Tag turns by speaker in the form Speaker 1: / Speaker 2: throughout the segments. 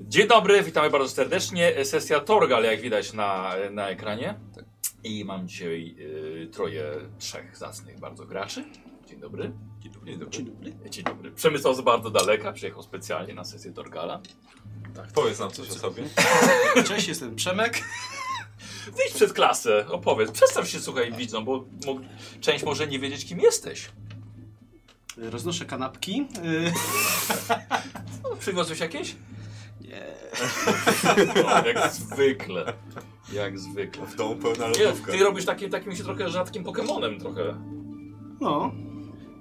Speaker 1: Dzień dobry, witamy bardzo serdecznie. Sesja Torgal, jak widać na, na ekranie. I mam dzisiaj y, troje, trzech zacnych bardzo graczy. Dzień dobry. Dzień dobry. Dzień dobry. Dzień dobry. Przemysław z bardzo daleka, przyjechał specjalnie na sesję Torgala.
Speaker 2: Tak, powiedz nam coś o sobie.
Speaker 3: Cześć, jestem Przemek.
Speaker 1: Wyjdź przed klasę, opowiedz. Przedstaw się, słuchaj, widzą, bo mo- część może nie wiedzieć, kim jesteś.
Speaker 3: Roznoszę kanapki. Yy,
Speaker 1: No, przywiozłeś jakieś?
Speaker 3: Nie.
Speaker 1: O, jak zwykle. Jak zwykle.
Speaker 2: W domu pełna
Speaker 1: Nie,
Speaker 2: lodówka.
Speaker 1: ty robisz taki, takim się trochę rzadkim Pokemonem trochę.
Speaker 3: No,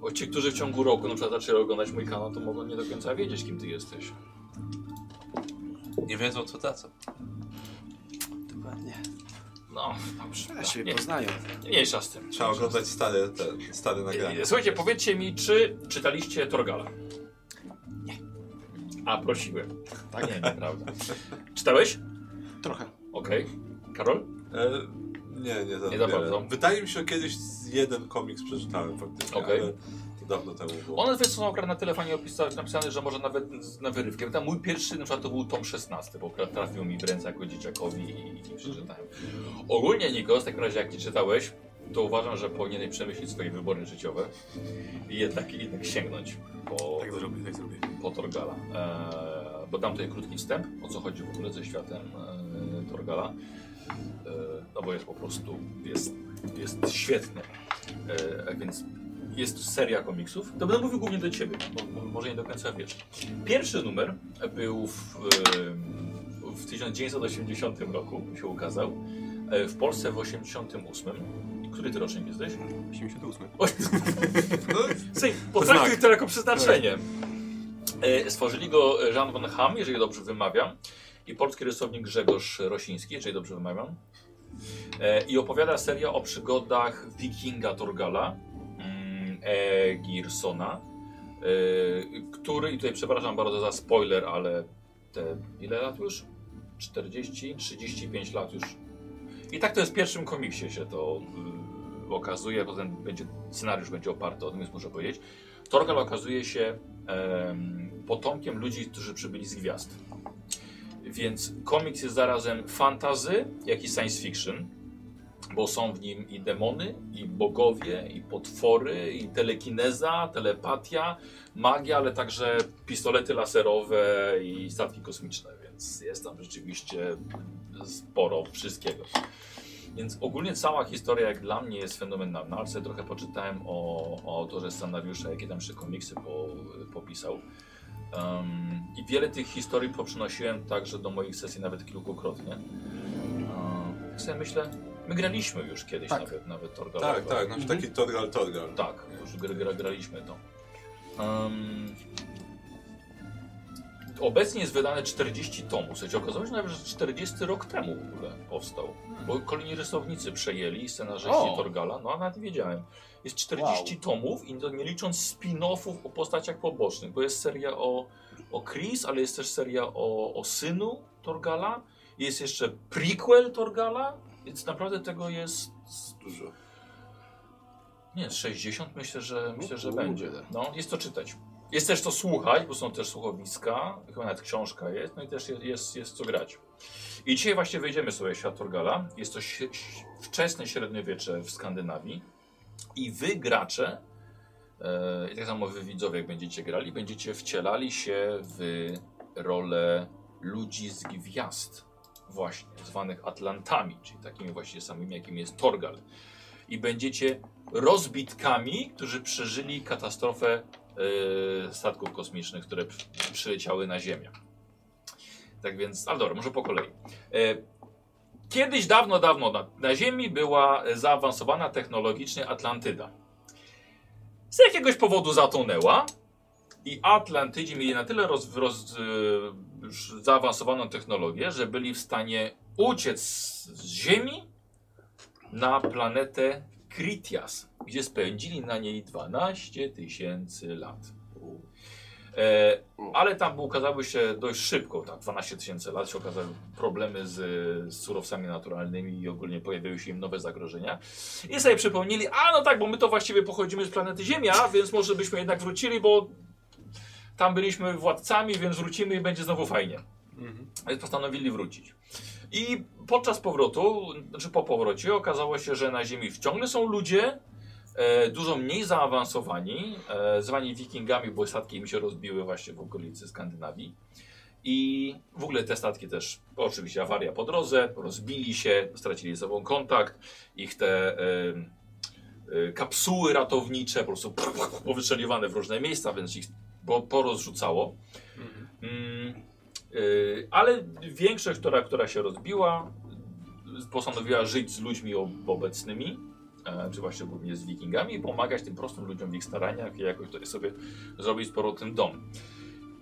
Speaker 1: Bo ci, którzy w ciągu roku na przykład zaczęli oglądać mój kanał, to mogą nie do końca wiedzieć, kim ty jesteś.
Speaker 2: Nie wiedzą co tacy.
Speaker 3: dokładnie.
Speaker 1: No, dobrze.
Speaker 3: Ja się
Speaker 1: Nie,
Speaker 3: poznają.
Speaker 1: mniejsza z tym. Yy,
Speaker 2: Trzeba oglądać stare, te, stare nagrania.
Speaker 1: Słuchajcie, powiedzcie mi, czy czytaliście Torgala? Nie. A, prosiłem. Tak, nie, prawda. Czytałeś?
Speaker 3: Trochę.
Speaker 1: Okej. Karol?
Speaker 2: E, nie, nie za
Speaker 1: Nie za
Speaker 2: wiele.
Speaker 1: bardzo.
Speaker 2: Wydaje mi się, że kiedyś z- jeden komiks przeczytałem faktycznie,
Speaker 1: Okej.
Speaker 2: ale to dawno temu było.
Speaker 1: One wiesz, co są akurat na tyle fajnie opisa- napisane, że może nawet z- na wyrywkiem. Tam mój pierwszy na przykład to był tom 16, bo akurat trafił mi w ręce jako dzieciakowi i, i przeczytałem. Ogólnie Nikos, w takim razie jak nie czytałeś, to uważam, że powinieneś przemyśleć swoje wybory życiowe i jednak, jednak sięgnąć po,
Speaker 2: Tak zrobię, tak zrobię.
Speaker 1: po Torgala. Eee, bo dam tutaj krótki wstęp, o co chodzi w ogóle ze światem eee, Torgala. Eee, no bo jest po prostu, jest, jest świetny. Eee, więc jest seria komiksów. To będę mówił głównie do ciebie, bo, bo może nie do końca wiesz. Pierwszy numer był w, em, w 1980 roku, się ukazał. E, W Polsce w 88. Który ty rocznik jesteś?
Speaker 4: 88.
Speaker 1: Oj,
Speaker 2: No,
Speaker 1: Słuchaj, potraktuj to jako przeznaczenie. E, Stworzyli go Jean von Ham, jeżeli dobrze wymawiam, i polski rysownik Grzegorz Rosiński, jeżeli dobrze wymawiam. E, I opowiada seria o przygodach wikinga Torgala, mm, e, Girsona, e, który, i tutaj przepraszam bardzo za spoiler, ale te ile lat już? 40, 35 lat już. I tak to jest w pierwszym komiksie się to y, okazuje, potem będzie, scenariusz będzie oparty o tym, więc muszę powiedzieć. Torgal okazuje się em, potomkiem ludzi, którzy przybyli z gwiazd. Więc komiks jest zarazem fantazy, jak i science fiction, bo są w nim i demony, i bogowie, i potwory, i telekineza, telepatia, magia, ale także pistolety laserowe i statki kosmiczne, więc jest tam rzeczywiście sporo wszystkiego. Więc ogólnie cała historia jak dla mnie jest fenomenalna, No, ale sobie trochę poczytałem o, o autorze scenariusza, jakie tam jeszcze komiksy po, popisał. Em, I wiele tych historii poprzenosiłem także do moich sesji nawet kilkukrotnie. Um, tak sobie myślę, my graliśmy już kiedyś
Speaker 3: Tak.
Speaker 1: nawet, nawet Torgalowego.
Speaker 2: tak, tak, znaczy taki Torgal Torgal.
Speaker 1: Mhm. Tak, już gr gr graliśmy to. Em, obecnie jest wydane 40 tomów. Słuchajcie, okazało się nawet, że 40 rok temu w ogóle powstał. Bo kolejni rysownicy przejęli scenarzyści
Speaker 3: O.
Speaker 1: Torgala, no a nawet nie wiedziałem. Jest 40 tomów i to nie licząc spin-offów o postaciach pobocznych, bo jest seria o, o Chris, ale jest też seria o, o synu Torgala, jest jeszcze prequel Torgala, więc naprawdę tego jest
Speaker 2: Dużo.
Speaker 1: nie, 60 myślę, że myślę, że
Speaker 3: kurde.
Speaker 1: będzie. No, jest to czytać. Jest też to słuchać, bo są też słuchowiska, chyba nawet książka jest, no i też jest, jest, jest co grać. I dzisiaj właśnie wyjdziemy sobie w świat Torgala. Jest to si- si- wczesne średniowiecze w Skandynawii i wy gracze, e, i tak samo wy widzowie, jak będziecie grali, będziecie wcielali się w rolę ludzi z gwiazd, właśnie, zwanych Atlantami, czyli takimi właśnie samymi, jakim jest Torgal. I będziecie rozbitkami, którzy przeżyli katastrofę e, statków kosmicznych, które przy- przyleciały na Ziemię. Tak więc, ale dobra, może po kolei. E, Kiedyś, dawno, dawno na, na Ziemi była e, zaawansowana technologicznie Atlantyda. Z jakiegoś powodu zatonęła i Atlantydzi mieli na tyle roz, roz, e, już zaawansowaną technologię, że byli w stanie uciec z- z Ziemi na planetę Kritias, gdzie spędzili na niej 12 tysięcy lat. E, ale tam by ukazały się dość szybko, tak, 12 tysięcy lat się okazały problemy z, z surowcami naturalnymi i ogólnie pojawiały się im nowe zagrożenia. I sobie przypomnieli, a no tak, bo my to właściwie pochodzimy z planety Ziemia, więc może byśmy jednak wrócili, bo tam byliśmy władcami, więc wrócimy i będzie znowu fajnie.
Speaker 2: Mhm.
Speaker 1: więc postanowili wrócić. I podczas powrotu, znaczy po powrocie, okazało się, że na Ziemi wciąż są ludzie, e, dużo mniej zaawansowani, e, zwani wikingami, bo statki im się rozbiły właśnie w okolicy Skandynawii. I w ogóle te statki też, oczywiście awaria po drodze, rozbili się, stracili ze sobą kontakt, ich te e, e, kapsuły ratownicze po prostu powystrzeliwane w różne miejsca, więc ich bo porozrzucało.
Speaker 2: Mhm.
Speaker 1: Mm, y, ale większość, która, która się rozbiła, y, postanowiła żyć z ludźmi ob- obecnymi, e, czy właśnie głównie z wikingami, i pomagać tym prostym ludziom w ich staraniach i jakoś tutaj sobie zrobić z powrotem dom.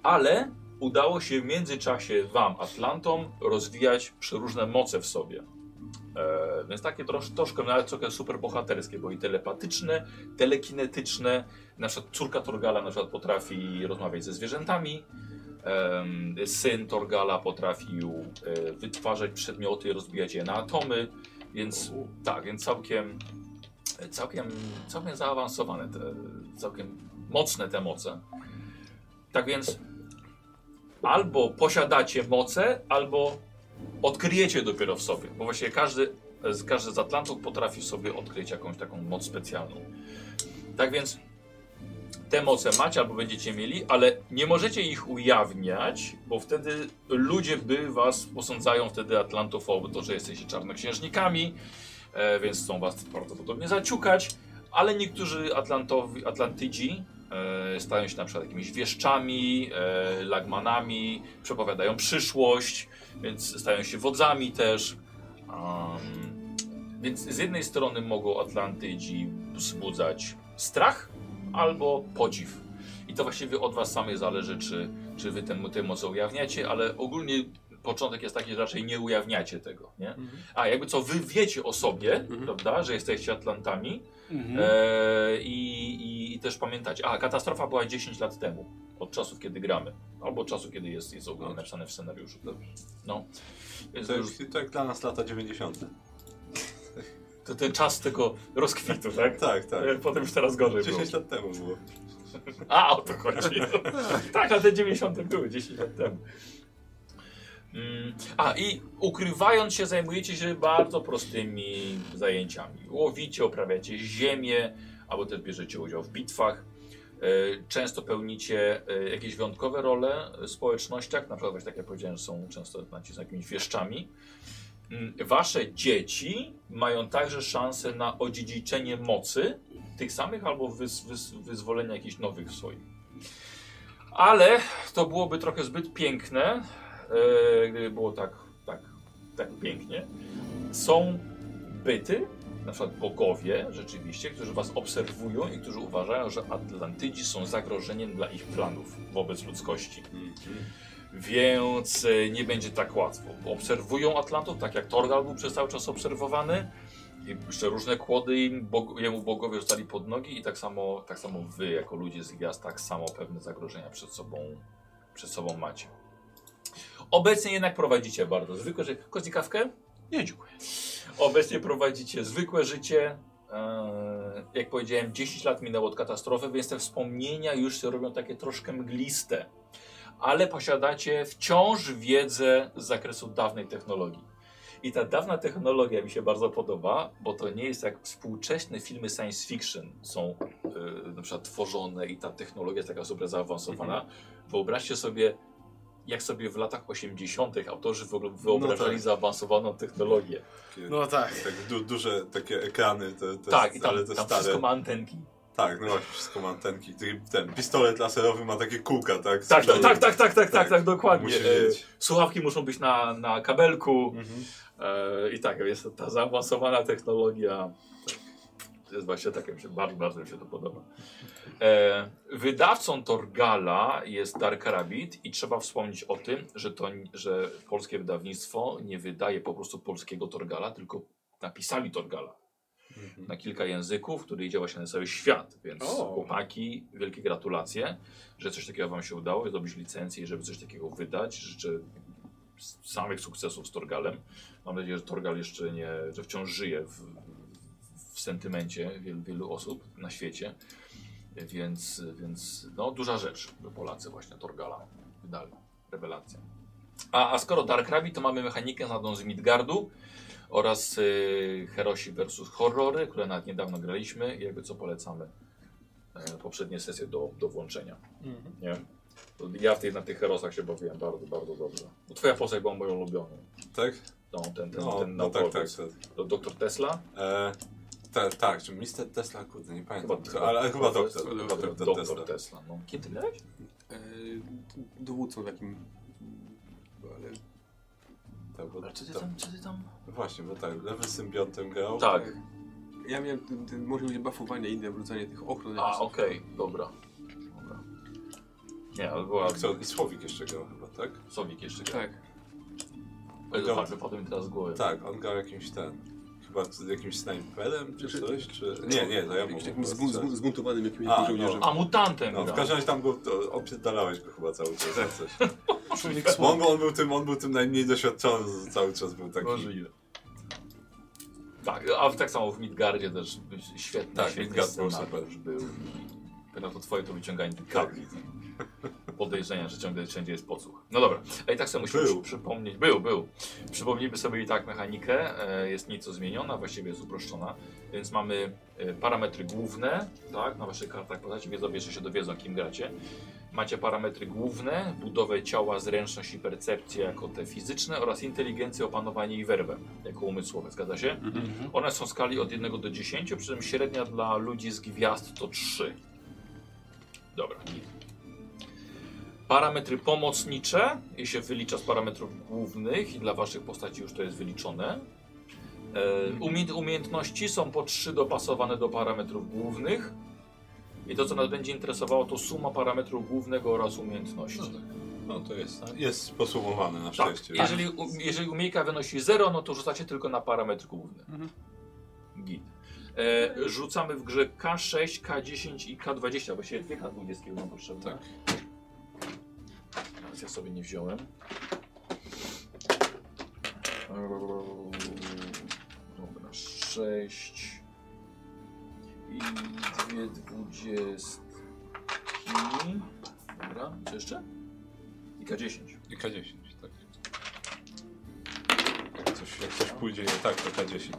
Speaker 1: Ale udało się w międzyczasie wam, Atlantom, rozwijać przeróżne moce w sobie. E, więc takie trosz, troszkę, nawet trochę superbohaterskie, bo i telepatyczne, telekinetyczne. Na przykład córka Torgala na przykład potrafi rozmawiać ze zwierzętami, Em, Syn Torgala potrafił e, wytwarzać przedmioty, rozbijać je na atomy, więc tak, więc całkiem, całkiem, całkiem zaawansowane, te, całkiem mocne te moce. Tak więc albo posiadacie moce, albo odkryjecie dopiero w sobie, bo właśnie każdy z, każdy z Atlantów potrafi w sobie odkryć jakąś taką moc specjalną. Tak więc te moce macie albo będziecie mieli, ale nie możecie ich ujawniać, bo wtedy ludzie by was posądzają wtedy Atlantofoby, to, że jesteście czarnoksiężnikami, e, więc chcą was prawdopodobnie zaciukać, ale niektórzy Atlantowi, Atlantydzi e, stają się na przykład jakimiś wieszczami, e, lagmanami, przepowiadają przyszłość, więc stają się wodzami też. Am, więc z jednej strony mogą Atlantydzi wzbudzać strach, albo podziw. I to właściwie od was samej zależy, czy, czy wy tę tę moc ujawniacie, ale ogólnie początek jest taki, że raczej nie ujawniacie tego, nie?
Speaker 2: Mhm.
Speaker 1: A jakby co wy wiecie o sobie,
Speaker 2: Mhm.
Speaker 1: prawda, że jesteście Atlantami
Speaker 3: Mhm.
Speaker 1: e, i, i, i też pamiętacie, a katastrofa była 10 lat temu, od czasów kiedy gramy, albo od czasu kiedy jest, jest ogólnie
Speaker 2: Dobrze.
Speaker 1: napisane w scenariuszu. No, więc
Speaker 2: To,
Speaker 1: to, już,
Speaker 2: jak- to jak dla nas lata 90.
Speaker 1: to ten czas tego rozkwitu, tak?
Speaker 2: Tak, tak.
Speaker 1: E, Potem już teraz gorzej było.
Speaker 2: 10 lat temu było.
Speaker 1: A, o to chodzi. tak, na te 90 były 10 lat temu. Mm, A i ukrywając się, zajmujecie się bardzo prostymi zajęciami. Łowicie, oprawiacie ziemię, albo też bierzecie udział w bitwach. E, Często pełnicie e, jakieś wyjątkowe role w społecznościach, na przykład, właśnie tak jak powiedziałem, są często znaczy, są jakimiś wieszczami. Mm, Wasze dzieci mają także szansę na odziedziczenie mocy tych samych albo wyz, wyz, wyzwolenia jakichś nowych swoich. Ale to byłoby trochę zbyt piękne, e, gdyby było tak, tak, tak pięknie. Są byty, na przykład bogowie rzeczywiście, którzy was obserwują i którzy uważają, że Atlantydzi są zagrożeniem dla ich planów wobec ludzkości. Mhm. Więc e, nie będzie tak łatwo. Obserwują Atlantów, tak jak Torgal był przez cały czas obserwowany. I jeszcze różne kłody im, bog, jemu bogowie rzucali pod nogi i tak samo, tak samo wy, jako ludzie z gwiazd, tak samo pewne zagrożenia przed sobą, przed sobą macie. Obecnie jednak prowadzicie bardzo zwykłe życie. Kości kawkę?
Speaker 3: Nie, dziękuję.
Speaker 1: Obecnie prowadzicie zwykłe życie. Eee, Jak powiedziałem, 10 lat minęło od katastrofy, więc te wspomnienia już się robią takie troszkę mgliste. Ale posiadacie wciąż wiedzę z zakresu dawnej technologii. I ta dawna technologia mi się bardzo podoba, bo to nie jest jak współczesne filmy science fiction są yy, na przykład tworzone i ta technologia jest taka super zaawansowana. Wyobraźcie sobie, jak sobie w latach 80. autorzy w ogóle wyobrażali
Speaker 2: tak.
Speaker 1: zaawansowaną technologię.
Speaker 2: Takie,
Speaker 3: No tak.
Speaker 2: tak du, duże takie ekrany, te, te,
Speaker 1: Tak, i tam,
Speaker 2: ale te
Speaker 1: tam
Speaker 2: stare.
Speaker 1: wszystko ma antenki.
Speaker 2: Tak, no właśnie, wszystko ma antenki. Ty- Ten pistolet laserowy ma takie kółka, tak? Z
Speaker 1: Tak, tak,
Speaker 2: którym
Speaker 1: tak, tak, tak, tak, tak, tak, dokładnie.
Speaker 2: Musisz
Speaker 1: E,
Speaker 2: mieć.
Speaker 1: Słuchawki muszą być na, na kabelku
Speaker 2: Mhm.
Speaker 1: e, i tak, jest ta zaawansowana technologia. To jest właśnie tak, jak mi się bardzo, bardzo mi się to podoba. E, wydawcą Torgala jest Dark Rabbit i trzeba wspomnieć o tym, że, to, że polskie wydawnictwo nie wydaje po prostu polskiego Torgala, tylko napisali Torgala.
Speaker 2: Mhm.
Speaker 1: na kilka języków, który idzie właśnie na cały świat. Więc
Speaker 3: O.
Speaker 1: chłopaki, wielkie gratulacje, że coś takiego Wam się udało, zdobyć licencję i żeby coś takiego wydać. Życzę s- samych sukcesów z Torgalem. Mam nadzieję, że Torgal jeszcze nie, że wciąż żyje w, w sentymencie wielu, wielu osób na świecie. Więc, więc no, duża rzecz, że Polacy właśnie Torgala wydali. Rewelacja. A, a skoro Dark Rabbit, to mamy mechanikę znaną z Midgardu oraz y, Herosi versus Horrory, które nawet niedawno graliśmy i jakby co polecamy e, poprzednie sesje do, do włączenia.
Speaker 4: Mhm.
Speaker 1: Nie? To Ja w tej, na tych Herosach się bawiłem bardzo, bardzo dobrze. Bo twoja postać była moją ulubioną.
Speaker 2: Tak?
Speaker 1: No, ten, ten,
Speaker 2: No,
Speaker 1: ten
Speaker 2: no tak, tak.
Speaker 1: naukowiec.
Speaker 2: tak.
Speaker 1: To Doktor Tesla?
Speaker 2: E, te, tak, czy Mr. Tesla, kurde, nie pamiętam. Tak, ale, ale chyba doktor, chyba doktor, Tesla.
Speaker 1: Doktor Tesla. No, kiedy grałeś?
Speaker 4: E, dowódcą takim. Ale
Speaker 2: Tak, bo,
Speaker 1: Ale Czy ty
Speaker 2: tak.
Speaker 1: tam, czy ty tam...
Speaker 2: Właśnie, bo tak, lewy symbiontem grał.
Speaker 1: Tak.
Speaker 4: Ja miałem ten, ten możliwość bafowania inne, wrzucanie tych ochron.
Speaker 1: A,
Speaker 4: jakichś.
Speaker 1: okej, dobra. dobra. Nie, ale była...
Speaker 2: A kto? I Słowik jeszcze grał chyba, tak?
Speaker 1: Sowik jeszcze grał.
Speaker 4: Tak.
Speaker 1: Tego
Speaker 2: Go-
Speaker 1: fakt wypadł mi teraz z głowy.
Speaker 2: Tak, on grał jakimś ten. Chyba z jakimś snajperem czy
Speaker 4: Czy-
Speaker 2: coś? Czy... Nie, nie, to ja
Speaker 4: Jakimś
Speaker 2: mówię.
Speaker 4: Takim zbu, zbu, zbuntowanym jakimś
Speaker 2: A, no.
Speaker 4: żołnierzem.
Speaker 1: A mutantem
Speaker 2: No, w
Speaker 1: gra.
Speaker 2: każdym razie tam go to, opierdalałeś go chyba cały czas. czy Coś.
Speaker 3: Człowiek
Speaker 2: Bo on,
Speaker 3: słowo.
Speaker 2: był- on, był tym, on był tym najmniej doświadczony, cały czas był taki.
Speaker 1: Możliwe. Tak, a tak samo w Midgardzie też by- świetny,
Speaker 2: Tak,
Speaker 1: świetny
Speaker 2: Midgard był
Speaker 1: scenariusz
Speaker 2: super. Tak.
Speaker 1: był. Pyta to twoje to wyciąganie tych kabli. Podejrzenia, że ciągle wszędzie jest podsłuch. No dobra, a i tak sobie musimy przy-
Speaker 2: Był.
Speaker 1: przypomnieć. Był, był. Przypomnijmy sobie i tak mechanikę. E, jest nieco zmieniona, właściwie jest uproszczona. Więc mamy e, parametry główne, tak, na waszych kartach postaci widzowie jeszcze się dowiedzą, kim gracie. Macie parametry główne, budowę ciała, zręczność i percepcję jako te fizyczne oraz inteligencję, opanowanie i werbę jako umysłowe, zgadza się?
Speaker 3: Mhm.
Speaker 1: One są w skali od 1 do 10, przy czym średnia dla ludzi z gwiazd to 3. Dobra. Parametry pomocnicze i się wylicza z parametrów głównych i dla waszych postaci już to jest wyliczone. E,
Speaker 2: Mhm.
Speaker 1: Umiej umiejętności są po 3 dopasowane do parametrów głównych. I to, co nas będzie interesowało, to suma parametru głównego oraz umiejętności.
Speaker 2: No tak. No to jest, jest posumowane na
Speaker 1: Tak,
Speaker 2: szczęście.
Speaker 1: jeżeli, u, jeżeli umiejka wynosi 0, no to rzucacie tylko na parametr główny.
Speaker 4: Mhm.
Speaker 1: Git. E, rzucamy w grze K6, K10 i K20. Właściwie dwie K20 nam potrzebne.
Speaker 2: Tak.
Speaker 1: Teraz ja sobie nie wziąłem. Dobra, 6 i dwie dwudziestki. Dobra, co jeszcze? I K10.
Speaker 2: I K10, tak. Jak coś, jak coś pójdzie nie tak, to K10.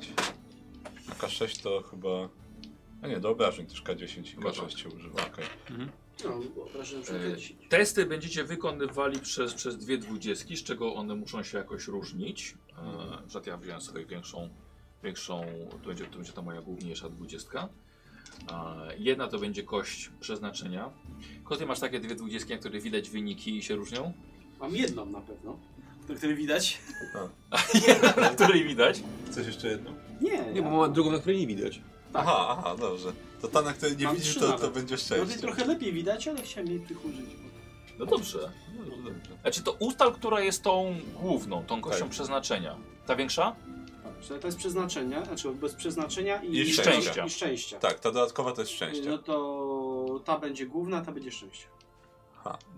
Speaker 2: A K6 to chyba... A nie, do obrażeń też K10 i
Speaker 1: Chyba tak.
Speaker 2: K6 się używa, okej.
Speaker 3: No, wyobrażam, że
Speaker 1: E,
Speaker 3: kiedyś.
Speaker 1: Testy będziecie wykonywali przez, przez dwie dwudziestki, z czego one muszą się jakoś różnić. E, że ja wziąłem sobie większą, większą to, będzie, to będzie ta moja główniejsza dwudziestka. E, jedna to będzie kość przeznaczenia. Koty masz takie dwie dwudziestki, na których widać wyniki i się różnią.
Speaker 3: Mam jedną na pewno. Do której widać?
Speaker 1: Jedna, na której widać.
Speaker 2: Coś jeszcze jedno?
Speaker 3: Nie,
Speaker 4: Nie, bo mam drugą, na której nie widać.
Speaker 2: Aha, aha, dobrze. To ta, na której nie
Speaker 3: Mam
Speaker 2: widzisz,
Speaker 3: trzy
Speaker 2: to,
Speaker 3: nawet.
Speaker 2: to będzie
Speaker 3: No tej
Speaker 2: szczęście.
Speaker 3: trochę lepiej widać, ale chciałem jej przychurzyć. bo-
Speaker 1: No dobrze. Znaczy to ustal, która jest tą główną, tą kością
Speaker 2: Tak.
Speaker 1: przeznaczenia. Ta większa?
Speaker 3: Dobrze, to jest przeznaczenie, znaczy bez przeznaczenia i,
Speaker 2: I
Speaker 1: szczęścia.
Speaker 3: I szczęścia.
Speaker 2: Tak, ta dodatkowa to jest
Speaker 3: No
Speaker 2: szczęście.
Speaker 3: to ta będzie główna, ta będzie szczęście.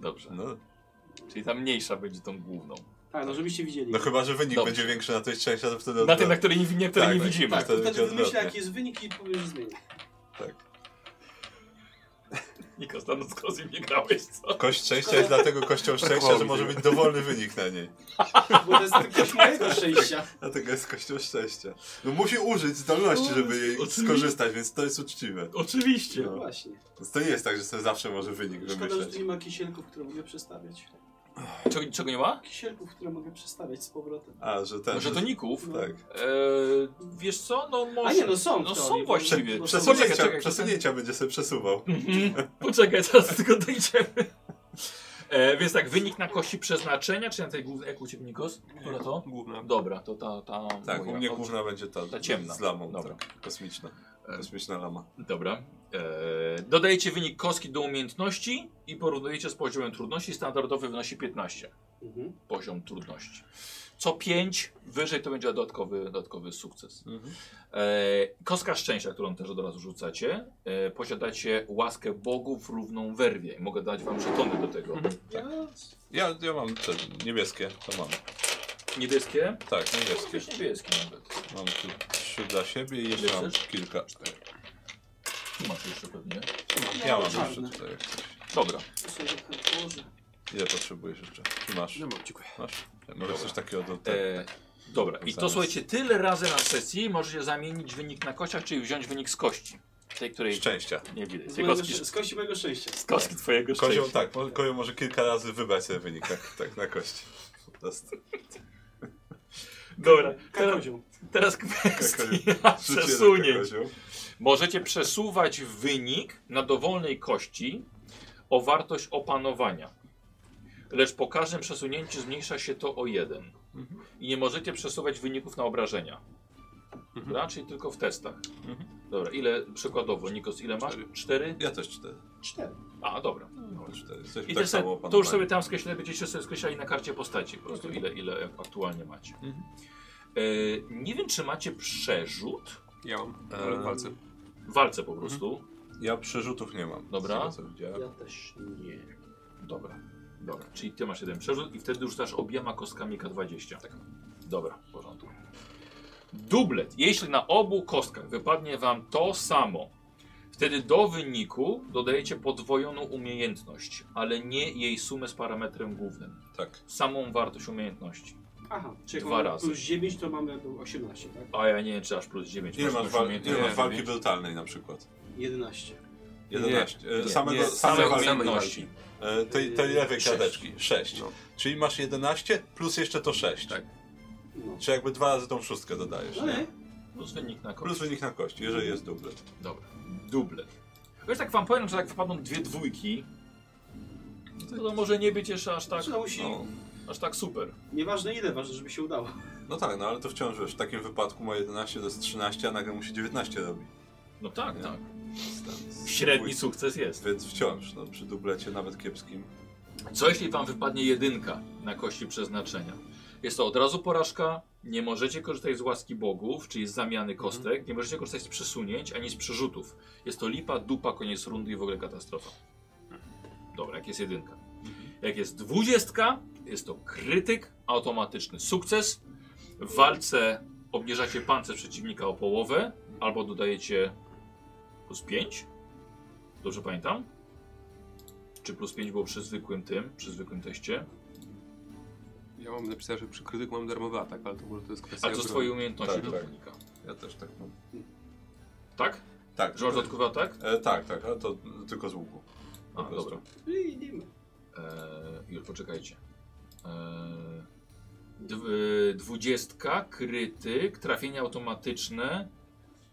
Speaker 1: Dobrze.
Speaker 2: No,
Speaker 1: Czyli ta mniejsza będzie tą główną.
Speaker 3: Tak, no żebyście widzieli.
Speaker 2: no chyba, że wynik
Speaker 1: Dobrze.
Speaker 2: będzie większy na tej szczęścia, No to wtedy...
Speaker 1: Na tej, na której nie, na której
Speaker 2: Tak,
Speaker 1: nie
Speaker 2: tak.
Speaker 1: widzimy.
Speaker 3: tak, to
Speaker 2: wtedy
Speaker 3: wtedy
Speaker 2: będzie
Speaker 3: wymyślę
Speaker 2: odwrotnie.
Speaker 3: jaki jest wynik i powiem, że zmienię.
Speaker 2: tak.
Speaker 1: Nikos, tam no z Kozim nie grałeś, co?
Speaker 2: Kość szczęścia jest dlatego kością
Speaker 1: Tak
Speaker 2: szczęścia, że może być dowolny wynik na niej.
Speaker 3: Bo to jest tylko mojego szczęścia.
Speaker 2: Dlatego jest kością szczęścia. No musi użyć zdolności, żeby jej
Speaker 1: Oczywiście.
Speaker 2: skorzystać, więc to jest uczciwe.
Speaker 1: Oczywiście.
Speaker 2: No.
Speaker 3: Właśnie.
Speaker 2: Więc to nie jest tak, że sobie zawsze może wynik
Speaker 3: Szkoda, że tu nie
Speaker 2: wymyśleć.
Speaker 3: ma kisielków, które mogę przestawiać.
Speaker 1: Czego, czego nie ma?
Speaker 3: Kisielków, które mogę przestawiać z powrotem.
Speaker 2: A, że ten...
Speaker 1: Może
Speaker 2: że-
Speaker 1: to Ników?
Speaker 2: Tak.
Speaker 1: Eee, wiesz co, no może...
Speaker 3: A nie, no są w
Speaker 1: No są
Speaker 3: teorii, bo-
Speaker 1: właściwie.
Speaker 3: bo są-
Speaker 1: Przesuń-
Speaker 2: Przesunięcia,
Speaker 1: Czekaj, czekaj,
Speaker 2: przesunięcia będzie sobie przesuwał.
Speaker 1: Mhm. Poczekaj, teraz tylko dojdziemy. E, więc tak, wynik na kości przeznaczenia, czy na tej głównej... Jak u Ciebie, Nikos? Która to?
Speaker 4: Główna.
Speaker 1: Dobra, to ta... ta
Speaker 2: Tak,
Speaker 1: moja.
Speaker 2: u mnie
Speaker 1: Dobrze.
Speaker 2: główna będzie ta,
Speaker 1: Ta ciemna.
Speaker 2: z lamą,
Speaker 1: Dobra.
Speaker 2: tak, kosmiczna. Kosmiczna lama.
Speaker 1: Dobra. E, dodajecie wynik kostki do umiejętności i porównujecie z poziomem trudności. Standardowy wynosi 15.
Speaker 3: Mhm.
Speaker 1: poziom trudności. Co 5 wyżej to będzie dodatkowy, dodatkowy sukces. E, kostka szczęścia, którą też od razu rzucacie, e, posiadacie łaskę bogów równą werwie. I mogę dać wam żetony do tego.
Speaker 4: Mhm.
Speaker 3: Yes.
Speaker 2: Ja, ja mam te niebieskie, to mam.
Speaker 1: Niebieskie?
Speaker 2: Tak, niebieskie.
Speaker 1: Jakieś niebieskie nawet.
Speaker 2: Mam tu trzy dla siebie i
Speaker 1: Ile
Speaker 2: jeszcze mam
Speaker 1: chcesz?
Speaker 2: kilka.
Speaker 1: Tu masz jeszcze pewnie.
Speaker 2: Ja mam
Speaker 3: czarne.
Speaker 2: jeszcze tutaj. jak coś.
Speaker 1: Dobra.
Speaker 3: tak, To są trochę- Boże.
Speaker 2: Ile potrzebujesz jeszcze? Czy masz?
Speaker 4: No mam, dziękuję.
Speaker 2: Masz? Może coś takiego do... Tak,
Speaker 1: E, dobra, i to słuchajcie, tyle razy na sesji możecie zamienić wynik na kościach, czyli wziąć wynik z kości. Tej, której
Speaker 2: Szczęścia.
Speaker 1: nie widać.
Speaker 3: Z,
Speaker 1: Tej
Speaker 3: mojego,
Speaker 1: kostki,
Speaker 3: sz- z kości mojego szczęścia.
Speaker 1: z kostki twojego szczęścia.
Speaker 2: Kozioł, tak, mo- kozioł może kilka razy wybrać sobie wynik, tak, tak na kości. Po prostu. tak.
Speaker 1: Dobra, teraz,
Speaker 3: Kakodzią.
Speaker 1: teraz kwestia
Speaker 2: Życie
Speaker 1: przesunięć.
Speaker 2: taka, kozioł.
Speaker 1: Możecie przesuwać wynik na dowolnej kości o wartość opanowania. Lecz po każdym przesunięciu zmniejsza się to o jeden.
Speaker 2: Mhm.
Speaker 1: I nie możecie przesuwać wyników na obrażenia.
Speaker 2: Mhm.
Speaker 1: Dobra? Czyli tylko w testach. Dobra, ile przykładowo, Nikos, ile masz?
Speaker 2: Cztery.
Speaker 1: Cztery?
Speaker 2: Ja też cztery.
Speaker 3: Cztery.
Speaker 1: A, dobra.
Speaker 2: No, cztery. Coś
Speaker 1: I
Speaker 2: tak
Speaker 1: te sobie,
Speaker 2: samo opanowanie.
Speaker 1: to już sobie tam skreślę, będziecie sobie skreślali na karcie postaci po prostu, ile, ile aktualnie macie.
Speaker 2: Mhm.
Speaker 1: E, nie wiem, czy macie przerzut
Speaker 4: Ja mam,
Speaker 2: Eee,
Speaker 4: ale palce.
Speaker 1: w walce po
Speaker 2: Mhm.
Speaker 1: prostu.
Speaker 2: Ja przerzutów nie mam.
Speaker 1: Dobra.
Speaker 2: Z tego, co widziałem.
Speaker 3: Ja też nie.
Speaker 1: Dobra. Dobra, czyli ty masz jeden przerzut i wtedy rzucasz obiema kostkami K20. Tak. Dobra, w porządku. Dublet. Jeśli na obu kostkach wypadnie wam to samo, wtedy do wyniku dodajecie podwojoną umiejętność, ale nie jej sumę z parametrem głównym.
Speaker 2: Tak.
Speaker 1: Samą wartość umiejętności.
Speaker 3: Aha, czyli
Speaker 1: Dwa
Speaker 3: jak mam
Speaker 1: razy.
Speaker 3: plus 9 to mamy jakby 18, tak?
Speaker 1: A ja nie wiem, czy aż plus 9.
Speaker 2: Ile masz, wal ile masz walki
Speaker 1: do...
Speaker 2: brutalnej na przykład?
Speaker 3: 11.
Speaker 2: 11. Nie,
Speaker 1: nie,
Speaker 2: samego,
Speaker 4: nie,
Speaker 2: same
Speaker 1: Same
Speaker 4: samej
Speaker 2: walki,
Speaker 1: umiejętności.
Speaker 2: e, tej, tej lewej
Speaker 1: Sześć.
Speaker 2: krateczki. 6.
Speaker 4: No.
Speaker 2: Czyli masz 11 plus jeszcze to 6.
Speaker 4: Tak.
Speaker 3: No.
Speaker 2: Czy jakby dwa razy tą szóstkę dodajesz.
Speaker 3: No nie?
Speaker 2: Nie?
Speaker 1: Plus wynik na
Speaker 2: Plus
Speaker 1: koniec.
Speaker 2: wynik na kości, jeżeli jest dublet.
Speaker 1: Dobra. Dublet. Wiesz, tak wam powiem, że jak wypadną dwie dwójki, to, to może nie być jeszcze aż tak...
Speaker 3: Znaczy, no musi,
Speaker 2: No.
Speaker 1: Aż tak super.
Speaker 3: nieważne ile, ważne, żeby się udało.
Speaker 2: no tak, no ale to wciąż wiesz, w takim wypadku ma 11 to jest 13, a nagle mu się 19 robi.
Speaker 1: No tak,
Speaker 2: Nie?
Speaker 1: tak.
Speaker 2: Stąd-
Speaker 1: Średni sukces jest.
Speaker 2: Więc wciąż, no, przy dublecie nawet kiepskim.
Speaker 1: Co jeśli wam wypadnie jedynka na kości przeznaczenia? Jest to od razu porażka, nie możecie korzystać z łaski bogów, czyli z zamiany kostek, nie możecie korzystać z przesunięć ani z przerzutów. Jest to lipa, dupa, koniec rundy i w ogóle katastrofa. Dobra, jak jest jedynka. Jak jest dwudziestka, jest to krytyk, automatyczny sukces. W walce obniżacie pancerz przeciwnika o połowę, albo dodajecie plus 5. Dobrze pamiętam? Czy plus 5 było przy zwykłym tym, przy zwykłym teście?
Speaker 4: Ja mam napisane, że przy krytyku mam darmowy atak, ale to może to jest kwestia...
Speaker 1: Ale to z
Speaker 4: obrony.
Speaker 1: twojej umiejętności
Speaker 2: Tak,
Speaker 1: do
Speaker 2: tak.
Speaker 1: unika.
Speaker 2: Ja też tak mam.
Speaker 1: Tak?
Speaker 2: Tak,
Speaker 1: Że masz dodatkowy atak?
Speaker 2: e, tak, tak, ale to e, tylko z łuku.
Speaker 1: A,
Speaker 2: Po prostu.
Speaker 1: dobra.
Speaker 3: I nie ma.
Speaker 1: Eee, już poczekajcie. Eee, dw- y, dwudziestka, krytyk, trafienie automatyczne,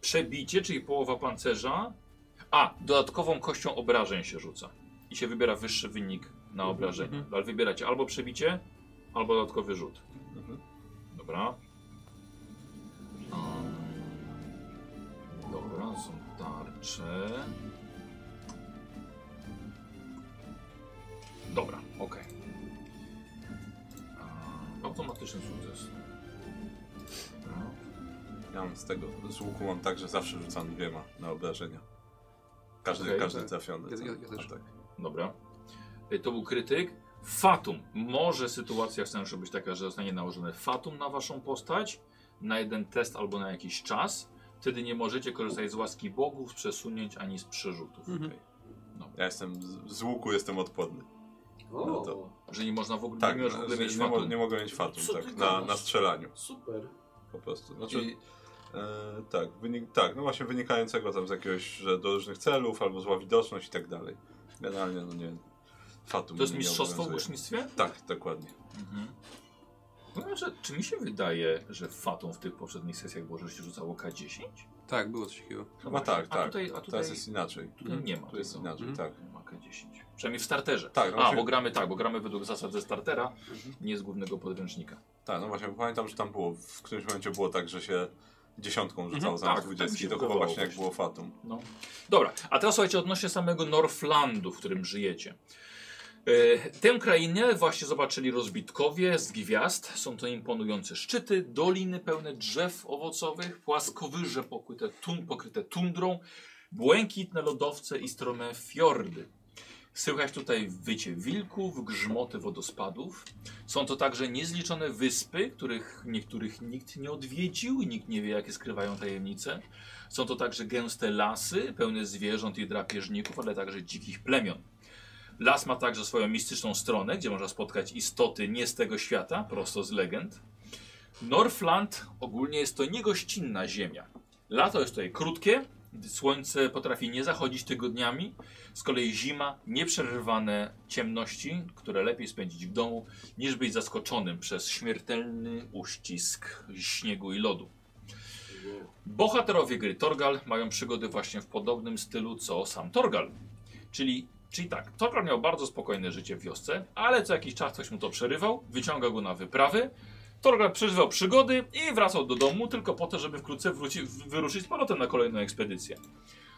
Speaker 1: przebicie, czyli połowa pancerza. A, dodatkową kością obrażeń się rzuca. I się wybiera wyższy wynik na obrażenia. Ale wybieracie albo przebicie, albo dodatkowy rzut.
Speaker 2: Mhm.
Speaker 1: Dobra. A, Dobra, są tarcze. Dobra, okej. A, Automatyczny sukces. No, Dobra.
Speaker 2: Ja mam z tego, z łuku mam tak, że zawsze rzucam dwiema na obrażenia. Każdy,
Speaker 1: Okej,
Speaker 2: każdy
Speaker 4: tak.
Speaker 2: trafiony.
Speaker 4: Ja-
Speaker 2: tak.
Speaker 4: ja- ja też.
Speaker 2: A tak.
Speaker 1: Dobra. Y, To był krytyk. Fatum. Może sytuacja w scenariuszu być taka, że zostanie nałożone fatum na waszą postać na jeden test albo na jakiś czas. Wtedy nie możecie korzystać z łaski bogów, z przesunięć ani z przerzutów.
Speaker 4: Mhm.
Speaker 1: Okej.
Speaker 2: Ja jestem, z, z łuku jestem odporny.
Speaker 3: O,
Speaker 2: No to-
Speaker 1: Że nie można w ogóle,
Speaker 2: Tak,
Speaker 1: nie możesz w ogóle
Speaker 2: że
Speaker 1: mieć
Speaker 2: nie, mo-
Speaker 1: fatum.
Speaker 2: nie mogę mieć fatum,
Speaker 3: Co ty
Speaker 2: tak, na, na
Speaker 3: gadasz?
Speaker 2: strzelaniu
Speaker 3: super.
Speaker 2: po prostu. Znaczy,
Speaker 1: Czyli
Speaker 2: e, tak, wynik, tak, no właśnie wynikającego tam z jakiegoś, że do różnych celów, albo zła widoczność i tak dalej. Generalnie, no nie, fatum
Speaker 1: to jest
Speaker 2: mnie nie
Speaker 1: mistrzostwo w
Speaker 2: obowiązuje.
Speaker 1: łucznictwie?
Speaker 2: Tak, dokładnie.
Speaker 1: Mhm. No, że, czy mi się wydaje, że fatum w tych poprzednich sesjach było, że się rzucało K10?
Speaker 4: Tak, było coś takiego.
Speaker 1: No
Speaker 2: Chyba tak,
Speaker 1: A
Speaker 2: tak.
Speaker 1: tutaj, a tutaj,
Speaker 2: Teraz jest inaczej.
Speaker 1: tutaj No, nie ma.
Speaker 2: Tu jest
Speaker 1: tego.
Speaker 2: inaczej,
Speaker 4: Mhm.
Speaker 2: tak.
Speaker 1: Nie ma K10. Przynajmniej w starterze.
Speaker 2: Tak, no
Speaker 1: A,
Speaker 2: właśnie-
Speaker 1: bo gramy tak, bo gramy według zasad ze startera, nie z głównego podręcznika.
Speaker 2: Tak, no właśnie, bo pamiętam, że tam było, w którymś momencie było tak, że się dziesiątką rzucało za
Speaker 1: tak,
Speaker 2: zamiast
Speaker 1: tak mi
Speaker 2: dwudziestki,
Speaker 1: się
Speaker 2: to chyba
Speaker 1: wydawało
Speaker 2: właśnie jak
Speaker 1: właśnie.
Speaker 2: było Fatum.
Speaker 1: No. Dobra, a teraz słuchajcie, odnośnie samego Northlandu, w którym żyjecie. E, Tę krainę właśnie zobaczyli rozbitkowie z gwiazd. Są to imponujące szczyty, doliny pełne drzew owocowych, płaskowyże pokryte, tun, pokryte tundrą, błękitne lodowce i strome fiordy. Słychać tutaj wycie wilków, grzmoty wodospadów. Są to także niezliczone wyspy, których niektórych nikt nie odwiedził i nikt nie wie, jakie skrywają tajemnice. Są to także gęste lasy, pełne zwierząt i drapieżników, ale także dzikich plemion. Las ma także swoją mistyczną stronę, gdzie można spotkać istoty nie z tego świata, prosto z legend. Northland ogólnie jest to niegościnna ziemia. Lato jest tutaj krótkie, gdy słońce potrafi nie zachodzić tygodniami, z kolei zima nieprzerwane ciemności, które lepiej spędzić w domu, niż być zaskoczonym przez śmiertelny uścisk śniegu i lodu. Bohaterowie gry Torgal mają przygody właśnie w podobnym stylu co sam Torgal. Czyli, czyli tak, Torgal miał bardzo spokojne życie w wiosce, ale co jakiś czas ktoś mu to przerywał, wyciągał go na wyprawy. Torgal przeżywał przygody i wracał do domu tylko po to, żeby wkrótce wróci, wyruszyć z powrotem na kolejną ekspedycję.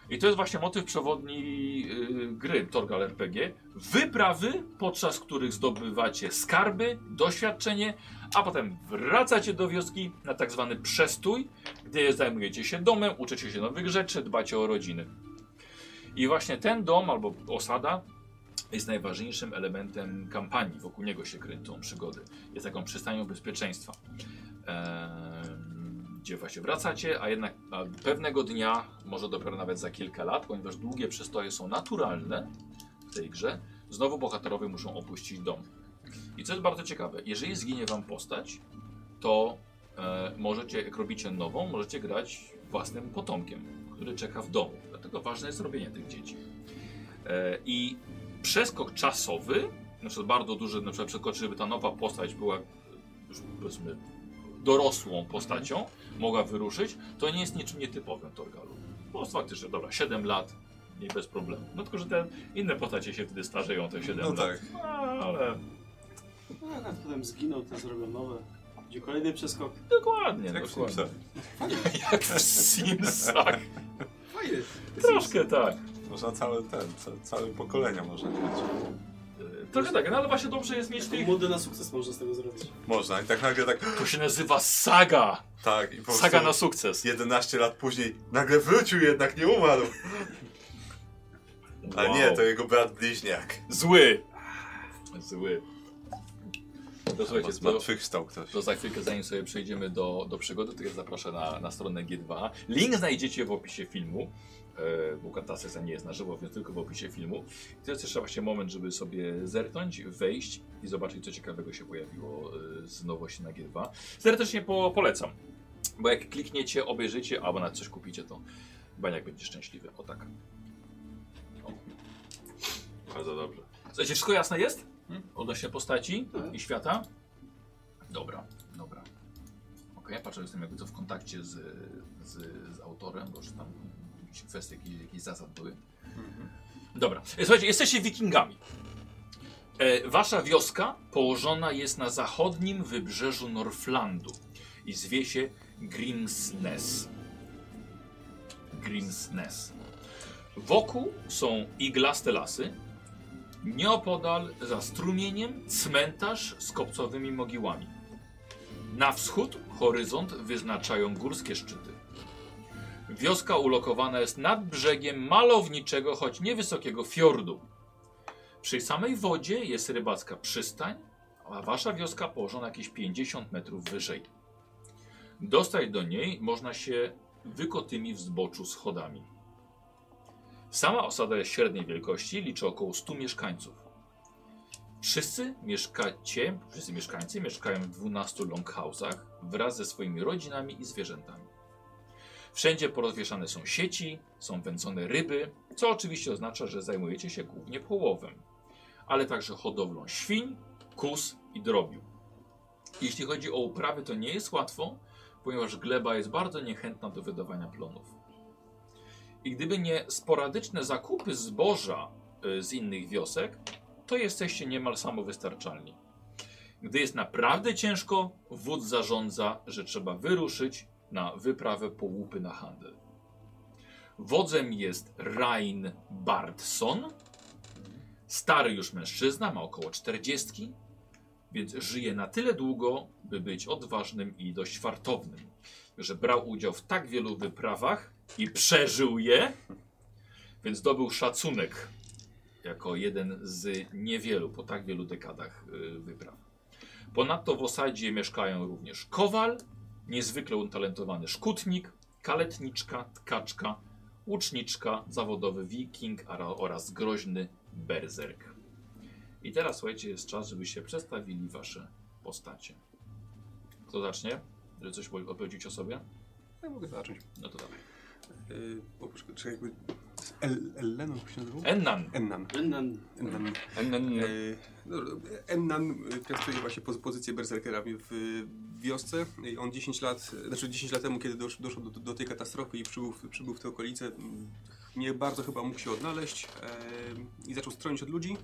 Speaker 1: I to jest właśnie motyw przewodni yy, gry Torgal RPG. Wyprawy, podczas których zdobywacie skarby, doświadczenie, a potem wracacie do wioski na tak zwany przestój, gdy zajmujecie się domem, uczycie się nowych rzeczy, dbacie o rodziny. I właśnie ten dom albo osada jest najważniejszym elementem kampanii. Wokół niego się kręcą przygody. Jest taką przystanią bezpieczeństwa. Em, Gdzie właśnie wracacie, a jednak a pewnego dnia, może dopiero nawet za kilka lat, ponieważ długie przystoje są naturalne w tej grze, znowu bohaterowie muszą opuścić dom. I co jest bardzo ciekawe, jeżeli zginie wam postać, to E, możecie, jak robicie nową, możecie grać własnym potomkiem, który czeka w domu. Dlatego ważne jest robienie tych dzieci. E, I przeskok czasowy, na przykład bardzo duży, na przykład przeskok, żeby ta nowa postać była już powiedzmy dorosłą postacią, mogła wyruszyć, to nie jest niczym nietypowym Torgalu. Po prostu faktycznie, dobra, 7 lat i bez problemu. No tylko, że te inne postacie się wtedy starzeją o te 7
Speaker 2: No
Speaker 1: lat.
Speaker 2: tak.
Speaker 1: No, ale
Speaker 3: No, jak potem zginął, to zrobią nowe. Będzie kolejny przeskok.
Speaker 1: dokładnie. no,
Speaker 2: Jak w
Speaker 1: dokładnie.
Speaker 2: Simsach.
Speaker 1: Jak w Simsach.
Speaker 3: Fajny.
Speaker 1: Troszkę tak.
Speaker 2: Można cały ten, ca- całe pokolenia można mieć.
Speaker 1: E, Trochę tak, no ale właśnie dobrze jest mieć tych...
Speaker 3: Młody na sukces można z tego zrobić.
Speaker 2: Można i tak nagle tak,
Speaker 1: To się nazywa saga!
Speaker 2: tak i po prostu
Speaker 1: Saga na sukces.
Speaker 2: 11 lat później nagle wrócił jednak, nie umarł. A nie, to jego brat bliźniak.
Speaker 1: Zły! Zły. To
Speaker 2: Chyba
Speaker 1: słuchajcie, to,
Speaker 2: zmartwychwstał ktoś.
Speaker 1: to za chwilkę zanim sobie przejdziemy do, do przygody, to ja zapraszam na, na stronę G2. Link znajdziecie w opisie filmu. E, Bo ta sesja nie jest na żywo, więc tylko w opisie filmu. I to jest jeszcze właśnie moment, żeby sobie zerknąć, wejść i zobaczyć, co ciekawego się pojawiło e, z nowości na G2. Serdecznie po, polecam. Bo jak klikniecie, obejrzycie, albo nawet coś kupicie, to Baniak będzie szczęśliwy. O tak. O. Bardzo dobrze. Słuchajcie, wszystko jasne jest? Hmm? Tak. Odnośnie postaci
Speaker 3: Mhm.
Speaker 1: i świata? Dobra, dobra. Ok, ja patrzę, że jestem jakby to w kontakcie z, z, z autorem, bo już tam jakieś kwestie, jakieś, jakieś zasad były. Dobra, E, słuchajcie, jesteście wikingami. E, wasza wioska położona jest na zachodnim wybrzeżu Norflandu i zwie się Grimsnes. Grimsnes. Wokół są iglaste lasy. Nieopodal za strumieniem cmentarz z kopcowymi mogiłami. Na wschód horyzont wyznaczają górskie szczyty. Wioska ulokowana jest nad brzegiem malowniczego, choć niewysokiego fiordu. Przy samej wodzie jest rybacka przystań, a wasza wioska położona jakieś 50 metrów wyżej. Dostać do niej można się wykotymi wzboczu schodami. Sama osada jest średniej wielkości, liczy około 100 mieszkańców. Wszyscy mieszkacie, wszyscy mieszkańcy mieszkają w 12 longhouse'ach wraz ze swoimi rodzinami i zwierzętami. Wszędzie porozwieszane są sieci, są wędzone ryby, co oczywiście oznacza, że zajmujecie się głównie połowem, ale także hodowlą świń, kus i drobiu. Jeśli chodzi o uprawy, to nie jest łatwo, ponieważ gleba jest bardzo niechętna do wydawania plonów. I gdyby nie sporadyczne zakupy zboża y, z innych wiosek, to jesteście niemal samowystarczalni. Gdy jest naprawdę ciężko, wódz zarządza, że trzeba wyruszyć na wyprawę po łupy na handel. Wodzem jest Rain Bardson. Stary już mężczyzna, ma około 40, więc żyje na tyle długo, by być odważnym i dość fartownym, że brał udział w tak wielu wyprawach i przeżył je, więc zdobył szacunek jako jeden z niewielu po tak wielu dekadach y, wypraw. Ponadto w osadzie mieszkają również kowal, niezwykle utalentowany szkutnik, kaletniczka, tkaczka, łuczniczka, zawodowy wiking ara- oraz groźny berserk. I teraz, słuchajcie, jest czas, żebyście przedstawili wasze postacie. Kto zacznie? Żeby coś powie- opowiedzieć o sobie?
Speaker 4: Ja mogę zacząć.
Speaker 1: No to dawaj.
Speaker 4: Yy, oprócz, czy jakby... z El, Elleną się nazywał?
Speaker 1: Ennan.
Speaker 4: Ennan.
Speaker 3: Będę...
Speaker 4: Ennan.
Speaker 1: Ennan.
Speaker 4: Yy, no, Ennan y, piastuje właśnie poz- pozycję berserkera w- w wiosce. I On 10 lat, znaczy 10 lat temu, kiedy dosz, doszło do, do tej katastrofy i przybył, w- przybył w te okolice, m, nie bardzo chyba mógł się odnaleźć e, i zaczął stronić od ludzi.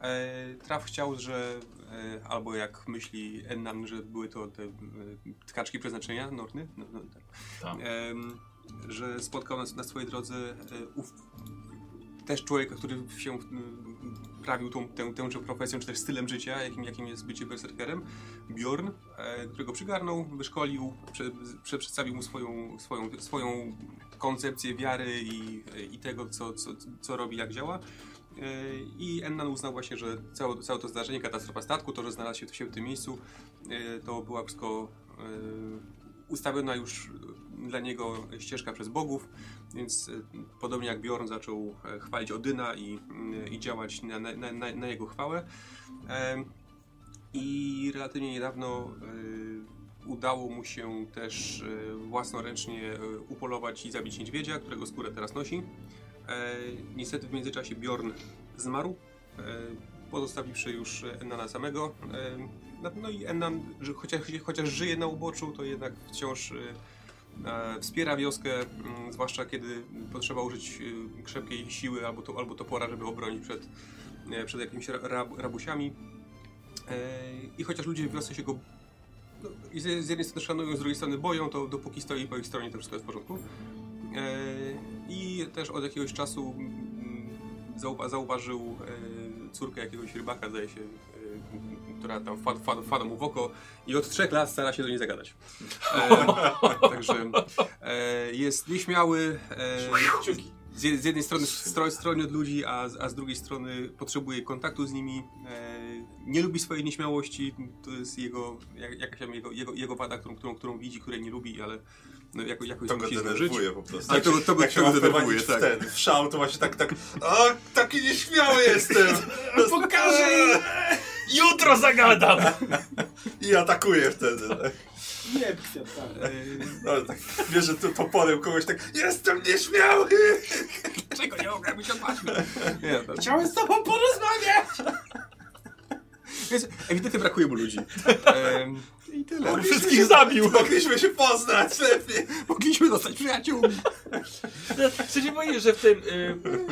Speaker 4: E, Traf chciał, że e, albo jak myśli Ennan, że były to te e, tkaczki przeznaczenia, Norny, no, no, tak.
Speaker 1: Tak.
Speaker 4: Em, że spotkał na, na swojej drodze e, ów, też człowieka, który się mm, prawił tą, tę, tęże profesją, czy też stylem życia, jakim, jakim jest bycie berserkerem, Bjorn, e, którego przygarnął, wyszkolił, prze, prze, przedstawił mu swoją, swoją, swoją koncepcję wiary i, i tego, co, co, co robi, jak działa. E, I Ennan uznał właśnie, że całe, całe to zdarzenie, katastrofa statku, to, że znalazł się, się w tym miejscu, e, to była wszystko e, ustawiona już dla niego ścieżka przez bogów, więc e, podobnie jak Bjorn zaczął e, chwalić Odyna i, mm, i działać na, na, na, na jego chwałę. Em, I relatywnie niedawno e, udało mu się też e, własnoręcznie e, upolować i zabić niedźwiedzia, którego skórę teraz nosi. E, Niestety w międzyczasie Bjorn zmarł, e, pozostawiwszy już Ennana samego. E, no- No i Ennan, że chociaż, chociaż żyje na uboczu, to jednak wciąż e, e, wspiera wioskę, mm, zwłaszcza kiedy potrzeba użyć e, krzepkiej siły albo, to, albo topora, żeby obronić przed, e, przed jakimiś ra- rab, rabusiami. E, I chociaż ludzie w wiosce się go no, i z z jednej strony szanują, z drugiej strony boją, to dopóki stoi po ich stronie, to wszystko jest w porządku. E, I też od jakiegoś czasu mm, zauwa zauważył e, córkę jakiegoś rybaka, zdaje się, e, która tam wpadła wpad wpadła mu w oko i od trzech lat stara się do niej zagadać. E, także e, jest nieśmiały, e, z, jed- z jednej strony stroj, stroni od ludzi, a, z- a z drugiej strony potrzebuje kontaktu z nimi. E, nie lubi swojej nieśmiałości, to jest jego, jak, jakaś tam jego, jego, jego wada, którą, którą, którą widzi, której nie lubi, ale no, jako, jakoś
Speaker 2: To go
Speaker 4: musi zdążyć.
Speaker 2: denerwuje po prostu.
Speaker 4: Ale to go- to go-
Speaker 2: jak się
Speaker 4: to go
Speaker 2: ma wprowadzić
Speaker 4: denerwuje, tak.
Speaker 2: w ten, w szał, to właśnie tak, tak, a taki nieśmiały jestem. Pokażę!
Speaker 1: Jutro zagadam!
Speaker 2: I atakuje wtedy. tak.
Speaker 3: Nie, kwiat, tak.
Speaker 4: E,
Speaker 2: No ale tak, bierze tu toporem kogoś tak, jestem nieśmiały!
Speaker 4: Czego nie mogę być opatrzny? Nie, tak.
Speaker 3: Chciałem z tobą porozmawiać!
Speaker 4: Więc ewidentnie brakuje mu ludzi. Em, I tyle.
Speaker 2: Mogliśmy
Speaker 1: wszystkich
Speaker 2: się-
Speaker 1: zabił.
Speaker 2: Mogliśmy się poznać lepiej!
Speaker 4: Mogliśmy dostać przyjaciół.
Speaker 1: Chcę ci powiedzieć, że w tym,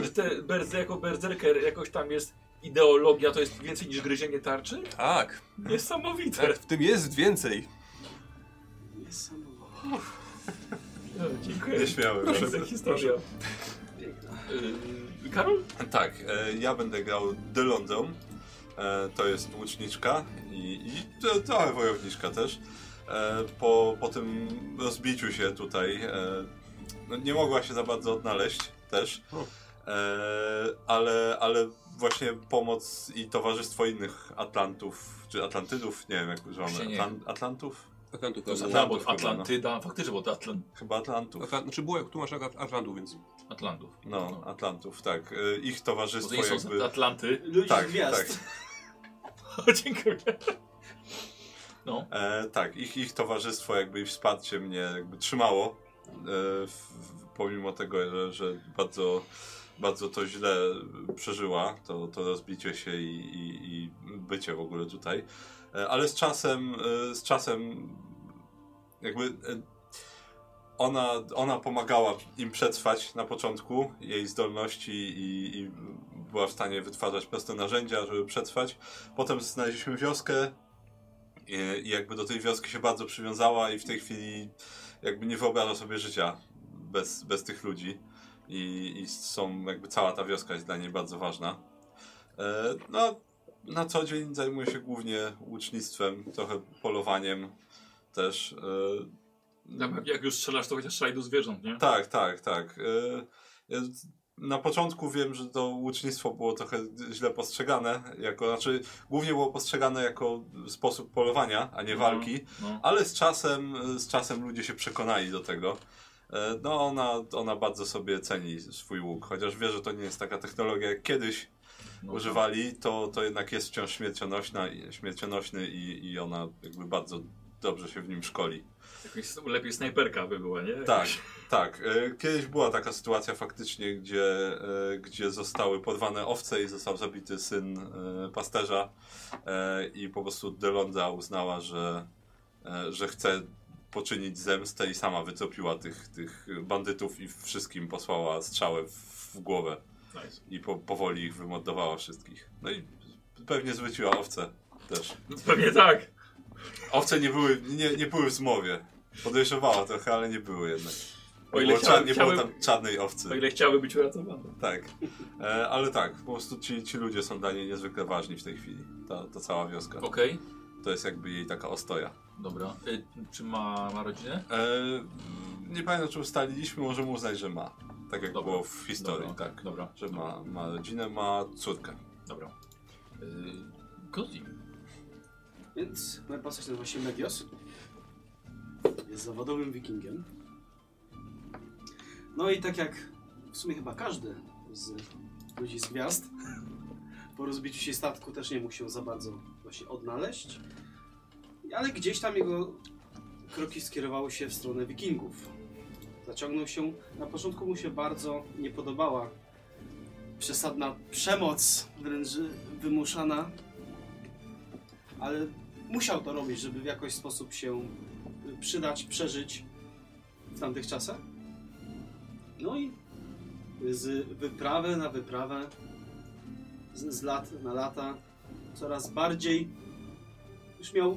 Speaker 1: y, że te berze, jako berserker jakoś tam jest ideologia, to jest więcej niż gryzienie tarczy?
Speaker 4: Tak,
Speaker 1: Niesamowite.
Speaker 4: tak, w tym jest więcej.
Speaker 3: Niesamowite.
Speaker 1: No, dziękuję.
Speaker 2: Nieśmiały.
Speaker 1: Proszę,
Speaker 2: bardzo.
Speaker 1: za historia. Y, Karol?
Speaker 2: Tak, e, ja będę grał Delondą. E, to jest łuczniczka i, i tro- trochę wojowniczka też. E, po, po tym rozbiciu się tutaj e, no, nie mogła się za bardzo odnaleźć też. E, ale, ale właśnie pomoc i towarzystwo innych Atlantów, czy Atlantydów, nie wiem jak
Speaker 1: Właśnie
Speaker 2: używamy,
Speaker 1: nie
Speaker 2: Atlan Atlantów?
Speaker 4: Atlantów.
Speaker 2: To z
Speaker 1: Atla- bo
Speaker 2: chyba, no.
Speaker 1: Atlantyda, faktycznie, bo to Atlan
Speaker 2: Chyba Atlantów.
Speaker 4: Atlant, znaczy było jak tu masz Atlantów, więc.
Speaker 1: Atlantów.
Speaker 2: No,
Speaker 1: no.
Speaker 2: Atlantów, tak. E, ich
Speaker 1: Bo to
Speaker 2: towarzystwo
Speaker 1: nie są
Speaker 2: jakby...
Speaker 1: Atlanty.
Speaker 3: Ludzi
Speaker 2: Tak,
Speaker 3: gwiazd.
Speaker 2: tak.
Speaker 1: Dziękuję. No,
Speaker 2: E, tak, ich, ich towarzystwo jakby i wsparcie mnie jakby trzymało. E, w, w, pomimo tego, że, że bardzo, bardzo to źle przeżyła, to, to rozbicie się i, i, i bycie w ogóle tutaj. E, ale z czasem, e, z czasem jakby e, ona, ona pomagała im przetrwać na początku, jej zdolności i, i była w stanie wytwarzać proste narzędzia, żeby przetrwać. Potem znaleźliśmy wioskę, i i jakby do tej wioski się bardzo przywiązała i w tej chwili jakby nie wyobraża sobie życia bez, bez tych ludzi. I, I są jakby cała ta wioska jest dla niej bardzo ważna. E, no, na co dzień zajmuje się głównie łucznictwem, trochę polowaniem też.
Speaker 1: na pewno jak już strzelasz, to chociaż strzelaj do zwierząt, nie?
Speaker 2: E, tak, tak, tak. E, ja na początku wiem, że to łucznictwo było trochę źle postrzegane, jako, znaczy głównie było postrzegane jako sposób polowania, a nie
Speaker 1: Mhm.
Speaker 2: walki.
Speaker 1: No.
Speaker 2: Ale z czasem, z czasem ludzie się przekonali do tego. E, No ona, ona bardzo sobie ceni swój łuk, chociaż wie, że to nie jest taka technologia jak kiedyś,
Speaker 1: No.
Speaker 2: używali, to, to jednak jest wciąż śmiercionośna, i- śmiercionośny i, i ona jakby bardzo dobrze się w nim szkoli.
Speaker 1: Jakoś s- lepiej snajperka by była, nie?
Speaker 2: Tak, tak. E, Kiedyś była taka sytuacja faktycznie, gdzie, e, gdzie zostały porwane owce i został zabity syn e, pasterza E, i po prostu Delonda uznała, że, e, że chce poczynić zemstę i sama wycopiła tych, tych bandytów i wszystkim posłała strzałę w, w głowę
Speaker 1: Nice.
Speaker 2: i po, powoli ich wymordowała wszystkich. No i pewnie zwróciła owce też.
Speaker 1: Pewnie tak.
Speaker 2: Owce nie były, nie, nie były w zmowie. Podejrzewała trochę, ale nie były jednak.
Speaker 1: O
Speaker 2: O
Speaker 1: ile
Speaker 2: ile
Speaker 1: chciałem-
Speaker 2: nie było
Speaker 1: chciałem-
Speaker 2: tam czarnej owcy.
Speaker 1: O ile chciały być uratowane.
Speaker 2: Tak. E, ale tak, po prostu ci, ci ludzie są dla niej niezwykle ważni w tej chwili. Ta, ta cała wioska.
Speaker 1: Okej,
Speaker 2: To jest jakby jej taka ostoja.
Speaker 1: dobra. Y, czy ma, ma rodzinę?
Speaker 2: E, nie pamiętam, czy ustaliliśmy, możemy uznać, że ma. Tak jak
Speaker 1: Dobra.
Speaker 2: było w historii,
Speaker 1: Dobra,
Speaker 2: tak.
Speaker 1: dobra,
Speaker 2: Że ma, ma rodzinę, ma córkę.
Speaker 1: Dobra. Y, Kozi.
Speaker 3: Więc moja postać nazywa się Megios. Jest zawodowym wikingiem. No i tak jak w sumie chyba każdy z ludzi z gwiazd, po rozbiciu się statku też nie mógł się za bardzo właśnie odnaleźć. Ale gdzieś tam jego kroki skierowały się w stronę wikingów. Zaciągnął się, na początku mu się bardzo nie podobała przesadna przemoc, wręcz wymuszana ale musiał to robić, żeby w jakiś sposób się y, przydać, przeżyć w tamtych czasach. No i z wyprawy na wyprawę, z, z lat na lata, coraz bardziej już miał.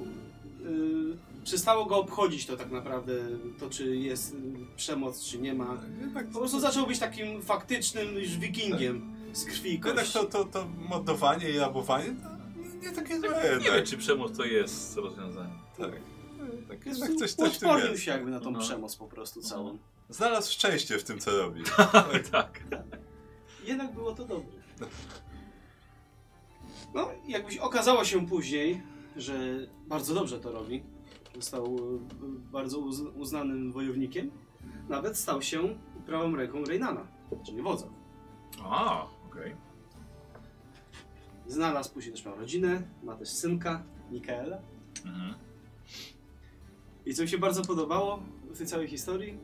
Speaker 3: Yy, przestało go obchodzić to tak naprawdę, to czy jest y, przemoc, czy nie ma.
Speaker 2: Jednak,
Speaker 3: Po prostu zaczął być takim faktycznym już wikingiem z krwi i
Speaker 2: jednak
Speaker 3: kości.
Speaker 2: to, to, to mordowanie i rabowanie to nie takie złe.
Speaker 1: Nie wiem,
Speaker 2: Jednak,
Speaker 1: czy przemoc to jest rozwiązanie.
Speaker 2: tak. Tak, jednak coś, coś w tym
Speaker 3: Uodpornił
Speaker 2: jest.
Speaker 3: się jakby na tą
Speaker 1: No.
Speaker 3: przemoc po prostu całą.
Speaker 2: Znalazł szczęście w tym, co robi.
Speaker 1: tak.
Speaker 3: Jednak było to dobre. No, jakbyś okazało się później, że bardzo dobrze to robi. Został e, bardzo uz- uznanym wojownikiem. Nawet stał się prawą ręką Reynana, czyli wodza.
Speaker 1: A, okej.
Speaker 3: Znalazł później też miał rodzinę, ma też synka, Mikaela.
Speaker 1: Mhm.
Speaker 3: I co mi się bardzo podobało w tej całej historii,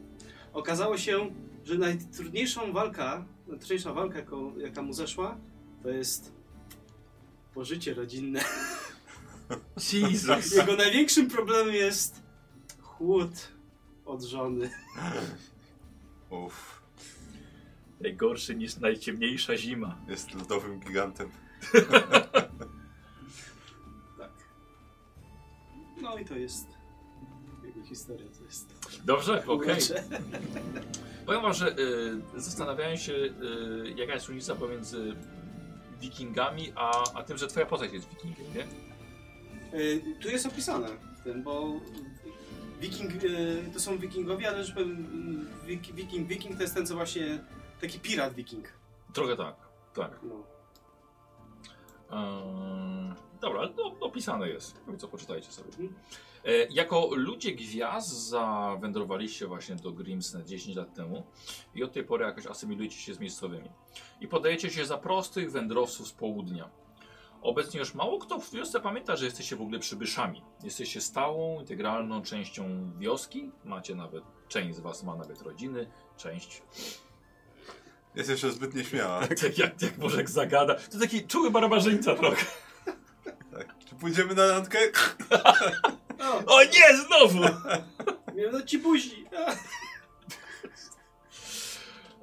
Speaker 3: okazało się, że najtrudniejszą walka, najtrudniejsza walka, jaką, jaka mu zeszła, to jest pożycie rodzinne.
Speaker 1: Jesus.
Speaker 3: Jego największym problemem jest chłód od żony.
Speaker 2: Uff,
Speaker 1: Gorszy niż najciemniejsza zima.
Speaker 2: jest lodowym gigantem.
Speaker 3: Tak. No i to jest jego historia, to jest
Speaker 1: Dobrze, okej.
Speaker 3: urocze.
Speaker 1: Znaczy- Powiem wam, że y, zastanawiałem się, y, jaka jest różnica pomiędzy wikingami, a, a tym, że twoja postać jest wikingiem, nie?
Speaker 3: Y, Tu jest opisane w tym, bo wiking, y, to są wikingowie, ale że powiem, y, wik- wiking, wiking to jest ten, co właśnie taki pirat wiking.
Speaker 1: Trochę tak, tak.
Speaker 3: No.
Speaker 1: Eee, dobra, ale to opisane jest, Jakby co poczytajcie sobie.
Speaker 3: Mhm.
Speaker 1: E, jako ludzie gwiazd zawędrowaliście właśnie do Grimsne 10 lat temu i od tej pory jakoś asymilujecie się z miejscowymi. I podajecie się za prostych wędrowców z południa. Obecnie już mało kto w wiosce pamięta, że jesteście w ogóle przybyszami. Jesteście stałą, integralną częścią wioski. Macie nawet, część z was ma nawet rodziny, część
Speaker 2: Jest jeszcze zbyt nieśmiała.
Speaker 1: jak, jak, jak Bożek zagada. To taki czuły barbarzyńca trochę.
Speaker 2: Czy pójdziemy na randkę?
Speaker 3: O,
Speaker 1: O nie, znowu!
Speaker 3: miałem na ci buzi.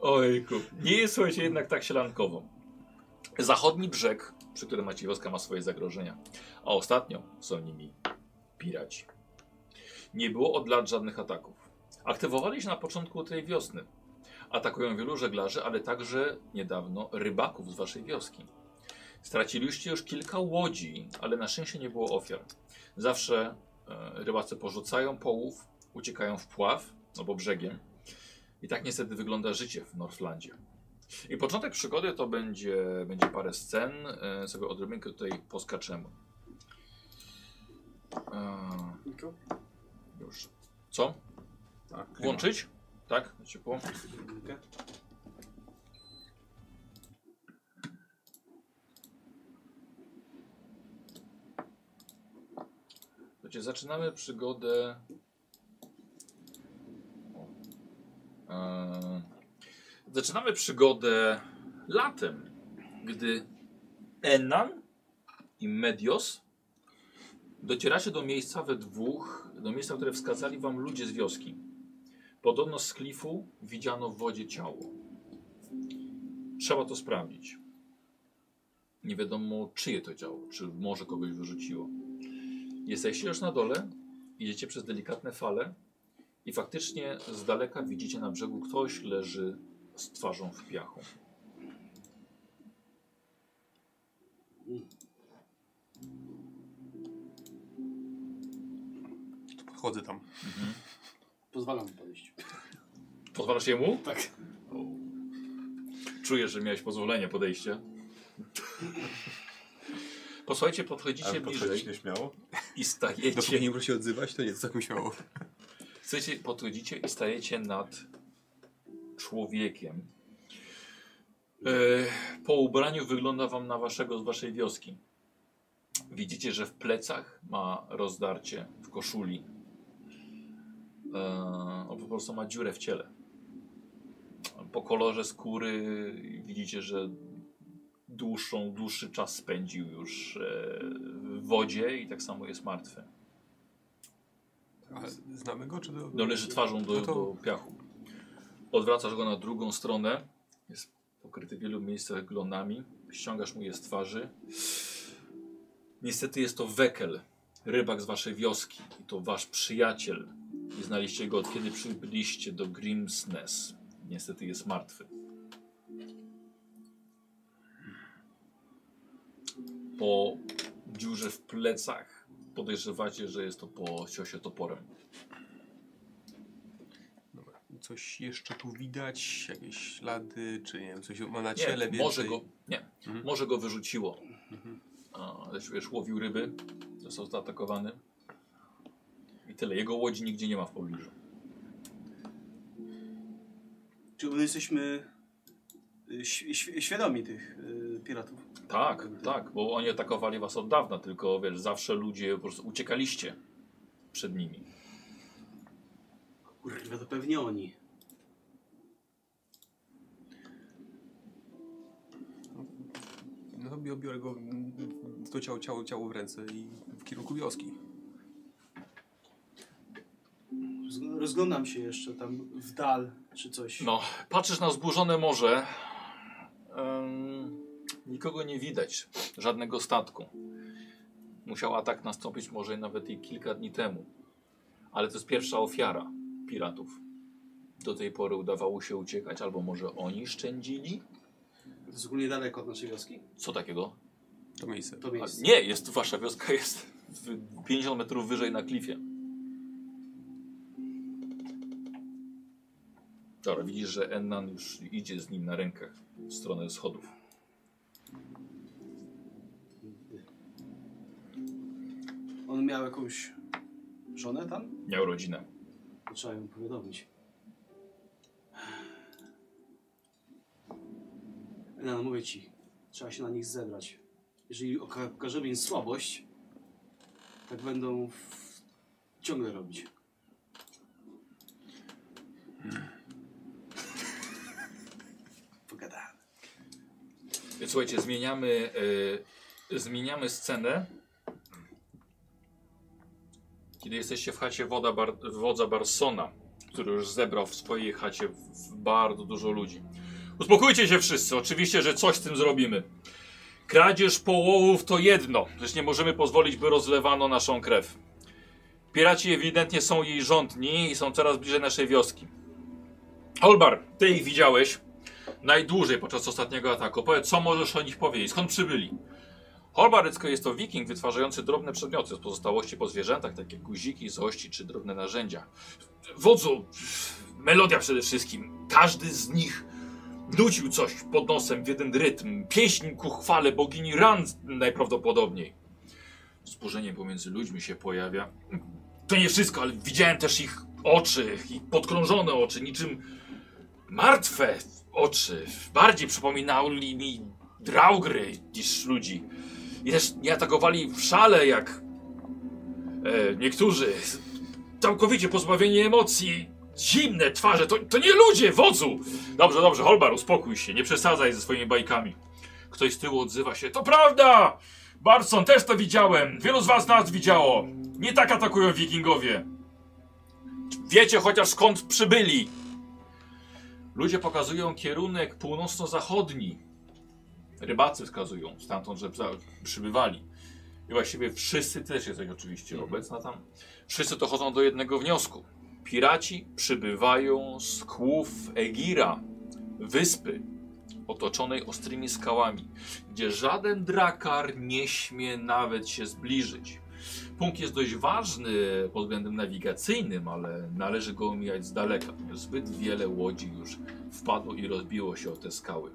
Speaker 1: Ojku. Nie jest, słuchajcie, jednak tak sielankowo. Zachodni brzeg, przy którym macie wioska, ma swoje zagrożenia. A ostatnio są nimi piraci. Nie było od lat żadnych ataków. Aktywowali się na początku tej wiosny. Atakują wielu żeglarzy, ale także niedawno rybaków z waszej wioski. Straciliście już kilka łodzi, ale na szczęście nie było ofiar. Zawsze e, rybacy porzucają połów, uciekają w pław albo brzegiem. I tak niestety wygląda życie w Northlandzie. I początek przygody to będzie, będzie parę scen. E, sobie odrobinkę tutaj poskaczemy. E, już. Co?
Speaker 2: Tak,
Speaker 1: Łączyć? Tak? Na ciepło? Słuchajcie, zaczynamy przygodę. Eee, Zaczynamy przygodę latem, gdy Enan i Medios docieracie do miejsca we dwóch, do miejsca, które wskazali wam ludzie z wioski. Podobno z klifu widziano w wodzie ciało. Trzeba to sprawdzić. Nie wiadomo, czyje to ciało, czy może kogoś wyrzuciło. Jesteście już na dole, idziecie przez delikatne fale i faktycznie z daleka widzicie na brzegu ktoś leży z twarzą w piachu.
Speaker 4: To podchodzę tam.
Speaker 3: Pozwalam mu podejść.
Speaker 1: Pozwalasz jemu?
Speaker 3: Tak.
Speaker 1: O. Czujesz, że miałeś pozwolenie podejścia. Posłuchajcie, podchodzicie
Speaker 2: Ale
Speaker 1: bliżej
Speaker 2: podchodzić nieśmiało?
Speaker 1: i
Speaker 4: Dopóki
Speaker 1: stajecie.
Speaker 4: nie muszę się odzywać, to nie, to całkiem śmiało.
Speaker 1: Chcecie, podchodzicie i stajecie nad człowiekiem. E, Po ubraniu wygląda wam na waszego z waszej wioski. Widzicie, że w plecach ma rozdarcie w koszuli. E, on po prostu ma dziurę w ciele. Po kolorze skóry widzicie, że dłuższą, dłuższy czas spędził już e, w wodzie i tak samo jest martwy.
Speaker 4: Ale znamy go, czy to...
Speaker 1: No leży twarzą do,
Speaker 4: No to-
Speaker 1: do piachu. Odwracasz go na drugą stronę. Jest pokryty w wielu miejscach glonami. Ściągasz mu je z twarzy. Niestety jest to Wekel, rybak z waszej wioski. I to wasz przyjaciel. I znaliście go od kiedy przybyliście do Grimsness. Niestety jest martwy. Po dziurze w plecach podejrzewacie, że jest to po ciosie toporem.
Speaker 4: Dobra. Coś jeszcze tu widać? Jakieś ślady, czy nie wiem, coś ma na
Speaker 1: Nie,
Speaker 4: ciele więcej?
Speaker 1: może go, nie,
Speaker 4: Mhm.
Speaker 1: może go wyrzuciło. A, Ale wiesz, łowił ryby, został zaatakowany. I tyle. Jego łodzi nigdzie nie ma w pobliżu.
Speaker 3: Czy my jesteśmy y, świ- świ- świadomi tych y, piratów?
Speaker 1: Tak,
Speaker 4: Mhm.
Speaker 1: tak, bo oni atakowali was od dawna, tylko wiesz, zawsze ludzie po prostu uciekaliście przed nimi.
Speaker 3: Kurwa, to pewnie oni.
Speaker 4: No to bio- biorę go, mm, to ciało, ciało, ciało w ręce i w kierunku wioski.
Speaker 3: Rozg- Rozglądam się jeszcze tam w dal czy coś.
Speaker 1: No, patrzysz na zburzone morze. Em, nikogo nie widać, żadnego statku. Musiał atak nastąpić może nawet i kilka dni temu. Ale to jest pierwsza ofiara piratów. Do tej pory udawało się uciekać, albo może oni szczędzili?
Speaker 3: To jest ogólnie daleko od naszej wioski?
Speaker 1: Co takiego?
Speaker 4: To miejsce.
Speaker 3: To
Speaker 1: A,
Speaker 3: miejsce.
Speaker 1: nie, jest wasza wioska jest w- 50 metrów wyżej na klifie. Dobra, widzisz, że Ennan już idzie z nim na rękach w stronę schodów.
Speaker 3: On miał jakąś żonę tam?
Speaker 1: Miał rodzinę.
Speaker 3: To trzeba ją powiadomić. No, mówię ci, trzeba się na nich zebrać. Jeżeli oka- pokażemy im słabość, tak będą w... ciągle robić. Pogadamy.
Speaker 1: Słuchajcie, zmieniamy, e, zmieniamy scenę. Kiedy jesteście w chacie woda bar, wodza Barsona, który już zebrał w swojej chacie w- bardzo dużo ludzi. Uspokójcie się wszyscy, oczywiście, że coś z tym zrobimy. Kradzież połowów to jedno, lecz nie możemy pozwolić, by rozlewano naszą krew. Piraci ewidentnie są jej rządni i są coraz bliżej naszej wioski. Holbar, ty ich widziałeś najdłużej podczas ostatniego ataku. Powiedz, co możesz o nich powiedzieć? Skąd przybyli? Holbarycko jest to wiking wytwarzający drobne przedmioty z pozostałości po zwierzętach, takie jak guziki, zości czy drobne narzędzia. Wodzu, melodia przede wszystkim. Każdy z nich nucił coś pod nosem w jeden rytm. Pieśń ku chwale bogini Ran najprawdopodobniej. Wzburzenie pomiędzy ludźmi się pojawia. To nie wszystko, ale widziałem też ich oczy, ich podkrążone oczy, niczym martwe oczy bardziej przypominały mi draugry niż ludzi. I też nie atakowali w szale jak E, niektórzy całkowicie pozbawieni emocji, zimne twarze, to, to nie ludzie, wodzu! Dobrze, dobrze, Holbar, uspokój się, nie przesadzaj ze swoimi bajkami. Ktoś z tyłu odzywa się, to prawda! Barson, też to widziałem, wielu z was nas widziało. Nie tak atakują wikingowie. Wiecie chociaż skąd przybyli. Ludzie pokazują kierunek północno-zachodni. Rybacy wskazują stamtąd, że za- przybywali. I właściwie wszyscy, ty też jesteś oczywiście obecna tam, wszyscy dochodzą do jednego wniosku. Piraci przybywają z kłów Egira, wyspy otoczonej ostrymi skałami, gdzie żaden drakar nie śmie nawet się zbliżyć. Punkt jest dość ważny pod względem nawigacyjnym, ale należy go omijać z daleka, ponieważ zbyt wiele łodzi już wpadło i rozbiło się o te skały.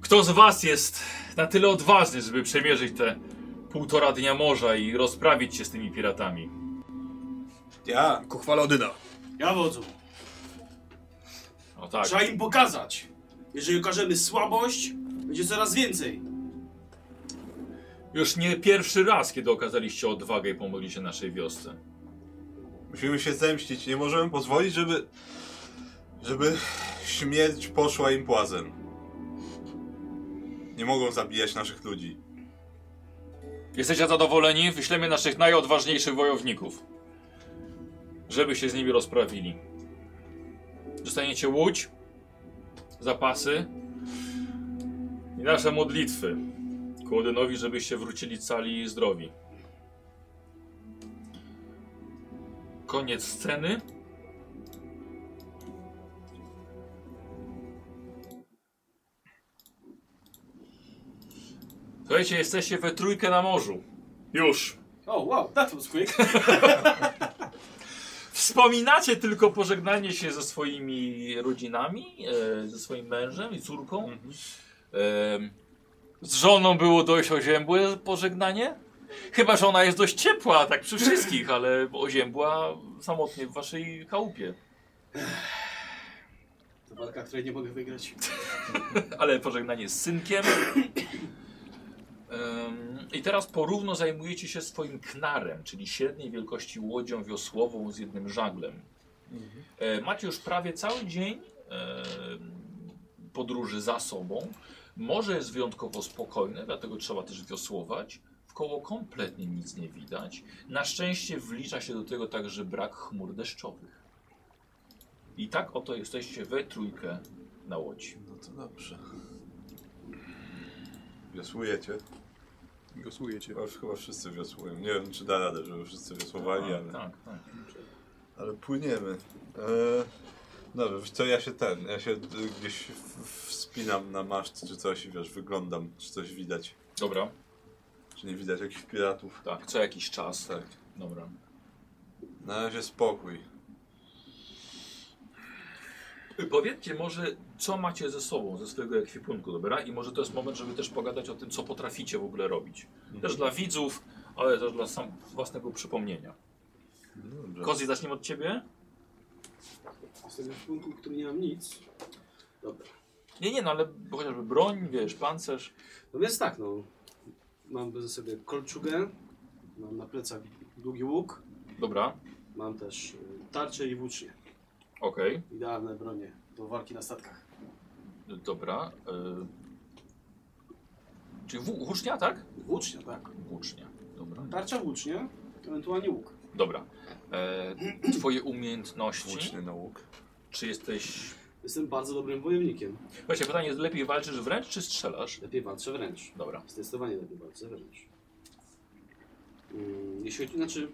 Speaker 1: Kto z Was jest na tyle odważny, żeby przemierzyć te półtora dnia morza i rozprawić się z tymi piratami?
Speaker 2: Ja?
Speaker 5: Kuchwala Odyna.
Speaker 3: Ja wodzu.
Speaker 1: No tak.
Speaker 3: Trzeba im pokazać. Jeżeli okażemy słabość, będzie coraz więcej.
Speaker 1: Już nie pierwszy raz, kiedy okazaliście odwagę i pomogliście naszej wiosce.
Speaker 2: Musimy się zemścić. Nie możemy pozwolić, żeby... Żeby śmierć poszła im płazem. Nie mogą zabijać naszych ludzi.
Speaker 1: Jesteście zadowoleni? Wyślemy naszych najodważniejszych wojowników, żeby się z nimi rozprawili. Dostaniecie łódź, zapasy i nasze modlitwy ku Odynowi, żebyście wrócili cali i zdrowi. Koniec sceny. Słuchajcie, jesteście we trójkę na morzu. Już.
Speaker 3: O, wow, that was quick.
Speaker 1: Wspominacie tylko pożegnanie się ze swoimi rodzinami, e, ze swoim mężem i córką. Em, z żoną było dość oziębłe pożegnanie. Chyba, że ona jest dość ciepła, tak przy wszystkich, ale oziębła samotnie w waszej chałupie.
Speaker 3: To walka, której nie mogę wygrać.
Speaker 1: ale pożegnanie z synkiem. Em, I teraz porówno zajmujecie się swoim knarem, czyli średniej wielkości łodzią wiosłową z jednym żaglem. E, Macie już prawie cały dzień em, podróży za sobą. Morze jest wyjątkowo spokojne, dlatego trzeba też wiosłować. Wkoło kompletnie nic nie widać. Na szczęście wlicza się do tego także brak chmur deszczowych. I tak oto jesteście we trójkę na łodzi.
Speaker 2: No to dobrze. Wiosłujecie?
Speaker 4: Głosujecie.
Speaker 2: Chyba, chyba wszyscy wiosłują. Nie wiem, czy da radę, żeby wszyscy wiosłowali, ale...
Speaker 1: Tak, tak.
Speaker 2: Ale płyniemy. Eee, dobra, wiesz co, ja się ten, ja się y, gdzieś w- wspinam na maszt czy coś i wiesz, wyglądam, czy coś widać.
Speaker 1: Dobra,
Speaker 2: Czy nie widać jakichś piratów.
Speaker 1: tak, co jakiś czas.
Speaker 2: Tak.
Speaker 1: Dobra.
Speaker 2: Na razie spokój.
Speaker 1: Powiedzcie może, co macie ze sobą, ze swojego ekwipunku, dobra? I może to jest moment, żeby też pogadać o tym, co potraficie w ogóle robić. Też dla widzów, ale też dla sam własnego przypomnienia.
Speaker 2: Dobrze.
Speaker 1: Kozi, zaczniemy od ciebie?
Speaker 3: Jestem w punktu, w którym nie mam nic. Dobra.
Speaker 1: Nie, nie, no ale chociażby broń, wiesz, pancerz.
Speaker 3: No więc tak, no. Mam ze sobie kolczugę, mam na plecach długi łuk,
Speaker 1: Dobra,
Speaker 3: mam też y, tarczę i włócznie.
Speaker 1: okej,
Speaker 3: Idealne bronie do walki na statkach.
Speaker 1: dobra. Y... Czyli wł- włócznia, tak?
Speaker 3: Włócznia, tak.
Speaker 1: Włócznia, dobra.
Speaker 3: Tarcza, włócznia, ewentualnie łuk.
Speaker 1: Dobra. E, twoje umiejętności,
Speaker 2: Włócznie na łuk.
Speaker 1: czy jesteś...
Speaker 3: Jestem bardzo dobrym wojownikiem.
Speaker 1: Właśnie pytanie, lepiej walczysz wręcz, czy strzelasz?
Speaker 3: Lepiej walczę wręcz.
Speaker 1: Dobra.
Speaker 3: Zdecydowanie lepiej walczę wręcz. Mm, Jeśli chodzi, znaczy...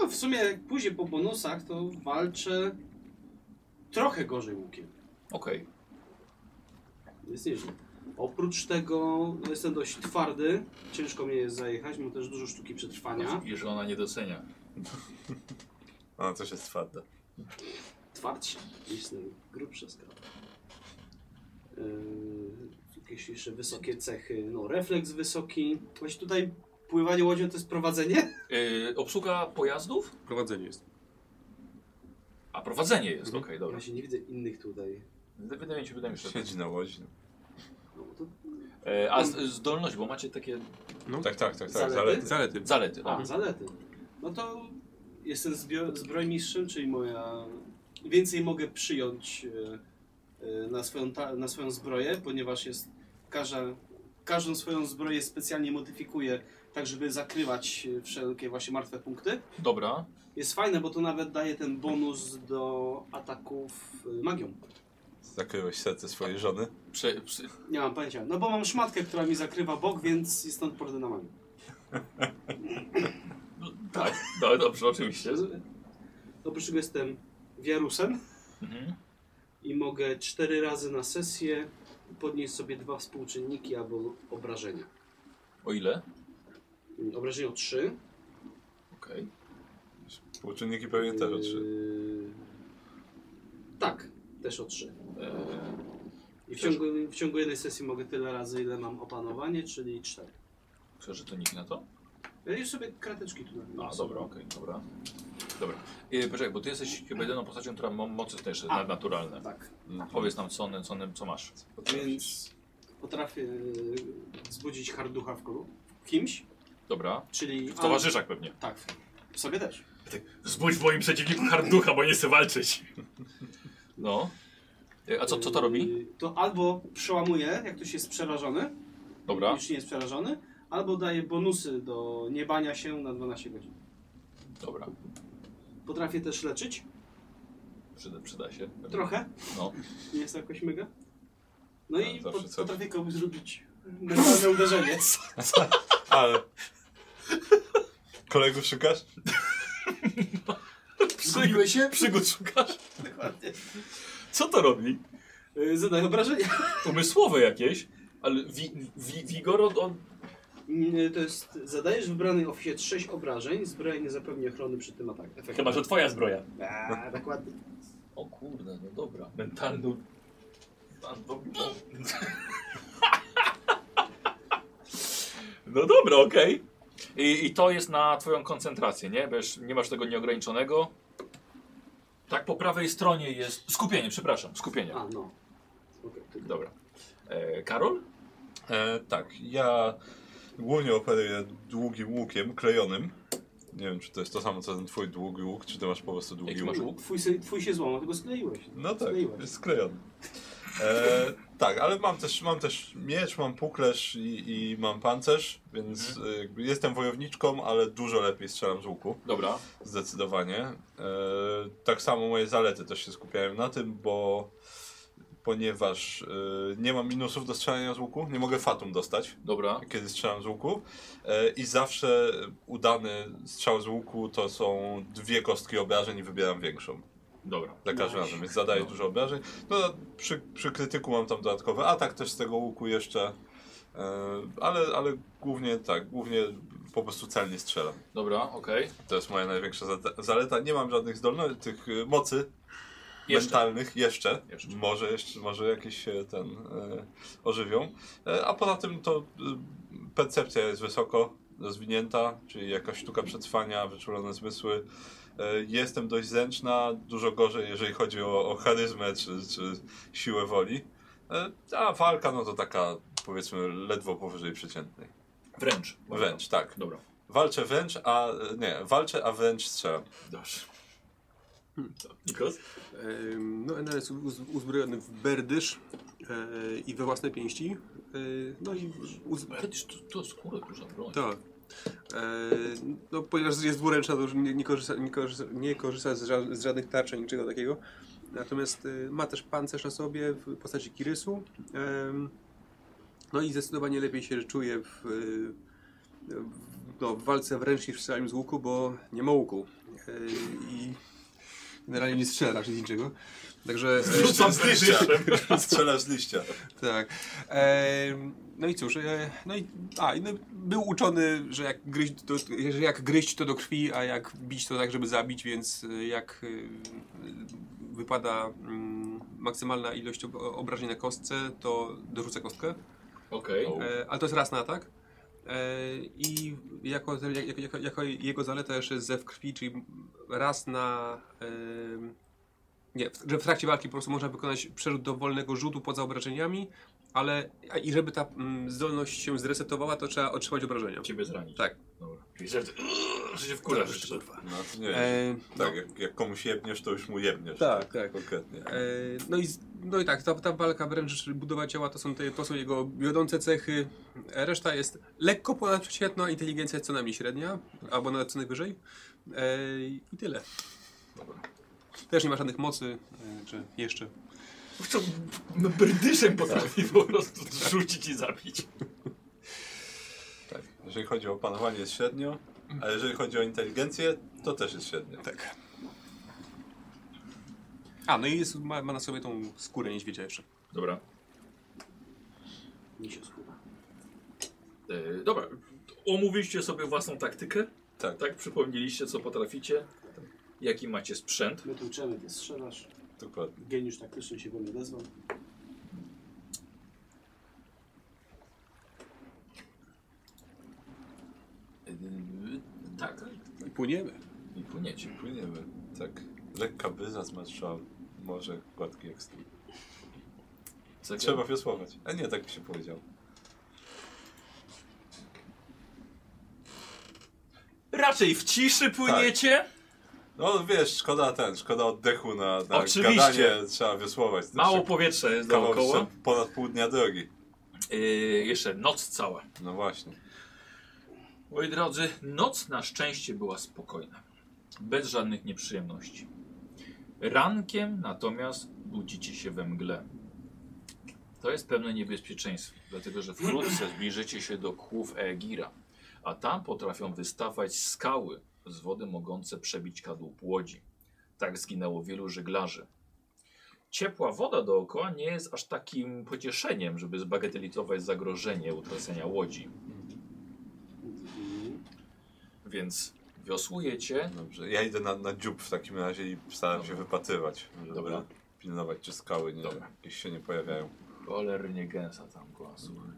Speaker 3: No, w sumie jak później po bonusach, to walczę trochę gorzej łukiem.
Speaker 1: Okej.
Speaker 3: Jest nieźle. Oprócz tego no, jestem dość twardy, ciężko mnie jest zajechać, mam też dużo sztuki przetrwania.
Speaker 1: I że ona nie docenia.
Speaker 2: Ona też jest twarda.
Speaker 3: Twardszy, jestem grubsza skala. Yy, jakieś jeszcze wysokie cechy, no refleks wysoki. Właśnie tutaj pływanie łodzią to jest prowadzenie?
Speaker 1: Yy, obsługa pojazdów?
Speaker 4: Prowadzenie jest.
Speaker 1: A prowadzenie jest,
Speaker 4: Mhm.
Speaker 1: okej,
Speaker 3: Ja
Speaker 1: dobra.
Speaker 3: się nie widzę innych tutaj.
Speaker 1: Wydaje mi się, wydaje mi się. że-
Speaker 2: Siedzi na łodzi.
Speaker 3: No, to
Speaker 1: E, A z- zdolność, bo macie takie
Speaker 2: Tak, tak, tak, tak.
Speaker 3: Zalety?
Speaker 2: Zalety.
Speaker 4: No. Zalety.
Speaker 1: zalety.
Speaker 3: A,
Speaker 1: O.
Speaker 3: zalety. No to jestem zbio- zbrojmistrzem, czyli moja... Więcej mogę przyjąć e, e, na swoją, ta- na swoją zbroję, ponieważ jest każda, każdą swoją zbroję specjalnie modyfikuję, tak żeby zakrywać e, wszelkie właśnie martwe punkty.
Speaker 1: Dobra.
Speaker 3: Jest fajne, bo to nawet daje ten bonus do ataków e, magią.
Speaker 2: Zakryłeś serce swojej żony.
Speaker 1: Prze, prze,
Speaker 3: Nie mam pojęcia. No bo mam szmatkę, która mi zakrywa bok, więc jest stąd porty na magię.
Speaker 1: no, tak, no, dobrze, oczywiście.
Speaker 3: Oprócz tego jestem wiarusem.
Speaker 1: Mhm.
Speaker 3: i mogę cztery razy na sesję podnieść sobie dwa współczynniki albo obrażenia.
Speaker 1: O ile?
Speaker 3: Obrażenia o trzy.
Speaker 1: Okej.
Speaker 2: Współczynniki pewnie też o trzy.
Speaker 3: Yy, Tak, też o trzy.
Speaker 1: E,
Speaker 3: I w ciągu, w ciągu jednej sesji mogę tyle razy, ile mam opanowanie, czyli cztery.
Speaker 1: Myślę, że to nikt na to?
Speaker 3: Ja już sobie krateczki tu na
Speaker 1: A, dobra, okej, dobra. Dobra. E, poczekaj, bo ty jesteś chyba jedyną postacią, która ma moce też
Speaker 3: A.
Speaker 1: nadnaturalne.
Speaker 3: Tak,
Speaker 2: Mhm.
Speaker 1: Powiedz nam, co, one, co, one, co masz.
Speaker 3: więc potrafię yy, wzbudzić harducha w ko- w kimś,
Speaker 1: Dobra.
Speaker 3: czyli...
Speaker 1: W towarzyszach pewnie.
Speaker 3: Tak, w sobie też.
Speaker 1: Zbudź w moim przeciwniku harducha, bo nie chcę walczyć. No. E, A co, co to robi?
Speaker 3: Yy, To albo przełamuje, jak ktoś jest przerażony,
Speaker 1: Dobra,
Speaker 3: już nie jest przerażony, albo daje bonusy do niebania się na 12 godzin.
Speaker 1: dobra.
Speaker 3: Potrafię też leczyć,
Speaker 1: Przyda, przyda się.
Speaker 3: trochę,
Speaker 1: No.
Speaker 3: nie jest to jakoś mega. No i
Speaker 2: Ale zawsze
Speaker 3: pot-
Speaker 2: coś.
Speaker 3: potrafię komuś zrobić mentalne uderzenie.
Speaker 2: Ale... Kolegów szukasz?
Speaker 3: Zgubiłeś się?
Speaker 1: Przygód szukasz?
Speaker 3: Dokładnie.
Speaker 1: Co to robi?
Speaker 3: Yy, Zadaję obrażenia.
Speaker 1: Umysłowe jakieś, ale wi, wi, wigor od... od...
Speaker 3: Yy, To jest, zadajesz wybranej oficie 6 obrażeń, zbroja nie zapewni ochrony przed tym atakiem. Efektem.
Speaker 5: Chyba, że twoja zbroja.
Speaker 3: Eee, dokładnie.
Speaker 1: O kurde, no dobra. Mentalną... No dobra, okej. I, I to jest na twoją koncentrację, nie? Bo już nie masz tego nieograniczonego. Tak, po prawej stronie jest... Skupienie, przepraszam, skupienie.
Speaker 3: A, no. Okej, tylko-
Speaker 1: Dobra. E, Karol?
Speaker 2: E, tak, ja głównie operuję długim łukiem klejonym. Nie wiem, czy to jest to samo, co ten twój długi łuk, czy ty masz po prostu długi
Speaker 1: Jaki
Speaker 2: łuk.
Speaker 1: masz łuk?
Speaker 3: Twój, se- twój się złamał, tylko skleiłeś.
Speaker 2: No tak,
Speaker 3: Skleiłeś.
Speaker 2: jest sklejony. E, tak, ale mam też, mam też miecz, mam puklerz i, i mam pancerz, więc
Speaker 1: Mhm.
Speaker 2: e, jakby jestem wojowniczką, ale dużo lepiej strzelam z łuku.
Speaker 1: Dobra.
Speaker 2: Zdecydowanie. E, tak samo moje zalety też się skupiają na tym, bo ponieważ e, nie mam minusów do strzelania z łuku, nie mogę fatum dostać,
Speaker 1: Dobra.
Speaker 2: kiedy strzelam z łuku e, i zawsze udany strzał z łuku to są dwie kostki obrażeń i wybieram większą.
Speaker 1: Dobra.
Speaker 2: Za każdym razem, więc zadaję
Speaker 1: No.
Speaker 2: dużo obrażeń. No, przy, przy krytyku mam tam dodatkowy atak też z tego łuku jeszcze, e, ale, ale głównie tak, głównie po prostu celnie strzelam.
Speaker 1: Dobra, okej.
Speaker 2: To jest moja największa zata- zaleta. Nie mam żadnych zdolności, tych y, mocy
Speaker 1: Jeszcze.
Speaker 2: mentalnych jeszcze.
Speaker 1: Jeszcze.
Speaker 2: Może jeszcze, może jakieś się ten e, ożywią. E, a poza tym to y, percepcja jest wysoko rozwinięta, czyli jakaś sztuka przetrwania, wyczulone zmysły. E, jestem dość zręczna, dużo gorzej, jeżeli chodzi o, o charyzmę czy, czy siłę woli. E, a walka, no to taka powiedzmy ledwo powyżej przeciętnej.
Speaker 1: Wręcz.
Speaker 2: Wręcz, tak.
Speaker 1: Dobra.
Speaker 2: Walczę wręcz, a nie, walczę, a wręcz strzelam.
Speaker 1: Dobrze. Nikos?
Speaker 4: Em, No, Enel jest uz- uzbrojony w berdysz e, i we własne pięści. E, No i uz-
Speaker 1: Kiedyś to, to jest kurde duża broń.
Speaker 4: tak. E, No, ponieważ jest dwuręczna, to już nie, nie, korzysta, nie, korzysta, nie korzysta z, ża- z żadnych tarczy, niczego takiego. Natomiast e, ma też pancerz na sobie w postaci kirysu. Em, No i zdecydowanie lepiej się czuje w, e, w, no, w walce wręcz niż w strzelaniu z łuku, bo nie ma łuku. E, I generalnie nie strzela raczej z niczego. Także... e,
Speaker 2: z liścia. Strzelasz z liścia.
Speaker 4: tak. Em, no i cóż, e, no i, a, i no, był uczony, że jak, gryźć, to, że jak gryźć to do krwi, a jak bić to tak, żeby zabić, więc e, jak e, wypada mm, maksymalna ilość ob- obrażeń na kostce, to dorzucę kostkę.
Speaker 1: Okej.
Speaker 2: No.
Speaker 4: E, ale to jest raz na atak. E, I jako, jako, jako, jako jego zaleta jeszcze jest zew krwi, czyli raz na. em, nie, w, że w trakcie walki po prostu można wykonać przerzut dowolnego rzutu poza obrażeniami, ale a i żeby ta mm, zdolność się zresetowała, to trzeba otrzymać obrażenia.
Speaker 1: Ciebie zranić.
Speaker 4: Tak.
Speaker 1: Dobra. I że, że się wkurzasz jeszcze.
Speaker 2: No, nie wiem.
Speaker 4: E,
Speaker 2: Tak, jak, jak komuś jebniesz, to już mu jebniesz.
Speaker 4: Tak, tak.
Speaker 2: Konkretnie.
Speaker 4: E, No i, z- no i tak, ta, ta walka wręcz czy budowa ciała to są, te, to są jego wiodące cechy. E, Reszta jest lekko ponadprzeciętna, inteligencja jest co najmniej średnia, albo nawet co najwyżej. E, I tyle.
Speaker 1: Dobra.
Speaker 4: Też nie ma żadnych mocy, e, czy jeszcze.
Speaker 1: To no, brdyszem potrafi po prostu rzucić i zabić.
Speaker 2: Tak. Jeżeli chodzi o panowanie jest średnio, a jeżeli chodzi o inteligencję, to też jest średnio.
Speaker 4: Tak. A, no i jest, ma, ma na sobie tą skórę niedźwiedzia jeszcze.
Speaker 1: Dobra.
Speaker 3: Mi się skupa.
Speaker 1: E, dobra. Omówiliście sobie własną taktykę,
Speaker 2: Tak,
Speaker 1: tak? Przypomnieliście, co potraficie, jaki macie sprzęt.
Speaker 3: My tu uczymy, ty strzelasz.
Speaker 2: dokładnie.
Speaker 3: Geniusz taktyczny się go nie odezwał.
Speaker 1: E, tak.
Speaker 4: I płyniemy.
Speaker 1: I płyniecie.
Speaker 2: Płyniemy. Tak. Lekka bryza zmatrzała morze gładki jak stół.
Speaker 1: Zagra-
Speaker 2: Trzeba wiosłować. A nie, tak mi się powiedział.
Speaker 1: Raczej w ciszy płyniecie.
Speaker 2: No wiesz, szkoda ten, szkoda oddechu na, na
Speaker 1: Oczywiście.
Speaker 2: gadanie, trzeba wiosłować. To
Speaker 1: Mało
Speaker 2: jeszcze
Speaker 1: powietrza jest
Speaker 2: kawał
Speaker 1: dookoła.
Speaker 2: jeszcze Ponad pół dnia drogi.
Speaker 1: E, jeszcze noc cała.
Speaker 2: No właśnie.
Speaker 1: Moi drodzy, noc na szczęście była spokojna, bez żadnych nieprzyjemności. Rankiem natomiast budzicie się we mgle. To jest pewne niebezpieczeństwo, dlatego że wkrótce zbliżycie się do kłów Egira, a tam potrafią wystawać skały z wody mogące przebić kadłub łodzi. Tak zginęło wielu żeglarzy. Ciepła woda dookoła nie jest aż takim pocieszeniem, żeby zbagatelizować zagrożenie utracenia łodzi,
Speaker 3: Mhm.
Speaker 1: więc wiosłujecie
Speaker 2: Dobrze. Ja idę na, na dziób w takim razie i staram się
Speaker 1: Dobra.
Speaker 2: wypatrywać, żeby
Speaker 1: Dobra.
Speaker 2: pilnować, czy skały nie,
Speaker 1: Dobra.
Speaker 2: jakieś się nie pojawiają.
Speaker 1: Cholernie gęsta tam była, słuchaj.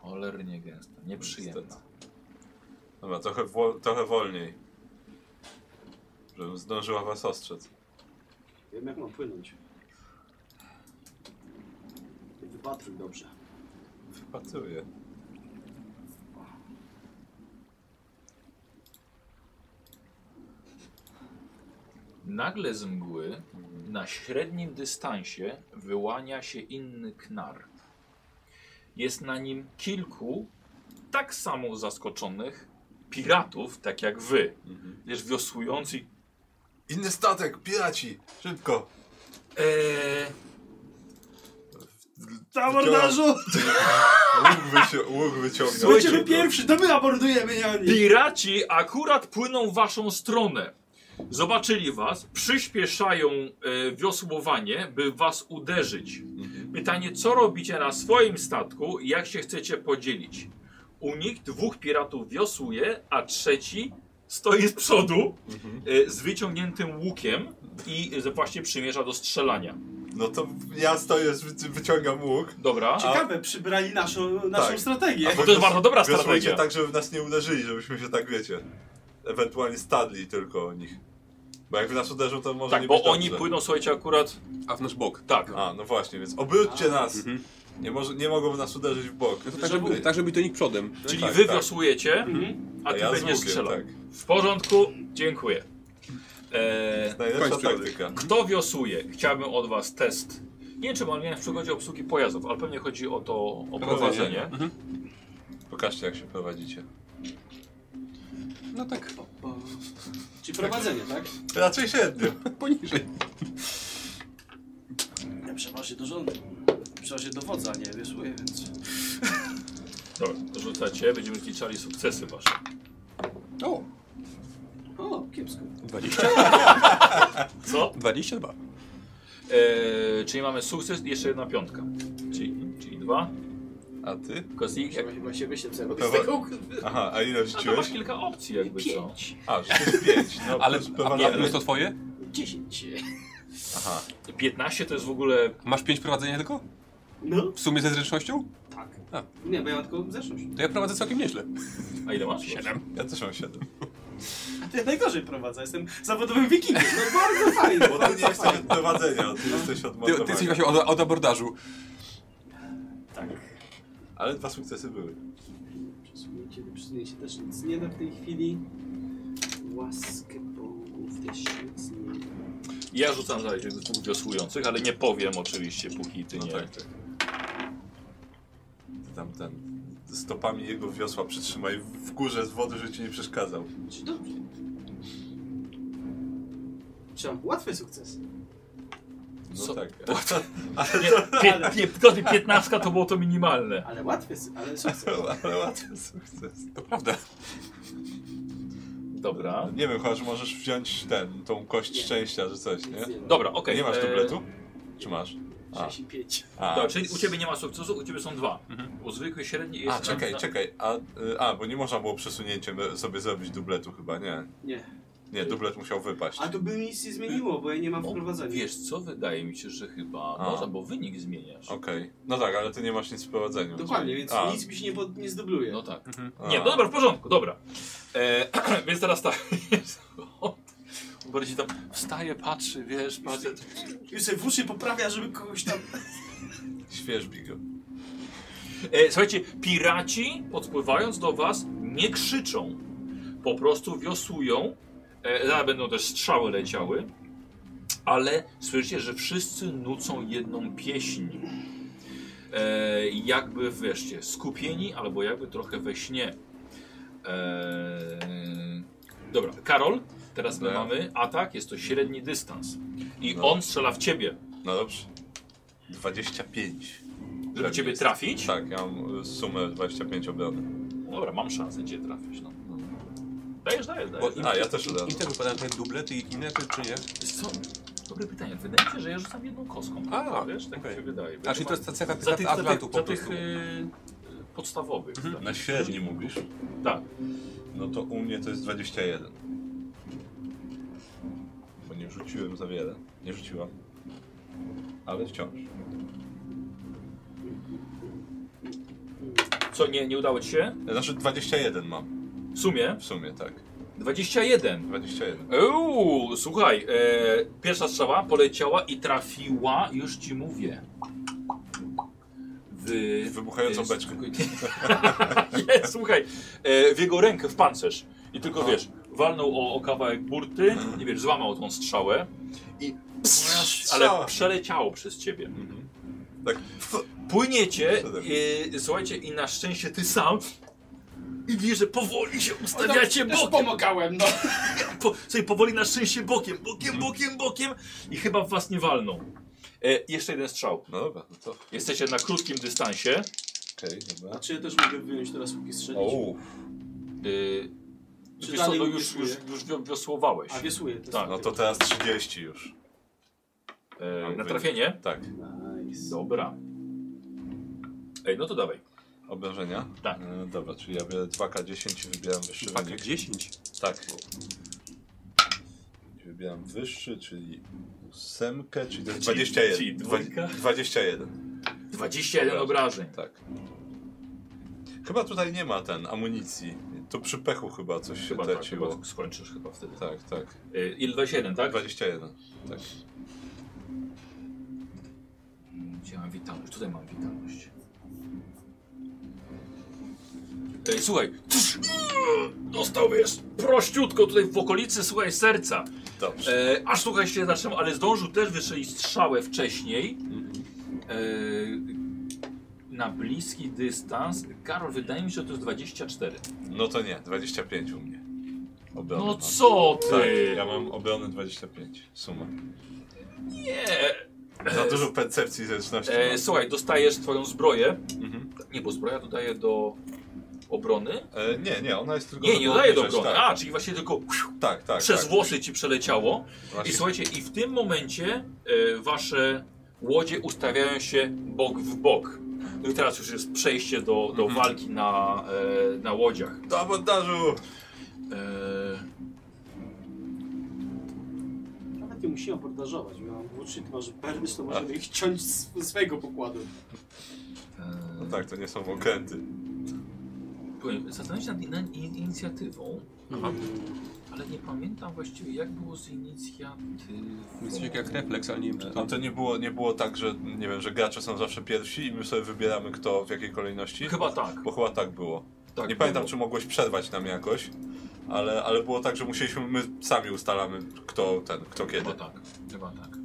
Speaker 1: Cholernie gęsta, nieprzyjemna.
Speaker 2: Mhm. Niestety. Dobra, trochę, wo- trochę wolniej. Żebym zdążyła was ostrzec.
Speaker 3: Wiem jak mam płynąć. Ty Wypatruj dobrze.
Speaker 2: Wypatruję.
Speaker 1: Nagle z mgły
Speaker 2: Mhm.
Speaker 1: na średnim dystansie wyłania się inny knar. Jest na nim kilku tak samo zaskoczonych piratów, tak jak wy.
Speaker 2: Mhm.
Speaker 1: Wiesz, wiosłujący. i-
Speaker 2: Inny statek, piraci! Szybko!
Speaker 1: Eee,
Speaker 2: Zabordażu! Łuk, wycią- łuk wyciągnął.
Speaker 1: Słuchajcie,
Speaker 3: Będziemy pierwszy, to my abordujemy, nie oni.
Speaker 1: Piraci akurat płyną w waszą stronę. Zobaczyli was, przyspieszają e, wiosłowanie, by was uderzyć.
Speaker 2: Mhm.
Speaker 1: Pytanie, co robicie na swoim statku i jak się chcecie podzielić? U nich dwóch piratów wiosłuje, a trzeci stoi z przodu
Speaker 2: Mhm.
Speaker 1: e, z wyciągniętym łukiem i e, właśnie przymierza do strzelania.
Speaker 2: No to ja stoję, wy- wyciągam łuk.
Speaker 1: Dobra.
Speaker 3: Ciekawe, przybrali naszą, naszą
Speaker 2: Tak.
Speaker 3: strategię.
Speaker 1: A bo to jest bardzo dobra
Speaker 2: Wiosłujcie
Speaker 1: strategia.
Speaker 2: tak, żeby nas nie uderzyli, żebyśmy się tak, wiecie, ewentualnie stadli tylko o nich. Bo jak w nas uderzą, to może
Speaker 1: Tak,
Speaker 2: nie
Speaker 1: bo
Speaker 2: być dobrze.
Speaker 1: oni płyną, słuchajcie, akurat
Speaker 4: A w nasz bok.
Speaker 1: tak.
Speaker 2: A, no właśnie, więc obróćcie nas!
Speaker 4: Mhm.
Speaker 2: Nie, może, nie mogą nas uderzyć w bok.
Speaker 4: No to tak, żeby, tak, żeby do nich przodem.
Speaker 1: Czyli
Speaker 2: tak,
Speaker 1: wy
Speaker 2: tak.
Speaker 1: wiosłujecie,
Speaker 3: Mhm.
Speaker 1: a ty
Speaker 2: ja z
Speaker 1: będziesz
Speaker 2: łukiem,
Speaker 1: strzelał.
Speaker 2: tak.
Speaker 1: W porządku, dziękuję. E,
Speaker 2: Najlepsza
Speaker 4: Kończ przygody.
Speaker 2: taktyka.
Speaker 1: kto wiosuje? Chciałbym od was test. Nie wiem, czy mam w przygodzie obsługi pojazdów, ale pewnie chodzi o to o prowadzenie.
Speaker 4: Mhm.
Speaker 2: Pokażcie, jak się prowadzicie.
Speaker 4: No tak,
Speaker 3: Bo... Czyli prowadzenie, tak?
Speaker 2: Raczej średnio.
Speaker 4: poniżej.
Speaker 3: Ja przeważnie do rządu. Przeważnie do wodza, nie wieszuję, więc...
Speaker 1: Dobra, to rzucacie, będziemy zliczali sukcesy wasze.
Speaker 4: O,
Speaker 3: O, kiepsko.
Speaker 4: 20?
Speaker 1: Co?
Speaker 4: 22.
Speaker 1: E, czyli mamy sukces i jeszcze jedna piątka. Czyli, czyli dwa.
Speaker 2: A ty?
Speaker 1: Tylko z nich jak...
Speaker 3: Chyba, chyba się wyśle, co ja robię
Speaker 2: To
Speaker 3: z
Speaker 2: wa-
Speaker 3: tego.
Speaker 2: Aha, a ile
Speaker 1: A to masz
Speaker 2: rzuciłeś?
Speaker 1: kilka opcji jakby co.
Speaker 3: Pięć.
Speaker 2: A, rzuciłeś pięć. No,
Speaker 4: Ale
Speaker 2: plus
Speaker 4: a, a
Speaker 2: prowadzenie.
Speaker 4: plus to twoje?
Speaker 3: Dziesięć.
Speaker 2: Aha.
Speaker 1: 15 to jest w ogóle...
Speaker 4: Masz 5 prowadzenia tylko?
Speaker 3: No,
Speaker 4: W sumie ze zręcznością?
Speaker 3: tak.
Speaker 4: A.
Speaker 3: Nie, bo ja mam tylko zeszłość.
Speaker 4: To ja prowadzę całkiem nieźle.
Speaker 1: A ile masz?
Speaker 2: Ja też mam siedem.
Speaker 3: A ty najgorzej prowadzę, jestem zawodowym wikingiem. No bardzo fajnie.
Speaker 2: Bo ty nie jesteś od prowadzenia, ty jesteś od
Speaker 4: Ty, ty
Speaker 2: mordowania.
Speaker 4: jesteś właśnie od, od abordażu.
Speaker 3: Tak.
Speaker 2: Ale dwa sukcesy były.
Speaker 3: Przesunięcie, przesunięcie też nic nie da w tej chwili. Łaskę bogów też nic nie da.
Speaker 1: Ja rzucam za dwóch wiosłujących, ale nie powiem oczywiście, póki ty
Speaker 2: No
Speaker 1: nie.
Speaker 2: tak, tak. Ty tam ten. Stopami jego wiosła przytrzymaj w górze z wody, żeby ci nie przeszkadzał.
Speaker 3: Czy dobrze? Trzeba łatwy sukces.
Speaker 2: No
Speaker 1: Co?
Speaker 2: tak.
Speaker 1: Nie, pie, nie, to, 15 to było to minimalne.
Speaker 3: Ale łatwy, su- ale sukces.
Speaker 2: Ale łatwy sukces.
Speaker 4: To prawda.
Speaker 1: Dobra.
Speaker 2: Nie wiem, chyba, że możesz wziąć ten, tą kość
Speaker 3: Nie.
Speaker 2: szczęścia, że coś, nie?
Speaker 3: Nic nie da.
Speaker 1: Dobra, okej.
Speaker 2: nie masz
Speaker 1: e,
Speaker 2: dubletu? Czy masz? A.
Speaker 3: 65.
Speaker 2: A,
Speaker 1: Dobra, czyli u ciebie nie ma sukcesu, u ciebie są dwa.
Speaker 2: Mhm.
Speaker 1: U zwykłej średniej jest.
Speaker 2: a czekaj, czekaj. A, y, a, bo nie można było przesunięciem sobie zrobić dubletu chyba, nie?
Speaker 3: Nie.
Speaker 2: Nie, dublet musiał wypaść.
Speaker 3: A tu by mi nic nie zmieniło, bo ja nie mam
Speaker 2: No,
Speaker 1: O,
Speaker 3: wprowadzenia.
Speaker 1: Wiesz co, wydaje mi się, że chyba
Speaker 2: A.
Speaker 1: można, bo wynik zmieniasz.
Speaker 2: Okej. No tak, ale ty nie masz nic w prowadzeniu.
Speaker 3: Dokładnie,
Speaker 2: czyli-
Speaker 3: więc
Speaker 2: a,
Speaker 3: nic mi się nie, pod, nie zdubluje.
Speaker 1: No tak.
Speaker 2: a.
Speaker 1: Nie, no dobra, w porządku, dobra. E, więc teraz tak. On Bardziej tam wstaje, patrzy, wiesz, patrzy.
Speaker 3: Już sobie w uszy poprawia, żeby kogoś tam...
Speaker 2: Świeżbi go.
Speaker 1: E, słuchajcie, piraci podpływając do was nie krzyczą. Po prostu wiosłują. E, zaraz będą też strzały leciały. Ale słyszycie, że wszyscy nucą jedną pieśń. E, jakby wreszcie skupieni, albo jakby trochę we śnie. E, dobra, Karol, teraz my
Speaker 2: Dobra.
Speaker 1: mamy atak, jest to średni dystans. I
Speaker 2: Tak. No.
Speaker 1: on strzela w ciebie.
Speaker 2: No dobrze. 25.
Speaker 1: Żeby ciebie trafić?
Speaker 2: Tak, ja mam y, sumę 25 obrony.
Speaker 1: Dobra, mam szansę cię trafić. No. Dajesz, dajesz, dajesz.
Speaker 4: Bo
Speaker 1: dajesz.
Speaker 4: im,
Speaker 2: A, ja też od
Speaker 4: Im
Speaker 2: razu.
Speaker 4: te wypadają te dublety i inne, czy, czy nie?
Speaker 1: Wiesz co? Dobre pytanie. Wydaje mi się, że ja rzucam jedną kostką.
Speaker 4: A,
Speaker 1: wiesz, tak mi
Speaker 4: okej.
Speaker 1: się wydaje.
Speaker 4: A czyli to jest ta cecha
Speaker 1: za tych,
Speaker 4: tych
Speaker 1: za tych,
Speaker 4: atlantu
Speaker 1: za
Speaker 4: po
Speaker 1: tych
Speaker 4: prostu.
Speaker 1: y, podstawowych. tak.
Speaker 2: Na średni mówisz?
Speaker 1: Tak.
Speaker 2: No to u mnie to jest 21. Bo nie rzuciłem za wiele. Nie rzuciłam. Ale wciąż.
Speaker 1: Co, nie, nie udało ci się?
Speaker 2: Znaczy 21 mam.
Speaker 1: W sumie
Speaker 2: W sumie tak.
Speaker 1: 21.
Speaker 2: 21.
Speaker 1: Uuu, Eee, słuchaj, e, pierwsza strzała poleciała i trafiła, już ci mówię. W,
Speaker 2: Wybuchającą beczkę.
Speaker 1: Nie, słuchaj, e, w jego rękę, w pancerz. I tylko wiesz, walnął o, o kawałek burty,
Speaker 2: Mhm.
Speaker 1: nie wiesz, złamał tą strzałę i ale
Speaker 2: strzała.
Speaker 1: przeleciało przez ciebie.
Speaker 2: Mhm. Tak.
Speaker 1: Płyniecie,
Speaker 2: Przede mną.
Speaker 1: i, słuchajcie, i na szczęście ty sam i widzisz, że powoli się ustawiacie
Speaker 3: Też
Speaker 1: bokiem,
Speaker 3: pomagałem, no. Mhm.
Speaker 1: po, sobie powoli na szczęście bokiem, bokiem, bokiem, bokiem i chyba w was nie walną. E, jeszcze jeden strzał.
Speaker 2: No dobra, no to okej,
Speaker 1: Jesteście na krótkim dystansie. E,
Speaker 2: dobra.
Speaker 3: A czy ja też mogę wyjąć teraz łuki strzelić?
Speaker 2: O,
Speaker 1: Y,
Speaker 3: Czy
Speaker 1: wiesz co,
Speaker 3: dalej
Speaker 1: no już,
Speaker 3: wiosłuję?
Speaker 1: już, już wio- wiosłowałeś.
Speaker 3: A wiosłuję. To jest
Speaker 1: Tak,
Speaker 2: no to teraz 30 już.
Speaker 1: E, na trafienie?
Speaker 2: Tak.
Speaker 3: Nice.
Speaker 1: Dobra. Ej, no to dawaj.
Speaker 2: Obrażenia?
Speaker 1: Tak.
Speaker 2: E, dobra, czyli ja biorę 2K10 i wybieram wyższy
Speaker 4: Pakę
Speaker 2: wynik.
Speaker 4: 10.
Speaker 2: Tak. bo- Wybieram wyższy, czyli ósemkę, czyli to jest
Speaker 1: Czyli-
Speaker 2: 21.
Speaker 1: czyli
Speaker 2: Dwa-
Speaker 1: dwójka?
Speaker 2: 21,
Speaker 1: 21 obrażeń.
Speaker 2: tak. Chyba tutaj nie ma ten amunicji. To przy pechu chyba coś się
Speaker 1: Chyba tak,
Speaker 2: traciło.
Speaker 1: chyba skończysz chyba wtedy.
Speaker 2: tak, tak.
Speaker 1: Y, Il 21, tak?
Speaker 2: 21. Tak.
Speaker 1: Mm, Gdzie mam witalność? Tutaj mam witalność. Ej, słuchaj. Tsz! Dostał, wiesz, prościutko tutaj w okolicy, słuchaj, serca.
Speaker 2: Dobrze.
Speaker 1: E, aż słuchaj się zatrzymał, ale zdążył też wystrzelić strzałę wcześniej. E, na bliski dystans. Karol, wydaje mi się, że to jest 24.
Speaker 2: No to nie, 25 u mnie. Obrony
Speaker 1: No
Speaker 2: mam.
Speaker 1: co
Speaker 2: Tak,
Speaker 1: ty?
Speaker 2: ja mam obrony 25. Suma.
Speaker 1: Nie.
Speaker 2: Za dużo percepcji i zręczności.
Speaker 1: E,
Speaker 2: mam.
Speaker 1: słuchaj, dostajesz twoją zbroję.
Speaker 2: Mhm.
Speaker 1: Nie, bo zbroja dodaje do obrony.
Speaker 2: E, nie, nie, ona jest tylko
Speaker 1: Nie,
Speaker 2: żeby
Speaker 1: nie dodaje do
Speaker 2: obniżać,
Speaker 1: obrony.
Speaker 2: Tak,
Speaker 1: A, czyli właśnie tylko
Speaker 2: tak, tak.
Speaker 1: przez
Speaker 2: tak.
Speaker 1: włosy ci przeleciało. I
Speaker 2: Właśnie.
Speaker 1: słuchajcie, i w tym momencie e, wasze łodzie ustawiają się bok w bok. No i teraz już jest przejście do,
Speaker 2: Mhm.
Speaker 1: do walki na, e, na łodziach.
Speaker 2: Do abordażu!
Speaker 1: E,
Speaker 3: Nawet nie musimy abordażować, bo ja mam włóczy, ty masz perwisz, to możemy ich ciąć z z swojego pokładu.
Speaker 1: e,
Speaker 2: No tak, to nie są okręty.
Speaker 1: Powiem, Zastanawiam się nad in, in, inicjatywą. Aha. Ale nie pamiętam właściwie jak było z inicjatywą.
Speaker 4: Jest jak refleks, ale nie wiem czy to...
Speaker 2: A to nie było, nie było tak, że nie wiem, że gracze są zawsze pierwsi i my sobie wybieramy kto w jakiej kolejności?
Speaker 1: Chyba tak.
Speaker 2: Bo chyba tak było.
Speaker 1: tak
Speaker 2: nie pamiętam,
Speaker 1: było.
Speaker 2: czy mogłeś przerwać nam jakoś, ale, ale było tak, że musieliśmy, my sami ustalamy kto ten, kto kiedy.
Speaker 1: Chyba tak, chyba tak.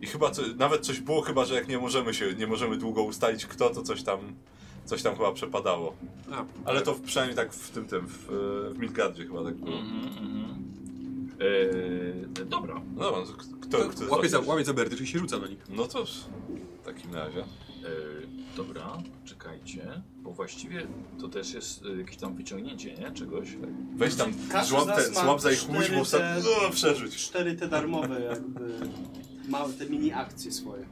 Speaker 2: I chyba co, nawet coś było, chyba że jak nie możemy się, nie możemy długo ustalić kto, to coś tam, coś tam chyba przepadało.
Speaker 4: A,
Speaker 2: Ale to w- przynajmniej tak w tym, tym, w, e, w Midgardzie chyba tak było.
Speaker 1: Mhm, mhm. Eee, dobra.
Speaker 2: No dobra, to k- kto,
Speaker 4: to
Speaker 2: kto
Speaker 4: łapie, za,
Speaker 2: zaczniesz?
Speaker 4: łapie za berdy, czyli się rzuca na nich.
Speaker 2: No to w takim razie.
Speaker 1: Eee, dobra, czekajcie. Bo właściwie to też jest e, jakieś tam wyciągnięcie, nie? Czegoś.
Speaker 2: Weź tam,
Speaker 3: Każdy z
Speaker 2: złap,
Speaker 3: nas
Speaker 2: ten,
Speaker 3: ma
Speaker 2: złap za ich
Speaker 3: cztery
Speaker 2: łódź, bo wsad...
Speaker 3: te-
Speaker 2: no, przerzuć.
Speaker 3: Cztery te darmowe jakby małe te mini akcje swoje.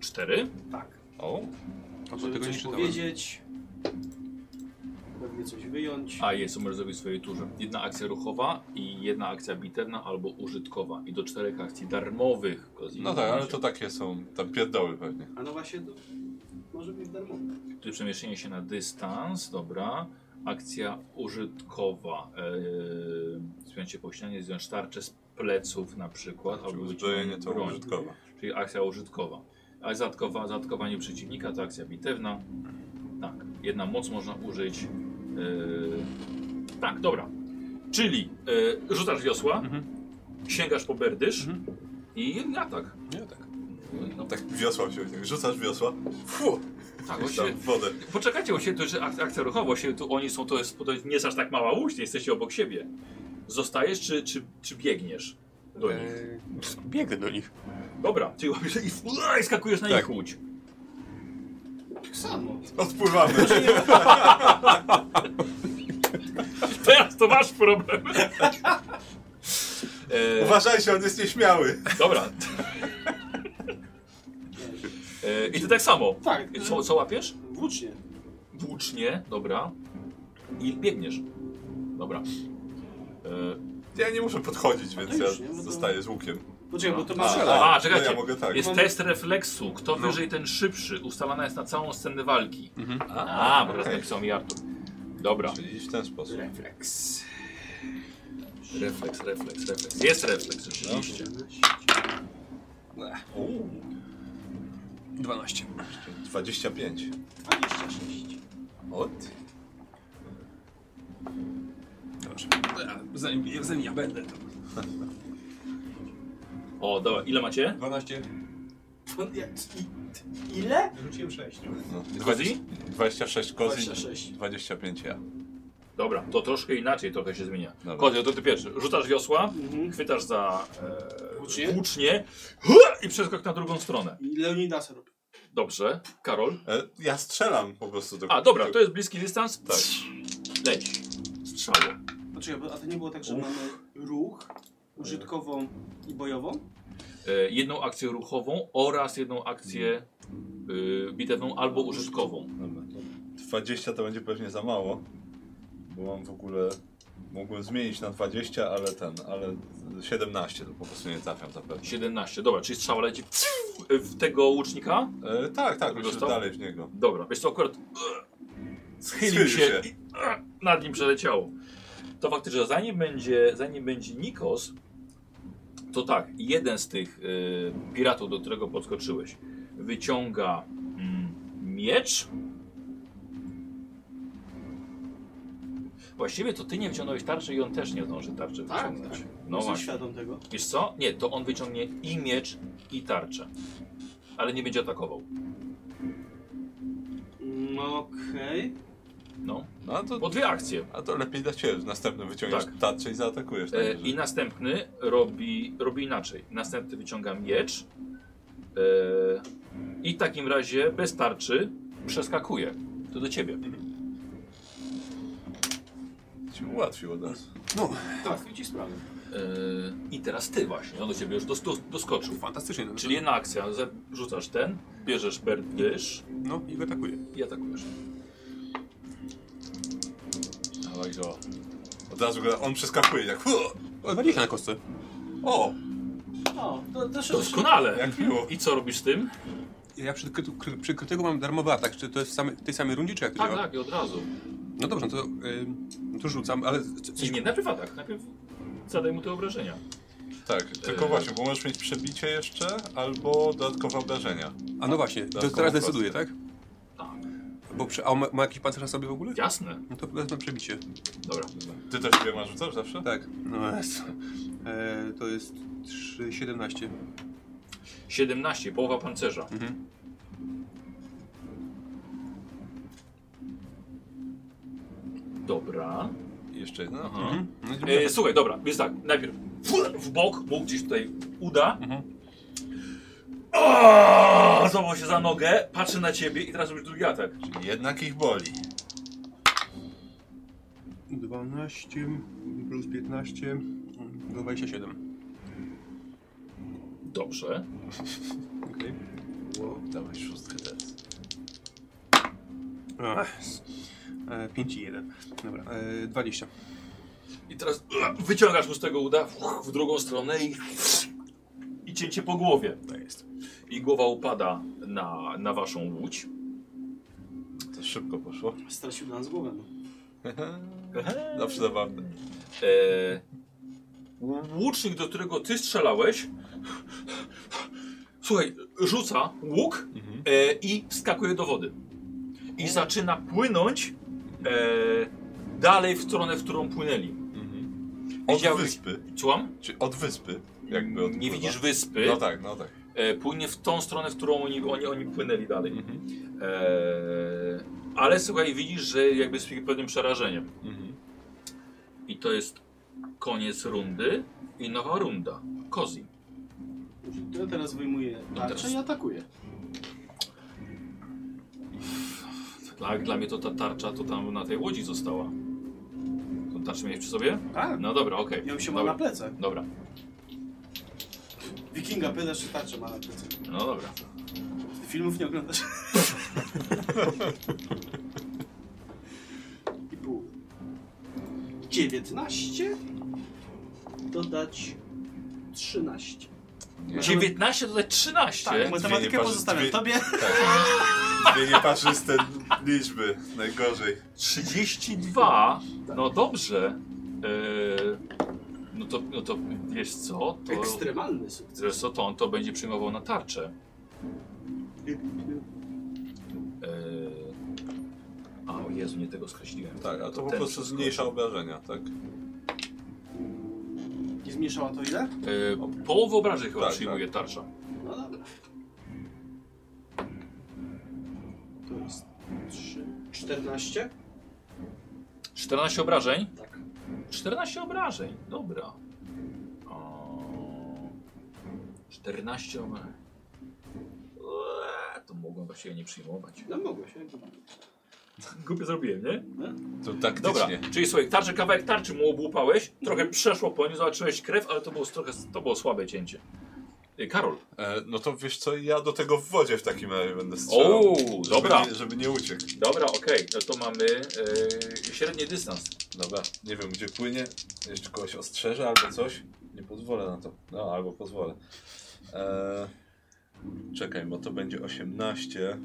Speaker 1: Cztery?
Speaker 3: Tak.
Speaker 2: O,
Speaker 4: A to
Speaker 3: Żeby
Speaker 4: tego nie
Speaker 3: coś
Speaker 4: czytałem.
Speaker 3: powiedzieć. Pewnie coś wyjąć.
Speaker 1: A jest, co możesz zrobić w swojej turze. Jedna akcja ruchowa i jedna akcja biterna albo użytkowa. I do czterech akcji darmowych.
Speaker 2: no tak, ale to takie są, tam pierdoły pewnie.
Speaker 3: A no właśnie, to może być darmowe.
Speaker 1: Czyli przemieszczenie się na dystans, dobra. Akcja użytkowa. Eee, Zmieniacie po ścianie, zdjąć tarczę z pleców na przykład.
Speaker 2: Czy
Speaker 1: albo
Speaker 2: Tak, uzbrojenie to
Speaker 1: wyciągnąć broń.
Speaker 2: użytkowe.
Speaker 1: Czyli akcja użytkowa. A zatkowa, zatkowanie przeciwnika to akcja bitewna. Tak, jedna moc można użyć. Yy, Tak, dobra. Czyli yy, rzucasz wiosła, sięgasz po berdysz i atak.
Speaker 4: Nie, tak.
Speaker 1: No, tak,
Speaker 2: Tak wiosła się, tak rzucasz wiosła, fu,
Speaker 1: tak on
Speaker 2: gdzieś
Speaker 1: się,
Speaker 2: tam w wodę.
Speaker 1: Poczekajcie, bo się tu, że akcja, akcja ruchowa, się tu oni są, to jest, to nie jest aż tak mała łódź, nie jesteście obok siebie. Zostajesz czy, czy, czy biegniesz do nich?
Speaker 4: Eee,
Speaker 5: Biegnę do nich.
Speaker 1: Dobra, czyli łapiesz i, i skakujesz na
Speaker 5: Tak.
Speaker 1: ich łódź.
Speaker 3: Tak samo.
Speaker 2: Odpływamy.
Speaker 1: Teraz to masz problem. E,
Speaker 2: Uważaj się, on jest nieśmiały.
Speaker 1: Dobra. E, I ty tak samo.
Speaker 3: Tak.
Speaker 1: Co, co łapiesz?
Speaker 3: Włócznie.
Speaker 1: Włócznie, dobra. I biegniesz. Dobra. E,
Speaker 2: Ja nie muszę podchodzić, więc
Speaker 3: No
Speaker 2: ja
Speaker 3: już, nie? No to-
Speaker 2: zostaję z łukiem.
Speaker 3: Poczekaj, bo to
Speaker 1: A,
Speaker 3: masz...
Speaker 1: a,
Speaker 2: no
Speaker 1: czekajcie.
Speaker 2: ja mogę tak. No.
Speaker 1: Jest
Speaker 3: Mamy-
Speaker 1: test refleksu. Kto wyżej, ten szybszy. Ustalana jest na całą scenę walki. A, bo teraz
Speaker 2: Mhm. okej.
Speaker 1: napisał mi Artur. Dobra.
Speaker 2: Czyli w ten sposób.
Speaker 3: Refleks.
Speaker 1: Refleks, refleks, refleks. Jest refleks, rzeczywiście.
Speaker 4: 12.
Speaker 2: 25.
Speaker 3: 26.
Speaker 2: Od?
Speaker 4: Dobrze. A, Zanim, zanim ja będę, to...
Speaker 2: No.
Speaker 1: O, dobra. Ile macie?
Speaker 4: 12.
Speaker 3: To ja- i- Ile? Rzuciłem 6.
Speaker 2: No.
Speaker 1: Kozi?
Speaker 2: 26 kozi.
Speaker 3: 26.
Speaker 2: 25 ja.
Speaker 1: Dobra, to troszkę inaczej trochę się zmienia.
Speaker 2: Dobra.
Speaker 1: Kozy, to ty pierwszy. Rzucasz wiosła,
Speaker 3: Mhm.
Speaker 1: chwytasz za
Speaker 3: Włócznie?
Speaker 1: e, włócznie i przeskok na drugą stronę.
Speaker 3: I Leonidas robi.
Speaker 1: Dobrze, Karol.
Speaker 2: E, ja strzelam po prostu do
Speaker 1: A, dobra, to jest bliski dystans.
Speaker 2: Tak.
Speaker 1: Leć. Strzało.
Speaker 3: Poczekaj, bo- a to nie było tak, że mamy ruch, użytkową i bojową?
Speaker 1: E, jedną akcję ruchową oraz jedną akcję e, bitewną albo użytkową.
Speaker 2: Dobra, to 20 to będzie pewnie za mało. Bo mam w ogóle. Mogłem zmienić na 20, ale ten, ale 17 to po prostu nie trafiam zapewne.
Speaker 1: 17. Dobra, czyli strzała leci w tego łucznika.
Speaker 2: E, tak, tak, myślę, że
Speaker 1: Dostał?
Speaker 2: dalej w niego.
Speaker 1: Dobra, wiesz co, akurat e, schylił
Speaker 2: Schylił
Speaker 1: się,
Speaker 2: się.
Speaker 1: i e, nad nim przeleciało. To faktycznie, że zanim będzie, zanim będzie Nikos, to tak, jeden z tych e, piratów, do którego podskoczyłeś, wyciąga mm, miecz. Właściwie to ty nie wyciągnąłeś tarczy i on też nie zdąży tarczy
Speaker 3: Tak,
Speaker 1: wyciągnąć.
Speaker 3: tak.
Speaker 1: No
Speaker 3: Jestem
Speaker 1: właśnie.
Speaker 3: świadom tego.
Speaker 1: Wiesz co? Nie, to on wyciągnie i miecz, i tarczę. Ale nie będzie atakował.
Speaker 3: Mm, Okej.
Speaker 1: No,
Speaker 2: No to,
Speaker 1: bo dwie akcje.
Speaker 2: a to lepiej dla ciebie. W następnym wyciągniesz
Speaker 1: Tak.
Speaker 2: tarczę i zaatakujesz.
Speaker 1: E,
Speaker 2: najwyżej.
Speaker 1: I następny robi, robi inaczej. Następny wyciąga miecz e, i w takim razie bez tarczy przeskakuje. To do ciebie. Y,
Speaker 2: Ci ułatwił od razu.
Speaker 3: Tak, widzi sprawę.
Speaker 1: E, I teraz ty właśnie, on do ciebie już dos, dos, doskoczył.
Speaker 4: Fantastycznie. No,
Speaker 1: Czyli jedna akcja, za- rzucasz ten, bierzesz berdysz
Speaker 4: No i go atakuje.
Speaker 1: i atakujesz.
Speaker 2: Dawaj go. Od razu go, on przeskakuje tak. "Hu!"
Speaker 4: O, 20 na kostce.
Speaker 2: O,
Speaker 3: O, No, to, to szybko.
Speaker 1: Doskonale!
Speaker 2: jak miło.
Speaker 1: I co robisz z tym?
Speaker 4: Ja przy, kry, kry, przy krytyku mam darmowy atak. Czy to jest w same, tej samej rundzie, czy jak to
Speaker 1: Tak,
Speaker 4: działa?
Speaker 1: tak, i od razu.
Speaker 4: No dobrze, no to y, No to rzucam, ale c-
Speaker 1: Nie,
Speaker 4: coś...
Speaker 1: nie, najpierw atak. Najpierw zadaj mu te obrażenia.
Speaker 2: Tak, tylko
Speaker 1: Eee.
Speaker 2: właśnie, bo możesz mieć przebicie jeszcze albo dodatkowe obrażenia.
Speaker 4: A no właśnie, to
Speaker 2: Dodatkowo
Speaker 4: teraz decyduję, tak?
Speaker 2: kostkę.
Speaker 1: Tak.
Speaker 4: Bo przy... A on ma, ma jakiś pancerz na sobie w ogóle?
Speaker 1: Jasne.
Speaker 4: No to wezmę przebicie.
Speaker 1: Dobra.
Speaker 2: Ty też sobie masz rzucasz zawsze?
Speaker 4: Tak. No jest. E, to jest 3, 17.
Speaker 1: 17, połowa pancerza.
Speaker 4: Mhm.
Speaker 1: Dobra.
Speaker 2: Jeszcze jedno.
Speaker 1: Aha.
Speaker 4: Mhm. No i druga.
Speaker 1: E, słuchaj, dobra, więc tak, najpierw w bok, mu gdzieś tutaj uda.
Speaker 4: Mhm.
Speaker 1: O, Złapał się za nogę, patrzy na ciebie i teraz już drugi atak.
Speaker 2: Czyli jednak ich boli.
Speaker 4: 12 plus 15 mm, 27.
Speaker 1: Dobrze.
Speaker 4: Okej.
Speaker 2: Dawaj szóstkę teraz.
Speaker 4: Ach, s- E, 5 i 1. Dobra, e, 20.
Speaker 1: I teraz e, wyciągasz mu z tego uda w drugą stronę i, i cięcie po głowie.
Speaker 4: To Tak jest.
Speaker 1: I głowa upada na, na waszą łódź.
Speaker 2: To szybko poszło.
Speaker 3: Stracił nas głowę. no.
Speaker 2: Zawsze zabawne.
Speaker 1: E, łucznik, do którego ty strzelałeś, słuchaj, rzuca łuk e, i skakuje do wody. I zaczyna płynąć e, dalej w stronę, w którą płynęli.
Speaker 4: Mhm.
Speaker 2: Od
Speaker 1: Widziałeś-
Speaker 2: wyspy.
Speaker 1: Słucham?
Speaker 2: Czy od wyspy? Jakby od
Speaker 1: Nie
Speaker 2: kurwa.
Speaker 1: widzisz wyspy.
Speaker 2: No tak, no tak.
Speaker 1: E, płynie w tą stronę, w którą oni, oni, oni płynęli dalej.
Speaker 2: Mhm.
Speaker 1: E, ale słuchaj, widzisz, że jakby z pewnym przerażeniem.
Speaker 2: Mhm.
Speaker 1: I to jest koniec rundy i nowa runda. Kozi.
Speaker 3: Ja teraz wyjmuję tarczę i atakuję.
Speaker 2: Tak.
Speaker 1: Dla, dla mnie to ta tarcza to tam na tej łodzi została. Tą tarczę miałeś przy sobie?
Speaker 3: Tak.
Speaker 1: No dobra, okej.
Speaker 3: Ja bym się ma na
Speaker 1: Dobra.
Speaker 3: plecach.
Speaker 1: dobra,
Speaker 3: Wikinga pytasz, czy tarczę ma na plecach.
Speaker 1: no dobra.
Speaker 3: Ty filmów nie oglądasz. I pół. 19 dodać 13.
Speaker 1: 19 dodać 13.
Speaker 3: Tak,
Speaker 2: Dwie
Speaker 3: matematykę
Speaker 2: nieparzy-
Speaker 3: pozostawiam
Speaker 2: dwie-
Speaker 3: tobie.
Speaker 2: Tak. Dwie nieparzyste liczby. Najgorzej.
Speaker 1: 32. No dobrze. Eee, no, to, no to wiesz co? To,
Speaker 3: Ekstremalny sukces.
Speaker 1: zresztą to on to będzie przyjmował na tarczę. Eee, a o Jezu, nie tego skreśliłem.
Speaker 2: Tak, a to po
Speaker 1: ten
Speaker 2: prostu
Speaker 1: przeskoczył.
Speaker 2: zmniejsza obrażenia, tak?
Speaker 3: I zmniejszała to ile?
Speaker 1: Eee, połowę obrażeń chyba
Speaker 2: Tak,
Speaker 1: przyjmuje tarcza.
Speaker 3: No dobra. To jest 3, 14.
Speaker 1: 14 obrażeń.
Speaker 3: Tak.
Speaker 1: 14 obrażeń, dobra. O, 14 obrażeń. Eee, To mogłem właściwie nie przyjmować.
Speaker 3: No mogłeś. nie?
Speaker 1: Głupie zrobiłem, nie?
Speaker 2: To
Speaker 1: Dobra,
Speaker 2: taktycznie.
Speaker 1: czyli słuchaj, tarczę, kawałek tarczy mu obłupałeś, trochę przeszło po nim, zobaczyłeś krew, ale to było, trochę, to było słabe cięcie. Y, Karol,
Speaker 2: E, no to wiesz co, ja do tego w wodzie w takim razie będę strzelał.
Speaker 1: o,
Speaker 2: Żeby
Speaker 1: dobra,
Speaker 2: Nie, żeby nie uciekł.
Speaker 1: dobra, okej, no to mamy yy, średni dystans.
Speaker 2: Dobra, nie wiem gdzie płynie. Jeszcze kogoś ostrzeże albo coś. Nie pozwolę na to. No, albo pozwolę. Eee, czekaj, bo to będzie 18. Eee,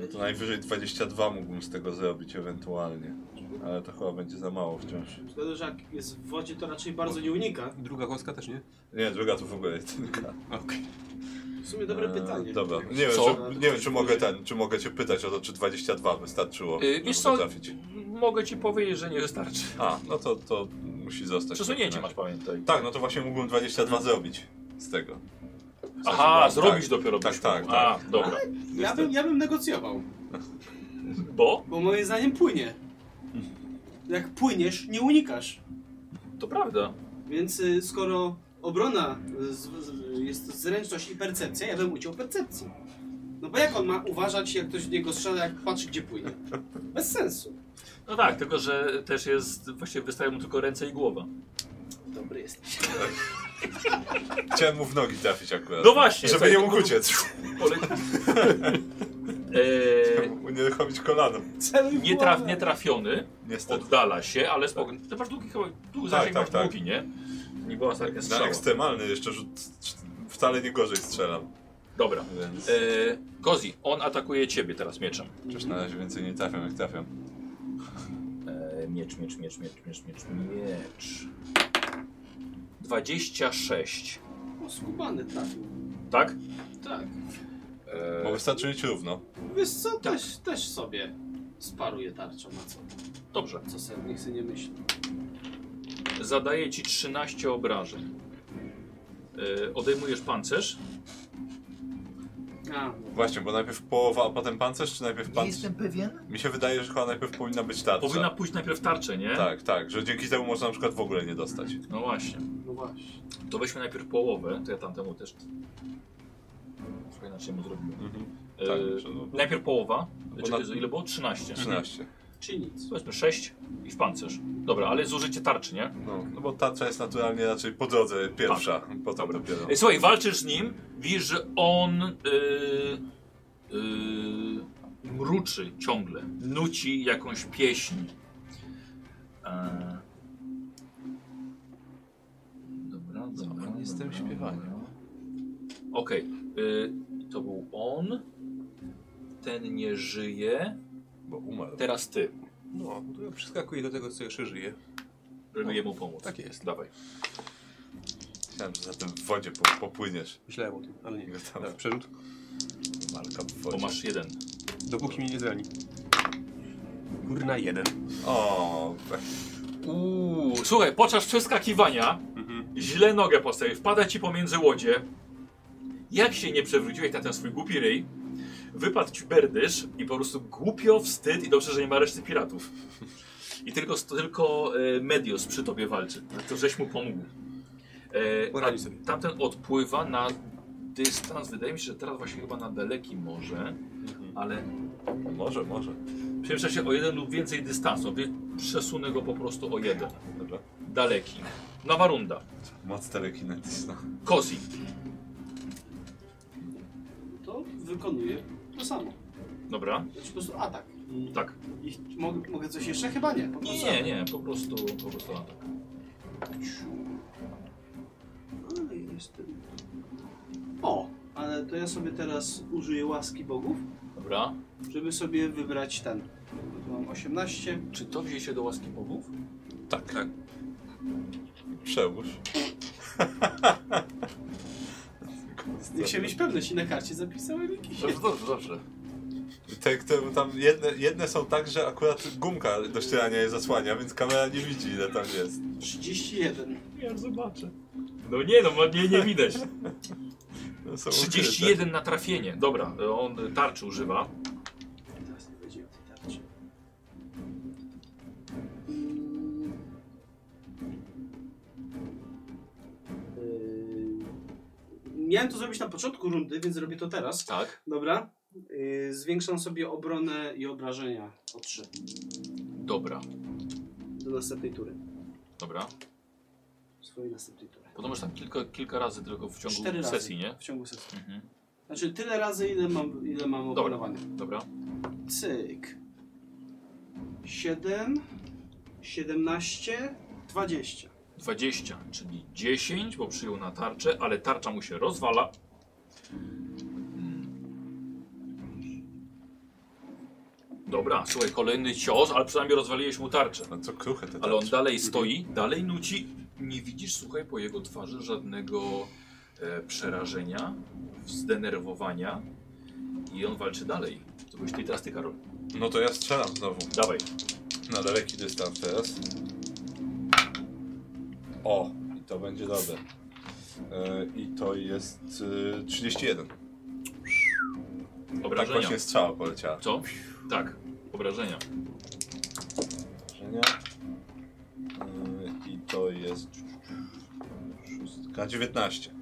Speaker 2: no to najwyżej 22 mógłbym z tego zrobić ewentualnie. Ale to chyba będzie za mało wciąż.
Speaker 3: Szkoda, że jak jest w wodzie, to raczej bardzo nie unika.
Speaker 4: Druga kostka też nie?
Speaker 2: Nie, druga to w ogóle jest tylko.
Speaker 4: Okej.
Speaker 3: W sumie dobre pytanie.
Speaker 2: Eee, Dobra, nie wiem,
Speaker 1: Co?
Speaker 2: czy, nie wiem czy, mogę ten, czy mogę cię pytać o to, czy 22 wystarczyło,
Speaker 1: Yy,
Speaker 2: żeby
Speaker 1: wiesz co,
Speaker 2: trafić.
Speaker 1: mogę ci powiedzieć, że nie wystarczy.
Speaker 2: A, no to, to musi zostać.
Speaker 1: Przesunięcie masz, pamiętaj.
Speaker 2: Tak, no to właśnie mógłbym 22 zrobić z tego.
Speaker 1: Aha,
Speaker 2: tak,
Speaker 1: zrobisz
Speaker 2: tak.
Speaker 1: dopiero
Speaker 2: Tak,
Speaker 1: byś
Speaker 2: tak,
Speaker 1: mógł.
Speaker 2: tak.
Speaker 1: A, dobra.
Speaker 3: Ja bym, ja bym negocjował,
Speaker 1: Bo?
Speaker 3: bo moim zdaniem płynie.
Speaker 2: Hmm.
Speaker 3: Jak płyniesz, nie unikasz.
Speaker 1: To prawda.
Speaker 3: Więc y, skoro obrona y, z, z, jest zręczność i percepcja, ja bym uciął percepcję. No bo jak on ma uważać, jak ktoś w niego strzela, jak patrzy, gdzie płynie? Bez sensu.
Speaker 1: No tak, tylko że też jest, właściwie wystają mu tylko ręce i głowa.
Speaker 3: Dobry jesteś.
Speaker 2: Chciałem mu w nogi trafić akurat.
Speaker 1: No właśnie,
Speaker 2: Żeby
Speaker 1: słuchaj,
Speaker 2: nie
Speaker 1: to-
Speaker 2: mógł uciec.
Speaker 1: Pole... Eee,
Speaker 2: Unieruchomić kolanem.
Speaker 3: Celuj w
Speaker 1: nie,
Speaker 3: głowę.
Speaker 1: traf, nie trafiony,
Speaker 2: Niestety.
Speaker 1: oddala się, ale spokojnie. Ty masz długi chyba, długi
Speaker 2: Tak,
Speaker 1: zasięg
Speaker 2: tak,
Speaker 1: masz
Speaker 2: tak.
Speaker 1: długi, nie? Nie była taka
Speaker 2: Na
Speaker 1: strzała.
Speaker 2: ekstremalny jeszcze rzut wcale nie gorzej strzelam.
Speaker 1: Dobra.
Speaker 2: Więc
Speaker 1: Eee, Kozi, on atakuje ciebie teraz mieczem.
Speaker 2: przecież na razie więcej nie trafiam jak trafiam.
Speaker 1: E, Miecz, miecz, miecz, miecz, miecz, miecz, miecz. 26.
Speaker 3: O, skubany trafił.
Speaker 1: Tak?
Speaker 3: Tak.
Speaker 1: E,
Speaker 2: Bo wystarczy mieć równo.
Speaker 3: Wiesz co,
Speaker 1: Tak.
Speaker 3: też, też sobie sparuję tarczą, a co?
Speaker 1: Dobrze.
Speaker 3: Co sobie, niech sobie nie myśli.
Speaker 1: Zadaję ci 13 obrażeń. E, Odejmujesz pancerz.
Speaker 3: A,
Speaker 1: no.
Speaker 2: Właśnie, bo najpierw połowa, a potem pancerz, czy najpierw
Speaker 1: Nie
Speaker 2: pancerz?
Speaker 1: jestem pewien.
Speaker 2: Mi się wydaje, że chyba najpierw powinna być tarcza.
Speaker 1: Powinna pójść najpierw tarczę, nie?
Speaker 2: Tak, tak, że dzięki temu można na przykład w ogóle nie dostać.
Speaker 1: No właśnie.
Speaker 3: no właśnie.
Speaker 1: To weźmy najpierw połowę, to ja tamtemu też trochę inaczej mu zrobiłem.
Speaker 2: Mhm.
Speaker 1: E,
Speaker 2: Tak, że no,
Speaker 1: Najpierw połowa,
Speaker 2: Bo na-
Speaker 1: czyli Znaczy, ile było? 13.
Speaker 2: 13.
Speaker 3: Czy nic.
Speaker 1: Powiedzmy 6 i w pancerz. Dobra, ale zużycie tarczy, nie?
Speaker 2: No, no bo tarcza jest naturalnie raczej po drodze pierwsza, potem
Speaker 1: Tak. Dobra.
Speaker 2: dopiero.
Speaker 1: Ej, Słuchaj, walczysz z nim, widzisz, że on yy, yy, mruczy ciągle, nuci jakąś pieśń. E, Dobra, dobra.
Speaker 5: jestem
Speaker 1: dobra.
Speaker 5: śpiewania.
Speaker 1: Okej, y, to był on. Ten nie żyje.
Speaker 2: Bo umarł.
Speaker 1: Teraz ty,
Speaker 4: No, to ja przeskakuję do tego, co jeszcze żyje.
Speaker 1: żeby jemu pomóc.
Speaker 4: tak jest.
Speaker 1: Dawaj.
Speaker 2: Myślałem, że zatem w wodzie po, popłyniesz.
Speaker 4: Myślałem o tym, ale nie.
Speaker 2: Gotowe.
Speaker 1: Tak.
Speaker 4: Dobra, przerzut.
Speaker 2: Walka w
Speaker 1: Bo
Speaker 2: wodzie.
Speaker 1: masz jeden.
Speaker 4: Dopóki mnie nie zrani. Kurna jeden.
Speaker 2: O, tak.
Speaker 1: Uuu, słuchaj, podczas przeskakiwania
Speaker 4: Mhm.
Speaker 1: źle nogę postawi, wpada ci pomiędzy łodzie. Jak się nie przewróciłeś na ten swój głupi ryj, wypadł ci berdysz i po prostu głupio, wstyd i dobrze, że nie ma reszty piratów. I tylko, tylko e, Medios przy tobie walczy, to żeś mu pomógł. E,
Speaker 4: Poradzi sobie.
Speaker 1: Tamten odpływa na dystans, wydaje mi się, że teraz właśnie chyba na daleki może, ale
Speaker 2: może, może.
Speaker 1: przemieszcza się o jeden lub więcej dystansu, więc przesunę go po prostu o jeden.
Speaker 2: Dobra.
Speaker 1: Daleki. Nowa runda.
Speaker 2: Moc telekinetyczna.
Speaker 1: Kozi.
Speaker 3: To wykonuję to samo.
Speaker 1: Dobra,
Speaker 3: Znaczy po prostu atak. I,
Speaker 1: tak.
Speaker 3: i mogę, mogę coś jeszcze? Chyba nie.
Speaker 1: Nie,
Speaker 3: Po prostu
Speaker 1: nie,
Speaker 3: atak.
Speaker 1: nie, po prostu, po prostu tak. atak.
Speaker 3: Ale No jestem. O, ale to ja sobie teraz użyję łaski bogów,
Speaker 1: Dobra.
Speaker 3: żeby sobie wybrać ten. Tu mam 18.
Speaker 1: Czy to wzięli się do łaski bogów?
Speaker 2: Tak. tak. Przełóż.
Speaker 3: Nie chciałem mieć pewność i na karcie zapisałem jakiś.
Speaker 1: Dobrze, dobrze, dobrze.
Speaker 2: Te, które tam jedne, jedne są tak, że akurat gumka do ścierania je zasłania, więc kamera nie widzi ile tam jest.
Speaker 3: 31.
Speaker 1: Ja zobaczę. No nie, no nie, nie widać.
Speaker 2: No, są ukryte.
Speaker 1: 31 na trafienie. Dobra, on tarczy używa.
Speaker 3: Teraz nie będzie o tej tarczy. Yy, Miałem to zrobić na początku rundy, więc zrobię to teraz.
Speaker 1: Tak.
Speaker 3: Dobra. Yy, zwiększam sobie obronę i obrażenia o 3
Speaker 1: Dobra,
Speaker 3: do następnej tury.
Speaker 1: dobra.
Speaker 3: Swojej następnej tury.
Speaker 1: Potem masz tam kilka, kilka razy tylko w ciągu
Speaker 3: Cztery razy.
Speaker 1: sesji, nie?
Speaker 3: W ciągu sesji.
Speaker 1: Mhm.
Speaker 3: Znaczy tyle razy, ile mam, ile mam
Speaker 1: Dobra.
Speaker 3: opanowania.
Speaker 1: Dobra.
Speaker 3: Cyk. 7, 17, 20.
Speaker 1: 20, czyli 10, bo przyjął na tarczę, ale tarcza mu się rozwala. Hmm. Dobra, słuchaj, kolejny cios, ale przynajmniej rozwaliłeś mu tarczę.
Speaker 2: No co kruche te
Speaker 1: Ale on
Speaker 2: tarcze.
Speaker 1: dalej stoi, dalej nuci. Nie widzisz, słuchaj, po jego twarzy żadnego e, przerażenia, zdenerwowania. I on walczy dalej. To byś ty teraz ty, Karol.
Speaker 2: No to ja strzelam znowu.
Speaker 1: Dawaj.
Speaker 2: Na daleki dystans teraz. O, i to będzie dobre. E, I to jest e, 31. Tak
Speaker 1: Obrażenia.
Speaker 2: właśnie strzała poleciała.
Speaker 1: Co? Tak, obrażenia.
Speaker 2: Obrażenia. E, I to jest szóstka, 19.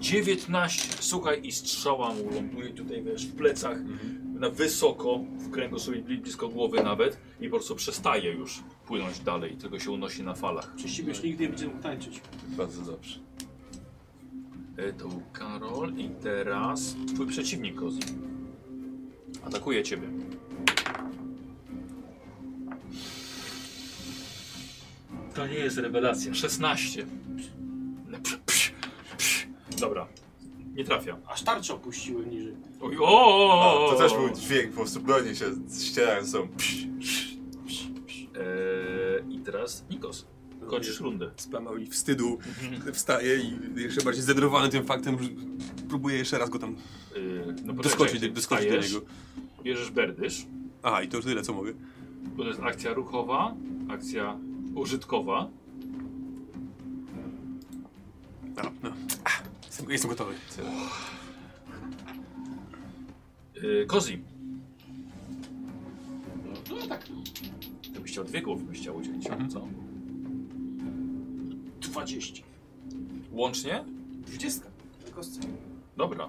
Speaker 1: 19, słuchaj, i strzała mu ląduje tutaj, wiesz, w plecach, na wysoko, w kręgu sobie bli- blisko głowy nawet i po prostu przestaje już płynąć dalej, tylko się unosi na falach.
Speaker 3: Przeciwnie, już nigdy nie będzie mógł tańczyć.
Speaker 2: Bardzo dobrze.
Speaker 1: E, To był Karol i teraz twój przeciwnik, Kozi. Atakuje ciebie. To nie jest rewelacja. 16. Lepsze. Psz, psz. Dobra. Nie trafia.
Speaker 3: Aż tarczę opuściłem niżej.
Speaker 1: Oj, o, o,
Speaker 2: A,
Speaker 1: o, E, o.
Speaker 2: to też był dźwięk, po prostu broni się ścierają są.
Speaker 1: Eee, I teraz Nikos. Kończysz rundę.
Speaker 4: Spamał i wstydu wstaje i jeszcze bardziej zdenerwowany tym faktem, że próbuje jeszcze raz go tam
Speaker 1: Eee, no
Speaker 4: doskoczyć,
Speaker 1: poczekaj,
Speaker 4: doskoczyć do
Speaker 1: wstajesz,
Speaker 4: niego.
Speaker 1: Bierzesz berdysz.
Speaker 4: Aha, i to już tyle, co mogę.
Speaker 1: To jest akcja ruchowa, akcja użytkowa.
Speaker 4: A, no. A, jestem, jestem gotowy.
Speaker 1: Yy, Kozi,
Speaker 3: No to tak
Speaker 1: ty byś chciał dwie głowy, byś chciał udzielić,
Speaker 4: Mhm.
Speaker 1: co?
Speaker 3: 20.
Speaker 1: Łącznie?
Speaker 3: 20 na kostce.
Speaker 1: Dobra.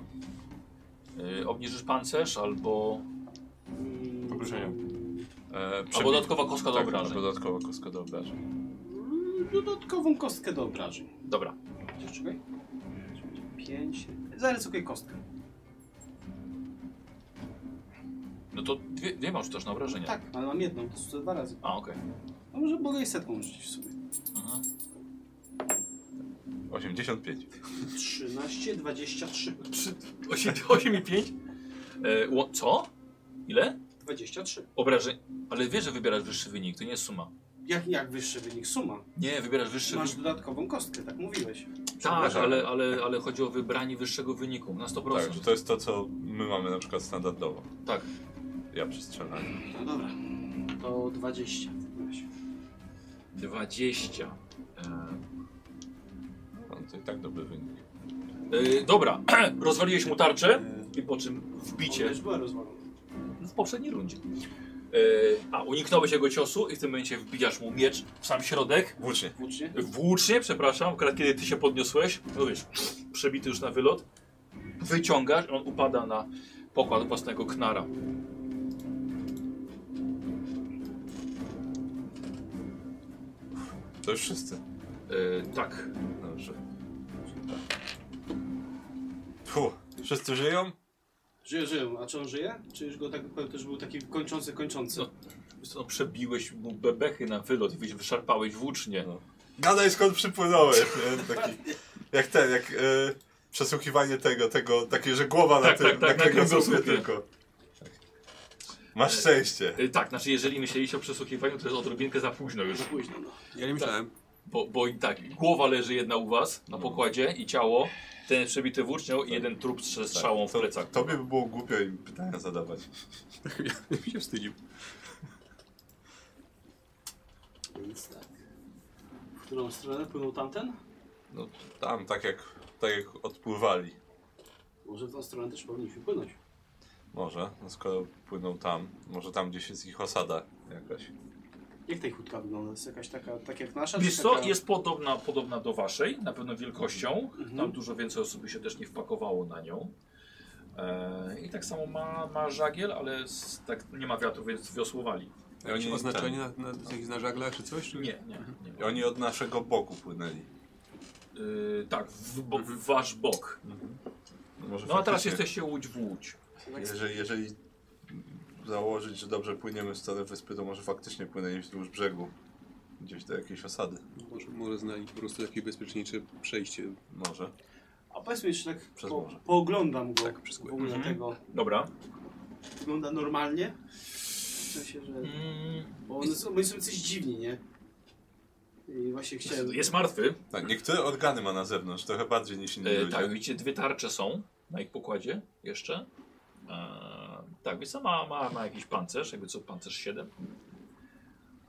Speaker 1: Yy, obniżysz pancerz albo...
Speaker 3: Mm,
Speaker 4: Pogruszenia.
Speaker 2: E,
Speaker 1: Albo dodatkowa kostka do
Speaker 2: tak,
Speaker 1: obrażeń.
Speaker 2: albo dodatkowa kostka do obrażeń.
Speaker 3: mm, Dodatkową kostkę do obrażeń.
Speaker 1: Dobra.
Speaker 3: Gdzieś Czekaj. 5. Zarysuję kostkę.
Speaker 1: No to dwie, dwie masz też na obrażenia.
Speaker 3: Tak, ale mam jedną, to są dwa razy.
Speaker 1: A, okej.
Speaker 3: No może mogę jej setką rzucić w sumie.
Speaker 1: Mhm.
Speaker 2: 85.
Speaker 3: 13, 23.
Speaker 1: 8, 8 i 5? Yy, ło- co? Ile?
Speaker 3: 23.
Speaker 1: Obrażeń. Ale wiesz, że wybierasz wyższy wynik, to nie jest suma.
Speaker 3: Jak, jak wyższy wynik suma?
Speaker 1: Nie, wybierasz wyższy
Speaker 3: Masz
Speaker 1: wynik.
Speaker 3: dodatkową kostkę, tak mówiłeś.
Speaker 1: Tak, ale, ale, ale chodzi o wybranie wyższego wyniku na 100%.
Speaker 2: Tak, że to jest to, co my mamy na przykład standardowo.
Speaker 1: tak.
Speaker 2: Ja przestrzelałem.
Speaker 3: No dobra. To 20. w takim razie.
Speaker 1: 20.
Speaker 2: No, to i tak dobry wynik.
Speaker 1: E, e, dobra, rozwaliłeś mu tarczę i po czym
Speaker 3: Ona
Speaker 1: wbicie
Speaker 3: już była rozwalona.
Speaker 1: w poprzedniej rundzie. E, a, uniknąłeś jego ciosu i w tym momencie wbijasz mu miecz w sam środek.
Speaker 2: Włócznie.
Speaker 3: Włócznie?
Speaker 1: Włócznie, przepraszam, akurat kiedy ty się podniosłeś, no wiesz, przebity już na wylot, wyciągasz, on upada na pokład własnego knara.
Speaker 2: To już wszyscy.
Speaker 1: E, tak,
Speaker 2: Dobrze. Puh, wszyscy żyją?
Speaker 3: Żyje, żyją. A czy on żyje? Czy już go tak też był taki kończący, kończący?
Speaker 1: No. Wiesz co, no, przebiłeś mu bebechy na wylot i wy- wyszarpałeś włócznie.
Speaker 2: No. Gadaj skąd przypłynąłeś, nie? Taki, jak ten, jak e, przesłuchiwanie tego, tego, takie, że głowa na
Speaker 1: Tak,
Speaker 2: tym,
Speaker 1: tak, tak,
Speaker 2: na
Speaker 1: na kręgosłupie.
Speaker 2: kręgosłupie tylko. Tak. Masz szczęście.
Speaker 1: E, tak, znaczy jeżeli myśleliście o przesłuchiwaniu, to jest odrobinkę za późno już.
Speaker 3: Za późno, no.
Speaker 4: Ja
Speaker 1: Tak.
Speaker 4: nie myślałem.
Speaker 1: Bo, bo i tak, głowa leży jedna u was
Speaker 2: No.
Speaker 1: na pokładzie i ciało, ten przebity włócznią i jeden trup
Speaker 2: Tak.
Speaker 1: ze strzałą w plecach.
Speaker 2: Tobie by było głupio im pytania zadawać.
Speaker 4: Ja bym się wstydził.
Speaker 3: Więc tak. W którą stronę płynął tamten?
Speaker 2: No tam, tak jak, tak jak odpływali.
Speaker 3: Może w tą stronę też powinniśmy płynąć.
Speaker 2: Może, no skoro płyną tam, może tam gdzieś jest ich osada jakaś.
Speaker 3: Jak tej hutka wygląda? Jest jakaś taka, tak jak nasza?
Speaker 1: Wiesz
Speaker 3: czy
Speaker 1: co,
Speaker 3: taka...
Speaker 1: jest podobna, podobna do waszej, na pewno wielkością.
Speaker 3: Mhm.
Speaker 1: Tam dużo więcej osób by się też nie wpakowało na nią. E, I tak samo ma, ma żagiel, ale z, tak nie ma wiatru, więc wiosłowali.
Speaker 4: Jakieś
Speaker 2: Oni-
Speaker 4: oznaczenie na, na, na żaglach czy coś? Czy...
Speaker 1: tak. Nie, nie. nie
Speaker 2: Mhm. I
Speaker 1: ma.
Speaker 2: oni od naszego boku płynęli.
Speaker 1: Y, tak, w, bo, w wasz bok.
Speaker 2: No, może
Speaker 1: No a teraz
Speaker 2: faktycznie,
Speaker 1: jesteście łódź w łódź.
Speaker 3: tak
Speaker 2: Jeżeli, jeżeli założyć, że dobrze płyniemy w stronę wyspy, to może faktycznie płynęli wzdłuż brzegu. Gdzieś do jakiejś osady.
Speaker 4: Może, może znali po prostu jakieś bezpieczniejsze przejście.
Speaker 2: Może.
Speaker 3: A powiedzmy jeszcze tak,
Speaker 2: Przez
Speaker 3: po,
Speaker 2: morze.
Speaker 3: pooglądam go.
Speaker 4: Tak, przez
Speaker 3: w
Speaker 4: góry.
Speaker 3: ogóle
Speaker 1: Mhm.
Speaker 3: tego.
Speaker 1: Dobra.
Speaker 3: Wygląda normalnie? W sensie, że...
Speaker 1: Mm,
Speaker 3: Bo one są, oni są coś dziwni, nie? I właśnie chciałem...
Speaker 1: jest, jest martwy.
Speaker 2: Tak, niektóre organy ma na zewnątrz, trochę bardziej niż inni
Speaker 1: E,
Speaker 2: ludzie.
Speaker 1: tak, widzicie, dwie tarcze są na ich pokładzie jeszcze. E, tak, więc ma, ma, ma jakiś pancerz, jakby co, pancerz 7.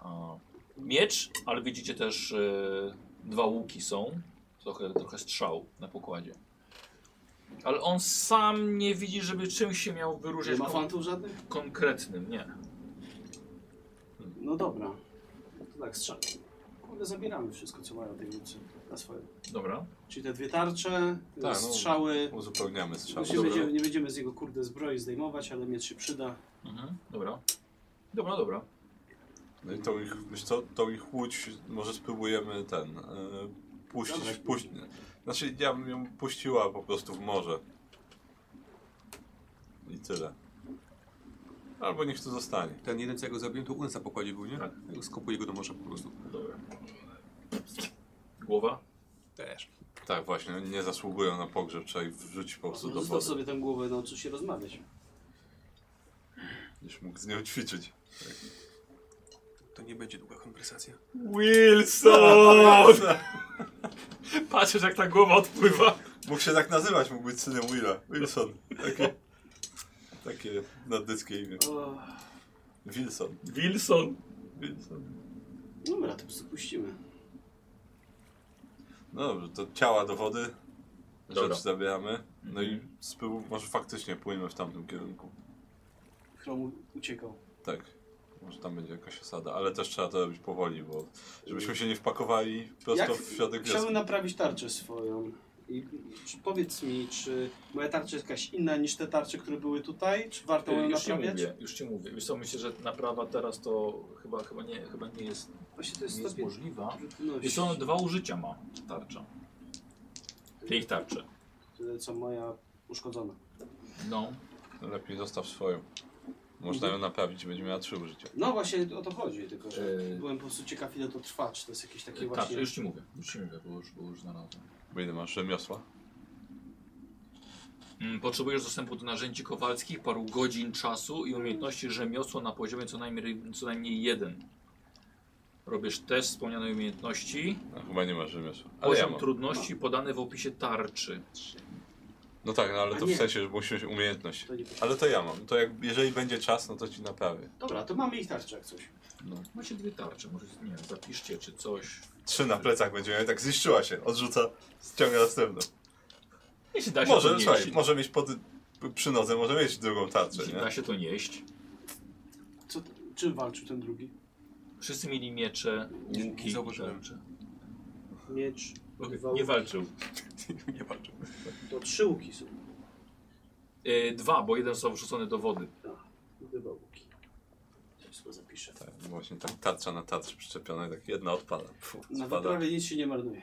Speaker 1: E, miecz, ale widzicie też e, dwa łuki są, trochę, trochę strzał na pokładzie. Ale on sam nie widzi, żeby czymś się miał
Speaker 3: Nie
Speaker 1: wyróżniać
Speaker 3: ma
Speaker 1: kon-
Speaker 3: fantów żadnych?
Speaker 1: konkretnym, nie.
Speaker 3: No dobra. To tak, strzał. Kurde, zabieramy wszystko, co mają tej ludzie na swoje.
Speaker 1: Dobra.
Speaker 3: Czyli te dwie tarcze,
Speaker 2: no.
Speaker 3: strzały.
Speaker 2: Uzupełniamy strzał.
Speaker 3: No się będziemy, nie będziemy z jego kurde zbroi zdejmować, ale miecz się przyda.
Speaker 1: Mhm, dobra. Dobra, dobra.
Speaker 2: No i tą ich, wiesz co, tą ich łódź może spróbujemy ten, e, puścić,
Speaker 3: Dobra.
Speaker 2: puść, znaczy ja bym ją puściła po prostu w morze. I tyle. Albo niech tu zostanie.
Speaker 4: Ten jeden, co ja go zabiłem, to u nas na pokładzie był, nie?
Speaker 1: Tak.
Speaker 4: Ja go skopuję go do morza po prostu.
Speaker 1: Dobra. Głowa?
Speaker 4: Też.
Speaker 2: Tak, właśnie, nie zasługują na pogrzeb, trzeba ich wrzucić po prostu
Speaker 3: No,
Speaker 2: do
Speaker 3: Zostaw
Speaker 2: wody.
Speaker 3: sobie tę głowę, nauczy się rozmawiać.
Speaker 2: Będziesz mógł z nią ćwiczyć.
Speaker 4: To nie będzie długa konwersacja.
Speaker 1: Wilson! Patrzysz jak ta głowa odpływa.
Speaker 2: Mógł się tak nazywać, mógł być synem Willa. Wilson. Takie, takie naddyckie imię.
Speaker 3: O,
Speaker 2: Wilson.
Speaker 1: Wilson.
Speaker 2: Wilson.
Speaker 3: dobra, to po prostu puścimy.
Speaker 2: No dobrze, to ciała do wody.
Speaker 1: Dobra.
Speaker 2: Rzecz zabieramy. No i
Speaker 1: Mhm.
Speaker 2: z pyłu może faktycznie płyniemy w tamtym kierunku.
Speaker 3: Chrom uciekał.
Speaker 2: Tak. Może tam będzie jakaś osada, ale też trzeba to robić powoli, bo żebyśmy się nie wpakowali prosto
Speaker 3: Jak
Speaker 2: w środek wioski.
Speaker 3: Chciałbym naprawić tarczę swoją. I czy, powiedz mi, czy moja tarcza jest jakaś inna niż te tarcze, które były tutaj? Czy warto ją
Speaker 1: Y, Już ci
Speaker 3: naprawiać?
Speaker 1: mówię, już ci mówię. Wiesz co, myślę, że naprawa teraz to chyba, chyba, nie, chyba nie jest,
Speaker 3: Właśnie to jest
Speaker 1: nie jest
Speaker 3: stopień
Speaker 1: możliwa. Wiesz
Speaker 3: trudności.
Speaker 1: co, ona dwa użycia ma tarcza. Te ich tarcze.
Speaker 3: Tyle co moja uszkodzona.
Speaker 1: No.
Speaker 2: Lepiej zostaw swoją. Można
Speaker 3: Mhm.
Speaker 2: ją naprawić, będzie miała trzy użycia.
Speaker 3: No właśnie o to chodzi, tylko że
Speaker 1: Yy.
Speaker 3: byłem po prostu ciekaw ile to trwa, czy to jest jakieś takie
Speaker 1: Tarcze,
Speaker 3: właśnie...
Speaker 1: Tak, już ci mówię. Już ci mówię, bo już, bo już znalazłem.
Speaker 2: Bo ile masz rzemiosła?
Speaker 1: Mm, Potrzebujesz dostępu do narzędzi kowalskich, paru godzin czasu i umiejętności rzemiosła na poziomie co najmniej, co najmniej jeden. Robisz test wspomnianej umiejętności.
Speaker 2: No, chyba nie masz rzemiosła. Ale ja
Speaker 1: Poziom
Speaker 2: mam.
Speaker 1: trudności podany w opisie tarczy.
Speaker 2: No tak, no, ale
Speaker 3: A
Speaker 2: to
Speaker 3: nie.
Speaker 2: w sensie, że musimy mieć umiejętność.
Speaker 3: To nie...
Speaker 2: Ale to ja mam. To jak, jeżeli będzie czas, no to ci naprawię.
Speaker 3: Dobra, to mamy ich tarczę jak coś.
Speaker 2: No.
Speaker 1: Macie dwie tarcze, może nie wiem, zapiszcie czy coś.
Speaker 2: Trzy na plecach będzie miał, tak zniszczyła się, odrzuca, ściąga następną.
Speaker 1: Jeśli da się to
Speaker 2: Może,
Speaker 1: nieść.
Speaker 2: słuchaj, może mieć pod przy nodze, może mieć drugą tarczę,
Speaker 1: jeśli
Speaker 2: nie?
Speaker 1: da się to nieść.
Speaker 3: Co, czym walczył ten drugi?
Speaker 1: Wszyscy mieli miecze,
Speaker 4: Nie- nie
Speaker 1: łuki, i
Speaker 4: zauważyłem.
Speaker 1: tarcze.
Speaker 3: Miecz,
Speaker 1: Okej,
Speaker 3: bywał-
Speaker 1: Nie walczył.
Speaker 4: nie walczył.
Speaker 3: to trzy łuki są.
Speaker 1: E, dwa, bo jeden został wrzucony do wody.
Speaker 3: Bywał łuki. To wszystko zapiszę.
Speaker 2: Tak, właśnie tak tarcza na tarczy przyczepiona, i tak jedna odpada. Pfu,
Speaker 3: Na
Speaker 2: spada.
Speaker 3: wyprawie nic się nie marnuje.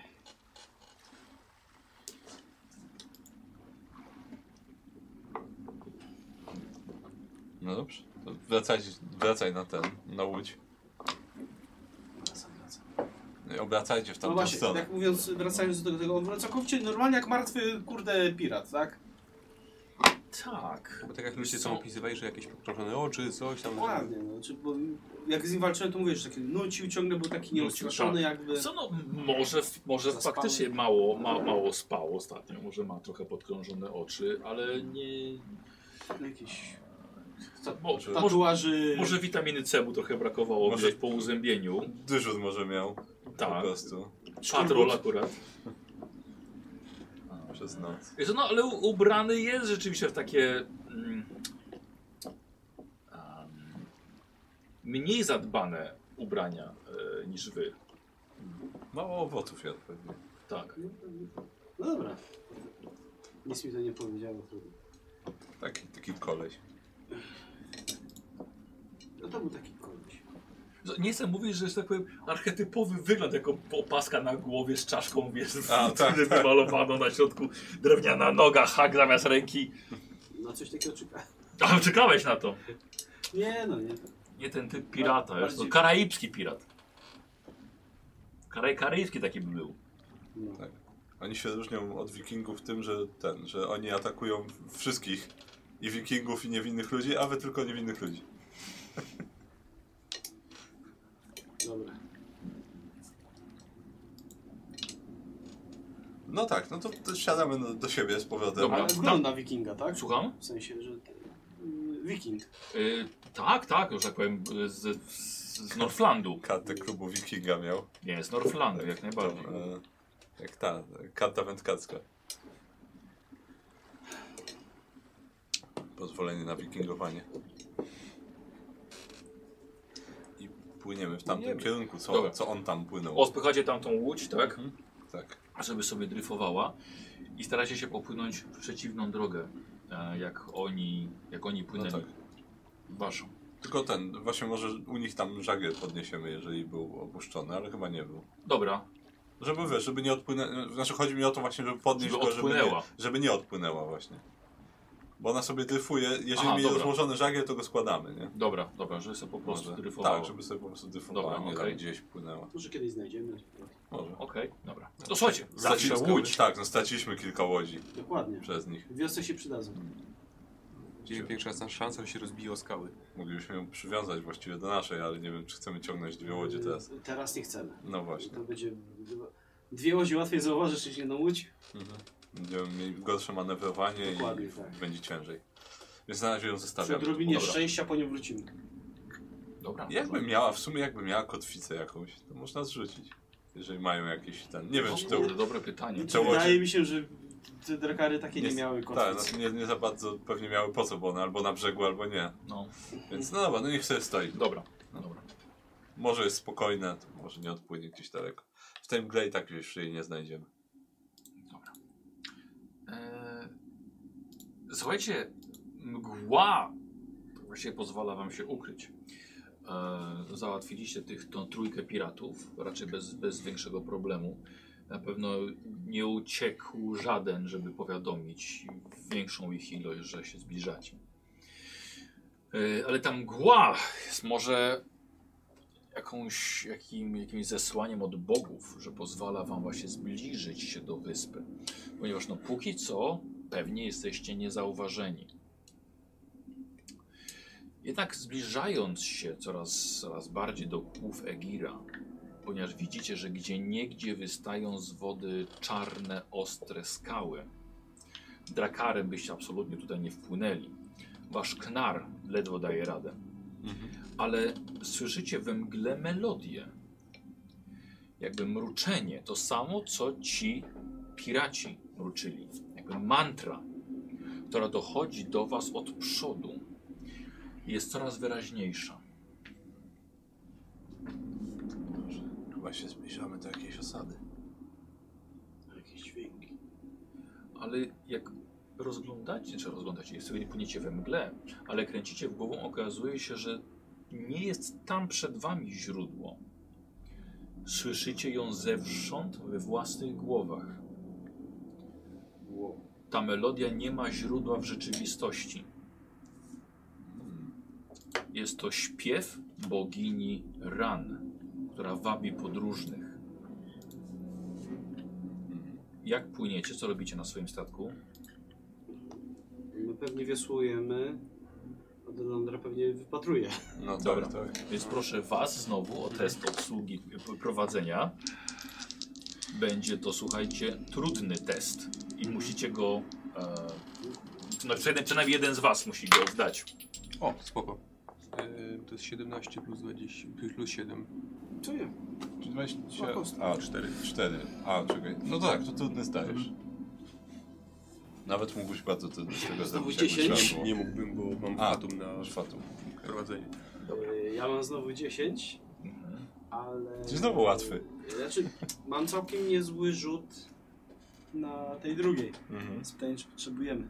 Speaker 2: No dobrze, to wracaj, wracaj na ten, na łódź.
Speaker 3: Wracam, wracam.
Speaker 2: No i Obracajcie w tamtą
Speaker 3: No właśnie,
Speaker 2: stronę.
Speaker 3: tak mówiąc, wracając do tego, on był całkowicie normalnie jak martwy, kurde, pirat, tak?
Speaker 1: Tak.
Speaker 4: Bo tak jak ludzie są opisywali, że jakieś pokrążone oczy, coś tam.
Speaker 1: Tak.
Speaker 3: Ładnie, no, czy, bo jak z nim walczyłem, to mówię, że taki nucił ciągle, był taki
Speaker 1: Nucił,
Speaker 3: nieustraszony jakby.
Speaker 1: Co no, m- może, może
Speaker 3: Zaspany.
Speaker 1: faktycznie mało, ma, mało spało ostatnio, może ma trochę podkrążone oczy, ale nie...
Speaker 3: Jakiś
Speaker 1: Mo, może,
Speaker 3: tatuaży.
Speaker 1: może witaminy C mu trochę brakowało
Speaker 2: Może-
Speaker 1: może... po uzębieniu.
Speaker 2: Dyżur może miał, po
Speaker 1: Tak,
Speaker 2: prostu,
Speaker 1: patrol akurat.
Speaker 2: przez noc.
Speaker 1: Wiesz, no ale u- ubrany jest rzeczywiście w takie mm, em, mniej zadbane ubrania e, niż wy.
Speaker 2: Mało No, owoców jadł pewnie.
Speaker 1: Tak.
Speaker 3: No dobra. Nic mi to nie powiedziało. trudno.
Speaker 2: Taki, taki koleś.
Speaker 3: No to był taki koleś.
Speaker 1: Z- No, Nie chcę mówić, że jest tak powiem archetypowy wygląd, jako opaska na głowie z czaszką, wiesz,
Speaker 2: A, tak,
Speaker 1: który
Speaker 2: tak.
Speaker 1: wymalowano na środku, drewniana noga, hak zamiast ręki.
Speaker 3: No coś takiego czeka.
Speaker 1: A, czekałeś na to.
Speaker 3: Nie no, nie.
Speaker 1: Nie ten typ pirata,
Speaker 3: Ba-
Speaker 1: jest to
Speaker 3: bardziej-
Speaker 1: karaibski pirat. Karaj, karaibski taki by był.
Speaker 3: No.
Speaker 2: Tak. Oni się różnią od wikingów tym, że ten, że oni atakują wszystkich. I wikingów, i niewinnych ludzi, a wy tylko niewinnych ludzi.
Speaker 3: Dobra.
Speaker 2: No tak, no to, to siadamy do, do siebie z powrotem.
Speaker 1: Dobra.
Speaker 3: Ale wygląda wikinga, tak?
Speaker 1: Słucham?
Speaker 3: W sensie, że... y, Wiking.
Speaker 1: Y, tak, tak, już tak powiem, y, z, z, z Norflandu.
Speaker 2: Kartę klubu wikinga miał.
Speaker 1: Nie, z Norflandu, Tak, jak najbardziej.
Speaker 2: Tą, e, jak ta, e, karta wędkarska. Pozwolenie na wikingowanie. I płyniemy w tamtym
Speaker 4: Płyniemy.
Speaker 2: kierunku, co,
Speaker 1: Dobra.
Speaker 2: co on tam płynął.
Speaker 1: Odpychacie tamtą łódź, tak?
Speaker 2: Mhm. Tak.
Speaker 1: żeby sobie dryfowała i staracie się popłynąć w przeciwną drogę, e, jak oni, jak oni płynęli.
Speaker 2: tak.
Speaker 1: Waszą.
Speaker 2: Tylko ten, właśnie może u nich tam żagiel podniesiemy, jeżeli był opuszczony, ale chyba nie był.
Speaker 1: Dobra,
Speaker 2: Żeby wiesz, żeby nie odpłynęła, znaczy chodzi mi o to właśnie, żeby podnieść
Speaker 1: Żeby
Speaker 2: go, żeby nie,
Speaker 1: odpłynęła.
Speaker 2: żeby nie odpłynęła właśnie. Bo ona sobie dryfuje. Jeżeli
Speaker 1: Aha,
Speaker 2: mi
Speaker 1: dobra.
Speaker 2: rozłożony żagiel, to go składamy, nie?
Speaker 1: Dobra, dobra, że sobie po prostu
Speaker 2: Może.
Speaker 1: dryfowało.
Speaker 2: Tak, żeby sobie po prostu dryfowała,
Speaker 1: Dobra,
Speaker 2: nie
Speaker 1: okej.
Speaker 2: tam gdzieś płynęła.
Speaker 3: Może kiedyś znajdziemy.
Speaker 2: Może.
Speaker 1: Okej, dobra. No To słuchajcie, zawsze
Speaker 2: Straciliśmy-
Speaker 1: łódź.
Speaker 2: Tak, no straciliśmy kilka łodzi
Speaker 3: Dokładnie.
Speaker 2: przez nich.
Speaker 3: W wiosce się przydadzą.
Speaker 4: Gdzie większa jest nasza szansa, że się rozbije o skały.
Speaker 2: Moglibyśmy ją przywiązać właściwie do naszej, ale nie wiem, czy chcemy ciągnąć dwie
Speaker 3: Mm.
Speaker 2: łodzie teraz.
Speaker 3: Teraz nie chcemy.
Speaker 2: No właśnie.
Speaker 3: To będzie... Dwie łodzie łatwiej zauważysz niż jedną łódź.
Speaker 2: Mhm. Będziemy mieli gorsze manewrowanie
Speaker 3: Dokładnie,
Speaker 2: i
Speaker 3: tak.
Speaker 2: będzie ciężej. Więc na razie ją
Speaker 3: Przy
Speaker 2: zostawiam.
Speaker 3: odrobinie
Speaker 1: Dobra.
Speaker 3: szczęścia po nią wrócimy.
Speaker 1: Dobra.
Speaker 2: Jakby miała, w sumie jakby miała kotwicę jakąś, to można zrzucić. Jeżeli mają jakiś ten. Nie wiem, czy
Speaker 1: No,
Speaker 2: to.
Speaker 1: kurde, dobre pytanie.
Speaker 2: Czy łodzie-
Speaker 3: Wydaje mi się, że te drakary takie nie,
Speaker 2: Nie-
Speaker 3: miały
Speaker 2: Tak,
Speaker 3: kotwic.
Speaker 2: no, nie, nie za bardzo pewnie miały po co, bo one albo na brzegu, albo nie.
Speaker 1: No,
Speaker 2: Więc no dobra, no niech sobie stoi.
Speaker 1: dobra, dobra.
Speaker 2: Może jest spokojne, to może nie odpłynie gdzieś daleko. W tym grę i tak już jej nie znajdziemy.
Speaker 1: Dobra. Eee, słuchajcie, mgła właściwie pozwala wam się ukryć. Eee, załatwiliście tych, tą trójkę piratów, raczej bez, bez większego problemu. Na pewno nie uciekł żaden, żeby powiadomić większą ich ilość, że się zbliżacie. Eee, ale ta mgła jest może jakąś, jakim, jakimś zesłaniem od bogów, że pozwala wam właśnie zbliżyć się do wyspy. Ponieważ no póki co pewnie jesteście niezauważeni. Jednak zbliżając się coraz, coraz bardziej do kłów Egira, ponieważ widzicie, że gdzie niegdzie wystają z wody czarne, ostre skały. Drakarem byście absolutnie tutaj nie wpłynęli. Wasz knar ledwo daje radę ale słyszycie we mgle melodię. Jakby mruczenie, to samo co ci piraci mruczyli. Jakby mantra, która dochodzi do was od przodu. Jest coraz wyraźniejsza.
Speaker 2: Może chyba się zbliżamy do jakiejś osady.
Speaker 3: Jakieś dźwięki.
Speaker 1: Ale jak rozglądacie, czy rozglądacie, jest nie płyniecie we mgle, ale kręcicie w głową, okazuje się, że nie jest tam przed wami źródło. Słyszycie ją zewsząd we własnych głowach.
Speaker 3: Wow.
Speaker 1: Ta melodia nie ma źródła w rzeczywistości. Jest to śpiew bogini Ran, która wabi podróżnych. Jak płyniecie? Co robicie na swoim statku?
Speaker 2: no.
Speaker 3: My pewnie wiosłujemy, a Delandra pewnie wypatruje.
Speaker 2: No
Speaker 1: Dobra.
Speaker 2: dobra, tak.
Speaker 1: Więc proszę Was znowu o test obsługi p- prowadzenia. Będzie to, słuchajcie, trudny test i musicie go. E, no, przynajmniej- przynajmniej jeden z Was musi go zdać.
Speaker 4: O, spoko. E, to jest 17 plus 20, plus 7.
Speaker 3: Co ja?
Speaker 2: Czy 20...
Speaker 3: Po prostu.
Speaker 2: A, 4. 4. A, czekaj. No tak, to trudny zdajesz. Nawet mógłbyś bardzo trudny z tego
Speaker 3: Znowu
Speaker 2: zrobić. jakby
Speaker 3: 10?
Speaker 2: trzeba było. No.
Speaker 4: Nie mógłbym, bo mam
Speaker 2: A.
Speaker 4: fatum na
Speaker 2: Masz fatum. Okej.
Speaker 4: prowadzenie.
Speaker 3: Y, Ja mam znowu 10,
Speaker 1: Mhm.
Speaker 3: ale...
Speaker 2: Czy znowu łatwy?
Speaker 3: Znaczy, mam całkiem niezły rzut na tej drugiej.
Speaker 2: Mhm.
Speaker 3: Więc pytanie, czy potrzebujemy.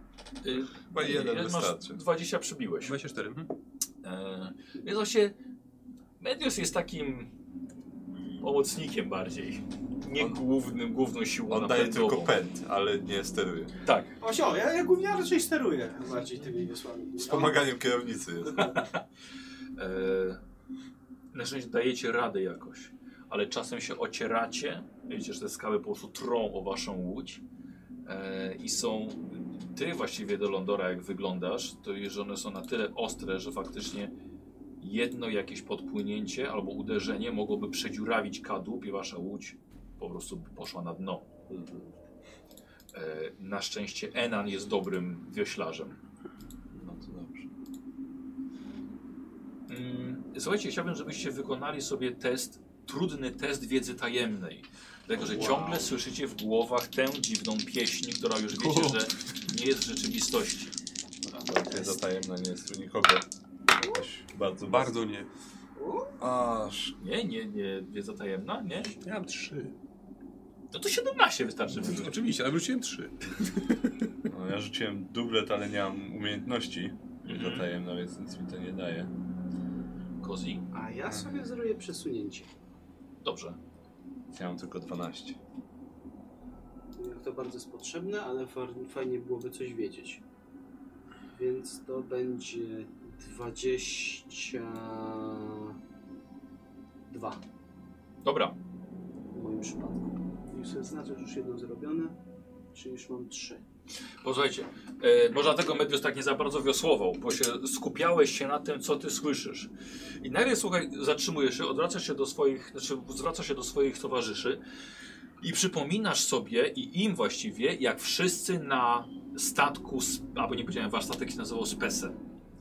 Speaker 1: Y,
Speaker 2: Chyba jeden
Speaker 1: masz
Speaker 2: wystarczy.
Speaker 1: 20 przybiłeś.
Speaker 4: 24. mhm.
Speaker 1: E, Więc właśnie Medius jest takim pomocnikiem bardziej. Nie
Speaker 2: On-
Speaker 1: głównym, główną siłą
Speaker 2: On daje
Speaker 1: napędową.
Speaker 2: tylko pęd, ale nie steruje.
Speaker 1: Tak.
Speaker 3: Osio, ja, ja głównie raczej steruję bardziej tymi wiosłami.
Speaker 2: Wspomaganiem kierownicy jest.
Speaker 1: E, na szczęście dajecie radę jakoś, ale czasem się ocieracie. Widzicie, że te skały po prostu trą o waszą łódź e, i są... Ty właściwie do Londora jak wyglądasz, to jest, że one są na tyle ostre, że faktycznie jedno jakieś podpłynięcie albo uderzenie mogłoby przedziurawić kadłub i wasza łódź po prostu by poszła na dno. E, Na szczęście Enan jest dobrym wioślarzem.
Speaker 2: No to dobrze.
Speaker 1: Mm, Słuchajcie, chciałbym, żebyście wykonali sobie test, trudny test wiedzy tajemnej. Dlatego, że
Speaker 2: Wow.
Speaker 1: ciągle słyszycie w głowach tę dziwną pieśń, która już wiecie,
Speaker 4: O.
Speaker 1: że nie jest w rzeczywistości.
Speaker 2: Wiedza tajemna nie jest u nikogo. Jakoś bardzo,
Speaker 4: Bardzo nie.
Speaker 2: Aż.
Speaker 1: Nie, nie, nie, wiedza tajemna, nie?
Speaker 4: Ja mam 3.
Speaker 1: No to 17 wystarczy.
Speaker 4: Oczywiście, ale wróciłem 3.
Speaker 2: No, ja rzuciłem dublet, ale nie mam umiejętności. Wiedza
Speaker 1: Mhm.
Speaker 2: tajemna, więc nic mi to nie daje.
Speaker 1: Kozi,
Speaker 3: A ja sobie zrobię przesunięcie.
Speaker 1: dobrze.
Speaker 2: Ja mam tylko 12.
Speaker 3: Jak to bardzo jest potrzebne, ale fa- fajnie byłoby coś wiedzieć. Więc to będzie 22
Speaker 1: Dobra,
Speaker 3: w moim przypadku. I sobie znaczę, że już jedno zrobione, czyli już mam trzy.
Speaker 1: posłuchajcie. E, może dlatego Medius tak nie za bardzo wiosłował, bo się skupiałeś się na tym, co ty słyszysz. I nagle, słuchaj, zatrzymujesz się, odwracasz się do swoich, znaczy zwracasz się do swoich towarzyszy i przypominasz sobie i im właściwie, jak wszyscy na statku, sp- albo nie powiedziałem, wasz statek się nazywał Spese,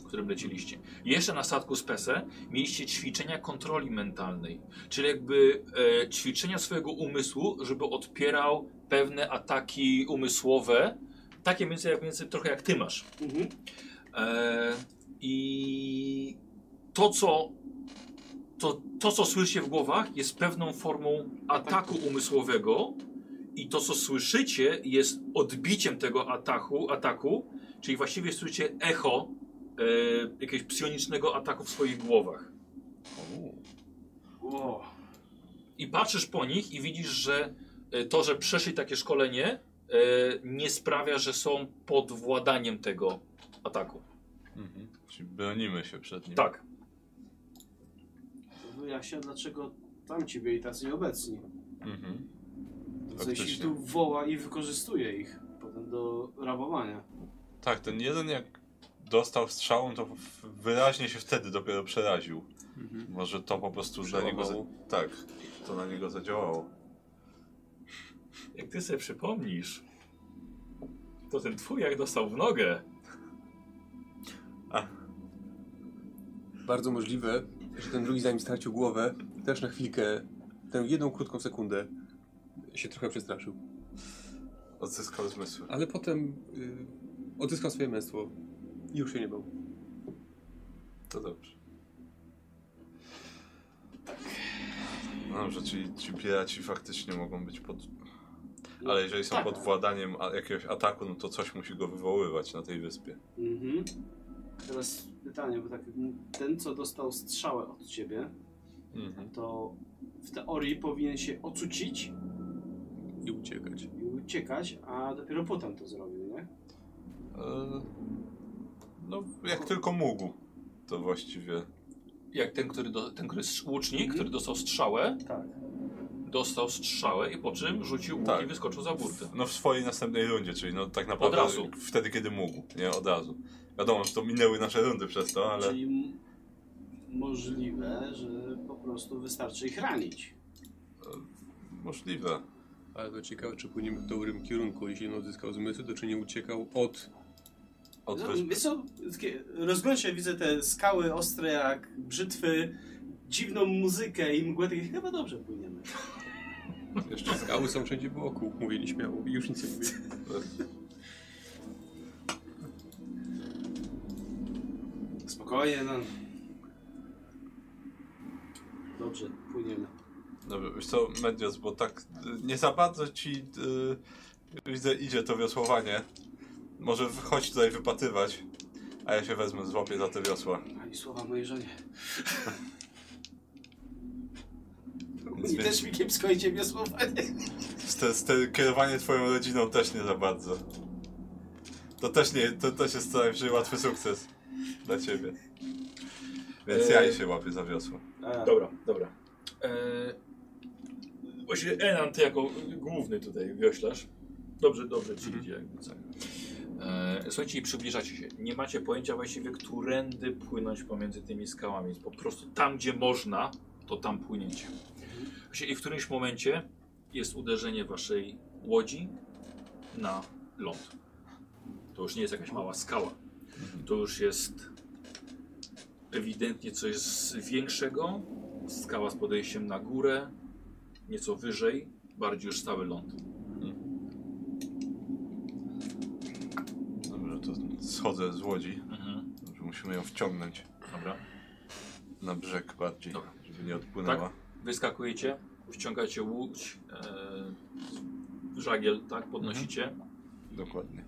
Speaker 1: którym leciliście. Jeszcze na statku Spese mieliście ćwiczenia kontroli mentalnej, czyli jakby e, ćwiczenia swojego umysłu, żeby odpierał pewne ataki umysłowe, takie mniej więcej, jak, mniej więcej trochę jak ty masz.
Speaker 3: Mhm.
Speaker 1: E, I to co, to, to, co słyszycie w głowach, jest pewną formą ataku umysłowego. I to, co słyszycie, jest odbiciem tego ataku, ataku czyli właściwie słyszycie echo e, jakiegoś psionicznego ataku w swoich głowach.
Speaker 3: Wow.
Speaker 1: I patrzysz po nich i widzisz, że e, to, że przeszli takie szkolenie, e, nie sprawia, że są pod władaniem tego ataku.
Speaker 2: Mhm. Czyli bronimy się przed nim.
Speaker 1: Tak.
Speaker 3: To Wyjaśnia, dlaczego tamci byli tacy obecni.
Speaker 2: Mhm.
Speaker 3: W sensie
Speaker 2: Faktycznie.
Speaker 3: tu woła i wykorzystuje ich potem do rabowania.
Speaker 2: Tak, ten jeden jak dostał strzałą, to w- wyraźnie się wtedy dopiero przeraził.
Speaker 4: Mhm.
Speaker 2: Może to po prostu na niego... Za... Tak, to na niego zadziałało.
Speaker 1: Jak ty sobie przypomnisz, to ten twój jak dostał w nogę.
Speaker 4: Bardzo możliwe, że ten drugi zanim stracił głowę, też na chwilkę, tę jedną krótką sekundę się trochę przestraszył.
Speaker 2: Odzyskał zmysły.
Speaker 4: Ale potem y, odzyskał swoje męstwo i już się nie bał.
Speaker 2: To dobrze. No dobrze, czyli ci piraci faktycznie mogą być pod... Ale jeżeli są
Speaker 3: Tak.
Speaker 2: pod władaniem a- jakiegoś ataku, no to coś musi go wywoływać na tej wyspie.
Speaker 3: Mhm. Teraz pytanie, bo tak, ten co dostał strzałę od ciebie,
Speaker 2: Mhm.
Speaker 3: to w teorii powinien się ocucić
Speaker 4: I uciekać.
Speaker 3: i uciekać, a dopiero potem to zrobił, nie?
Speaker 2: E, No, jak tylko mógł, to właściwie...
Speaker 1: Jak ten, który, do, ten, który strz- łucznik,
Speaker 3: Mhm.
Speaker 1: który dostał strzałę,
Speaker 3: Tak.
Speaker 1: dostał strzałę i po czym rzucił łuk
Speaker 2: Tak.
Speaker 1: i wyskoczył za burtę.
Speaker 2: No w swojej następnej rundzie, czyli no tak naprawdę
Speaker 1: Od razu.
Speaker 2: wtedy, kiedy mógł, nie od razu. Wiadomo, że to minęły nasze rundy przez to, No, ale
Speaker 3: Czyli m- możliwe, że po prostu wystarczy ich ranić.
Speaker 2: możliwe.
Speaker 4: Ale to ciekawe, czy płyniemy w dobrym kierunku. Jeśli on odzyskał zmysły, to czy nie uciekał od...
Speaker 2: Od
Speaker 3: No,
Speaker 2: wysp-
Speaker 3: Wiesz co, takie- rozglądam się, widzę te skały ostre jak brzytwy, dziwną muzykę i mgłę, takie chyba dobrze płyniemy.
Speaker 4: Jeszcze skały są wszędzie wokół, mówię nieśmiało. I już nic nie mówię.
Speaker 1: No,
Speaker 3: Spokojnie, no. Dobrze, płyniemy.
Speaker 2: Dobrze, no wiesz co, Medios, bo tak y, nie za bardzo ci y, widzę idzie to wiosłowanie. Może chodź tutaj wypatrywać, a ja się wezmę, złapię za te wiosła.
Speaker 3: Ani słowa mojej żonie.
Speaker 2: Nic
Speaker 3: I też mi kiepsko idzie mnie słowa.
Speaker 2: Ste, ste, kierowanie twoją rodziną też nie za bardzo. To też nie, to też jest co najwyżej łatwy sukces dla ciebie. Więc ja
Speaker 1: Eee.
Speaker 2: i się łapię za wiosło.
Speaker 3: Tak.
Speaker 1: Dobra, dobra. E, właściwie Enan, ty jako główny tutaj wioślarz. Dobrze, dobrze ci idzie. jakby co. E, słuchajcie, i przybliżacie się. Nie macie pojęcia właściwie, którędy płynąć pomiędzy tymi skałami. Więc po prostu tam, gdzie można, to tam płyniecie. Właściwie I w którymś momencie jest uderzenie waszej łodzi na ląd. To już nie jest jakaś mała skała. To już jest ewidentnie coś z większego. Skała z podejściem na górę, nieco wyżej, bardziej już stały ląd.
Speaker 2: Dobrze, to schodzę z łodzi.
Speaker 1: Mhm.
Speaker 2: Dobrze, musimy ją wciągnąć
Speaker 1: Dobra.
Speaker 2: na brzeg bardziej,
Speaker 1: Dobra. Tak.
Speaker 2: żeby nie odpłynęła.
Speaker 1: Wyskakujecie, wciągacie łódź, e, żagiel, tak, podnosicie.
Speaker 2: Dokładnie.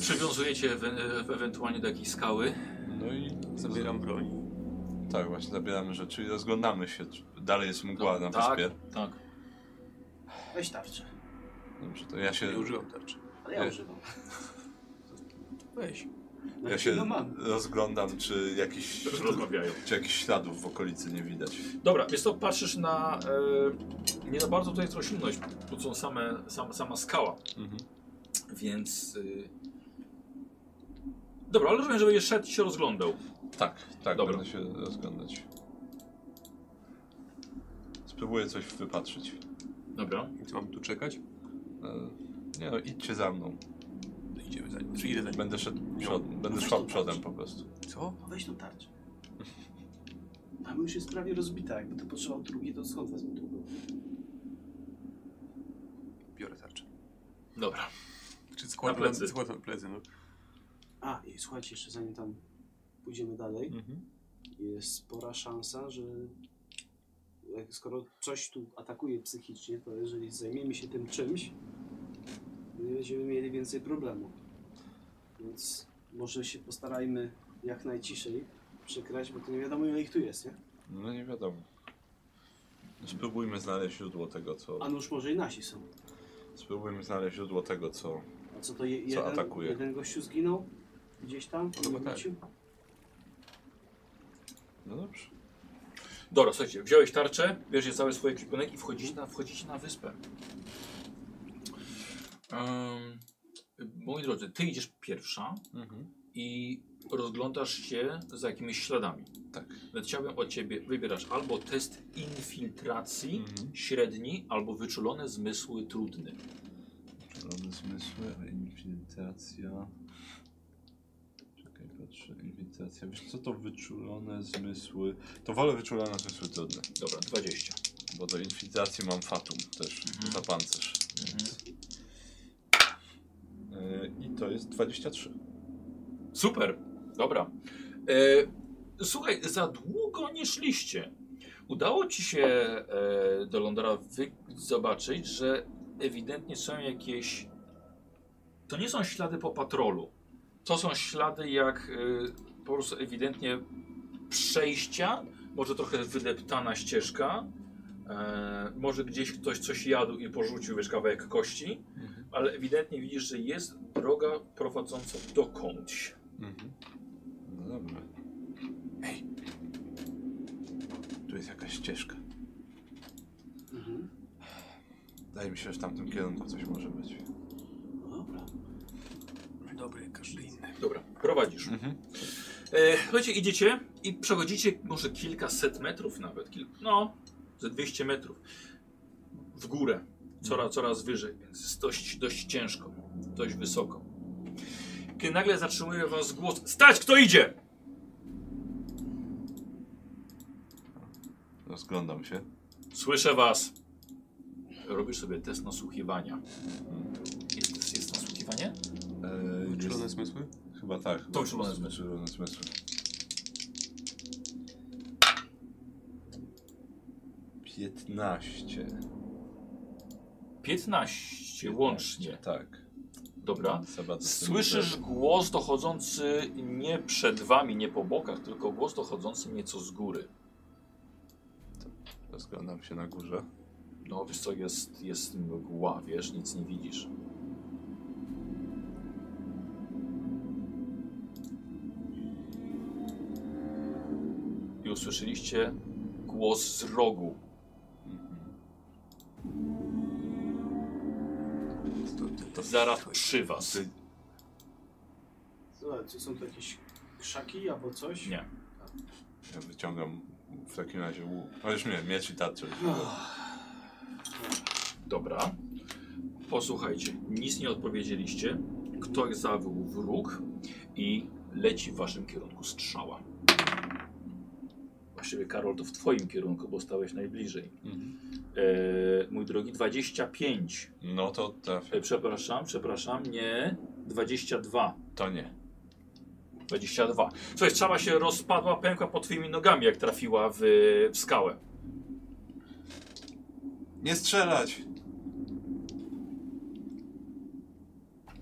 Speaker 1: Przywiązujecie ewe- e- ewentualnie do jakiejś skały.
Speaker 2: No i
Speaker 4: Zabieram broń.
Speaker 2: Tak, właśnie zabieramy rzeczy i rozglądamy się. czy Dalej jest mgła na
Speaker 1: tak,
Speaker 2: wyspie.
Speaker 1: tak.
Speaker 3: Weź tarczę.
Speaker 2: Dobrze, to ja się.
Speaker 4: Nie używam tarczy.
Speaker 3: Ale ja
Speaker 2: Nie.
Speaker 3: używam.
Speaker 1: Weź.
Speaker 2: Ja się
Speaker 3: No mam.
Speaker 2: rozglądam, czy jakiś,
Speaker 1: Rozmawiają.
Speaker 2: czy jakichś śladów w okolicy nie widać.
Speaker 1: Dobra, więc to patrzysz na... E, nie za bardzo tutaj jest roślinność, bo są same, sam, sama skała. Więc... Y... Dobra, ale rozumiem, że będziesz szedł i się rozglądał.
Speaker 2: Tak, tak,
Speaker 1: Dobra.
Speaker 2: będę się rozglądać. Spróbuję coś wypatrzyć.
Speaker 1: Dobra.
Speaker 4: Co mam tu czekać?
Speaker 2: E, Nie no, idźcie za mną.
Speaker 4: No Idziemy za nim. Czy idę za nim?
Speaker 2: Będę szedł przodem, będę
Speaker 3: No, weź
Speaker 2: szła
Speaker 3: to
Speaker 2: przodem
Speaker 3: patrz.
Speaker 2: po prostu.
Speaker 4: Co?
Speaker 3: Weź tą tarczę. Tam już jest prawie rozbita. Jakby to potrzebował drugiej, to skąd wezmę drugą?
Speaker 4: Biorę tarczę. Znaczy,
Speaker 1: Dobra.
Speaker 4: Czy składam
Speaker 1: Na plecy.
Speaker 4: Składam plecy, no.
Speaker 3: A, i słuchajcie, jeszcze zanim tam pójdziemy dalej, jest spora szansa, że jak- skoro coś tu atakuje psychicznie, to jeżeli zajmiemy się tym czymś, nie będziemy mieli więcej problemu. Więc może się postarajmy jak najciszej przekraść, bo to nie wiadomo ile ich tu jest, nie?
Speaker 2: No nie wiadomo. Spróbujmy znaleźć źródło tego, co...
Speaker 3: A nuż może i nasi są.
Speaker 2: Spróbujmy znaleźć źródło tego, co...
Speaker 3: A co to je, jeden,
Speaker 2: atakuje?
Speaker 3: jeden gościu zginął? Gdzieś tam?
Speaker 4: Chyba
Speaker 3: Nie
Speaker 4: tak.
Speaker 3: wrócił?
Speaker 2: No dobrze.
Speaker 1: Dobra, słuchajcie, wziąłeś tarczę, bierzesz cały swój ekwipunek i wchodzicie na, wchodzicie na wyspę. Um, moi drodzy, ty idziesz pierwsza
Speaker 3: Mhm.
Speaker 1: i rozglądasz się za jakimiś śladami.
Speaker 2: Tak.
Speaker 1: Więc chciałbym od ciebie, wybierasz albo test infiltracji
Speaker 2: Mhm.
Speaker 1: średni, albo wyczulone zmysły trudny.
Speaker 2: Czerwone zmysły, infiltracja. Czekaj, patrzę, infiltracja. Wiesz co to wyczulone zmysły? To wolę wyczulone zmysły trudne,
Speaker 1: Dobra, 20.
Speaker 2: bo do infiltracji mam fatum też,
Speaker 1: Mhm.
Speaker 2: za pancerz. więc- Yy, I to jest 23.
Speaker 1: Super, dobra. E, słuchaj, za długo nie szliście. Udało ci się e, do Londra wy- zobaczyć, że ewidentnie są jakieś. To nie są ślady po patrolu. To są ślady jak e, po prostu ewidentnie przejścia, może trochę wydeptana ścieżka. E, może gdzieś ktoś coś jadł i porzucił wiesz, kawałek kości, ale ewidentnie widzisz, że jest droga prowadząca dokądś.
Speaker 2: No dobra. Ej! Tu jest jakaś ścieżka.
Speaker 3: Mhm.
Speaker 2: Wydaje mi się, że w tamtym kierunku coś może być.
Speaker 3: No dobra.
Speaker 4: Dobry, jak każdy inny.
Speaker 1: Dobra, prowadzisz. E, słuchajcie, idziecie i przechodzicie może kilkaset metrów nawet, kil... no, ze 200 metrów w górę, coraz, coraz wyżej, więc jest dość, dość ciężko, dość wysoko. Kiedy nagle zatrzymuje was głos, stać, kto idzie?
Speaker 2: Rozglądam się.
Speaker 1: Słyszę was. Robisz sobie test nasłuchiwania. Mhm. Jest, jest nasłuchiwanie?
Speaker 2: Yy, jest-
Speaker 4: Wyczulone zmysły?
Speaker 2: Chyba tak.
Speaker 1: To czerwone zmysły.
Speaker 2: zmysły. zmysły. Piętnaście.
Speaker 1: 15 łącznie.
Speaker 2: Tak.
Speaker 1: Dobra.
Speaker 2: Za bardzo z tym
Speaker 1: Słyszysz
Speaker 2: nie
Speaker 1: głos dochodzący nie przed wami, nie po bokach, tylko głos dochodzący nieco z góry.
Speaker 2: będę. Rozglądam się na górze.
Speaker 1: No wiesz co, jest, jest mgła, wiesz, nic nie widzisz. I usłyszeliście głos z rogu.
Speaker 4: To, to,
Speaker 1: Zaraz przy was.
Speaker 2: Ty-
Speaker 3: Słuchajcie, są tu jakieś krzaki albo coś?
Speaker 1: Nie.
Speaker 2: Ja wyciągam w takim razie łuk. No już nie, miecz i tarczę.
Speaker 1: Dobra. Posłuchajcie, nic nie odpowiedzieliście. Ktoś zawył w róg i leci w waszym kierunku strzała. Właściwie Karol to w twoim kierunku, bo stałeś najbliżej. Eee, mój drogi, 25.
Speaker 2: No to trafię.
Speaker 1: E, przepraszam, przepraszam, nie. 22.
Speaker 2: To nie.
Speaker 1: 22. Słuchaj, strzała się rozpadła, pękła pod twoimi nogami, jak trafiła w, w skałę.
Speaker 2: Nie strzelać!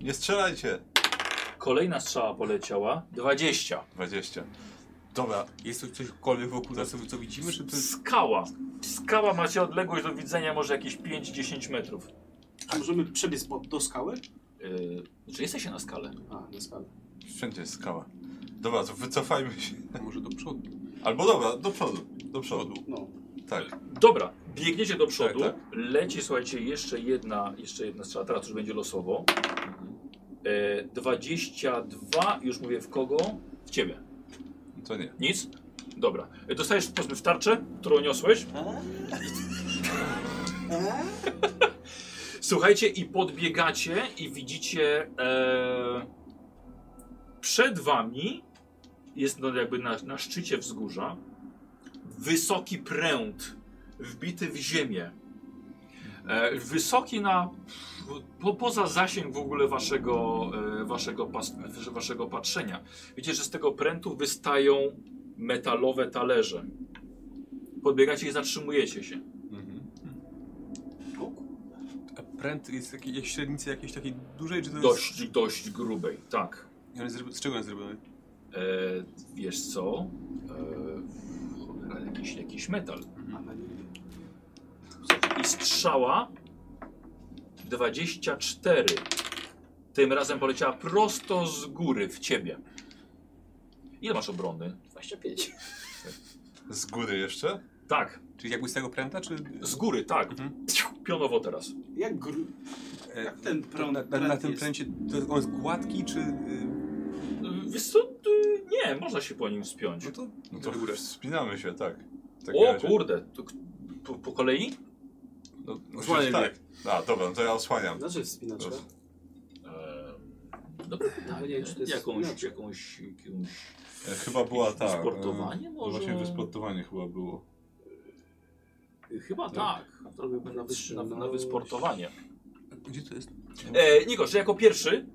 Speaker 2: Nie strzelajcie!
Speaker 1: Kolejna strzała poleciała. 20.
Speaker 2: 20. Dobra,
Speaker 4: Jest tu cośkolwiek wokół nas, co widzimy, czy to jest...
Speaker 1: Skała. Skała macie odległość do widzenia może jakieś 5-10 metrów.
Speaker 3: Czy możemy przebiec po, do skały?
Speaker 1: Yy, czy jesteście na skale?
Speaker 3: A, na skalę.
Speaker 2: Wszędzie jest skała. Dobra, to wycofajmy się.
Speaker 4: A może do przodu.
Speaker 2: Albo dobra, do przodu. Do przodu.
Speaker 3: No,
Speaker 2: Tak.
Speaker 1: Dobra, biegniecie do przodu.
Speaker 2: Tak,
Speaker 1: Leci, słuchajcie, jeszcze jedna, jeszcze jedna strzała. Teraz już będzie losowo.
Speaker 4: Mhm.
Speaker 1: E, 22, już mówię w kogo? W ciebie.
Speaker 2: To nie.
Speaker 1: Nic? Dobra. E, Dostajesz powiedzmy w tarczę, którą niosłeś. Słuchajcie, i podbiegacie i widzicie e, przed wami jest no jakby na, na szczycie wzgórza wysoki pręt wbity w ziemię. E, wysoki na po, poza zasięg w ogóle waszego, e, waszego, pas, waszego patrzenia. Widzicie, że z tego prętu wystają metalowe talerze. Podbiegacie i zatrzymujecie się.
Speaker 2: Mhm.
Speaker 4: A pręt jest taki, jak średnicy jakiejś takiej dużej, czy to jest...
Speaker 1: Dość, dość grubej, tak.
Speaker 4: I on jest zrobi- Z czego on jest zrobiony?
Speaker 1: E, wiesz co? E, cholera, jakiś, jakiś metal.
Speaker 3: ale nie.
Speaker 1: I strzała 24. Tym razem poleciała prosto z góry w ciebie. Ile masz obrony?
Speaker 5: 25.
Speaker 2: Z góry jeszcze?
Speaker 1: Tak,
Speaker 4: Czyli jakby z tego pręta, czy...
Speaker 1: z góry, tak.
Speaker 4: Mhm.
Speaker 1: Pionowo teraz.
Speaker 3: Jak gru...
Speaker 4: e,
Speaker 3: Jak ten prąd
Speaker 4: na, na, na
Speaker 3: pręt
Speaker 4: tym
Speaker 3: jest?
Speaker 4: pręcie, to on jest gładki, czy... y,
Speaker 1: Y, Wiesz co? Y, Nie, można się po nim spiąć.
Speaker 4: No to...
Speaker 2: No to wspinamy się, tak. W takim
Speaker 1: O
Speaker 2: razie-
Speaker 1: kurde, to, k- po, po kolei?
Speaker 2: No, no
Speaker 4: Osłaniaj
Speaker 2: przecież tak. A, dobra, no to ja osłaniam.
Speaker 3: Znaczy wspinaczka.
Speaker 2: Dobra.
Speaker 1: Eee, Dobre pytanie.
Speaker 3: nie wiem, czy to jest
Speaker 1: jakąś,
Speaker 3: inaczej.
Speaker 1: jakąś, jakąś...
Speaker 2: E, Chyba była ta. e,
Speaker 1: Sportowanie
Speaker 2: No
Speaker 1: może?
Speaker 2: właśnie wysportowanie chyba było.
Speaker 1: Chyba
Speaker 2: Tak.
Speaker 1: tak. Zrobiłbym na, wys- na, na wysportowanie.
Speaker 4: Gdzie to jest?
Speaker 1: E, Niko, że jako pierwszy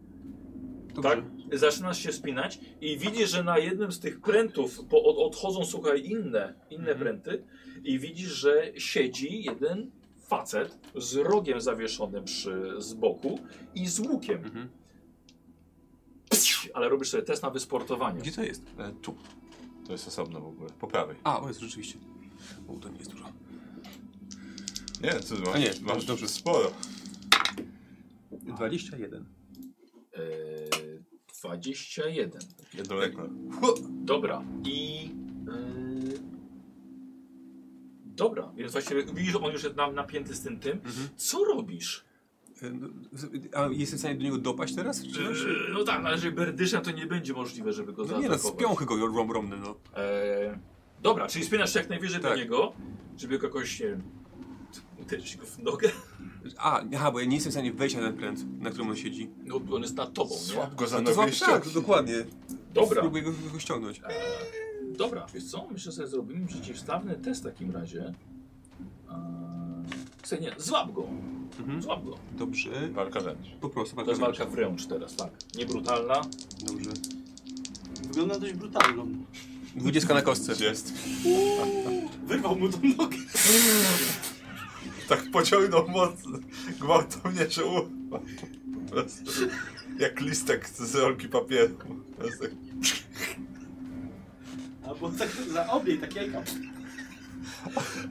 Speaker 4: Dobrze.
Speaker 1: tak, zaczynasz się spinać i widzisz, że na jednym z tych prętów po, od, odchodzą, słuchaj, inne, inne
Speaker 4: Mhm.
Speaker 1: pręty i widzisz, że siedzi jeden facet z rogiem zawieszonym przy, z boku i z łukiem.
Speaker 4: Mhm.
Speaker 1: Ale robisz sobie test na wysportowanie.
Speaker 4: Gdzie to jest?
Speaker 2: E, tu. To jest osobno w ogóle. Po prawej.
Speaker 4: A, o jest, rzeczywiście. O, to nie jest dużo.
Speaker 2: Nie, ty masz,
Speaker 4: A nie,
Speaker 2: masz
Speaker 4: dobrze.
Speaker 2: sporo.
Speaker 4: 21.
Speaker 1: Eee, 21.
Speaker 2: Jedno lekko.
Speaker 1: Dobra. I. Yy... Dobra, więc właśnie widzisz, on już jest nam napięty z tym tym.
Speaker 4: Mhm.
Speaker 1: Co robisz?
Speaker 4: E, no, z- A jesteś w stanie do niego dopaść teraz? Czy no, czy...
Speaker 1: Yy, no tak, ale jeżeli berdyszem to nie będzie możliwe, żeby go
Speaker 4: No nie no,
Speaker 1: zaatakować.
Speaker 4: spiąchy go rom, romny, no.
Speaker 1: Eee, dobra, czyli spinasz się jak najwyżej do
Speaker 4: Tak. niego,
Speaker 1: niego, żeby go jakoś nie uderzyć go w nogę.
Speaker 4: A, aha, bo ja nie jestem w stanie wejść na ten pręt, na którym on siedzi.
Speaker 1: No on jest nad tobą, nie?
Speaker 2: Słab go za
Speaker 4: No to
Speaker 2: nogę i
Speaker 4: złap, tak,
Speaker 2: ściągnij.
Speaker 4: dokładnie.
Speaker 1: Dobra.
Speaker 4: Spróbuję go, go ściągnąć.
Speaker 2: Tak.
Speaker 1: Eee, dobra, wiesz co? Myślę, że sobie zrobimy przeciwstawny test w takim razie. Eee, sobie nie, złap go,
Speaker 4: Mhm.
Speaker 1: złap go.
Speaker 4: Dobrze.
Speaker 2: Walka wręcz.
Speaker 4: Po prostu,
Speaker 1: To jest
Speaker 4: bardzo
Speaker 1: walka wręcz teraz, tak. Niebrutalna.
Speaker 4: Dobrze.
Speaker 3: Wygląda dość brutalną.
Speaker 4: 20 na kostce.
Speaker 2: Jest.
Speaker 3: Wyrwał mu tą nogę.
Speaker 2: Tak pociągnął mocno, gwałtownie, że u... Po prostu Jak listek z rolki papieru. Po prostu tak.
Speaker 3: Albo tak za obie, tak jajka.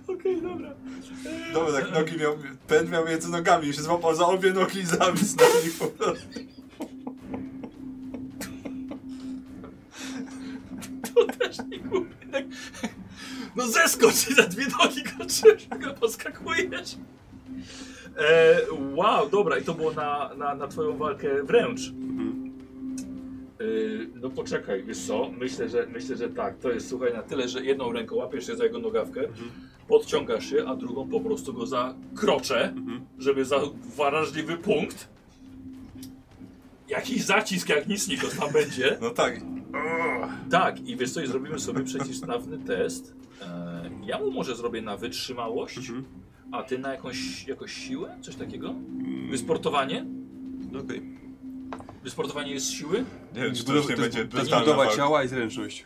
Speaker 1: Okej, dobra.
Speaker 2: Dobra, tak nogi miał, ten miał między nogami i się złapał za obie nogi i zawisł na nich po prostu.
Speaker 1: tak. No zeskocz i za dwie nogi kończysz, go poskakujesz. E, wow, dobra, i to było na, na, na twoją walkę wręcz.
Speaker 4: Mhm.
Speaker 1: E, no poczekaj, wiesz co, myślę że, myślę, że tak, to jest słuchaj na tyle, że jedną ręką łapiesz się za jego nogawkę,
Speaker 4: Mhm.
Speaker 1: podciągasz się, a drugą po prostu go za krocze,
Speaker 4: Mhm.
Speaker 1: żeby za wrażliwy punkt. Jakiś zacisk, jak nic Nikos tam będzie.
Speaker 2: No tak.
Speaker 1: Tak, i wiesz co, i zrobimy sobie przeciwstawny test. E, ja mu może zrobię na wytrzymałość,
Speaker 4: Mhm.
Speaker 1: a ty na jakąś, jakąś siłę? Coś takiego?
Speaker 4: Mm,
Speaker 1: Wysportowanie?
Speaker 4: no Okej.
Speaker 1: Wysportowanie jest siły?
Speaker 2: Nie wiem, czy to
Speaker 4: Zbudowa-
Speaker 2: już
Speaker 4: To
Speaker 2: nie
Speaker 4: jest
Speaker 2: będzie
Speaker 4: to jest
Speaker 2: brutalna
Speaker 4: budowa
Speaker 2: walka.
Speaker 4: ciała i zręczność.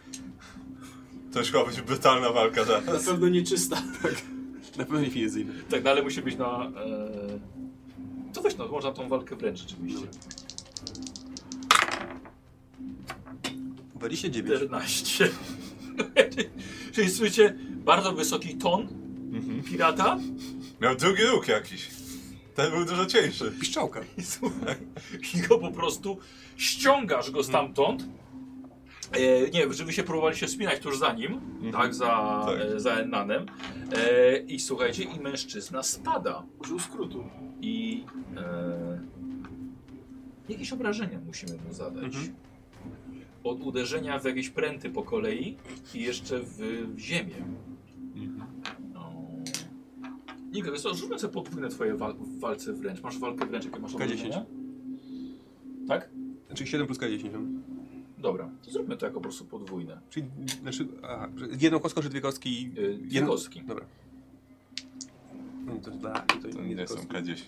Speaker 2: To już chyba będzie brutalna walka
Speaker 3: Na
Speaker 2: zaraz.
Speaker 3: pewno nieczysta.
Speaker 4: Na pewno nie fizyjna.
Speaker 1: Tak, no ale musi być na... E... To weź no, można tą walkę wręcz rzeczywiście.
Speaker 4: 29.
Speaker 1: 14. Czyli słyszycie bardzo wysoki ton pirata,
Speaker 2: Miał drugi róg jakiś. Ten był dużo cieńszy.
Speaker 4: Piszczałka.
Speaker 1: I słuchaj, i go po prostu ściągasz go stamtąd. E, nie, że wy się próbowali się wspinać tuż za nim, tak, za,
Speaker 2: Tak.
Speaker 1: E, za Ennanem. E, I słuchajcie, i mężczyzna spada.
Speaker 3: Użył skrótu.
Speaker 1: I e, jakieś obrażenia musimy mu zadać.
Speaker 4: Mhm.
Speaker 1: Od uderzenia w jakieś pręty po kolei i jeszcze w, w ziemię. No. Nika, wiesz co, rzucę sobie podwójne twoje wa- w walce wręcz. Masz walkę wręcz, jakie masz
Speaker 4: K10.
Speaker 1: obrażenia? Tak?
Speaker 4: Czyli 7 plus K10. no.
Speaker 1: Dobra, to zróbmy to jako po prostu podwójne.
Speaker 4: Czyli znaczy, a, że jedną kostką czy dwie kostki? i-
Speaker 1: Yy, dwie
Speaker 4: jedną-
Speaker 1: kostki.
Speaker 4: Dobra. No to, da, to
Speaker 2: To
Speaker 4: nie
Speaker 2: nie
Speaker 4: kostki.
Speaker 2: są K10.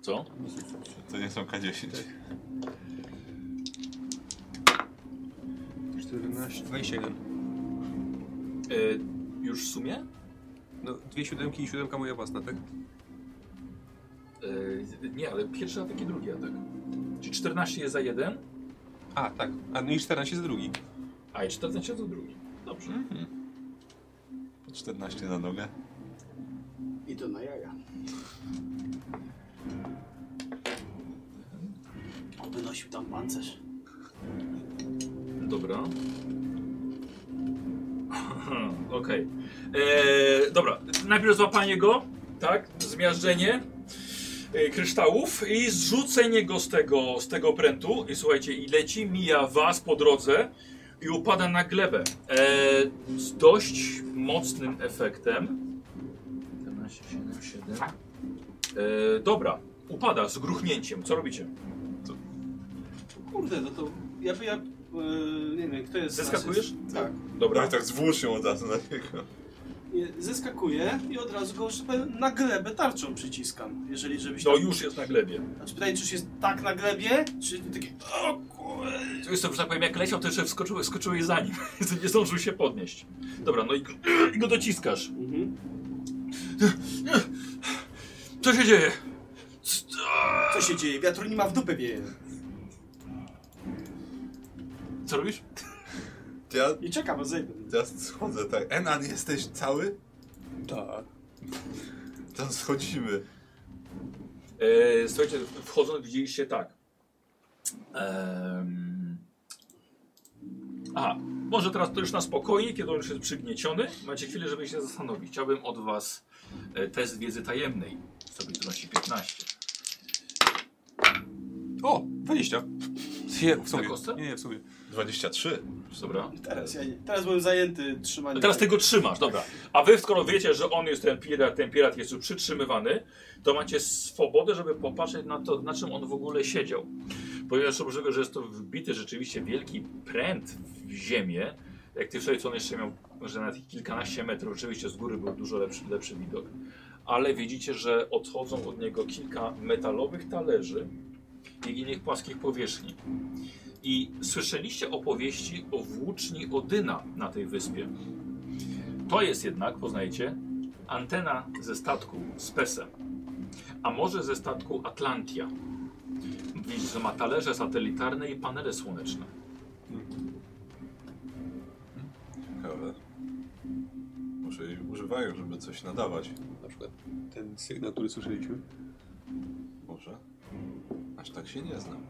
Speaker 1: Co?
Speaker 2: To nie są K10.
Speaker 4: 14, 21.
Speaker 1: Yy, już w sumie?
Speaker 4: No, dwie siódemki i siódemka moja własna, tak?
Speaker 1: Yy, nie, ale pierwszy atak i drugi atak. Czyli 14 jest za jeden,
Speaker 4: A, tak. A no i 14 za drugi.
Speaker 1: a i 14 za drugi. Dobrze.
Speaker 2: Mhm. 14 na nogę.
Speaker 3: I to na jaja. Oby nosił tam pancerz.
Speaker 1: Dobra. Okej. Eee, Dobra, najpierw złapanie go, tak? Zmiażdżenie e, kryształów i zrzucenie go z tego, z tego prętu. I słuchajcie, i leci, mija was po drodze i upada na glebę. Eee, z dość mocnym efektem. 14, 7, 7. Eee, dobra, upada z gruchnięciem. Co robicie?
Speaker 3: Kurde, no to ja by ja... e, nie wiem, kto jest...
Speaker 1: Zeskakujesz?
Speaker 3: nasyst- Tak.
Speaker 2: No
Speaker 1: Dobra.
Speaker 2: i tak zwłóż ją od razu na niego.
Speaker 3: Nie, Zeskakuję i od razu go żeby na glebę tarczą przyciskam. Jeżeli żebyś...
Speaker 1: No
Speaker 3: tam-
Speaker 1: już jest na glebie.
Speaker 3: Znaczy pytanie, czy już jest tak na glebie, czy takie... O kurde.
Speaker 1: To jest to, że tak powiem, jak leciał, to jeszcze wskoczyłeś, skoczyłeś za nim. nie zdążył się podnieść. Dobra, no i, go- i go dociskasz.
Speaker 3: Mhm.
Speaker 1: Co się dzieje? C- a-
Speaker 3: Co się dzieje? Wiatru nie ma w dupę wieje.
Speaker 1: Co robisz?
Speaker 2: Ja,
Speaker 3: I czekam, aż zejdę.
Speaker 2: ja schodzę tak. Enan, jesteś cały?
Speaker 4: Tak.
Speaker 2: Tam schodzimy.
Speaker 1: E, słuchajcie, wchodząc widzieliście tak. Ehm... Aha, może teraz to już na spokojnie, kiedy on już jest przygnieciony. Macie chwilę, żeby się zastanowić. Chciałbym od was e, test wiedzy tajemnej. Sobie wynosi 15.
Speaker 4: O, 20. Nie, w sobie.
Speaker 1: kostce?
Speaker 4: Nie, nie, w sobie.
Speaker 2: 23.
Speaker 1: Dobra.
Speaker 3: Teraz ja nie. Teraz byłem zajęty trzymaniem...
Speaker 1: No teraz ty go trzymasz, dobra. A wy skoro wiecie, że on jest ten pirat, ten pirat jest już przytrzymywany, to macie swobodę, żeby popatrzeć na to, na czym on w ogóle siedział. Ponieważ oprócz że jest to wbity rzeczywiście wielki pręt w ziemię, jak ty wczoraj, co on jeszcze miał, że nawet kilkanaście metrów, oczywiście z góry był dużo lepszy, lepszy widok. Ale widzicie, że odchodzą od niego kilka metalowych talerzy i innych płaskich powierzchni. I słyszeliście opowieści o włóczni Odyna na tej wyspie. To jest jednak, poznajcie, antena ze statku z pesem, a może ze statku Atlantia. Widzicie, że ma talerze satelitarne i panele słoneczne.
Speaker 2: Ciekawe. Może jej używają, żeby coś nadawać.
Speaker 4: Na przykład ten sygnał, który słyszeliśmy.
Speaker 2: Może. Aż tak się nie znam.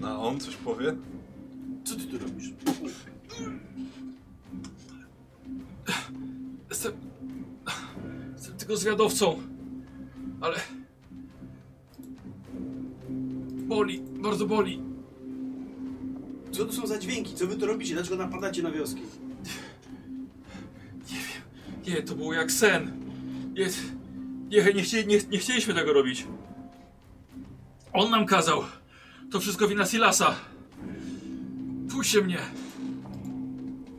Speaker 2: No a on coś powie?
Speaker 3: Co ty tu robisz?
Speaker 1: Jestem, jestem tylko zwiadowcą, ale boli, bardzo boli.
Speaker 3: Co to są za dźwięki? Co wy tu robicie? Dlaczego napadacie na wioski?
Speaker 1: Nie, to było jak sen. Nie, nie, nie, chci, nie, nie chcieliśmy tego robić. On nam kazał. To wszystko wina Silasa. Puśćcie mnie.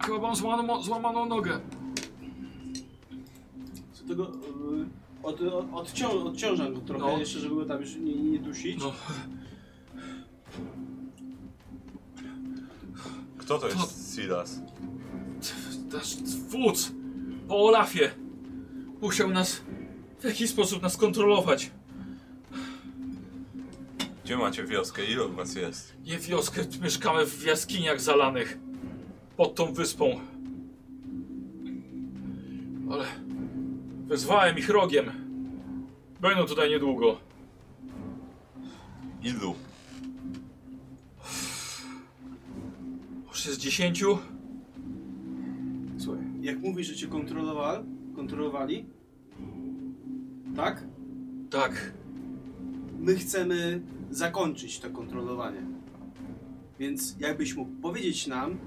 Speaker 1: Chyba mam złamaną, złamaną nogę.
Speaker 3: Co tego... Yy, od, od, odcią, odciążam go trochę
Speaker 1: No.
Speaker 3: jeszcze, żeby go tam już nie, nie dusić.
Speaker 1: No,
Speaker 2: Kto to jest Silas?
Speaker 1: nasz wódz po Olafie musiał nas w jakiś sposób nas kontrolować.
Speaker 2: Gdzie macie wioskę? Ile od was jest?
Speaker 1: Nie wioskę, mieszkamy w jaskiniach zalanych pod tą wyspą. Ale wezwałem ich rogiem. Będą tutaj niedługo.
Speaker 2: Ilu?
Speaker 1: Może z dziesięciu?
Speaker 3: Słuchaj, jak mówisz, że cię kontrolowali, kontrolowali, tak?
Speaker 1: Tak.
Speaker 3: My chcemy zakończyć to kontrolowanie. Więc jakbyś mógł powiedzieć nam,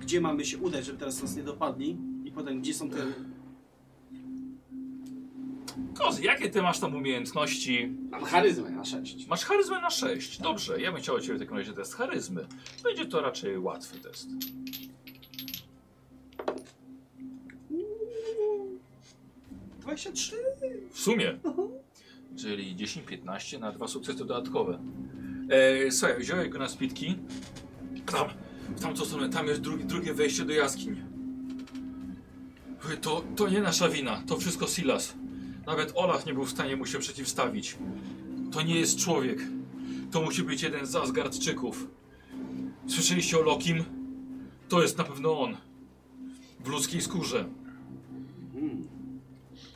Speaker 3: gdzie mamy się udać, żeby teraz nas nie dopadli i potem gdzie są te...
Speaker 1: Kozy, jakie ty masz tam umiejętności?
Speaker 3: Mam charyzmę na 6.
Speaker 1: Masz charyzmę na 6. Dobrze, ja bym chciał od ciebie w takim razie test charyzmy. Będzie to raczej łatwy test.
Speaker 3: Uuu, 23?
Speaker 1: W sumie. Czyli 10, 15 na dwa sukcesy dodatkowe. E, słuchaj, wziąłeś go na spitki. Tam, w tamtą stronę, tam jest drugi, drugie wejście do jaskiń. Wy, To, to nie nasza wina, to wszystko Silas. Nawet Olaf nie był w stanie mu się przeciwstawić. To nie jest człowiek. To musi być jeden z Asgardczyków. Słyszeliście o Lokim? To jest na pewno on. W ludzkiej skórze.
Speaker 3: Hmm.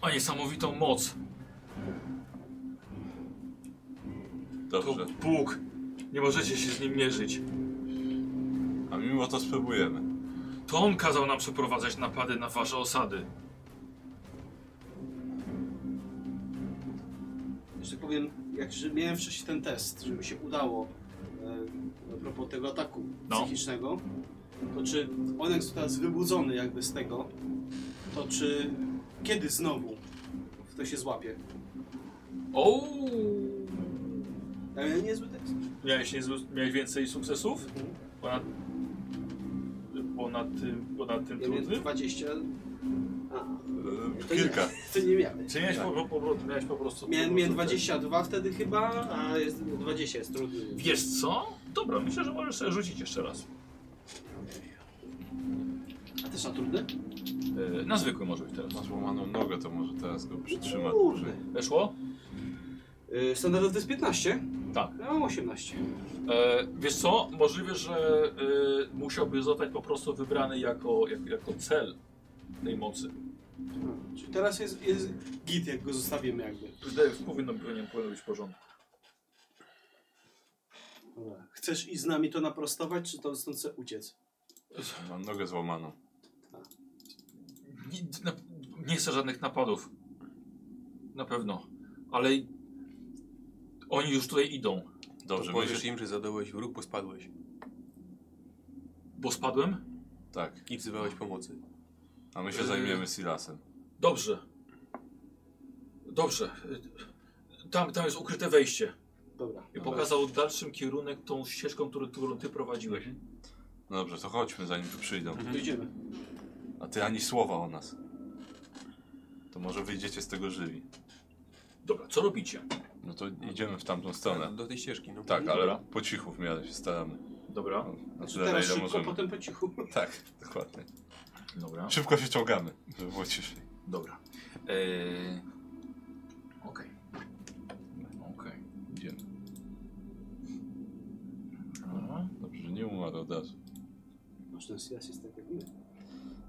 Speaker 1: Ma niesamowitą moc. To
Speaker 2: Dobrze.
Speaker 1: Bóg. Nie możecie się z nim mierzyć.
Speaker 2: A mimo to spróbujemy.
Speaker 1: To on kazał nam przeprowadzać napady na wasze osady.
Speaker 3: Że tak powiem, jak że miałem wcześniej ten test, żeby się udało e, a propos tego ataku
Speaker 1: No.
Speaker 3: psychicznego, to czy on jest teraz wybudzony jakby z tego, to czy kiedy znowu w to się złapie?
Speaker 1: O!
Speaker 3: Ja miałem niezły test.
Speaker 1: Miałeś, niezły- miałeś więcej sukcesów?
Speaker 3: Mhm.
Speaker 1: Ponad, ponad, tym- ponad tym
Speaker 3: Ja miałem
Speaker 1: trudnym?
Speaker 3: 20. A,
Speaker 2: E,
Speaker 3: to
Speaker 2: Kilka.
Speaker 3: Nie, to nie miałem.
Speaker 1: Czy miałeś po, po, po, miałeś po prostu...
Speaker 3: Tak. Miałem,
Speaker 1: po
Speaker 3: miałem
Speaker 1: prostu te-
Speaker 3: 22 wtedy chyba, a jest 20 jest trudny.
Speaker 1: Wiesz co? Dobra, myślę, że możesz sobie rzucić jeszcze raz.
Speaker 3: A też na trudny?
Speaker 1: Yy, na zwykły może być teraz.
Speaker 2: Ma złamaną nogę, to może teraz go przytrzyma
Speaker 3: Kurde.
Speaker 2: dłużej.
Speaker 1: Weszło?
Speaker 3: Yy, Standardowy to jest 15?
Speaker 1: Tak.
Speaker 3: Ja mam 18.
Speaker 1: E, wiesz co? Możliwe, że e, musiałby zostać po prostu wybrany jako, jak, jako cel tej mocy.
Speaker 3: A, Czyli teraz jest, jest git, jak go zostawimy jakby.
Speaker 1: Wydaje- Powinno, powinien, powinno być w porządku.
Speaker 3: Dobra. Chcesz i z nami to naprostować, czy to stąd chce uciec?
Speaker 2: Mam nogę złamaną.
Speaker 1: Nie, na, nie chcę żadnych napadów. Na pewno. Ale oni już tutaj idą.
Speaker 2: Dobrze,
Speaker 4: to
Speaker 2: my
Speaker 4: powiesz
Speaker 2: się...
Speaker 4: im, że zadałeś wróg, bo spadłeś
Speaker 1: Bo spadłem?
Speaker 2: Tak.
Speaker 4: i wzywałeś pomocy.
Speaker 2: A my się zajmiemy Silasem.
Speaker 1: Dobrze. Dobrze. Tam, tam jest ukryte wejście.
Speaker 3: Dobra.
Speaker 1: I pokazał dalszym kierunek tą ścieżką, którą, którą ty prowadziłeś.
Speaker 2: No dobrze, to chodźmy zanim tu przyjdą.
Speaker 3: Dojdziemy.
Speaker 2: A ty ani słowa o nas. To może wyjdziecie z tego żywi.
Speaker 1: Dobra, co robicie?
Speaker 2: No to idziemy w tamtą stronę.
Speaker 4: Do tej ścieżki, no.
Speaker 2: Tak, ale
Speaker 1: Dobra.
Speaker 2: po cichu w miarę się staramy.
Speaker 1: Dobra,
Speaker 2: Na
Speaker 3: Znaczy
Speaker 2: tyle, na
Speaker 3: teraz
Speaker 2: ile
Speaker 3: szybko,
Speaker 2: możemy.
Speaker 3: potem po cichu.
Speaker 2: Tak, dokładnie.
Speaker 1: dobra.
Speaker 2: Szybko się ciągamy, żeby było ciszej.
Speaker 1: Dobra. Eee, Okej. Okej.
Speaker 2: Idziemy.
Speaker 1: Dobra.
Speaker 2: Dobrze, że nie umarł od razu.
Speaker 3: Masz ten Silas jest tak jak my.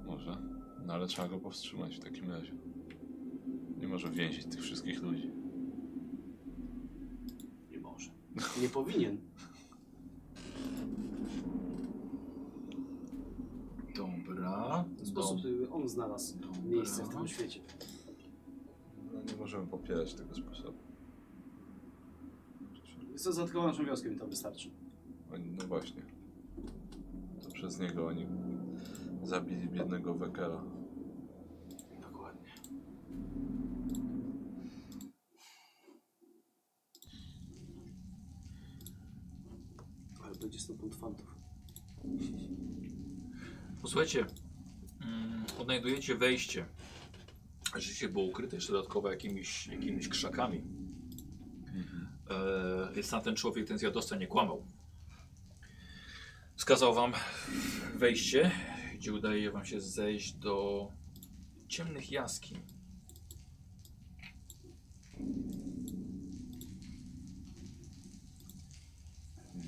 Speaker 2: Może. No ale trzeba go powstrzymać w takim razie. Nie może więzić tych wszystkich ludzi.
Speaker 3: Nie może. Nie powinien.
Speaker 1: Dobra.
Speaker 3: W sposób,
Speaker 1: Dob-
Speaker 3: żeby on znalazł
Speaker 1: Dobra.
Speaker 3: miejsce w tym świecie.
Speaker 2: No nie możemy popierać tego sposobu.
Speaker 3: Jest to dodatkowo naszą wioskę mi to wystarczy.
Speaker 2: Oni, no właśnie. To przez niego oni zabili biednego Wekera.
Speaker 1: Dokładnie.
Speaker 3: Ale będzie 100 punktów fantów.
Speaker 1: Posłuchajcie, mm, odnajdujecie wejście. Rzeczywiście było ukryte jeszcze dodatkowo jakimiś, jakimiś krzakami. E, więc na ten człowiek, ten zjadowca nie kłamał. Wskazał wam wejście, gdzie udaje wam się zejść do ciemnych jaskiń.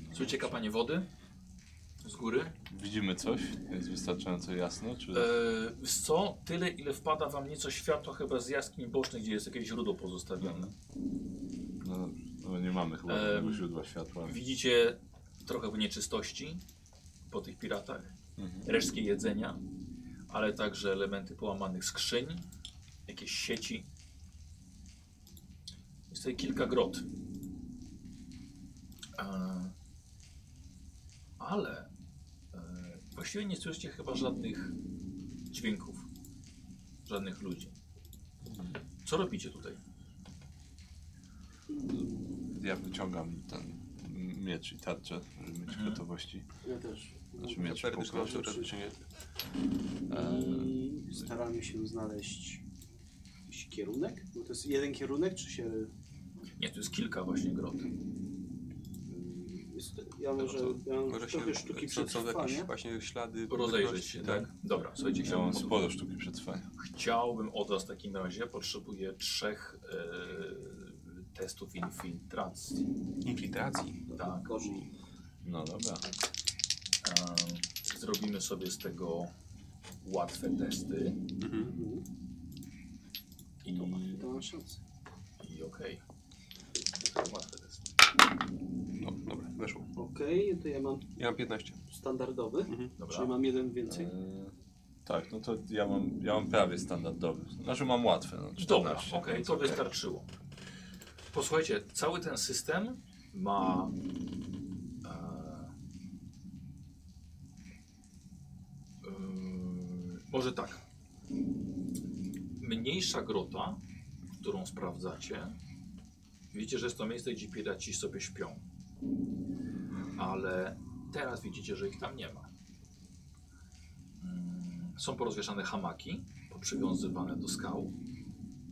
Speaker 1: Słuchajcie, kapanie wody. z góry.
Speaker 2: Widzimy coś? Jest wystarczająco jasno? Czy...
Speaker 1: Eee, wiesz co? Tyle, ile wpada wam nieco światła chyba z jaskiń bocznych, gdzie jest jakieś źródło pozostawione.
Speaker 2: No, dobrze. no nie mamy chyba
Speaker 1: Em,
Speaker 2: żadnego źródła światła.
Speaker 1: Widzicie trochę nieczystości po tych piratach,
Speaker 2: Mhm.
Speaker 1: resztki jedzenia, ale także elementy połamanych skrzyń, jakieś sieci. Jest tutaj kilka grot. E, Ale e, właściwie nie słyszycie chyba żadnych dźwięków, żadnych ludzi.
Speaker 2: Mhm.
Speaker 1: Co robicie tutaj?
Speaker 2: Ja wyciągam ten miecz i tarczę, żeby mieć
Speaker 1: Mhm.
Speaker 2: gotowości.
Speaker 3: Ja też.
Speaker 2: Znaczy miecz
Speaker 4: Perdy
Speaker 2: puka.
Speaker 4: trzymam się teraz wyciągnięte.
Speaker 1: E,
Speaker 3: I staramy się znaleźć jakiś kierunek. Bo to jest jeden kierunek, czy się... y,
Speaker 1: Nie, tu jest kilka właśnie grot.
Speaker 3: Jest, ja może,
Speaker 2: to
Speaker 3: ja mam
Speaker 4: Może się,
Speaker 3: trochę sztuki
Speaker 4: są, są jakieś
Speaker 3: przetrwania.
Speaker 4: właśnie ślady.
Speaker 1: Rozejrzeć się, tak? Dobra, słuchajcie,
Speaker 2: Ja
Speaker 1: chciałbym
Speaker 2: mam sporo sztuki przetrwania.
Speaker 1: Chciałbym od Was w takim razie, potrzebuję trzech e, testów infiltracji.
Speaker 4: Infiltracji.
Speaker 1: Tak.
Speaker 3: Gorzej.
Speaker 2: No dobra.
Speaker 1: E, zrobimy sobie z tego łatwe testy.
Speaker 4: Mhm.
Speaker 3: Mhm. No
Speaker 1: I,
Speaker 3: To mam szansę.
Speaker 1: i okej. Łatwe testy.
Speaker 4: No, dobra, weszło.
Speaker 3: Okej, no to ja mam
Speaker 4: Ja mam 15.
Speaker 3: standardowy,
Speaker 1: Mhm. Dobra.
Speaker 3: czyli mam jeden więcej.
Speaker 2: E, tak, no to ja mam, ja mam prawie standardowy. Znaczy mam łatwe. No, 14,
Speaker 1: Dobra, okej,
Speaker 2: więc
Speaker 1: to
Speaker 2: okej.
Speaker 1: wystarczyło. Posłuchajcie, cały ten system ma. E, ym, e, może tak. Mniejsza grota, którą sprawdzacie, widzicie, że jest to miejsce, gdzie piraci sobie śpią. Ale teraz widzicie, że ich tam nie ma. Mm, Są porozwieszane hamaki, poprzywiązywane do skał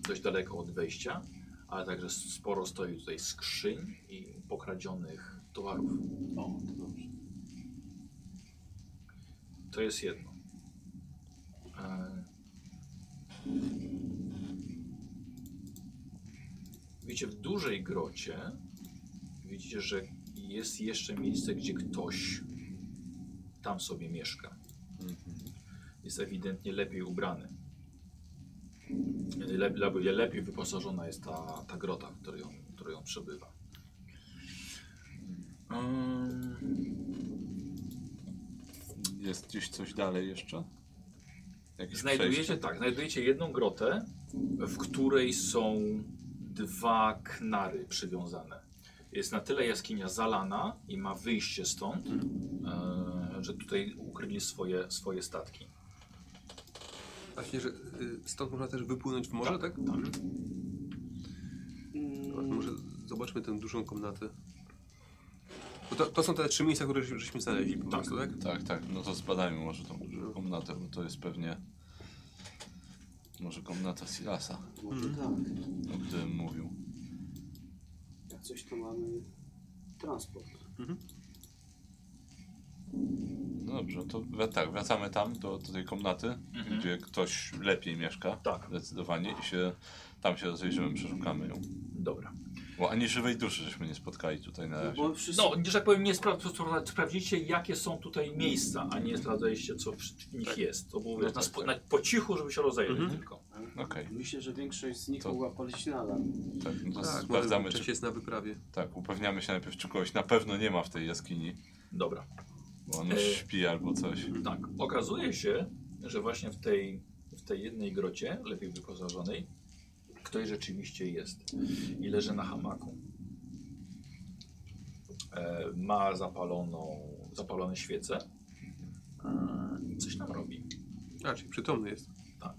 Speaker 1: dość daleko od wejścia, ale także sporo stoi tutaj skrzyń i pokradzionych towarów.
Speaker 3: O, to dobrze.
Speaker 1: To jest jedno. E... Widzicie, w dużej grocie widzicie, że jest jeszcze miejsce, gdzie ktoś tam sobie mieszka.
Speaker 2: Mhm.
Speaker 1: Jest ewidentnie lepiej ubrany. Le, le, lepiej wyposażona jest ta, ta grota, w której on, w której on przebywa. Ym,
Speaker 2: Jest gdzieś coś dalej jeszcze? Jakieś
Speaker 1: Znajdujecie,
Speaker 2: przejście?
Speaker 1: tak, znajdujecie jedną grotę, w której są dwa knary przywiązane. Jest na tyle jaskinia zalana i ma wyjście stąd, e, że tutaj ukryli swoje, swoje statki.
Speaker 4: Właśnie, że y, stąd można też wypłynąć w morze, tak? Mhm. Dobra, to
Speaker 3: Mm,
Speaker 4: Może zobaczmy tę dużą komnatę. Bo to, to są te trzy miejsca, które żeśmy żeśmy znaleźli po prostu, tak?
Speaker 2: Tak, tak, no to zbadajmy może tą dużą komnatę, bo to jest pewnie... Może komnata Silasa,
Speaker 3: Może
Speaker 1: Mhm.
Speaker 3: tak.
Speaker 2: o którym mówił.
Speaker 3: Jak coś to mamy transport.
Speaker 2: No dobrze, to we- tak, wracamy tam do, do tej komnaty,
Speaker 1: Mhm.
Speaker 2: gdzie ktoś lepiej mieszka.
Speaker 1: Tak.
Speaker 2: Zdecydowanie i się, tam się rozejrzymy, przeszukamy ją.
Speaker 1: Dobra.
Speaker 2: Bo ani żywej duszy żeśmy nie spotkali tutaj na
Speaker 3: No,
Speaker 2: razie.
Speaker 3: bo wszyscy...
Speaker 1: No, że tak powiem, nie spra spra sprawdzicie, jakie są tutaj miejsca, a nie sprawdzaliście, co w nich
Speaker 4: Tak.
Speaker 1: jest. To było
Speaker 2: No
Speaker 1: wiesz, na,
Speaker 2: tak,
Speaker 1: spo-
Speaker 2: tak.
Speaker 1: na, po cichu, żeby się rozejrzeć
Speaker 4: Mhm.
Speaker 1: tylko.
Speaker 2: Okej,
Speaker 3: Myślę, że większość z nich
Speaker 2: To-
Speaker 3: mogła polić na alarm.
Speaker 2: tak, no to
Speaker 4: Tak,
Speaker 2: sprawdzamy,
Speaker 4: może
Speaker 2: czy,
Speaker 4: Cześć jest na wyprawie.
Speaker 2: tak, upewniamy się najpierw, czy kogoś na pewno nie ma w tej jaskini,
Speaker 1: Dobra.
Speaker 2: bo on
Speaker 1: E,
Speaker 2: śpi albo coś.
Speaker 1: Tak. Okazuje się, że właśnie w tej, w tej jednej grocie, lepiej wyposażonej, ktoś rzeczywiście jest i leży na hamaku. E, ma zapaloną, zapalone świece e, i coś tam robi.
Speaker 4: A, czyli przytomny jest.
Speaker 1: Tak.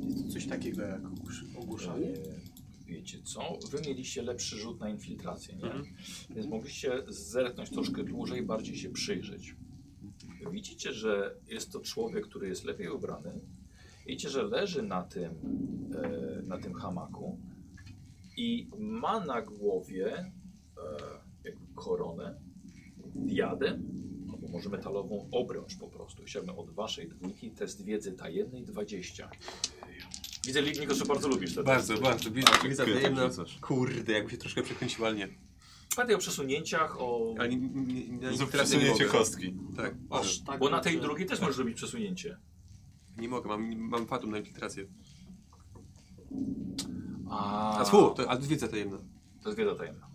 Speaker 3: Jest to coś takiego jak ogłusz- ogłuszanie?
Speaker 1: E, Wiecie co? Wy mieliście lepszy rzut na infiltrację, nie?
Speaker 4: Mhm.
Speaker 1: Więc mogliście zerknąć troszkę dłużej, bardziej się przyjrzeć. Widzicie, że jest to człowiek, który jest lepiej ubrany. Widzicie, że leży na tym, e, na tym hamaku i ma na głowie e, jakby koronę, diadem, albo może metalową obręcz po prostu. Chciałbym od waszej dwójki test wiedzy tajennej 20. Widzę, Lignik, że bardzo lubisz te testy.
Speaker 4: Bardzo, bardzo. Widzę,
Speaker 2: ty
Speaker 4: widzę tajemna...
Speaker 2: wrzucasz.
Speaker 4: Kurde, jakby się troszkę przekręciła, ale nie.
Speaker 1: Pamiętaj o przesunięciach, o...
Speaker 4: Ale nie, nie, nie, teraz nie
Speaker 2: Przesunięcie
Speaker 4: mogę.
Speaker 2: kostki.
Speaker 4: Tak,
Speaker 3: O,
Speaker 4: Aż.
Speaker 3: tak,
Speaker 1: Bo na tej
Speaker 3: że-
Speaker 1: drugiej też możesz robić przesunięcie.
Speaker 4: nie mogę, mam, mam fatum na infiltrację.
Speaker 1: A,
Speaker 4: A słuch, to, a to wiedza tajemna.
Speaker 1: To jest wiedza tajemna.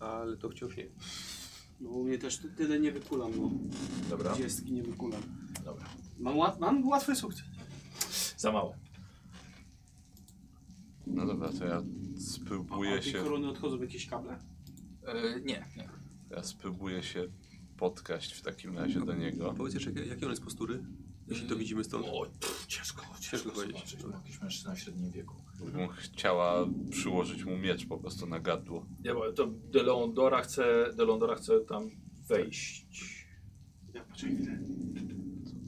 Speaker 4: Ale to wciąż nie.
Speaker 3: No u mnie też ty- tyle nie wykulam, no.
Speaker 1: Dobra,
Speaker 3: Dwudziestki nie wykulam.
Speaker 1: dobra.
Speaker 3: Mam, łat, mam łatwy sukces.
Speaker 1: Za mało.
Speaker 2: No dobra, to ja
Speaker 3: A,
Speaker 2: spróbuję
Speaker 3: od tej
Speaker 2: się,
Speaker 3: korony odchodzą jakieś kable?
Speaker 1: E, nie, nie.
Speaker 2: ja spróbuję się podkraść w takim razie do niego.
Speaker 4: Powiedz jeszcze, jakie- jakie on jest postury? Jeśli to widzimy stąd.
Speaker 1: O, pff, ciężko, ciężko
Speaker 4: Ciężko powiedzieć.
Speaker 1: zobaczyć. bo Jakiś mężczyzna w średnim wieku.
Speaker 2: Bym chciała przyłożyć mu miecz po prostu na gardło.
Speaker 1: Nie, bo to Delondora chce, Delondora chce tam wejść.
Speaker 3: Ja patrzę i widzę.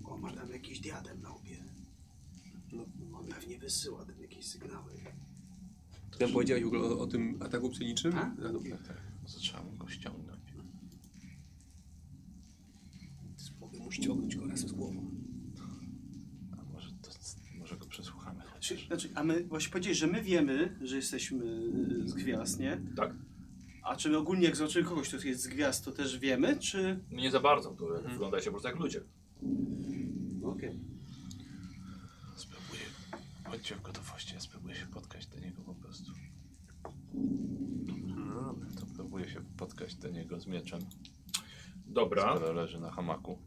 Speaker 3: O, masz tam jakiś diadem na łbie. No, on pewnie wysyła tam jakieś sygnały.
Speaker 4: Tam powiedziałeś w ogóle o, o tym ataku psioniczym?
Speaker 3: A?
Speaker 4: Tak,
Speaker 2: Zaczęłam go ściągnąć.
Speaker 4: Mogę mu ściągnąć go razem z głową.
Speaker 2: A może, to, może go przesłuchamy
Speaker 3: Czy,
Speaker 2: chociaż.
Speaker 3: znaczy, a my właśnie powiedzieć, że my wiemy, że jesteśmy y, z gwiazd, nie?
Speaker 1: Tak.
Speaker 3: A czy my ogólnie jak zobaczymy kogoś, kto jest z gwiazd, to też wiemy, czy...
Speaker 1: No Nie za bardzo, to wyglądacie po prostu jak ludzie.
Speaker 3: Okej.
Speaker 2: Spróbuję. Chodźcie w gotowości, ja spróbuję się podkraść do niego po prostu.
Speaker 4: No, dobra.
Speaker 2: To próbuję się podkraść do niego z mieczem,
Speaker 1: Dobra,
Speaker 2: skoro leży na hamaku.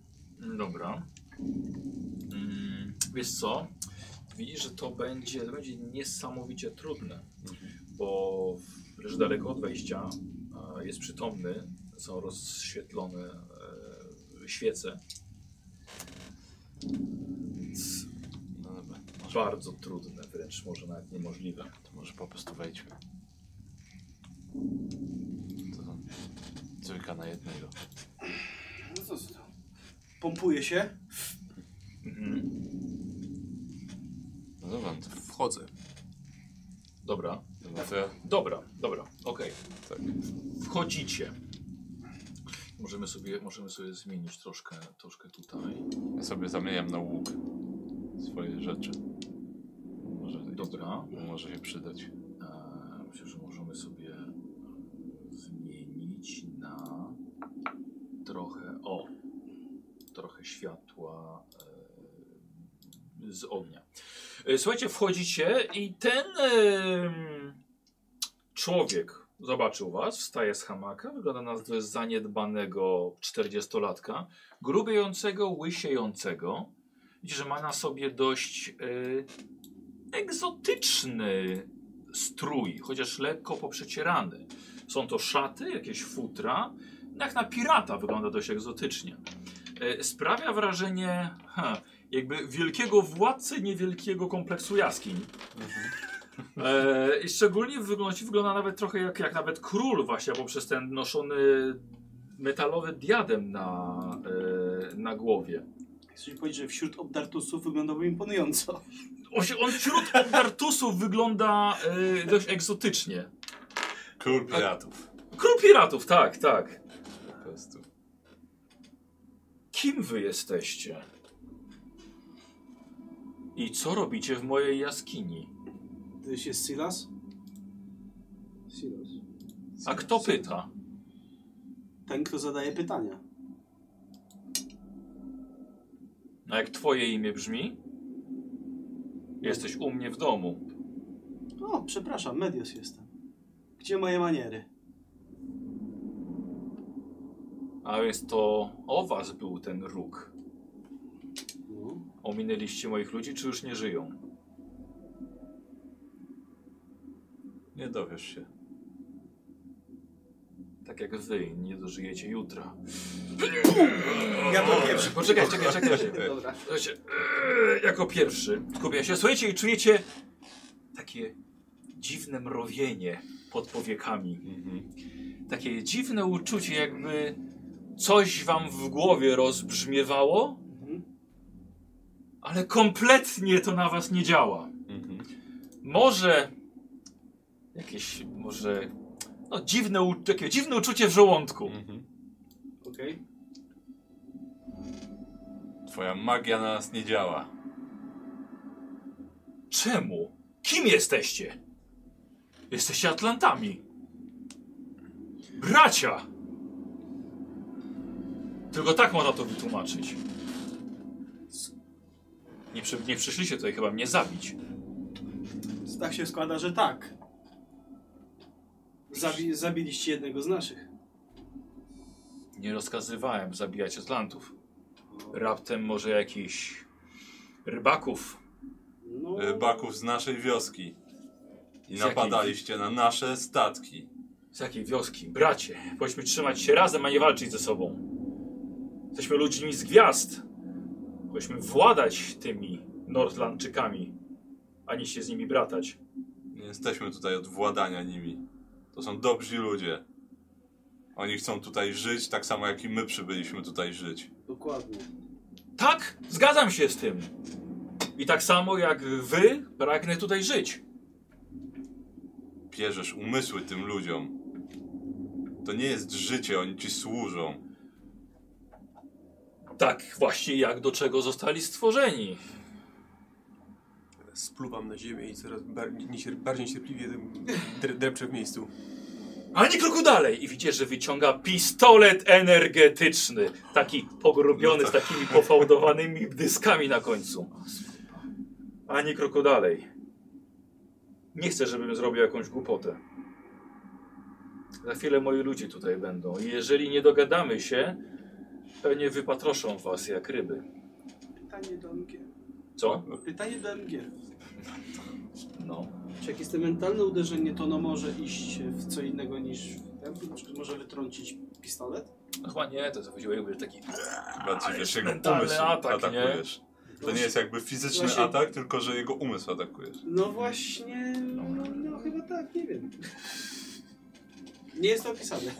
Speaker 1: dobra. Mm, wiesz co? Widzisz, że to będzie, to będzie niesamowicie trudne, bo leży daleko od wejścia, a jest przytomny, są rozświetlone e, świece. Więc
Speaker 2: No dobra, może,
Speaker 1: Bardzo trudne, wręcz może nawet niemożliwe.
Speaker 2: to może po prostu wejdźmy. To trójka na jednego.
Speaker 3: No co, co to? Pompuje się.
Speaker 1: Mhm.
Speaker 2: No dobra, to,
Speaker 4: Wchodzę.
Speaker 1: Dobra,
Speaker 2: dobra, to ja,
Speaker 1: dobra, dobra, okej.
Speaker 2: tak.
Speaker 1: Wchodzicie. Możemy sobie, możemy sobie zmienić troszkę, troszkę tutaj.
Speaker 2: Ja sobie zamieniam na łuk swoje rzeczy. Może,
Speaker 1: Dobra.
Speaker 2: może się przydać.
Speaker 1: Eee, myślę, że możemy sobie e, zmienić na trochę, o, trochę światła eee, z ognia. E, Słuchajcie, wchodzicie i ten em, człowiek zobaczył was, wstaje z hamaka, wygląda na z- zaniedbanego 40-latka, grubiejącego, łysiejącego. Widzi, że ma na sobie dość e, egzotyczny strój, chociaż lekko poprzecierany. Są to szaty, jakieś futra. No Jak na pirata wygląda dość egzotycznie. E, Sprawia wrażenie ha, jakby wielkiego władcy niewielkiego kompleksu jaskiń.
Speaker 4: Mhm.
Speaker 1: E, I szczególnie w wyglądzie wygląda nawet trochę jak, jak nawet król właśnie, bo przez ten noszony metalowy diadem na, e, na głowie.
Speaker 3: Chcesz mi powiedzieć, że wśród obdartusów wyglądałby imponująco.
Speaker 1: On, się- on wśród obdartusów wygląda e, dość egzotycznie.
Speaker 2: Król
Speaker 4: Tak,
Speaker 2: piratów.
Speaker 1: Król piratów, tak, tak.
Speaker 2: Po prostu.
Speaker 1: Kim wy jesteście? I co robicie w mojej jaskini?
Speaker 3: Ty się z Silas? Silas.
Speaker 1: A kto pyta?
Speaker 3: Ten, kto zadaje pytania.
Speaker 1: A jak twoje imię brzmi? Jesteś u mnie w domu.
Speaker 3: O, przepraszam, Medios jestem. Gdzie moje maniery?
Speaker 1: A więc to o was był ten róg.
Speaker 3: No.
Speaker 1: Ominęliście moich ludzi, czy już nie żyją?
Speaker 2: Nie dowiesz się.
Speaker 1: Tak jak wy, nie dożyjecie jutra.
Speaker 3: Ja to pierwszy.
Speaker 1: Poczekaj, czekaj, czekaj. czekaj.
Speaker 3: Dobra.
Speaker 1: Słuchajcie, eee, jako pierwszy skupia się. Słuchajcie i czujecie takie dziwne mrowienie pod powiekami.
Speaker 2: Mhm.
Speaker 1: takie dziwne uczucie, jakby coś wam w głowie rozbrzmiewało,
Speaker 3: Mhm.
Speaker 1: ale kompletnie to na was nie działa.
Speaker 2: Mhm.
Speaker 1: Może jakieś, może no, dziwne, u- takie dziwne uczucie w żołądku.
Speaker 2: Mhm.
Speaker 3: Okej.
Speaker 2: Twoja magia na nas nie działa.
Speaker 1: Czemu? Kim jesteście? Jesteście Atlantami. Bracia! Tylko tak można to wytłumaczyć. Nie, przy, nie przyszliście tutaj chyba mnie zabić.
Speaker 3: Tak się składa, że tak. Zabi zabiliście jednego z naszych.
Speaker 1: Nie rozkazywałem zabijać Atlantów. Raptem może jakiś rybaków.
Speaker 3: No,
Speaker 2: Rybaków e, z naszej wioski. I
Speaker 1: Z
Speaker 2: napadaliście na nasze statki.
Speaker 1: Z jakiej wioski? Bracie, powinniśmy trzymać się razem, a nie walczyć ze sobą. Jesteśmy ludźmi z gwiazd. Powinniśmy władać tymi Nordlandczykami, a nie się z nimi bratać.
Speaker 2: Nie jesteśmy tutaj od władania nimi. To są dobrzy ludzie. Oni chcą tutaj żyć tak samo jak i my przybyliśmy tutaj żyć.
Speaker 3: Dokładnie.
Speaker 1: Tak, zgadzam się z tym. I tak samo jak wy, pragnę tutaj żyć.
Speaker 2: Pierzesz umysły tym ludziom. To nie jest życie, oni ci służą.
Speaker 1: Tak właśnie jak do czego zostali stworzeni.
Speaker 4: Spluwam na ziemię i coraz bar- niecier- bardziej cierpliwie dre- drepczę w miejscu.
Speaker 1: Ale nie kroku dalej! I widzicie, że wyciąga pistolet energetyczny. Taki pogrubiony z takimi pofałdowanymi dyskami na końcu. Ani kroku dalej. Nie chcę, żebym zrobił jakąś głupotę. Za chwilę moi ludzie tutaj będą. I jeżeli nie dogadamy się, pewnie wypatroszą was jak ryby.
Speaker 3: Pytanie do MG.
Speaker 1: Co?
Speaker 3: Pytanie do MG.
Speaker 1: No.
Speaker 3: Czy jakieś te mentalne uderzenie, to no może iść w co innego niż w ten? Czy może wytrącić pistolet?
Speaker 1: Chyba nie, to chodziło jakby taki...
Speaker 2: Bardziej wiesz, jego
Speaker 1: mentalny
Speaker 2: umysł
Speaker 1: atak, nie?
Speaker 2: atakujesz. To nie jest jakby fizyczny
Speaker 3: Właśnie-
Speaker 2: atak, tylko że jego umysł atakujesz.
Speaker 3: No właśnie, no chyba tak, nie wiem. Nie jest to opisane.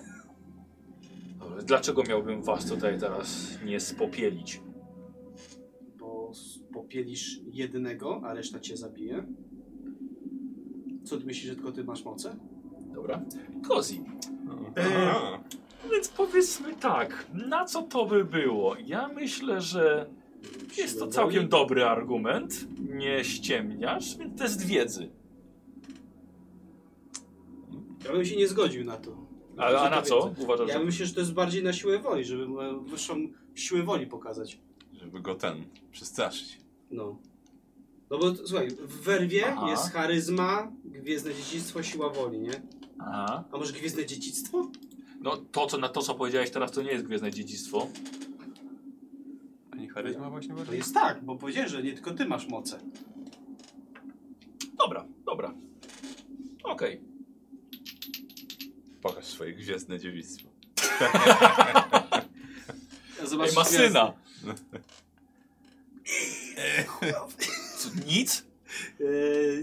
Speaker 1: Ale Dlaczego miałbym was tutaj teraz nie spopielić?
Speaker 3: Bo s- popielisz jednego, a reszta cię zabije. Co ty myślisz, że tylko ty masz moce?
Speaker 1: Dobra. Kozi, Eee,
Speaker 2: Aha.
Speaker 1: Więc powiedzmy tak, na co to by było? Ja myślę, że jest to całkiem dobry argument. Nie ściemniasz, więc test wiedzy.
Speaker 3: Ja bym się nie zgodził na to.
Speaker 1: A, a na co uważasz?
Speaker 3: Ja
Speaker 1: że-
Speaker 3: myślę, że to jest bardziej na siłę woli, żeby mu wyższą siłę woli pokazać.
Speaker 2: Żeby go ten przestraszyć.
Speaker 3: No. No bo t- słuchaj, w werwie
Speaker 1: Aha.
Speaker 3: jest charyzma, gwiezdne dziedzictwo, siła woli, nie?
Speaker 1: Aha.
Speaker 3: A może gwiezdne dziedzictwo?
Speaker 1: No to, co, na to, co powiedziałeś teraz, to nie jest Gwiezdne Dziedzictwo.
Speaker 4: A nie charyzma właśnie
Speaker 3: To
Speaker 4: bardziej?
Speaker 3: jest tak, bo powiedziałeś, że nie tylko ty masz moce.
Speaker 1: Dobra, dobra. Okej.
Speaker 2: Pokaż swoje gwiezdne dziewictwo.
Speaker 3: Ja
Speaker 1: Ej,
Speaker 3: zobaczę
Speaker 1: Ma
Speaker 3: gwiazdy.
Speaker 1: syna. Co, Nic?
Speaker 3: Eee,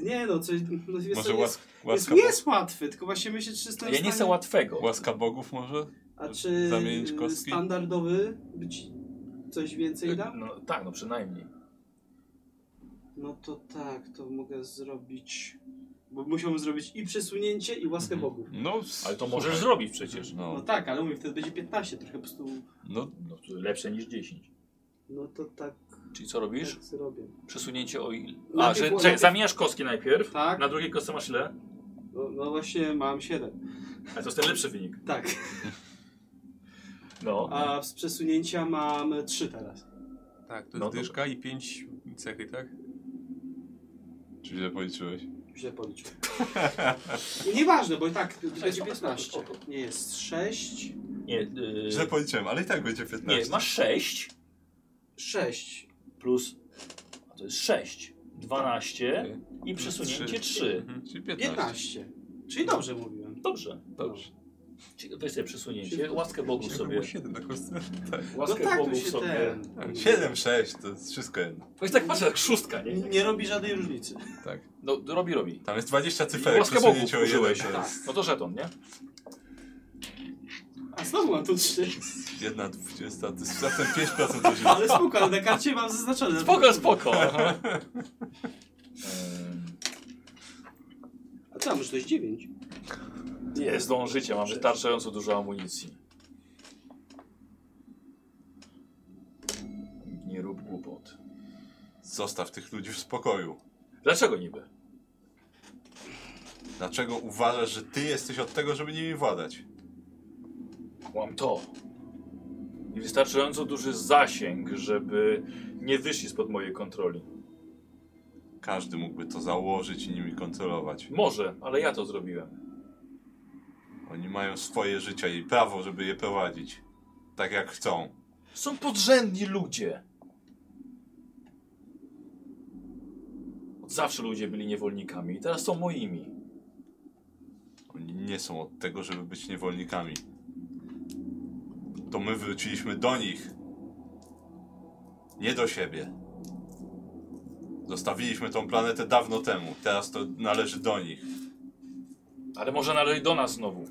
Speaker 3: nie no, coś... No, jest,
Speaker 2: Może
Speaker 3: to jest,
Speaker 2: łask,
Speaker 3: jest,
Speaker 2: łaska,
Speaker 3: jest łatwy, tylko właśnie myślę, czy jestem w
Speaker 1: Ja nie chcę
Speaker 3: stanie-
Speaker 1: łatwego.
Speaker 2: łaska bogów może?
Speaker 3: A czy
Speaker 2: zamienić
Speaker 3: y,
Speaker 2: kostki?
Speaker 3: standardowy być coś więcej da?
Speaker 1: No, tak, no przynajmniej.
Speaker 3: No to tak, to mogę zrobić... Bo musiałbym zrobić i przesunięcie, i łaskę
Speaker 1: Mhm.
Speaker 3: bogów.
Speaker 2: No, s-
Speaker 1: Ale to możesz
Speaker 2: słuchaj,
Speaker 1: zrobić przecież.
Speaker 3: No
Speaker 2: No,
Speaker 3: tak, ale mówię, wtedy będzie 15, trochę po prostu...
Speaker 2: no,
Speaker 1: No, to lepsze niż 10.
Speaker 3: No to tak,
Speaker 1: Czyli co robisz?
Speaker 3: tak zrobię.
Speaker 1: Przesunięcie o ile? A,
Speaker 3: Najpierw-
Speaker 1: że, czekaj,
Speaker 3: najpierw-
Speaker 1: zamieniasz kostki najpierw.
Speaker 3: Tak.
Speaker 1: Na drugiej kostce masz ile?
Speaker 3: No, no właśnie mam 7.
Speaker 1: A to jest ten lepszy wynik.
Speaker 3: Tak.
Speaker 1: No.
Speaker 3: A z przesunięcia mam 3 teraz.
Speaker 4: Tak, to
Speaker 1: No
Speaker 4: jest
Speaker 1: dobra.
Speaker 4: dyszka i pięć cechy, tak?
Speaker 2: czy źle policzyłeś?
Speaker 3: Źle policzyłem. Nieważne, bo i tak będzie 15. Nie jest 6.
Speaker 1: Nie, yy,
Speaker 2: Źle policzyłem, ale i tak będzie 15.
Speaker 1: nie, masz 6
Speaker 3: 6.
Speaker 1: plus. A to jest 6. 12
Speaker 3: Tak.
Speaker 2: Okej.
Speaker 1: i przesunięcie
Speaker 4: Trzy.
Speaker 1: 3.
Speaker 4: Mhm.
Speaker 2: Czyli 15.
Speaker 3: 15. Czyli dobrze mówiłem.
Speaker 1: Dobrze.
Speaker 2: Dobrze.
Speaker 1: Czyli Weź sobie przesunięcie. Łaskę Bogu
Speaker 4: Jakby
Speaker 1: sobie.
Speaker 4: było siedem na kostce.
Speaker 3: No
Speaker 1: Łaskę
Speaker 3: tak,
Speaker 1: Bogu
Speaker 3: to się
Speaker 1: sobie.
Speaker 3: ten.
Speaker 2: 7, 6, to jest wszystko jedno.
Speaker 1: Weź tak patrzę, jak szóstka, nie?
Speaker 3: Nie robi żadnej różnicy.
Speaker 2: Tak.
Speaker 1: No robi, robi.
Speaker 2: Tam jest 20 cyferek,
Speaker 1: Łaskę Bogu
Speaker 2: przesunięcie o jeden,
Speaker 1: użyłeś.
Speaker 2: to jest
Speaker 1: No to żeton, nie?
Speaker 3: A znowu mam tu 3.
Speaker 2: 1, 20, to jest zatem 5% to źle.
Speaker 3: Ale spoko, ale na karcie mam zaznaczone.
Speaker 1: Spoko, spoko. Aha.
Speaker 3: A co, może to jest 9?
Speaker 1: Ehm, Nie zdążycie, mam wystarczająco dużo amunicji. Nie rób głupot.
Speaker 2: Zostaw tych ludzi w spokoju.
Speaker 1: Dlaczego niby?
Speaker 2: Dlaczego uważasz, że ty jesteś od tego, żeby nimi władać?
Speaker 1: mam to. I wystarczająco duży zasięg, żeby nie wyszli spod mojej kontroli.
Speaker 2: Każdy mógłby to założyć i nimi kontrolować.
Speaker 1: Może, ale ja to zrobiłem.
Speaker 2: Oni mają swoje życia i prawo, żeby je prowadzić. Tak jak chcą.
Speaker 1: Są podrzędni ludzie. Od zawsze ludzie byli niewolnikami i teraz są moimi.
Speaker 2: Oni nie są od tego, żeby być niewolnikami. To my wróciliśmy do nich. Nie do siebie. Zostawiliśmy tą planetę dawno temu. Teraz to należy do nich.
Speaker 1: Ale może należy do nas znowu.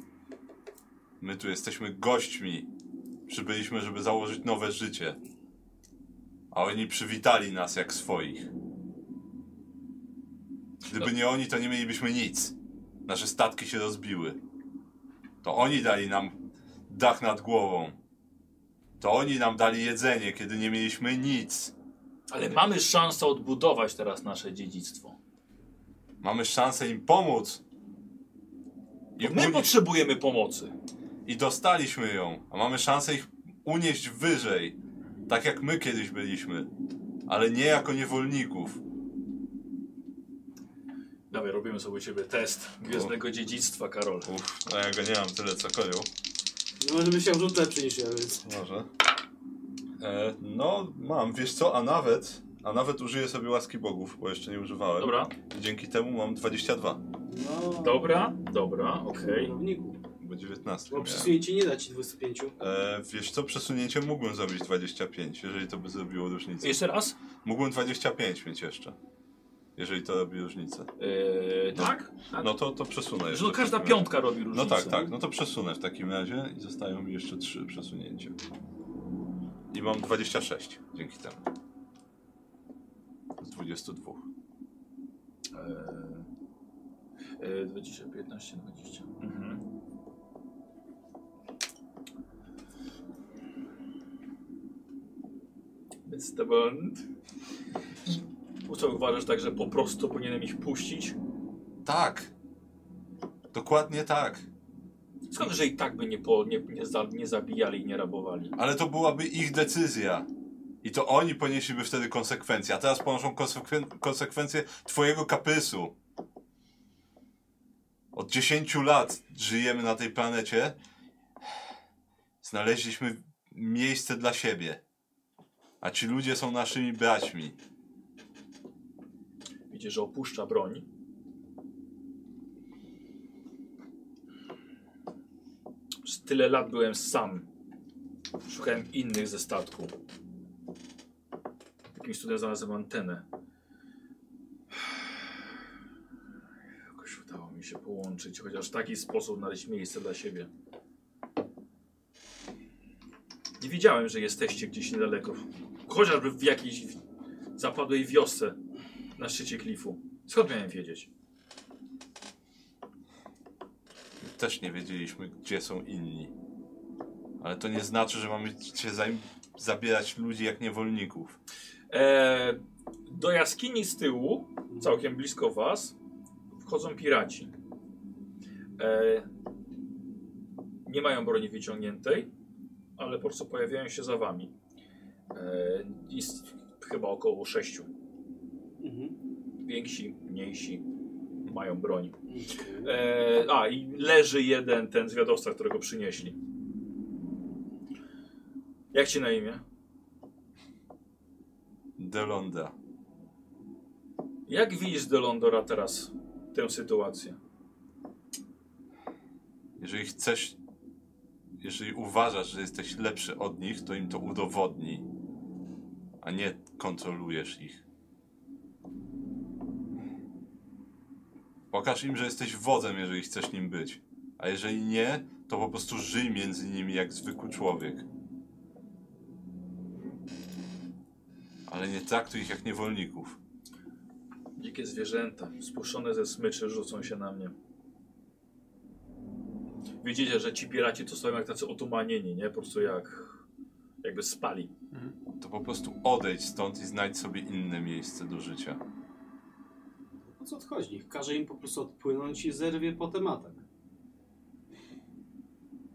Speaker 2: My tu jesteśmy gośćmi. Przybyliśmy, żeby założyć nowe życie. A oni przywitali nas jak swoich. Gdyby nie oni, to nie mielibyśmy nic. Nasze statki się rozbiły. To oni dali nam dach nad głową. To oni nam dali jedzenie, kiedy nie mieliśmy nic.
Speaker 1: Ale mamy szansę odbudować teraz nasze dziedzictwo.
Speaker 2: Mamy szansę im pomóc. I,
Speaker 1: Bo my
Speaker 2: unieść-
Speaker 1: potrzebujemy pomocy.
Speaker 2: I dostaliśmy ją, a mamy szansę ich unieść wyżej. Tak jak my kiedyś byliśmy. Ale nie jako niewolników.
Speaker 1: Dawaj, robimy sobie u ciebie test Gwiezdnego Dziedzictwa, Karol.
Speaker 2: Uff, a ja go nie mam tyle co koju.
Speaker 3: No, żeby się rzut lepszy niż ja, więc...
Speaker 2: Może. E, no, mam, wiesz co, a nawet, a nawet użyję sobie łaski bogów, bo jeszcze nie używałem.
Speaker 1: Dobra,
Speaker 2: I dzięki temu mam 22,
Speaker 3: No...
Speaker 1: dobra, dobra, okej.
Speaker 3: Kierowniku.
Speaker 2: bo 19
Speaker 3: Bo
Speaker 2: miałem.
Speaker 3: przesunięcie nie da ci 25.
Speaker 2: E, wiesz co, przesunięcie mógłbym zrobić 25, jeżeli to by zrobiło różnicę.
Speaker 1: Jeszcze raz?
Speaker 2: Mógłbym 25 mieć jeszcze, jeżeli to robi różnicę.
Speaker 1: Eee,
Speaker 2: No.
Speaker 1: tak? tak?
Speaker 2: No to, to przesunę
Speaker 1: Że
Speaker 2: jeszcze.
Speaker 1: no
Speaker 2: w
Speaker 1: każda
Speaker 2: takim razie.
Speaker 1: piątka robi różnicę.
Speaker 2: No tak, tak, no to przesunę w takim razie i zostają mi jeszcze trzy przesunięcia. I mam 26 dzięki temu. Z 22.
Speaker 1: E, Eee, eee, 20, 15, 20. Mhm. Więc to błąd. I co uważasz tak, że po prostu powinienem ich puścić?
Speaker 2: Tak! Dokładnie tak.
Speaker 1: Skąd, że i tak by nie, po, nie, nie, za, nie zabijali i nie rabowali?
Speaker 2: Ale to byłaby ich decyzja. I to oni ponieśliby wtedy konsekwencje, a teraz ponoszą konsekwen- konsekwencje twojego kapysu. Od 10 lat żyjemy na tej planecie. Znaleźliśmy miejsce dla siebie. A ci ludzie są naszymi braćmi.
Speaker 1: Widzisz, że opuszcza broń. Przez tyle lat byłem sam. Szukałem innych ze statku. Jakimś cudem znalazłem antenę. Jakoś udało mi się połączyć, chociaż w taki sposób znaleźć miejsce dla siebie. Nie wiedziałem, że jesteście gdzieś niedaleko. Chociażby w jakiejś zapadłej wiosce na szczycie klifu. Skąd miałem wiedzieć?
Speaker 2: Też nie wiedzieliśmy, gdzie są inni. Ale to nie znaczy, że mamy się zajm- zabierać ludzi jak niewolników.
Speaker 1: Eee, do jaskini z tyłu, całkiem blisko was, wchodzą piraci. Eee, nie mają broni wyciągniętej, ale po prostu pojawiają się za wami. Eee, jest chyba około sześciu.
Speaker 3: Mhm.
Speaker 1: Więksi, mniejsi mają broń.
Speaker 3: Okej.
Speaker 1: Eee, a, i leży jeden ten zwiadowca, którego przynieśli. Jak ci na imię?
Speaker 2: Delonda.
Speaker 1: Jak widzisz do Londora teraz tę sytuację?
Speaker 2: Jeżeli chcesz, jeżeli uważasz, że jesteś lepszy od nich, to im to udowodnij, a nie kontrolujesz ich. Pokaż im, że jesteś wodzem, jeżeli chcesz nim być, a jeżeli nie, to po prostu żyj między nimi jak zwykły człowiek. Ale nie traktuj ich jak niewolników.
Speaker 1: Dzikie zwierzęta, spuszczone ze smyczy, rzucą się na mnie. Widzicie, że ci piraci to stoją jak tacy otumanieni, nie? Po prostu jak... jakby spali.
Speaker 2: To po prostu odejdź stąd i znajdź sobie inne miejsce do życia.
Speaker 3: Po co odchodzi? Każe im po prostu odpłynąć i zerwie potem atak.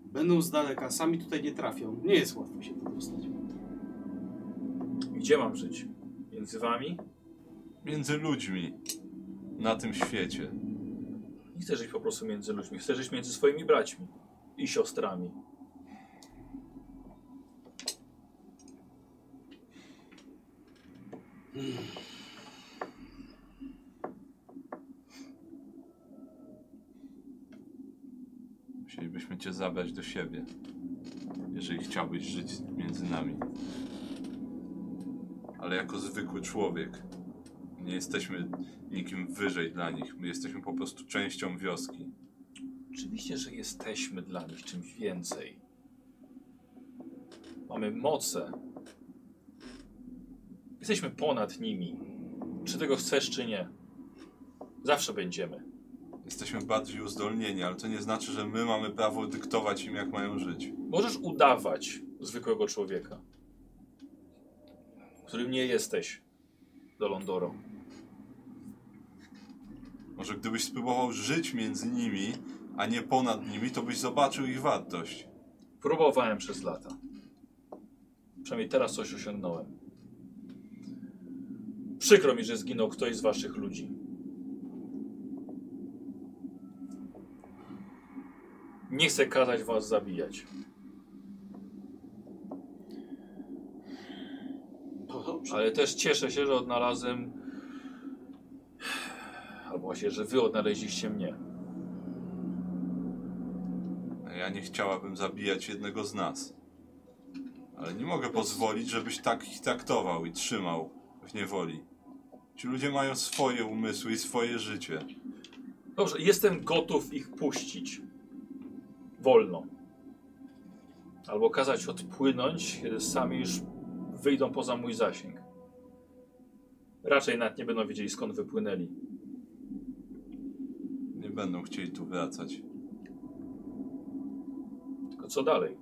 Speaker 3: Będą z daleka, sami tutaj nie trafią. Nie jest łatwo się wydostać.
Speaker 1: Gdzie mam żyć? Między wami?
Speaker 2: Między ludźmi. Na tym świecie.
Speaker 1: Nie chcę żyć po prostu między ludźmi. Chcę żyć między swoimi braćmi i siostrami.
Speaker 2: Musielibyśmy cię zabrać do siebie. Jeżeli chciałbyś żyć między nami. Ale jako zwykły człowiek. Nie jesteśmy nikim wyżej dla nich. My jesteśmy po prostu częścią wioski.
Speaker 1: Oczywiście, że jesteśmy dla nich czymś więcej. Mamy moce. Jesteśmy ponad nimi. Czy tego chcesz, czy nie. Zawsze będziemy.
Speaker 2: Jesteśmy bardziej uzdolnieni, ale to nie znaczy, że my mamy prawo dyktować im, jak mają żyć.
Speaker 1: Możesz udawać zwykłego człowieka, którym nie jesteś, Dolondoro.
Speaker 2: Może gdybyś spróbował żyć między nimi, a nie ponad nimi, to byś zobaczył ich wartość.
Speaker 1: Próbowałem przez lata. Przynajmniej teraz coś osiągnąłem. Przykro mi, że zginął ktoś z waszych ludzi. Nie chcę kazać was zabijać.
Speaker 3: To dobrze.
Speaker 1: Ale też cieszę się, że odnalazłem. Albo właśnie, że wy odnaleźliście mnie.
Speaker 2: A Ja nie chciałabym zabijać jednego z nas. Ale nie mogę pozwolić, żebyś tak ich traktował i trzymał w niewoli. Ci ludzie mają swoje umysły i swoje życie.
Speaker 1: Dobrze, jestem gotów ich puścić. Wolno. Albo kazać odpłynąć, kiedy sami już wyjdą poza mój zasięg. Raczej nawet nie będą wiedzieli skąd wypłynęli.
Speaker 2: Nie będą chcieli tu wracać.
Speaker 1: Tylko co dalej?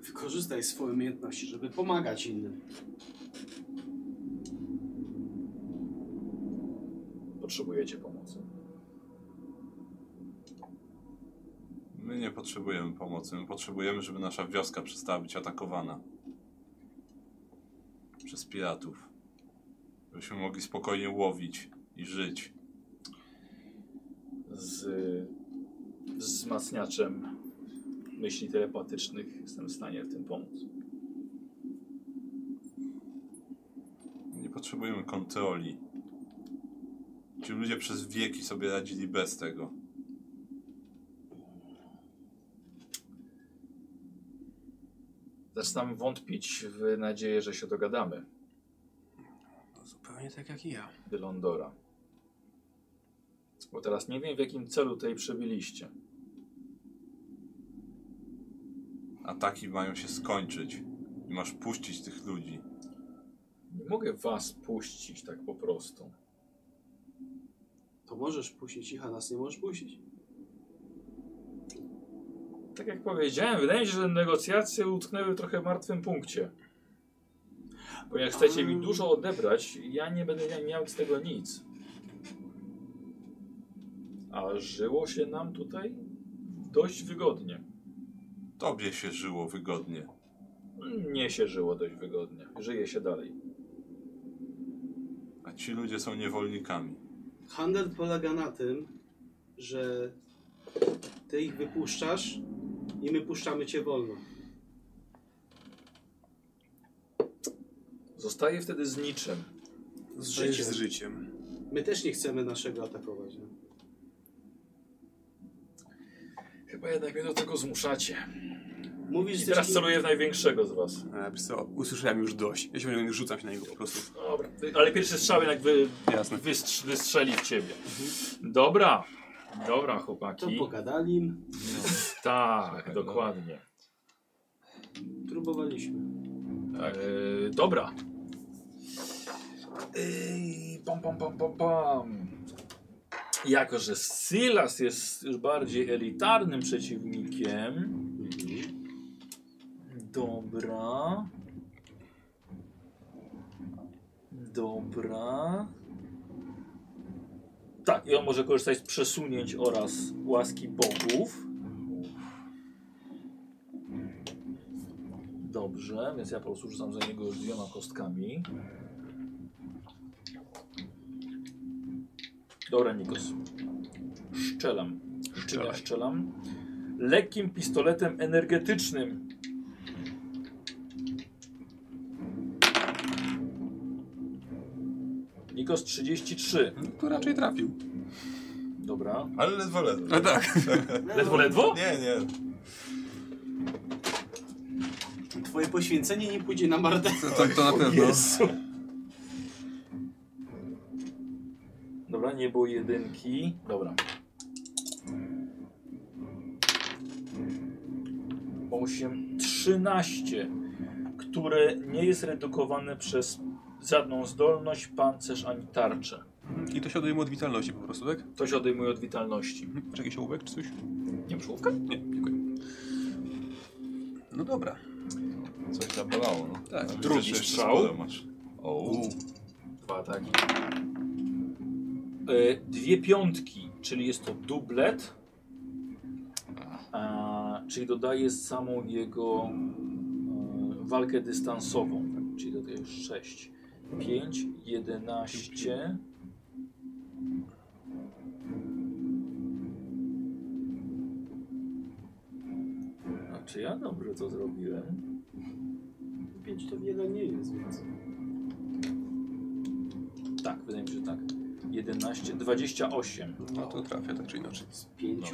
Speaker 3: Wykorzystaj swoje umiejętności, żeby pomagać innym.
Speaker 1: Potrzebujecie pomocy.
Speaker 2: My nie potrzebujemy pomocy. My potrzebujemy, żeby nasza wioska przestała być atakowana przez piratów. Żebyśmy mogli spokojnie łowić i żyć.
Speaker 1: Z wzmacniaczem myśli telepatycznych jestem w stanie w tym pomóc.
Speaker 2: Nie potrzebujemy kontroli. Ci ludzie przez wieki sobie radzili bez tego.
Speaker 1: Zaczynam wątpić w nadzieję, że się dogadamy.
Speaker 4: No, zupełnie tak jak i ja.
Speaker 1: Wylondora. Bo teraz nie wiem, w jakim celu tutaj przebyliście.
Speaker 2: Ataki mają się skończyć. I masz puścić tych ludzi.
Speaker 1: Nie mogę was puścić tak po prostu.
Speaker 3: To możesz puścić ich, a nas nie możesz puścić.
Speaker 1: Tak jak powiedziałem, wydaje mi się, że negocjacje utknęły w trochę martwym punkcie. Bo jak chcecie mi dużo odebrać, ja nie będę mia- miał z tego nic. A żyło się nam tutaj dość wygodnie.
Speaker 2: Tobie się żyło wygodnie.
Speaker 1: Nie się żyło dość wygodnie. Żyje się dalej.
Speaker 2: A ci ludzie są niewolnikami.
Speaker 3: Handel polega na tym, że ty ich wypuszczasz i my puszczamy cię wolno.
Speaker 1: Zostaje wtedy z niczym.
Speaker 4: Z
Speaker 3: życiem.
Speaker 4: Z życiem.
Speaker 3: My też nie chcemy naszego atakować. No.
Speaker 1: Chyba jednak mnie do tego zmuszacie.
Speaker 3: Mówisz,
Speaker 1: I
Speaker 3: że
Speaker 1: teraz
Speaker 3: jesteś-
Speaker 1: celuję w największego z was.
Speaker 4: E, wiesz co, usłyszałem już dość. Ja się rzucam się na niego po prostu.
Speaker 1: Dobra, ale pierwszy strzał jednak wy,
Speaker 4: Jasne.
Speaker 1: wystrz, wystrzeli w ciebie. Dobra, dobra
Speaker 3: To
Speaker 1: chłopaki.
Speaker 3: pogadali,
Speaker 1: Tak, dokładnie.
Speaker 3: próbowaliśmy.
Speaker 1: Tak. E, dobra. Ej, pam, pam, pam, pam, pam. Jako, że Sylas jest już bardziej elitarnym przeciwnikiem. Mhm. Dobra. Dobra. Tak, i on może korzystać z przesunięć oraz łaski bogów. Dobrze, więc ja po prostu rzucam za niego już dwiema kostkami. Dobra, Nikos. Szczelam. Szczelam.
Speaker 2: Strzelaj.
Speaker 1: Szczelam. Lekkim pistoletem energetycznym. Nikos 33.
Speaker 4: No to raczej trafił.
Speaker 1: Dobra.
Speaker 2: Ale ledwo, ledwo.
Speaker 4: A tak.
Speaker 1: Ledwo, ledwo?
Speaker 2: Nie, nie.
Speaker 3: Twoje poświęcenie nie pójdzie na marne.
Speaker 4: To, to, to na pewno.
Speaker 1: Dobra, nie było jedynki. Dobra. Osiem, trzynaście, które nie jest redukowane przez żadną zdolność, pancerz ani tarczę.
Speaker 4: I to się odejmuje od witalności po prostu, tak?
Speaker 1: To się odejmuje od witalności.
Speaker 4: Mhm. Czy jakiś ołówek czy coś?
Speaker 1: Nie masz ołówka?
Speaker 4: Nie, dziękuję. No dobra.
Speaker 2: Coś tam bolało, no.
Speaker 4: Tak.
Speaker 2: Ale
Speaker 6: Drugi
Speaker 2: widzę, że jeszcze
Speaker 6: strzał.
Speaker 2: sporo Masz. O,
Speaker 6: Dwa ataki.
Speaker 1: E, Dwie piątki, czyli jest to dublet. A, czyli dodaje samą jego e, walkę dystansową. tak, Czyli dodaje 6. 5, 11. A czy ja dobrze to zrobiłem?
Speaker 3: 5 to wiele nie jest, więc.
Speaker 1: Tak, wydaje mi się, że tak. 11, 28.
Speaker 4: No to trafia tak czy inaczej.
Speaker 3: Z 5?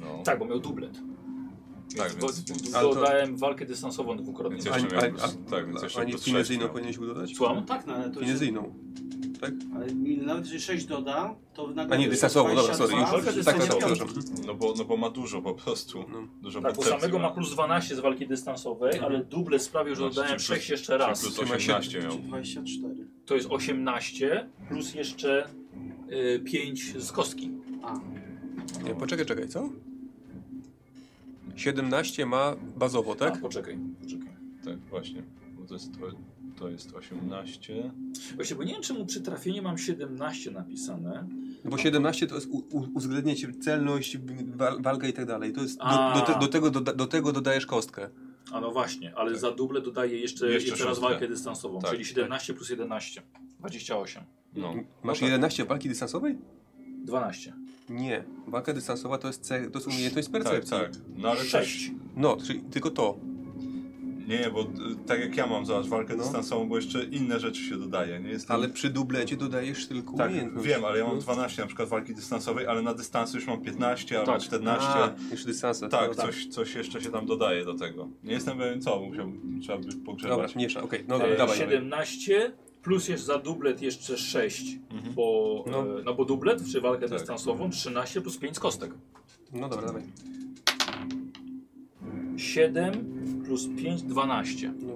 Speaker 2: no.
Speaker 1: Tak, bo miał dublet.
Speaker 2: Tak,
Speaker 1: Bo,
Speaker 2: więc, więc,
Speaker 4: Ale to-
Speaker 1: dodałem walkę dystansową dwukrotnie.
Speaker 2: Więc jeszcze
Speaker 4: Ani-
Speaker 2: miałbyś-
Speaker 4: ani-
Speaker 2: tak, więc jeszcze
Speaker 4: Ani
Speaker 2: plus
Speaker 4: finezyjną
Speaker 2: sześć
Speaker 4: powinieneś dodać?
Speaker 1: Słucham?
Speaker 3: Tak, no ale to jest.
Speaker 4: Finezyjną.
Speaker 3: Ale nawet jeżeli 6 doda, to nagle.
Speaker 4: A nie, dystansowo, dobra, sorry.
Speaker 1: Walka
Speaker 4: Już. Tak, tak,
Speaker 1: dystansowa.
Speaker 4: tak, przepraszam.
Speaker 2: No bo, no bo ma dużo po prostu.
Speaker 4: No.
Speaker 2: Dużo
Speaker 1: Tak, bo
Speaker 2: pancerza.
Speaker 1: samego ma plus 12 z walki dystansowej, ale duble sprawił, że
Speaker 2: Znaczy,
Speaker 1: dodałem
Speaker 2: czy
Speaker 1: 6
Speaker 2: plus-
Speaker 1: jeszcze
Speaker 2: Czyli
Speaker 1: raz.
Speaker 2: Plus 18 miał.
Speaker 3: 24.
Speaker 1: To jest 18 plus jeszcze 5 z kostki.
Speaker 3: A,
Speaker 4: Nie, poczekaj, czekaj, co? 17 ma bazowo,
Speaker 1: Tak?
Speaker 4: tak?
Speaker 1: A, poczekaj, poczekaj.
Speaker 2: Tak, właśnie. Bo to jest, to, to jest 18.
Speaker 1: Właśnie, bo nie wiem czemu przy trafieniu mam 17 napisane.
Speaker 4: Bo 17 to jest u- u- uwzględniecie celność, wa- walkę i tak dalej. To jest do,
Speaker 1: A.
Speaker 4: do, te, do, tego, do, do tego dodajesz kostkę.
Speaker 1: A no właśnie, ale za duble dodaję jeszcze,
Speaker 2: Tak. Jeszcze
Speaker 1: jeszcze, raz
Speaker 2: szóstkę.
Speaker 1: walkę dystansową,
Speaker 2: Tak,
Speaker 1: czyli 17 plus 11. 28.
Speaker 2: No.
Speaker 4: Masz
Speaker 2: No tak.
Speaker 4: 11 walki dystansowej?
Speaker 1: 12.
Speaker 4: Nie. Walka dystansowa to jest, ce, to jest umiejętność percepcji.
Speaker 2: Tak, tak. No ale też.
Speaker 1: 6.
Speaker 4: No, czyli tylko to.
Speaker 2: Nie, bo y, tak jak ja mam zobacz walkę
Speaker 4: No.
Speaker 2: dystansową, bo jeszcze inne rzeczy się dodaje. Nie jest
Speaker 4: Ale przy dublecie dodajesz tylko
Speaker 2: tak,
Speaker 4: umiejętność.
Speaker 2: wiem, ale ja mam
Speaker 4: No.
Speaker 2: 12 na przykład walki dystansowej, ale na dystansu już mam 15 albo
Speaker 1: Tak.
Speaker 2: 14.
Speaker 4: A, jeszcze dystansa.
Speaker 2: tak,
Speaker 4: no,
Speaker 2: coś, coś jeszcze się tam dodaje do tego. Nie jestem pewien co, musiałbym, trzeba by
Speaker 4: Dobra,
Speaker 2: pogrzebać.
Speaker 4: mniejsza, okej, no
Speaker 1: E,
Speaker 4: dobra, dawaj.
Speaker 1: 17 plus jest za dublet jeszcze 6,
Speaker 2: Mhm.
Speaker 1: bo,
Speaker 4: No.
Speaker 1: no. no bo dublet przy walkę
Speaker 2: Tak.
Speaker 1: dystansową 13 plus 5 z kostek.
Speaker 4: No dobra, dawaj.
Speaker 1: 7 plus 5, 12.
Speaker 4: No.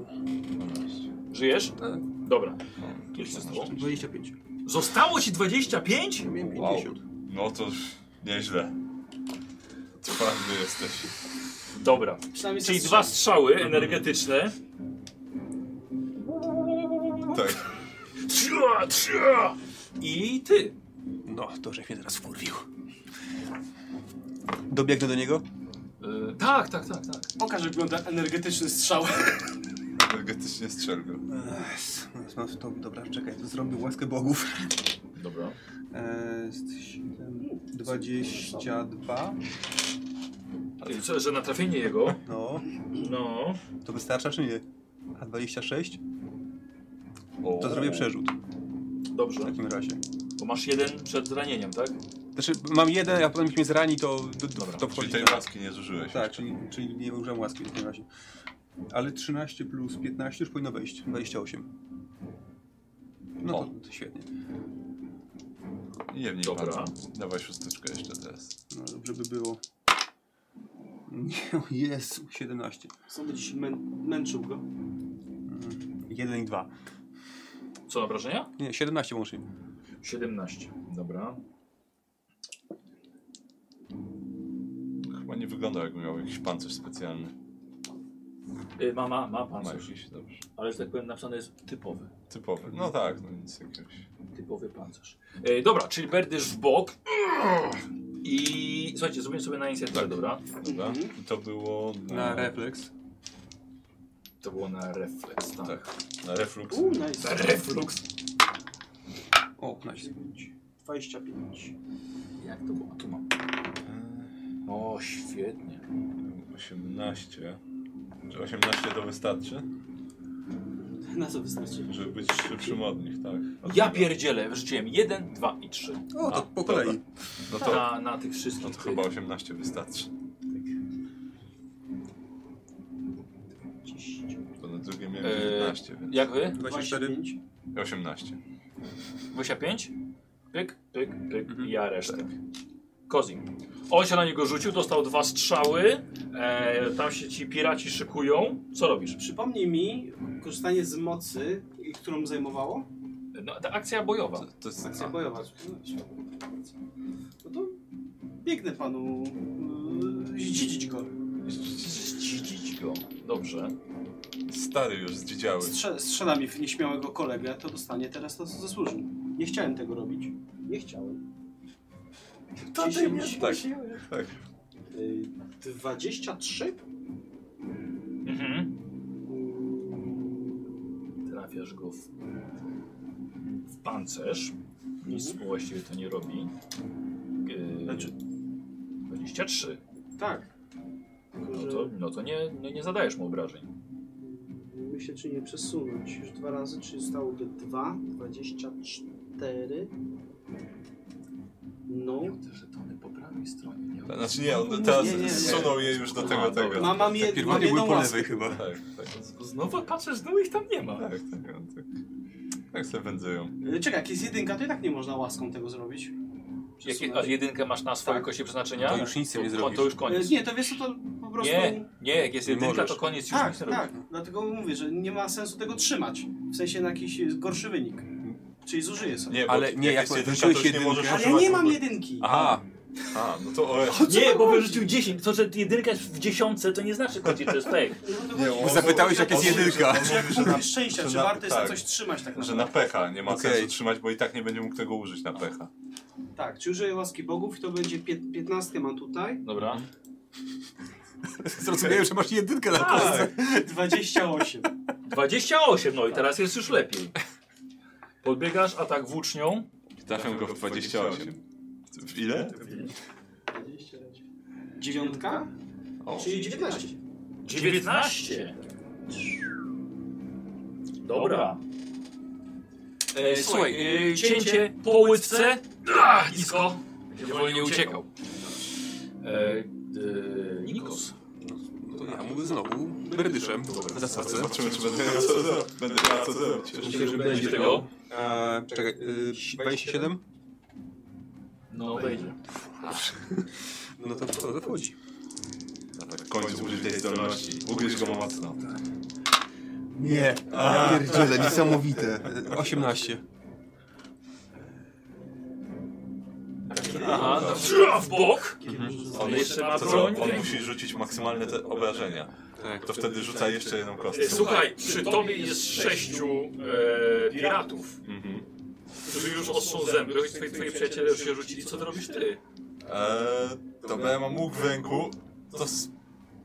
Speaker 1: Żyjesz?
Speaker 4: Tak.
Speaker 1: Dobra.
Speaker 2: No,
Speaker 1: Ile się stało?
Speaker 4: 25.
Speaker 1: Zostało ci 25?
Speaker 4: Miałem
Speaker 2: Wow.
Speaker 4: 50.
Speaker 2: No to nieźle. Twardy jesteś.
Speaker 1: Dobra.
Speaker 3: przynajmniej
Speaker 1: Czyli
Speaker 3: zastrzał.
Speaker 1: dwa strzały energetyczne.
Speaker 2: Tak.
Speaker 1: Trza, trza! I ty.
Speaker 4: No, to żeś mnie teraz wkurwił. Dobiegnę do niego?
Speaker 1: Y, tak, tak, tak, tak.
Speaker 3: Pokaż, jak wygląda energetyczny strzał.
Speaker 2: Energetycznie strzelby.
Speaker 4: Ech, no, to, dobra, czekaj, to zrobię łaskę bogów.
Speaker 1: Dobra.
Speaker 4: Eee, 7, 22.
Speaker 1: Y, Co, że na trafienie jego.
Speaker 4: No,
Speaker 1: No.
Speaker 4: to wystarcza czy nie? A 26?
Speaker 2: O.
Speaker 4: To zrobię przerzut w
Speaker 1: Dobrze.
Speaker 4: takim razie.
Speaker 1: Bo masz jeden przed ranieniiem, tak?
Speaker 4: Znaczy, mam jeden, a potem jak mnie zrani, to, to, to, to
Speaker 2: Czyli
Speaker 4: wchodzi.
Speaker 2: tej łaski nie zużyłeś.
Speaker 4: Tak, czyli, czyli nie użyłem łaski w takim razie. Ale 13 plus 15 już powinno wejść. 28. No
Speaker 2: O.
Speaker 4: to, to świetnie.
Speaker 2: Nie mniej
Speaker 1: Dobra.
Speaker 2: Dobra. Dawaj szósteczkę jeszcze teraz.
Speaker 4: No, dobrze by było. Nie, o Jezu, 17.
Speaker 3: Co będzie się mę męczył go?
Speaker 4: Mm, 1 i 2.
Speaker 1: Co na obrażenia?
Speaker 4: Nie, 17 łącznie.
Speaker 1: 17. Dobra.
Speaker 2: Chyba nie wygląda jakby miał jakiś pancerz specjalny.
Speaker 1: Y, ma, ma, ma
Speaker 2: Ma
Speaker 1: pancerz.
Speaker 2: jakiś, dobrze.
Speaker 1: Ale że tak powiem, napisane jest typowy.
Speaker 2: Typowy. No tak, no nic jakiegoś.
Speaker 1: głowy pancerz. E, dobra, czyli berdysz w bok. I słuchajcie, zrobimy sobie na inicjatywę, dobra?
Speaker 2: Dobra. I to było
Speaker 4: Na
Speaker 2: na,
Speaker 4: refleks.
Speaker 1: To było na refleks, tak.
Speaker 2: Tak. na reflux.
Speaker 3: Uuu, nice.
Speaker 1: Na reflux.
Speaker 4: O, nice.
Speaker 3: 25.
Speaker 1: Jak to było? Tu mam. O, świetnie.
Speaker 2: 18. Czy 18 to wystarczy?
Speaker 3: Na co wystarczy?
Speaker 2: Żeby być szybszym od nich, tak? Od
Speaker 1: Ja
Speaker 2: tego.
Speaker 1: pierdzielę, wrzuciłem 1, 2 i 3.
Speaker 4: O,
Speaker 2: A,
Speaker 4: to po
Speaker 2: dobra.
Speaker 4: kolei.
Speaker 2: No to,
Speaker 1: Na, na tych
Speaker 2: no
Speaker 1: wszystkich.
Speaker 2: to chyba 18 wystarczy. To na drugie miałem
Speaker 1: Eee,
Speaker 2: 19, więc...
Speaker 1: Jak wy?
Speaker 4: 24.
Speaker 2: 18.
Speaker 1: Gosia 5? Pyk, pyk, pyk i ja resztę. Kozim. On się na niego rzucił, dostał dwa strzały. E, tam się ci piraci szykują. Co robisz?
Speaker 3: Przypomnij mi korzystanie z mocy, i- którą zajmowało?
Speaker 1: No, ta akcja bojowa.
Speaker 2: To jest
Speaker 3: Akcja bojowa. No to biegnę panu yy, zdzidzić go.
Speaker 1: Zdzidzić go. Dobrze.
Speaker 2: stary już zdzidziały.
Speaker 3: Strze strzela mi w nieśmiałego kolegę, to dostanie teraz to, co zasłużył. Nie chciałem tego robić. Nie chciałem. To ty mnie
Speaker 2: Tak, tak.
Speaker 3: Y, 23?
Speaker 1: Mhm. Trafiasz go w, w pancerz. Nic mu właściwie to nie robi. E,
Speaker 3: Znaczy-
Speaker 1: 23.
Speaker 3: Tak. Tylko,
Speaker 1: No
Speaker 3: że
Speaker 1: to, no to nie, nie, nie zadajesz mu obrażeń.
Speaker 3: myślę, czy nie przesunąć. Już dwa razy, czyli zostałoby 2, 24. No.
Speaker 1: te żetony po prawej stronie. Nie
Speaker 2: Znaczy nie, on teraz
Speaker 3: Nie, No, nie, nie.
Speaker 2: zsunął je już do
Speaker 1: A,
Speaker 2: tego,
Speaker 1: dobra.
Speaker 2: tego.
Speaker 3: Mam, mam, jed mam
Speaker 4: Pierwotnie były
Speaker 3: jedną
Speaker 4: po
Speaker 3: łaskę.
Speaker 4: lewej chyba.
Speaker 2: Tak, tak,
Speaker 1: Znowu patrzysz, no ich tam nie ma.
Speaker 2: tak, tak. on tak. Tak sobie wędzują.
Speaker 3: Y, Czekaj, jak jest jedynka, to i tak nie można łaską tego zrobić.
Speaker 1: Jakie, a
Speaker 3: Przesunąć.
Speaker 1: jedynkę masz na swojej
Speaker 3: Tak.
Speaker 1: kości przeznaczenia?
Speaker 4: To już nic z tym nie
Speaker 1: To-
Speaker 4: zrobisz.
Speaker 1: To już
Speaker 3: Y,
Speaker 1: koniec.
Speaker 3: Nie, to wiesz co, to po prostu...
Speaker 1: Nie, nie, jak jest
Speaker 4: Nie
Speaker 1: jedynka,
Speaker 4: możesz.
Speaker 1: to koniec już
Speaker 3: Tak,
Speaker 1: nic nie robisz.
Speaker 3: tak. Dlatego mówię, że nie ma sensu tego trzymać. W sensie na jakiś y, gorszy wynik. Czyli zużyję sobie.
Speaker 2: Nie, bo
Speaker 4: Ale nie, jak
Speaker 2: jest jedynka,
Speaker 4: wrzuciłeś
Speaker 2: to już nie
Speaker 4: jedynkę-
Speaker 2: możesz
Speaker 3: Ale ja
Speaker 2: używać
Speaker 3: nie
Speaker 2: w
Speaker 3: mam
Speaker 2: ogóle.
Speaker 3: jedynki.
Speaker 4: Aha,
Speaker 2: A, no to OS.
Speaker 5: Nie, bo wyrzucił 10. To, że jedynka jest w dziesiątce, to nie znaczy, kocie, to jest fake.
Speaker 3: no
Speaker 2: Nie, on-
Speaker 4: zapytałeś, jak jest
Speaker 2: on mówi,
Speaker 4: jedynka.
Speaker 2: że- on
Speaker 3: Czy jak
Speaker 2: mówi, że
Speaker 3: punkt
Speaker 2: na-
Speaker 3: szczęścia,
Speaker 2: że
Speaker 3: czy
Speaker 2: na-
Speaker 3: warto jest na
Speaker 2: tak.
Speaker 3: coś trzymać tak
Speaker 2: Że
Speaker 3: naprawdę?
Speaker 2: na pecha nie ma
Speaker 4: Okej.
Speaker 2: sensu trzymać, bo i tak nie będzie mógł tego użyć na pecha.
Speaker 3: Tak, czy użyję łaski bogów i to będzie pię- 15 mam tutaj.
Speaker 1: Dobra.
Speaker 4: zrozumiałem, że masz jedynkę na
Speaker 1: Tak.
Speaker 4: kostce.
Speaker 3: 28.
Speaker 1: 28, no i teraz jest już lepiej. Podbiegasz, atak włócznią.
Speaker 2: Trafią go w 28. W ile?
Speaker 3: 9,
Speaker 2: O, Mhm.
Speaker 3: czyli 19.
Speaker 1: 19. Dobra. E, słuchaj, e, cięcie po łydce. Ach, Nisko. Będzie Wolnie uciekał. E, e, Nikos.
Speaker 4: No to ja mu znowu berdyszem w zasadzie.
Speaker 2: zobaczymy, czy będę miał co zrobić. Będę miał co zrobić.
Speaker 4: Myślę,
Speaker 1: Będzie
Speaker 4: że będzie
Speaker 1: tego.
Speaker 4: tego. Eee, czekaj, y, 27?
Speaker 1: No, wejdzie.
Speaker 4: No to co, to wchodzi.
Speaker 2: Tak, w końcu użyć tej zdolności. Ugryź go mocno.
Speaker 4: Nie, pierdziele, niesamowite. 18.
Speaker 1: Aha, no, w bok. On jeszcze ma
Speaker 2: To co,
Speaker 1: broń.
Speaker 2: on musi rzucić maksymalne te obrażenia.
Speaker 4: Tak.
Speaker 2: To wtedy rzuca jeszcze jedną kostkę.
Speaker 1: E, Słuchaj, przy tobie jest sześciu e, piratów,
Speaker 2: Mhm.
Speaker 1: którzy już odsą zęby. Twoi, twoi przyjaciele już się rzucili. Co ty robisz ty?
Speaker 2: Eee, dobra, ja mam łuk w ręku. To s-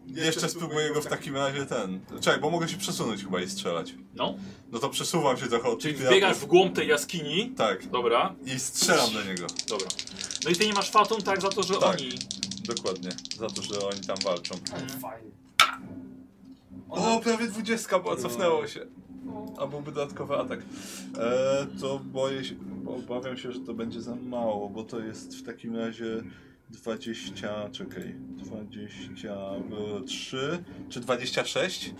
Speaker 2: jeszcze spróbuję go w takim razie ten. Czekaj, bo mogę się przesunąć chyba i strzelać.
Speaker 1: No.
Speaker 2: No to przesuwam się trochę od
Speaker 1: Czyli
Speaker 2: piratów.
Speaker 1: wbiegasz w głąb tej jaskini.
Speaker 2: Tak,
Speaker 1: Dobra,
Speaker 2: i strzelam do niego.
Speaker 1: dobra. No i ty nie masz fatum tak za to, że
Speaker 2: Tak.
Speaker 1: oni... Mm.
Speaker 2: Dokładnie. Za to, że oni tam walczą.
Speaker 3: Fajnie.
Speaker 2: O, prawie dwudziestka, bo cofnęło się. A byłby dodatkowy atak. E, to boję się, bo obawiam się, że to będzie za mało, bo to jest w takim razie 20, czekaj, 23 czy 26?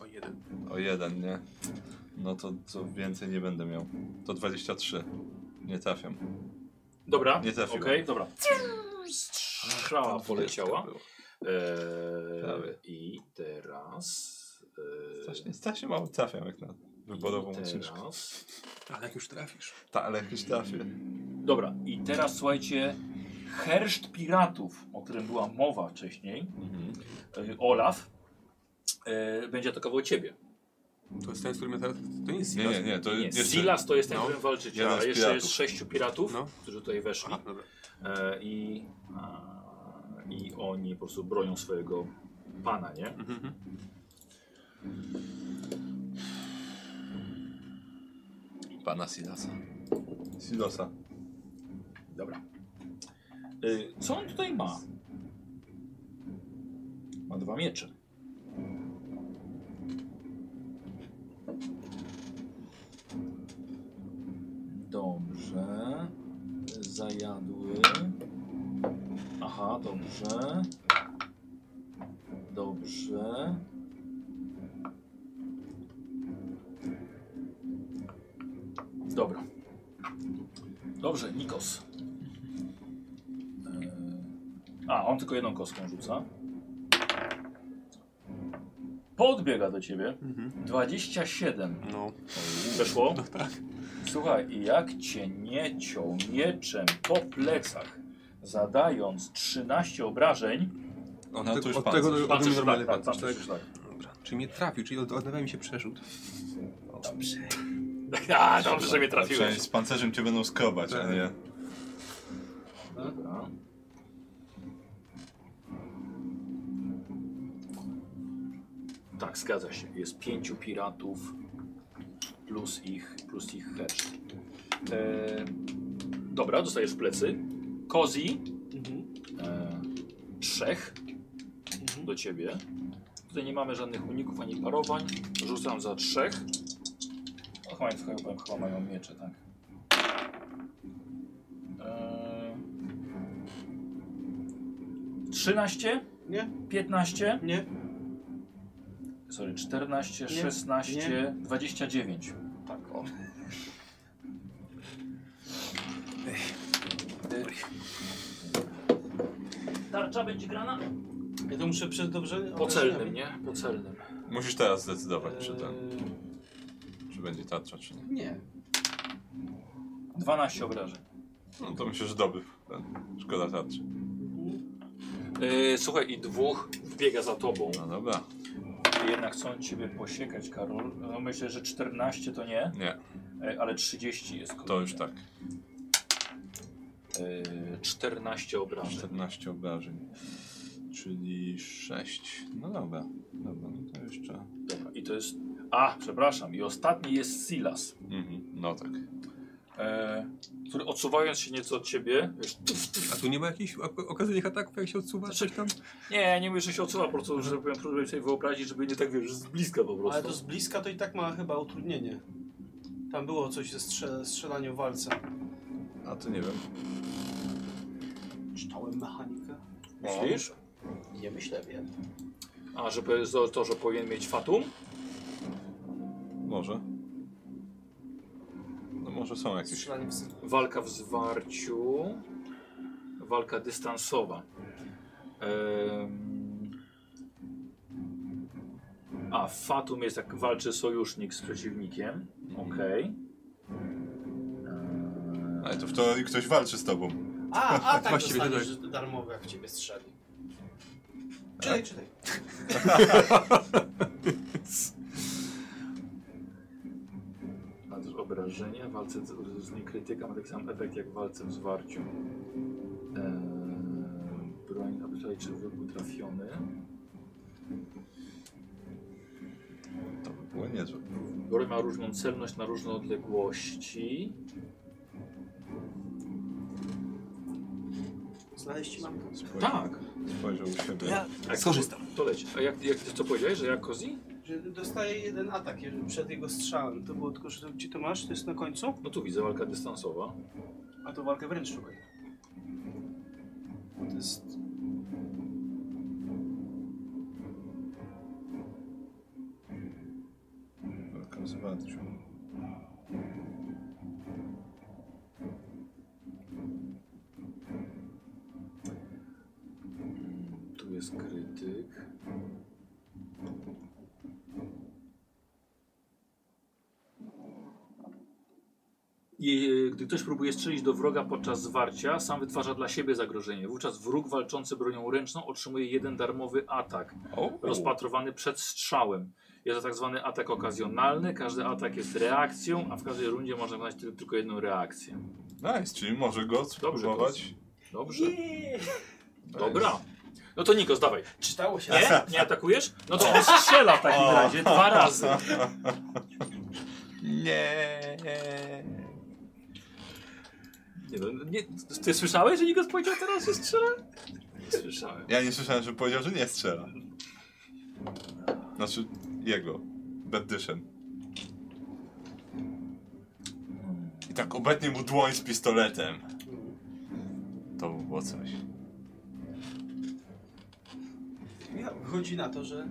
Speaker 4: O jeden.
Speaker 2: O jeden, nie. No to co więcej nie będę miał. To 23. Nie trafiam.
Speaker 1: Dobra,
Speaker 2: Nie
Speaker 1: okej,
Speaker 2: trafiłem.
Speaker 1: dobra. Strzała poleciała.
Speaker 2: Prawie.
Speaker 1: Eee, I teraz... eee,
Speaker 2: Strasznie, strasznie mało trafiam jak na wyborową uczniczkę.
Speaker 1: teraz...
Speaker 4: Ale jak już trafisz.
Speaker 2: Tak, ale jakoś trafię.
Speaker 1: Dobra, i teraz słuchajcie, herszt piratów, o którym była mowa wcześniej, y,
Speaker 2: Mhm.
Speaker 1: e, Olaf, e, będzie atakował eee, ciebie.
Speaker 4: To jest ten, z którym ja teraz... To nie jest
Speaker 2: Nie,
Speaker 4: Silas.
Speaker 2: nie, nie, to
Speaker 1: Nie,
Speaker 2: jeszcze...
Speaker 1: Silas to jest ten,
Speaker 4: No.
Speaker 1: którym walczycie,
Speaker 2: Jeden z
Speaker 1: ale jeszcze
Speaker 2: piratów.
Speaker 1: jest sześciu piratów,
Speaker 4: No.
Speaker 1: którzy tutaj weszli.
Speaker 4: Aha, dobra.
Speaker 1: E, i, a, I oni po prostu bronią swojego pana, nie?
Speaker 4: Mhm.
Speaker 2: Pana Silasa. Silasa.
Speaker 1: Dobra. Y, Co on tutaj ma? Ma dwa miecze. Dobrze. Zajadły. Aha, dobrze. Dobrze. Dobra. Dobrze, Nikos. Eee, A, on tylko jedną kostką rzuca. Podbiega do ciebie.
Speaker 4: Mhm.
Speaker 1: 27.
Speaker 4: No.
Speaker 1: Weszło?
Speaker 4: tak.
Speaker 1: Słuchaj, jak cię nie ciął mieczem po plecach, zadając 13 obrażeń.
Speaker 4: Od,
Speaker 2: No, to już
Speaker 4: tego, od
Speaker 2: pancerz.
Speaker 4: tego do- od
Speaker 1: Pancerz,
Speaker 4: normalny
Speaker 1: tak, tak,
Speaker 4: pancerz, tak?
Speaker 1: pancerz, tak.
Speaker 4: Dobra. Czyli mnie trafił, czyli od, odnawia mi się przerzut.
Speaker 1: Dobrze. A, dobrze, że mnie trafiłeś.
Speaker 2: Przynajmniej z pancerzem cię będą skrobać, a
Speaker 4: Tak.
Speaker 2: nie...
Speaker 1: Dobra. Tak, zgadza się. Jest pięciu piratów plus ich, plus ich hedge. E, dobra, dostajesz w plecy. Kozi,
Speaker 3: Mhm.
Speaker 1: e, trzech
Speaker 3: Mhm.
Speaker 1: do ciebie. Tutaj nie mamy żadnych uników ani parowań. Rzucam za trzech. O, chyba, chyba, chyba mają miecze, tak. Eee... 13,
Speaker 3: Nie,
Speaker 1: 15,
Speaker 3: nie.
Speaker 1: sorry, 14,
Speaker 3: Nie,
Speaker 1: 16,
Speaker 3: nie.
Speaker 1: 29. Tak, o. Tarcza będzie grana?
Speaker 3: Ja to muszę przed dobrze.
Speaker 1: Po celnym, nie? Po celnym.
Speaker 2: Musisz teraz zdecydować,
Speaker 3: Eee,
Speaker 2: czy ten, czy będzie tarcza, czy nie.
Speaker 3: Nie.
Speaker 1: 12 obrażeń.
Speaker 2: No to myślę, że dobry. Ten. Szkoda tarczy.
Speaker 3: Mhm.
Speaker 1: Yy, słuchaj, i dwóch biega za tobą.
Speaker 2: No dobra.
Speaker 1: Jednak chcą ciebie posiekać, Karol. No, myślę, że 14 to nie,
Speaker 2: Nie,
Speaker 1: e, ale 30 jest
Speaker 2: to
Speaker 1: kolejne.
Speaker 2: już tak.
Speaker 1: E, 14 obrażeń.
Speaker 2: 14 obrażeń, czyli 6. No dobra, dobra, no to jeszcze.
Speaker 1: Dobra, i to jest... A, przepraszam, i ostatni jest Silas,
Speaker 2: Mhm. No tak.
Speaker 1: e, który odsuwając się nieco od ciebie... Wiesz, tuf,
Speaker 4: A
Speaker 1: tuf.
Speaker 4: tu nie ma jakichś ok- okazyjnych ataków, jak się odsuwa coś tam?
Speaker 1: Nie, nie mówię, że się odsuwa, po prostu, żeby próbuję sobie wyobrazić, żeby nie tak, wiesz, z bliska po prostu.
Speaker 3: Ale to z bliska to i tak ma chyba utrudnienie. Tam było coś ze strze strzelaniu w walce.
Speaker 2: A to nie wiem.
Speaker 3: Czytałem mechanikę.
Speaker 1: Myślisz?
Speaker 3: Nie myślę, wiem.
Speaker 1: A, żeby to, to, że powinien mieć Fatum?
Speaker 2: Może. No może są jakieś.
Speaker 3: Strzelanie w syf.
Speaker 1: Walka w zwarciu. Walka dystansowa. Em, A, Fatum jest jak walczy sojusznik z przeciwnikiem. Okej.
Speaker 2: Ale to w to ktoś walczy z tobą.
Speaker 3: A, a tak
Speaker 4: Właściwie to
Speaker 3: dostaniesz darmowe, jak w ciebie strzeli. Czytaj, E, czytaj.
Speaker 1: Ma też obrażenia. W walce z, z nim krytyka ma taki sam efekt jak w walce w zwarciu. Eee, broń obyczaj czy wybór trafiony.
Speaker 2: To by było niezłe.
Speaker 1: Broń ma różną celność na różne odległości.
Speaker 3: Znaleźć mam to.
Speaker 2: Spojrzał,
Speaker 1: Tak.
Speaker 2: spojrzał u
Speaker 3: Tak.
Speaker 2: siebie.
Speaker 1: Jak-
Speaker 4: Skorzystam.
Speaker 1: To leci. A jak, jak co powiedziałeś, że jak Kozi?
Speaker 3: Że dostaje jeden atak jeżeli- przed jego strzałem. To było tylko, że gdzie to masz? To jest na końcu?
Speaker 1: No tu widzę walka dystansowa.
Speaker 3: A to walkę wręcz szukaj. To jest...
Speaker 2: Walka z warcią.
Speaker 1: Tu jest krytyk. I, e, gdy ktoś próbuje strzelić do wroga podczas zwarcia, sam wytwarza dla siebie zagrożenie. Wówczas wróg walczący bronią ręczną otrzymuje jeden darmowy atak,
Speaker 2: O,
Speaker 1: rozpatrowany przed strzałem. Jest to tak zwany atak okazjonalny. Każdy atak jest reakcją, a w każdej rundzie można wykonać tylko, tylko jedną reakcję.
Speaker 2: Nice, czyli może go spróbować.
Speaker 1: Dobrze. Dobra. No to Nikos, dawaj.
Speaker 3: Czytało się.
Speaker 1: Nie? Nie atakujesz? No to on strzela w takim
Speaker 2: O.
Speaker 1: razie dwa razy.
Speaker 2: Nie.
Speaker 1: Nie, no, nie, ty słyszałeś, że Nikos powiedział teraz, że strzela? Słyszałem.
Speaker 2: Ja nie słyszałem, że powiedział, że nie strzela. Znaczy, jego. Beddyszem. I tak obetnie mu dłoń z pistoletem. To by było coś.
Speaker 3: Ja, wychodzi na to, że.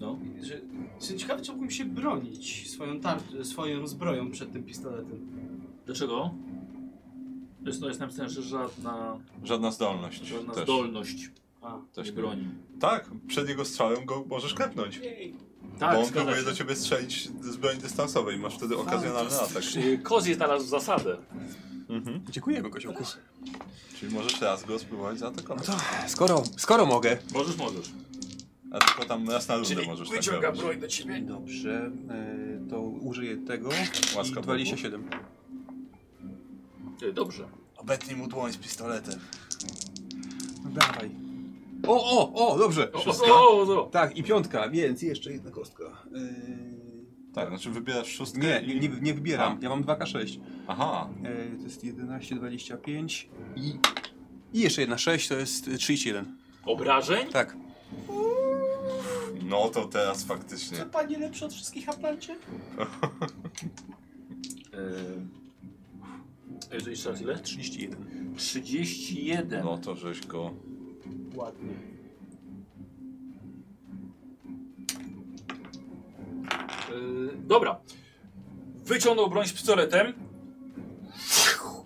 Speaker 1: No.
Speaker 3: Że, jestem ciekawy, czy mógłbym się bronić swoją, tar- swoją zbroją przed tym pistoletem.
Speaker 1: Dlaczego? Jest to jest napisane, że żadna,
Speaker 2: Żadna zdolność.
Speaker 1: żadna
Speaker 2: też.
Speaker 1: zdolność
Speaker 3: A,
Speaker 1: też
Speaker 2: Też
Speaker 1: nie
Speaker 2: nie.
Speaker 1: broni.
Speaker 2: Tak, przed jego strzałem go możesz klepnąć.
Speaker 1: Tak,
Speaker 2: bo on
Speaker 1: zgadza
Speaker 2: próbuje
Speaker 1: się.
Speaker 2: do ciebie strzelić z broni dystansowej. Masz wtedy okazjonalny atak.
Speaker 1: Yy, Kozi znalazł zasadę.
Speaker 2: Mhm.
Speaker 4: Dziękujemy, koziołku.
Speaker 2: Czyli możesz raz go spróbować
Speaker 4: No
Speaker 2: zaatakować.
Speaker 4: to, skoro, skoro mogę.
Speaker 1: Możesz, możesz.
Speaker 2: A tylko tam raz na rundę możesz tak robić.
Speaker 1: do ciebie.
Speaker 4: Dobrze, e, to użyję tego.
Speaker 2: Łaska
Speaker 4: Łaska
Speaker 2: Bogu.
Speaker 4: 27.
Speaker 1: Yy, Dobrze.
Speaker 2: Obetnij mu dłoń z pistoletem.
Speaker 4: No Dawaj. O, o, o, dobrze.
Speaker 1: O, o, o, o.
Speaker 4: Tak, i piątka, więc jeszcze jedna kostka. E,
Speaker 2: Tak, znaczy wybierasz szóstkę
Speaker 4: Nie,
Speaker 2: i...
Speaker 4: nie, nie wybieram. Ja mam 2K6.
Speaker 2: Aha,
Speaker 4: E, to jest 11, 25 i... I jeszcze jedna 6 to jest e, 31.
Speaker 1: Obrażeń?
Speaker 4: Tak.
Speaker 2: no to teraz
Speaker 3: Co
Speaker 2: faktycznie.
Speaker 3: pani lepsze od wszystkich aplancie?
Speaker 2: E,
Speaker 1: Yy, yy, jeszcze raz ile?
Speaker 4: 31.
Speaker 1: 31.
Speaker 2: No to żeś go...
Speaker 3: Ładnie.
Speaker 1: Yy, dobra. Wyciągnął broń z pistoletem.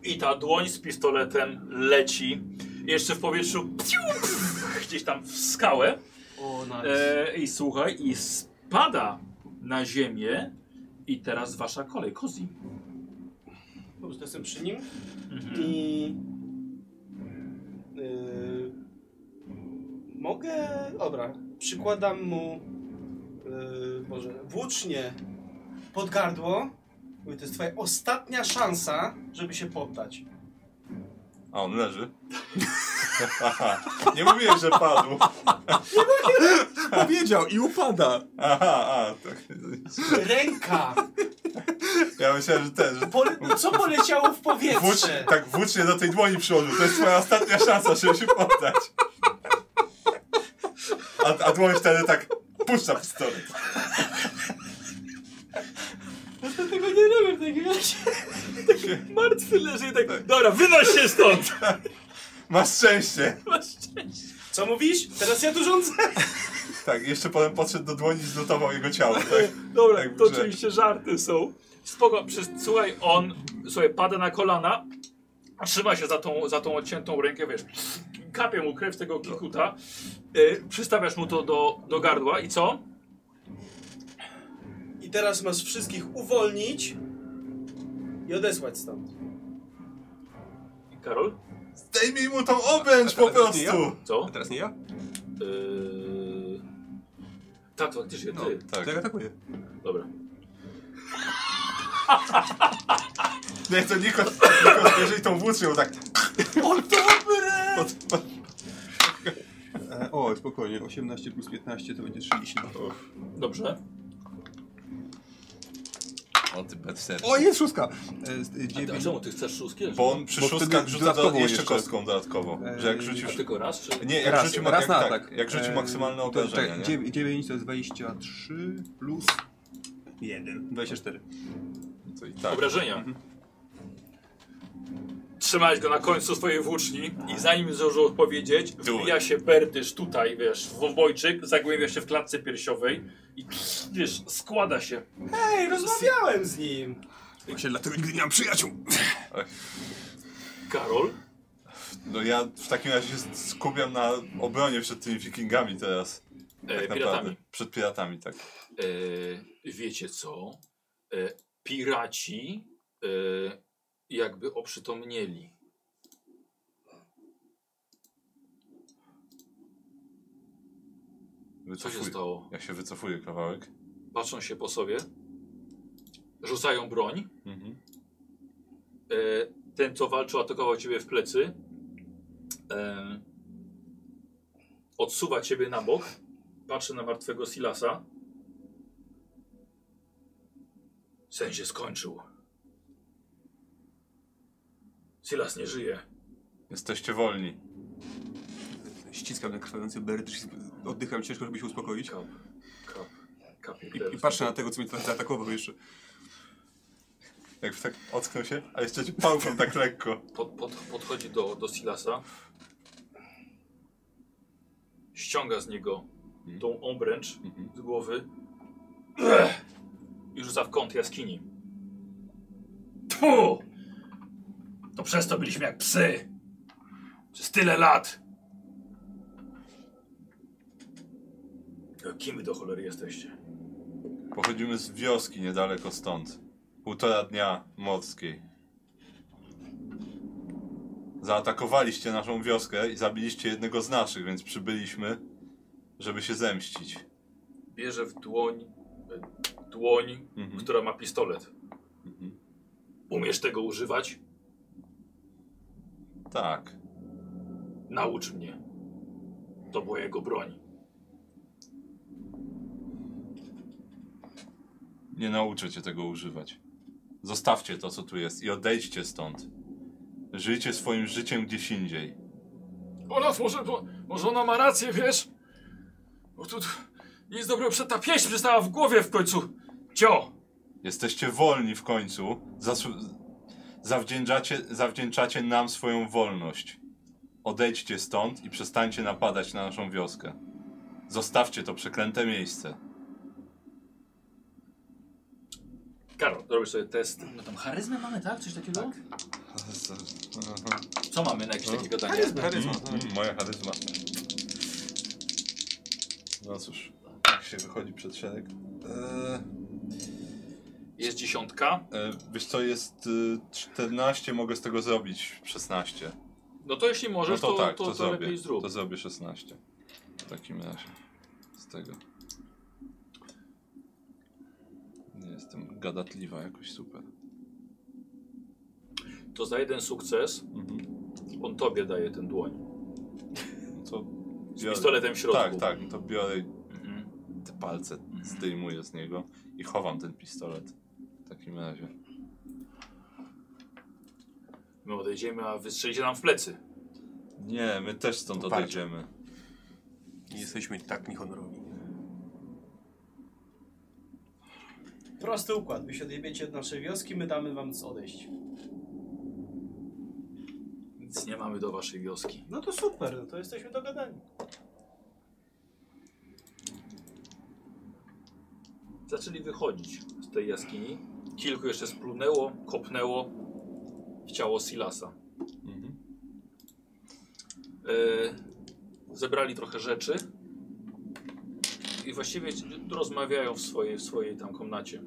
Speaker 1: I ta dłoń z pistoletem leci. Jeszcze w powietrzu gdzieś tam w skałę.
Speaker 3: O, nice.
Speaker 1: E, I słuchaj, i spada na ziemię. I teraz wasza kolej, Kozi.
Speaker 3: Dobrze, to jestem przy nim.
Speaker 1: Mhm.
Speaker 3: I. y, mogę. Dobra, przykładam mu. Yy, Boże, włócznie pod gardło. Mówię, to jest Twoja ostatnia szansa, żeby się poddać.
Speaker 2: A on leży? nie mówiłem, że padł.
Speaker 4: Powiedział i upada.
Speaker 2: Aha, a, tak.
Speaker 3: Ręka!
Speaker 2: Ja myślałem, że ten, że
Speaker 3: Pole- co poleciało w
Speaker 2: włócz,
Speaker 3: powietrze?
Speaker 2: tak włócznie do tej dłoni przyłożył. To jest twoja ostatnia szansa, żeby się poddać. A, a dłoń wtedy tak puszcza pistolet.
Speaker 3: Ja tego nie robię w takim razie.
Speaker 1: Martwy leży i tak. Dobra, wynoś się stąd!
Speaker 2: Masz szczęście.
Speaker 1: Masz szczęście.
Speaker 3: Co mówisz? Teraz ja tu rządzę.
Speaker 2: Tak, jeszcze potem podszedł do dłoni i zlutował jego ciało. Tak?
Speaker 1: Dobra,
Speaker 2: Tak,
Speaker 1: to
Speaker 2: że-
Speaker 1: oczywiście żarty są. Spoko, przez, słuchaj, on słuchaj, pada na kolana, trzyma się za tą, za tą odciętą rękę, wiesz, kapie mu krew z tego kikuta, y, przystawiasz mu to do, do gardła i co?
Speaker 3: I teraz masz wszystkich uwolnić i odesłać stąd.
Speaker 1: Karol?
Speaker 2: Zdejmij mu tą obręcz po prostu.
Speaker 1: Co?
Speaker 4: A teraz nie ja?
Speaker 1: Yy... Tak, to faktycznie ty.
Speaker 2: Tak.
Speaker 4: No, To ja atakuję.
Speaker 1: Dobra.
Speaker 2: Nie, to No Nikos, Nikos jeżeli tą włócznią tak...
Speaker 3: O, dobre!
Speaker 2: Pod, pod,
Speaker 4: E, o, spokojnie. 18 plus 15 to będzie 32.
Speaker 1: Dobrze.
Speaker 2: o ty bedster.
Speaker 4: O, jest szóstka! E, z-
Speaker 1: A, ty, a
Speaker 4: 9,
Speaker 1: czemu ty chcesz szóstki?
Speaker 2: Bo on przy
Speaker 4: Bo
Speaker 2: szóstkach
Speaker 4: wtedy
Speaker 2: rzuca do,
Speaker 4: dodatkowo
Speaker 2: jeszcze
Speaker 4: jeszcze.
Speaker 2: kostką dodatkowo. Że jak
Speaker 4: Eee,
Speaker 1: A
Speaker 2: rzucisz...
Speaker 1: tylko raz, czy...
Speaker 2: Nie, jak
Speaker 4: raz,
Speaker 2: rzuci,
Speaker 4: raz
Speaker 2: jak,
Speaker 4: na
Speaker 2: tak,
Speaker 4: atak.
Speaker 2: Jak rzuci
Speaker 4: E,
Speaker 2: maksymalne
Speaker 4: to-
Speaker 2: obrażenia,
Speaker 4: czekaj,
Speaker 2: nie?
Speaker 4: 9 to jest 23 plus 1. 24.
Speaker 2: To i tak.
Speaker 1: Obrażenia. Trzymałeś go na końcu swojej włóczni i zanim zdążył odpowiedzieć, wbija się Bertysz tutaj, wiesz, w obojczyk, zagłębia się w klatce piersiowej i wiesz, składa się.
Speaker 3: Ej, rozmawiałem z nim.
Speaker 4: Właśnie dlatego nigdy nie mam przyjaciół.
Speaker 1: Karol?
Speaker 2: No ja w takim razie się skupiam na obronie przed tymi wikingami teraz.
Speaker 1: E,
Speaker 2: Tak
Speaker 1: piratami.
Speaker 2: naprawdę. Przed piratami, tak.
Speaker 1: E, wiecie co? E, piraci e, jakby oprzytomnieli. Co się
Speaker 2: Wycofuję.
Speaker 1: stało?
Speaker 2: Ja się wycofuję kawałek.
Speaker 1: Patrzą się po sobie, rzucają broń.
Speaker 2: Mhm.
Speaker 1: E, ten, co walczył, atakował ciebie w plecy. E, odsuwa ciebie na bok. Patrzy na martwego Silasa. Sen się skończył. Silas nie żyje.
Speaker 2: Jesteście wolni.
Speaker 4: Ściskam ten krwawiący beret, ścisk- oddycham ciężko, żeby się uspokoić.
Speaker 1: Kap, kap, kapie
Speaker 4: I, I
Speaker 1: krew.
Speaker 4: patrzę na tego, co mnie teraz zaatakował jeszcze.
Speaker 2: Jak tak ocknął się, a jeszcze cię pałką tak lekko.
Speaker 1: Pod, pod, podchodzi do, do Silasa. Ściąga z niego tą obręcz
Speaker 2: Mhm.
Speaker 1: z głowy i rzuca w kąt jaskini.
Speaker 5: Tfu! To przez to byliśmy jak psy. Przez tyle lat.
Speaker 1: E, Kim wy do cholery jesteście?
Speaker 2: Pochodzimy z wioski niedaleko stąd. Półtora dnia morskiej. Zaatakowaliście naszą wioskę i zabiliście jednego z naszych, więc przybyliśmy, żeby się zemścić.
Speaker 1: Bierze w dłoń e, dłoń,
Speaker 2: Mhm.
Speaker 1: która ma pistolet.
Speaker 2: Mhm.
Speaker 1: Umiesz tego używać?
Speaker 2: Tak.
Speaker 1: Naucz mnie. To była jego broń.
Speaker 2: Nie nauczę cię tego używać. Zostawcie to, co tu jest i odejdźcie stąd. Żyjcie swoim życiem gdzieś indziej.
Speaker 5: Olaf, może, bo, może ona ma rację, wiesz? Bo tu nic dobrego, prze- ta pieśń przestała w głowie w końcu. Cio!
Speaker 2: Jesteście wolni w końcu. Zasu- zawdzięczacie, zawdzięczacie nam swoją wolność. Odejdźcie stąd i przestańcie napadać na naszą wioskę. Zostawcie to przeklęte miejsce.
Speaker 1: Karol, robisz sobie test.
Speaker 5: No tam charyzmę mamy, tak? Coś takiego?
Speaker 1: Co mamy na jakieś takie
Speaker 2: Mhm.
Speaker 1: gadanie?
Speaker 3: Charyzmę.
Speaker 4: Charyzma.
Speaker 2: Mm, moja charyzma. No cóż, jak się wychodzi przed szereg? Eee,
Speaker 1: Jest dziesiątka.
Speaker 2: e, wiesz co, jest y, 14, mogę z tego zrobić 16.
Speaker 1: No to jeśli
Speaker 2: No
Speaker 1: możesz,
Speaker 2: to tak, to,
Speaker 1: to, lepiej
Speaker 2: zrobię.
Speaker 1: zrób.
Speaker 2: To zrobię 16. W takim razie. Z tego. Nie jestem gadatliwa jakoś super.
Speaker 1: To za jeden sukces
Speaker 2: Mhm.
Speaker 1: on tobie daje ten dłoń.
Speaker 2: No to
Speaker 1: Z
Speaker 2: biorę-
Speaker 1: pistoletem w środku.
Speaker 2: Tak, tak, no to biorę i
Speaker 1: Mhm.
Speaker 2: te palce, zdejmuję z niego i chowam ten pistolet. W takim razie.
Speaker 1: My odejdziemy, a wystrzelicie nam w plecy.
Speaker 2: Nie, my też stąd
Speaker 4: Uparcie.
Speaker 2: odejdziemy.
Speaker 4: Nie jesteśmy tak niehonorowi.
Speaker 3: Prosty układ. Wy się odjebiecie od naszej wioski, my damy wam z odejść.
Speaker 1: Nic nie mamy do waszej wioski.
Speaker 3: No to super, no to jesteśmy dogadani.
Speaker 1: Zaczęli wychodzić z tej jaskini. Kilku jeszcze splunęło, kopnęło w ciało Silasa.
Speaker 2: Mhm.
Speaker 1: E, zebrali trochę rzeczy i właściwie rozmawiają w swojej, w swojej tam komnacie,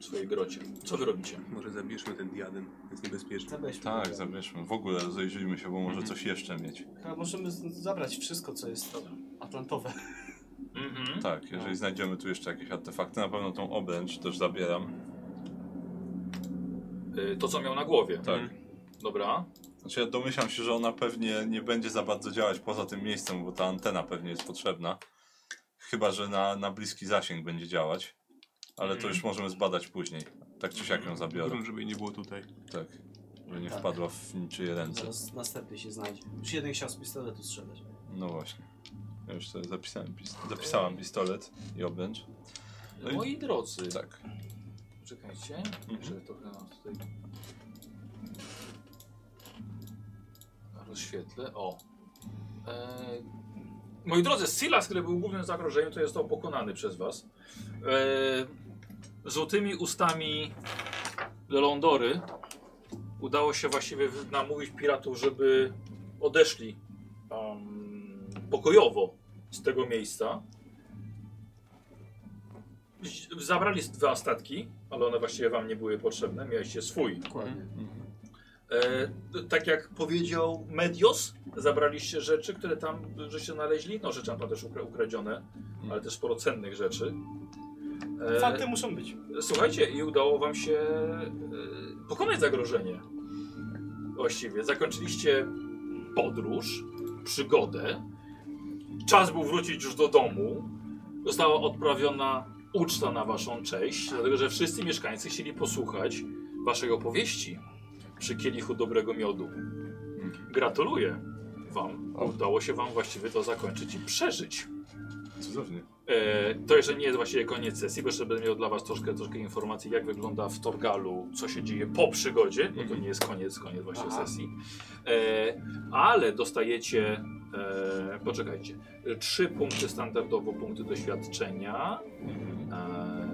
Speaker 1: w swojej grocie. Co wy robicie?
Speaker 4: Może zabierzmy ten diadem, jest niebezpieczny.
Speaker 3: Zabierzmy.
Speaker 2: Tak, zabierzmy. W ogóle rozejrzyjmy się, bo może coś jeszcze mieć.
Speaker 3: Chyba możemy z- zabrać wszystko, co jest atlantowe.
Speaker 1: Mhm.
Speaker 2: Tak, jeżeli znajdziemy tu jeszcze jakieś artefakty, na pewno tą obręcz też zabieram.
Speaker 1: E, to, co miał na głowie.
Speaker 2: Tak.
Speaker 1: Dobra.
Speaker 2: Znaczy ja domyślam się, że ona pewnie nie będzie za bardzo działać poza tym miejscem, bo ta antena pewnie jest potrzebna. Chyba, że na, na bliski zasięg będzie działać. Ale to
Speaker 1: Mhm.
Speaker 2: już możemy zbadać później. Tak czy siak ją zabiorę.
Speaker 4: Grunt, żeby jej nie było tutaj.
Speaker 2: Tak. Żeby nie
Speaker 3: Mhm. Tak.
Speaker 2: wpadła w niczyje ręce.
Speaker 3: Zaraz następny się znajdzie. Już jeden chciał z pistoletu strzelać.
Speaker 2: No właśnie. Ja już sobie zapisałem, pis- zapisałem pistolet i obręcz. No i-
Speaker 1: Moi drodzy,
Speaker 2: Tak.
Speaker 1: czekajcie, żeby trochę nam tutaj rozświetlę. O. Eee, moi drodzy, Silas, który był głównym zagrożeniem, to został pokonany przez was. Eee, złotymi ustami Lelondory udało się właściwie wy- namówić piratów, żeby odeszli em, pokojowo z tego miejsca. Z- Zabrali s- dwa statki, ale one właściwie wam nie były potrzebne, mieliście swój.
Speaker 3: Dokładnie.
Speaker 1: E, t- tak jak powiedział Medios, zabraliście rzeczy, które tam żeście znaleźli, no rzeczy tam też ukra- ukradzione ale też sporo cennych rzeczy. E,
Speaker 3: Fakty muszą być.
Speaker 1: Słuchajcie, i udało wam się e, pokonać zagrożenie. Właściwie zakończyliście podróż, przygodę. Czas był wrócić już do domu. Została odprawiona uczta na waszą cześć, dlatego że wszyscy mieszkańcy chcieli posłuchać waszej opowieści przy kielichu dobrego miodu. Gratuluję wam. Udało się wam właściwie to zakończyć i przeżyć.
Speaker 2: Cudownie.
Speaker 1: E, To jeszcze nie jest właściwie koniec sesji, bo jeszcze będę miał dla Was troszkę, troszkę informacji, jak wygląda w Torgalu, co się dzieje po przygodzie, bo to nie jest koniec, koniec właśnie
Speaker 3: Aha.
Speaker 1: sesji. E, Ale dostajecie, e, poczekajcie, e, trzy punkty standardowo, punkty doświadczenia. E,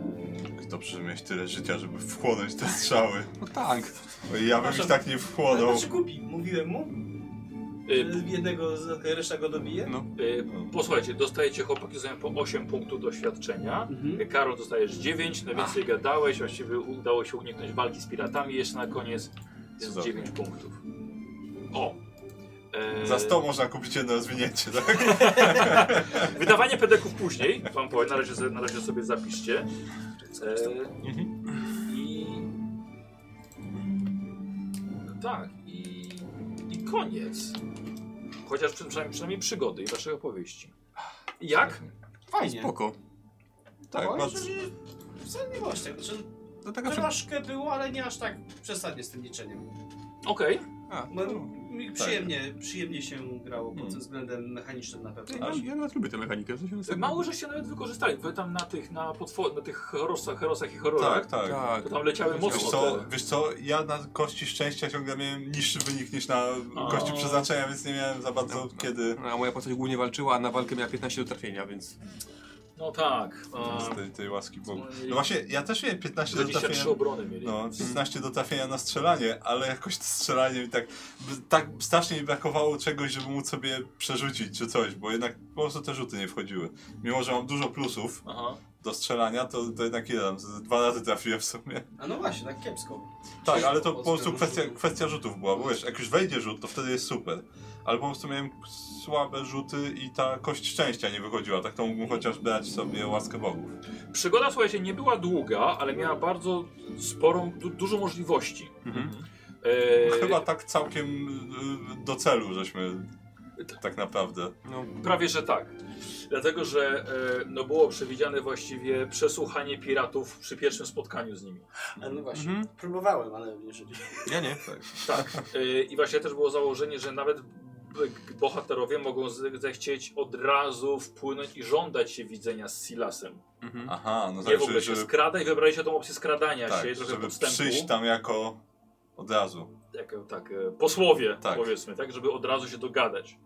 Speaker 2: Dobrze, że miałeś tyle życia, żeby wchłonąć te strzały.
Speaker 4: No tak.
Speaker 2: Bo Ja bym ich tak nie
Speaker 3: Ale
Speaker 2: wchłonął.
Speaker 3: znaczy kupi. Mówiłem mu,
Speaker 1: e,
Speaker 3: że jednego, z- reszta go dobije.
Speaker 4: No.
Speaker 1: e, Posłuchajcie, dostajecie chłopaki sobie po 8 punktów doświadczenia.
Speaker 3: Mhm.
Speaker 1: Karol dostajesz 9, najwięcej gadałeś, właściwie udało się uniknąć walki z piratami, jeszcze na koniec jest
Speaker 2: Cudownie.
Speaker 1: 9 punktów. O! Eee,
Speaker 2: Za 100 można kupić jedno rozwinięcie, tak?
Speaker 1: Wydawanie pedeków później, wam powiem, na razie, sobie- na razie sobie zapiszcie. Eee, I... Tak, i, i koniec. Chociaż przy- przynajmniej, przynajmniej przygody i waszej opowieści. Jak?
Speaker 3: Fajnie.
Speaker 4: Spoko.
Speaker 2: Tak,
Speaker 3: No,
Speaker 2: bardzo.
Speaker 3: jeżeli- Wcale nie było aż tak. Znaczy,
Speaker 4: No taka przy...
Speaker 3: troszkę było, ale nie aż tak przesadnie z tym liczeniem.
Speaker 1: Okej.
Speaker 4: A,
Speaker 3: No,
Speaker 4: no.
Speaker 3: Mi przyjemnie, przyjemnie się grało pod tym względem mechanicznym na
Speaker 4: Ja,
Speaker 3: pewno.
Speaker 4: ja, ja nawet lubię tę mechanikę. W sensie ona jest
Speaker 1: Mało, że się nawet wykorzystali. Wy tam na tych, na, potwor- na tych herosach, herosach i horrorach.
Speaker 2: Tak, tak.
Speaker 4: Tak.
Speaker 1: To tam leciały
Speaker 2: Wiesz
Speaker 1: mocno.
Speaker 2: co,
Speaker 1: te-
Speaker 2: wiesz co, ja na kości szczęścia ciągle miałem niższy wynik niż na
Speaker 1: A.
Speaker 2: kości przeznaczenia, więc nie miałem za bardzo
Speaker 4: No, no.
Speaker 2: kiedy.
Speaker 4: No, A moja postać głównie walczyła, a na walkę miała 15 do trafienia, więc...
Speaker 1: No tak.
Speaker 2: Z
Speaker 1: Um,
Speaker 2: tej, tej łaski Bogu.
Speaker 1: no i-
Speaker 2: No właśnie, ja też miałem 15 do
Speaker 1: 23
Speaker 2: trafienia.
Speaker 1: obrony mieli. Mhm.
Speaker 2: No, 15 do trafienia na strzelanie, ale jakoś to strzelanie mi tak, b- tak strasznie mi brakowało czegoś, żeby móc sobie przerzucić czy coś, bo jednak po prostu te rzuty nie wchodziły. Mimo, że mam dużo plusów
Speaker 1: Aha.
Speaker 2: do strzelania, to, to jednak ile tam, z- dwa razy trafiłem w sumie.
Speaker 3: A no właśnie, tak kiepsko.
Speaker 2: Tak, ale to po prostu
Speaker 3: Oscar
Speaker 2: kwestia,
Speaker 3: rzutów.
Speaker 2: kwestia rzutów była, bo wiesz, jak już wejdzie rzut, to wtedy jest super. Ale po prostu miałem słabe rzuty i ta kość szczęścia nie wychodziła, tak to mógłbym chociaż brać sobie łaskę bogów.
Speaker 1: Przygoda, słuchajcie, nie była długa, ale miała bardzo sporą, du, dużo możliwości.
Speaker 4: Mhm.
Speaker 1: E,
Speaker 2: Chyba tak całkiem y, do celu żeśmy tak naprawdę.
Speaker 4: No,
Speaker 1: Prawie, że tak. Dlatego, że e, no było przewidziane właściwie przesłuchanie piratów przy pierwszym spotkaniu z nimi.
Speaker 3: A no właśnie,
Speaker 4: Mhm.
Speaker 3: próbowałem, ale nie żyli.
Speaker 4: ja nie.
Speaker 1: Tak. E, I właśnie też było założenie, że nawet b- bohaterowie mogą z- zechcieć od razu wpłynąć i żądać się widzenia z Silasem.
Speaker 4: Mhm.
Speaker 2: Aha, no
Speaker 1: Nie
Speaker 2: tak,
Speaker 1: w ogóle się
Speaker 2: żeby,
Speaker 1: skrada i wybraliście tą opcję skradania
Speaker 2: tak,
Speaker 1: się i trochę
Speaker 2: żeby
Speaker 1: podstępu.
Speaker 2: przyjść tam jako od razu.
Speaker 1: jak, tak, e, posłowie,
Speaker 2: Tak.
Speaker 1: powiedzmy, tak, żeby od razu się dogadać.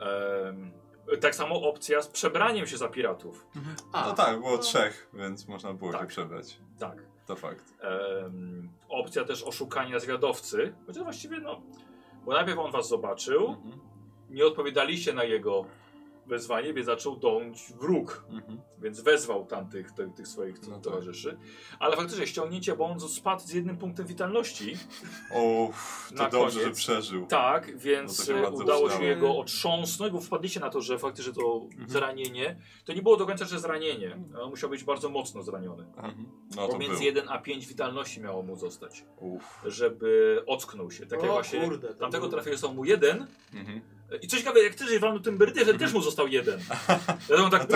Speaker 1: Em, tak samo opcja z przebraniem się za piratów.
Speaker 3: A,
Speaker 2: No tak, było trzech, więc można było się
Speaker 1: Tak.
Speaker 2: przebrać.
Speaker 1: Tak.
Speaker 2: To fakt.
Speaker 1: Em, opcja też oszukania zwiadowcy, chociaż właściwie no, bo najpierw on was zobaczył,
Speaker 2: Mhm,
Speaker 1: nie odpowiadaliście na jego wezwanie, więc zaczął dąć wróg,
Speaker 2: mhm.
Speaker 1: więc wezwał tam tych, tych, tych swoich
Speaker 2: No tak.
Speaker 1: towarzyszy. Ale faktycznie ściągnięcie, bo on spadł z jednym punktem witalności.
Speaker 2: O, to
Speaker 1: Na
Speaker 2: dobrze, że
Speaker 1: koniec.
Speaker 2: przeżył.
Speaker 1: Tak,
Speaker 2: No
Speaker 1: więc
Speaker 2: to się
Speaker 1: e,
Speaker 2: bardzo
Speaker 1: udało się
Speaker 2: udało.
Speaker 1: jego otrząsnąć, bo wpadliście na to, że faktycznie to
Speaker 2: Mhm.
Speaker 1: zranienie, to nie było do końca, że zranienie. On musiał być bardzo mocno zraniony.
Speaker 2: Mhm. No to był.
Speaker 1: Pomiędzy 1 a 5 witalności miało mu zostać,
Speaker 2: Uff.
Speaker 1: żeby ocknął się. Tak jak
Speaker 3: O
Speaker 1: właśnie
Speaker 3: kurde, to
Speaker 1: tamtego
Speaker 3: był-
Speaker 1: trafił są mu jeden.
Speaker 2: Mhm.
Speaker 1: I coś ciekawe, jak ty żeś walnął tym Bertyrze, też mu został jeden. Dlatego on tak,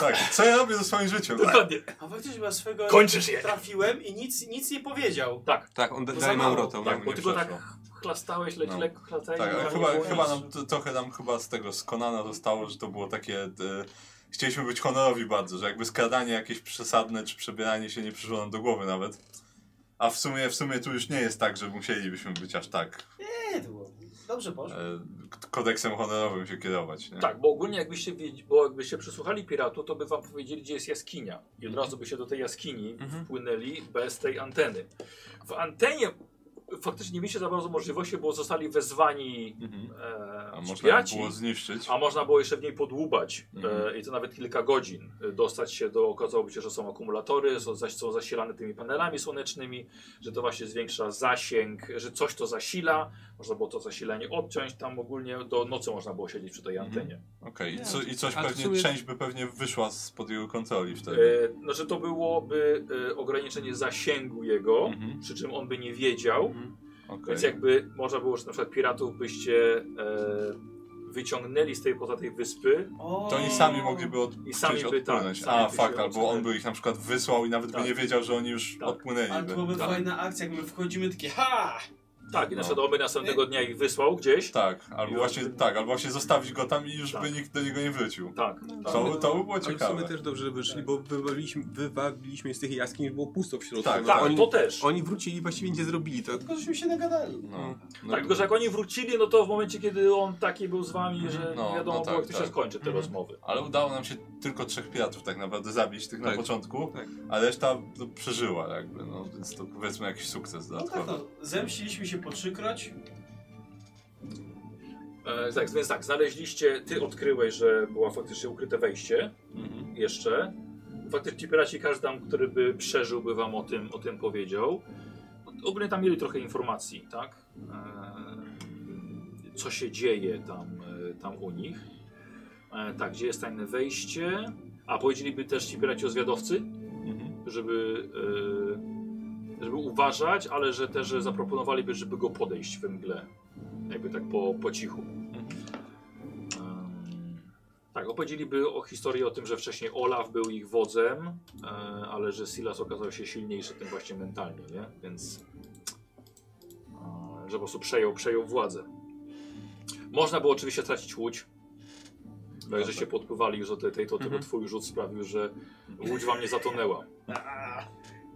Speaker 2: Tak, co ja robię ze swoim życiem? Tak,
Speaker 1: dokładnie,
Speaker 3: A faktycznie chyba swego
Speaker 1: kończysz je.
Speaker 3: trafiłem i nic, nic nie powiedział.
Speaker 1: Tak,
Speaker 4: Tak, on da-
Speaker 3: To za
Speaker 4: dalej mam
Speaker 3: mało.
Speaker 4: rotę.
Speaker 1: tak,
Speaker 2: No nie
Speaker 1: bo tylko tak
Speaker 2: przeszło.
Speaker 1: chlastałeś, leć,
Speaker 2: No.
Speaker 1: lekko chlastałeś.
Speaker 2: Tak,
Speaker 1: i
Speaker 2: ale
Speaker 1: tam
Speaker 2: chyba,
Speaker 1: nie było
Speaker 2: chyba
Speaker 1: nic.
Speaker 2: nam to, trochę nam chyba z tego z Konana zostało, że to było takie. E, chcieliśmy być honorowi bardzo, że jakby skradanie jakieś przesadne czy przebieranie się nie przyszło nam do głowy nawet. A w sumie, w sumie tu już nie jest tak, że musielibyśmy być aż tak
Speaker 3: Nie, to było. Dobrze
Speaker 2: e,
Speaker 3: poszło.
Speaker 2: k- kodeksem honorowym się kierować. Nie?
Speaker 1: Tak, bo ogólnie jakbyście, wiedz- bo jakbyście przesłuchali piratu, to by wam powiedzieli, gdzie jest jaskinia. I od razu by się do tej jaskini
Speaker 4: Mhm.
Speaker 1: wpłynęli bez tej anteny. W antenie faktycznie nie mieliście za bardzo możliwości, bo zostali wezwani
Speaker 2: Mhm.
Speaker 1: e,
Speaker 2: A można
Speaker 1: szpiaci,
Speaker 2: było zniszczyć.
Speaker 1: a można było jeszcze w niej podłubać
Speaker 2: Mhm.
Speaker 1: e, i to nawet kilka godzin. E, Dostać się do, okazałoby się, że są akumulatory, są, zaś, są zasilane tymi panelami słonecznymi, że to właśnie zwiększa zasięg, że coś to zasila, można było to zasilanie odciąć, tam ogólnie do nocy można było siedzieć przy tej
Speaker 2: Mhm.
Speaker 1: antenie.
Speaker 2: Okej, i, co, i coś
Speaker 4: Ale w
Speaker 2: pewnie,
Speaker 4: sumie-
Speaker 2: część by pewnie wyszła spod jego kontroli wtedy.
Speaker 1: E, znaczy to byłoby e, ograniczenie zasięgu jego,
Speaker 2: Mhm.
Speaker 1: przy czym on by nie wiedział,
Speaker 2: Okej.
Speaker 1: Więc jakby można było, że na przykład piratów byście e, wyciągnęli z tej poza tej wyspy.
Speaker 3: O,
Speaker 2: To oni sami mogliby od...
Speaker 1: I sami
Speaker 2: gdzieś
Speaker 1: by tak,
Speaker 2: odpłynąć.
Speaker 1: sami
Speaker 2: A,
Speaker 1: by się
Speaker 2: fakt, albo on
Speaker 1: odsunęli.
Speaker 2: by ich na przykład wysłał i nawet
Speaker 1: Tak.
Speaker 2: by nie wiedział, że oni już
Speaker 1: Tak.
Speaker 3: Ale
Speaker 2: odpłynęli.
Speaker 3: to
Speaker 2: By.
Speaker 3: byłaby
Speaker 1: Tak.
Speaker 3: fajna akcja, jakby wchodzimy takie ha!
Speaker 1: Tak, i na
Speaker 2: No.
Speaker 1: przykład on by następnego dnia ich wysłał gdzieś.
Speaker 2: Tak, albo
Speaker 1: I
Speaker 2: właśnie,
Speaker 1: on by-
Speaker 2: tak, albo właśnie zostawić go tam i już
Speaker 1: Tak.
Speaker 2: by nikt do niego nie wrócił.
Speaker 1: Tak.
Speaker 2: To, to by było
Speaker 4: Ale w sumie
Speaker 2: ciekawe.
Speaker 4: też dobrze, że wyszli, bo wywaliliśmy, wywaliliśmy z tych jaskiń, było pusto w środku.
Speaker 2: Tak,
Speaker 4: no,
Speaker 1: Tak,
Speaker 4: oni,
Speaker 1: to też.
Speaker 4: oni wrócili i właściwie nie zrobili to.
Speaker 3: Tylko żeśmy się nagadali.
Speaker 2: No. No,
Speaker 1: Tak, tylko że jak oni wrócili, no to w momencie, kiedy on taki był z wami, że
Speaker 2: No,
Speaker 1: nie wiadomo
Speaker 2: no tak,
Speaker 1: było, jak to się
Speaker 2: tak.
Speaker 1: skończy, te
Speaker 4: Mhm.
Speaker 1: rozmowy.
Speaker 2: Ale udało nam się tylko trzech piratów tak naprawdę zabić, tych na
Speaker 4: Tak.
Speaker 2: początku,
Speaker 4: Tak.
Speaker 2: a reszta no, przeżyła jakby, no, więc to powiedzmy jakiś sukces
Speaker 3: No tak,
Speaker 2: dodatkowy.
Speaker 3: no. Zemściliśmy się po trzykroć.
Speaker 1: E, tak, więc tak, znaleźliście, ty odkryłeś, że było faktycznie ukryte wejście
Speaker 2: Mhm.
Speaker 1: jeszcze. Faktycznie ci piraci, każdy tam, który by przeżył, by wam o tym, o tym powiedział. Ogólnie tam mieli trochę informacji, tak? E, Co się dzieje tam, e, tam u nich. E, Tak, gdzie jest tajne wejście. A powiedzieliby też ci piraci o zwiadowcy,
Speaker 2: Mhm.
Speaker 1: żeby, e, żeby uważać, ale że też że zaproponowaliby, żeby go podejść we mgle. Jakby tak po, po cichu. Em, Tak, opowiedzieliby o historii o tym, że wcześniej Olaf był ich wodzem, e, ale że Silas okazał się silniejszy tym właśnie mentalnie, nie? Więc e, że po prostu przejął, przejął władzę. Można było oczywiście tracić łódź. No, że się podpływali już do tej, tej to tylko
Speaker 4: Mhm.
Speaker 1: twój rzut sprawił, że łódź wam nie zatonęła.
Speaker 3: A,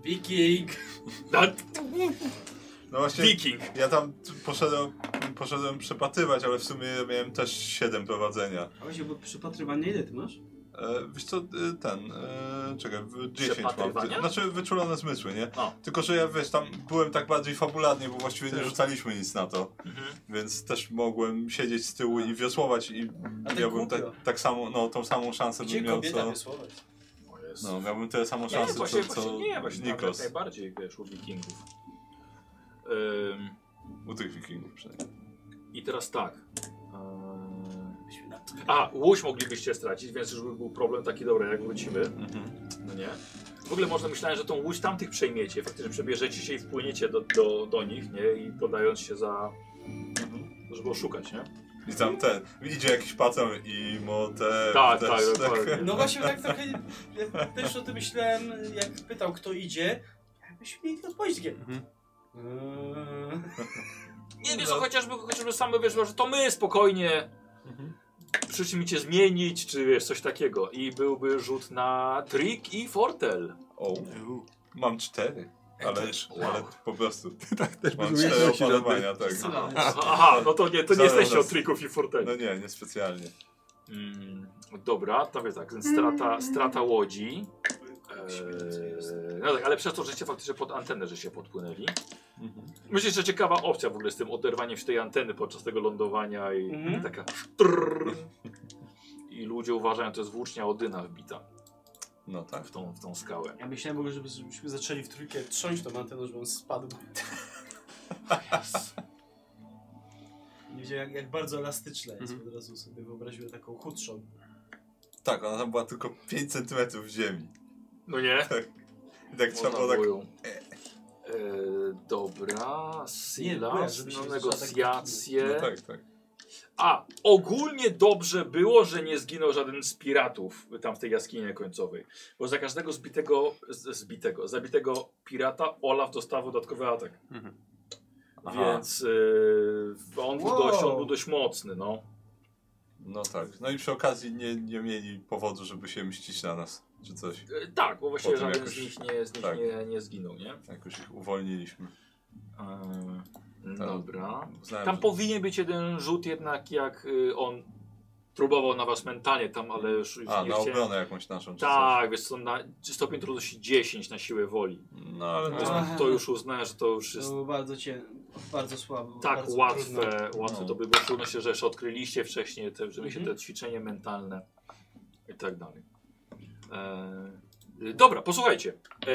Speaker 3: Viking!
Speaker 2: No właśnie,
Speaker 1: Wiking!
Speaker 2: ja tam t- poszedłem, poszedłem przepatrywać, ale w sumie miałem też 7 prowadzenia.
Speaker 3: A właśnie, bo przypatrywanie ile ty masz?
Speaker 2: E, wiesz co, y, ten, e, czekaj, w- 10 mam.
Speaker 1: Przepatrywania?
Speaker 2: Znaczy wyczulone zmysły, nie?
Speaker 1: A.
Speaker 2: Tylko, że ja wiesz, tam byłem tak bardziej fabularnie, bo właściwie nie
Speaker 1: Tak.
Speaker 2: rzucaliśmy nic na to. Więc też mogłem siedzieć z tyłu i wiosłować i
Speaker 3: A tak
Speaker 2: miałbym
Speaker 3: głupio.
Speaker 2: tak, tak samo, no tą samą szansę
Speaker 3: Gdzie
Speaker 2: bym miał
Speaker 3: kobieta
Speaker 2: co...
Speaker 3: wysłować?
Speaker 2: No, miałbym tyle samo
Speaker 1: Nie,
Speaker 2: szansy,
Speaker 1: właśnie,
Speaker 2: co,
Speaker 1: właśnie
Speaker 2: co
Speaker 1: nie, właśnie nawet
Speaker 2: Nikos.
Speaker 1: najbardziej, wiesz, u wikingów. Ym,
Speaker 2: U tych wikingów przynajmniej.
Speaker 1: I teraz tak. Ym, A, łódź moglibyście stracić, więc już by był problem taki, dobra, jak wrócimy,
Speaker 3: Mhm.
Speaker 1: no nie? W ogóle można myślałem, że tą łódź tamtych przejmiecie, faktycznie przebierzecie się i wpłyniecie do, do, do nich, nie? I podając się za... żeby oszukać, nie?
Speaker 2: I tam ten, idzie jakiś pacem i mo te...
Speaker 1: Tak,
Speaker 2: też,
Speaker 1: tak, dokładnie.
Speaker 3: No właśnie tak trochę ja też o tym myślałem, jak pytał kto idzie. Jakbyśmy mieli odpowiedź takie.
Speaker 4: Mhm.
Speaker 3: Eee,
Speaker 1: Nie, wiesz, no. chociażby, chociażby sam wiesz, że to my spokojnie
Speaker 4: Mhm.
Speaker 1: przyszliśmy cię zmienić, czy wiesz, coś takiego. I byłby rzut na trik i fortel.
Speaker 2: O, mam cztery. Ale, ale po prostu.
Speaker 4: tak, też
Speaker 2: Mam
Speaker 4: bez
Speaker 2: cztery
Speaker 4: umiejętności żadnej.
Speaker 2: opanowania, tak.
Speaker 3: Syna.
Speaker 1: Aha, no to nie, to nie
Speaker 2: Zaraz.
Speaker 1: jesteście od trików i forteli.
Speaker 2: No nie, niespecjalnie.
Speaker 1: Mm, dobra, to więc tak, więc strata, strata łodzi. Eee, no tak, ale przez to, że się faktycznie pod antenę, że się podpłynęli.
Speaker 2: Mhm.
Speaker 1: Myślę, że ciekawa opcja w ogóle z tym oderwaniem się tej anteny podczas tego lądowania i
Speaker 3: Mhm.
Speaker 1: taka trrr. I ludzie uważają, to jest włócznia Odyna wbita
Speaker 2: No tak.
Speaker 1: w tą, w tą skałę.
Speaker 3: Ja myślałem w ogóle, żeby- żebyśmy zaczęli w trójkę trząść tą anteną, żeby on spadł. Nie wiedziałem jak, jak bardzo elastyczna jest.
Speaker 4: Mhm.
Speaker 3: Od razu sobie wyobraziłem taką chudszą.
Speaker 2: Tak, ona tam była tylko 5 cm w ziemi.
Speaker 1: No nie?
Speaker 2: I tak trzeba było tak...
Speaker 1: Eee, dobra,
Speaker 3: byłem,
Speaker 1: Silas,
Speaker 3: żeby się
Speaker 1: no
Speaker 3: zaczęła tak
Speaker 1: negocjacje.
Speaker 2: No tak, tak.
Speaker 1: A, ogólnie dobrze było, że nie zginął żaden z piratów tam w tej jaskinie końcowej. Bo za każdego zbitego, z- zbitego, zabitego pirata Olaf dostawał dodatkowy atak.
Speaker 4: Mhm.
Speaker 2: Aha.
Speaker 1: Więc yy, on, był
Speaker 3: Wow.
Speaker 1: dość, on był dość mocny, no.
Speaker 2: No tak. No i przy okazji nie, nie mieli powodu, żeby się mścić na nas, czy coś.
Speaker 1: E, tak, bo właśnie
Speaker 2: Potem
Speaker 1: żaden
Speaker 2: jakoś-
Speaker 1: z nich, nie, z nich
Speaker 2: tak.
Speaker 1: nie, nie zginął, nie?
Speaker 2: Jakoś ich uwolniliśmy.
Speaker 1: Ehm,
Speaker 2: Tak.
Speaker 1: dobra.
Speaker 2: Uznałem,
Speaker 1: Tam
Speaker 2: że-
Speaker 1: powinien być jeden rzut jednak, jak y, on próbował na was mentalnie tam, ale już już
Speaker 2: A, no,
Speaker 1: nie
Speaker 2: na
Speaker 1: chciałem-
Speaker 2: obronę jakąś naszą. czy
Speaker 1: Tak, wiesz co, na stopień trudności 10 na siłę woli.
Speaker 2: coś. No ale
Speaker 1: To,
Speaker 2: to...
Speaker 3: Aha.
Speaker 1: Tak. to już uznałem, że to już jest...
Speaker 3: To było bardzo cię Bardzo słabo.
Speaker 1: Tak
Speaker 3: bardzo trudno.
Speaker 1: łatwe, łatwe
Speaker 7: No.
Speaker 1: to by było. Trudno się rzeczy odkryliście wcześniej, te, żeby się
Speaker 3: Mhm.
Speaker 1: te ćwiczenie mentalne i tak dalej. E, dobra, posłuchajcie. E,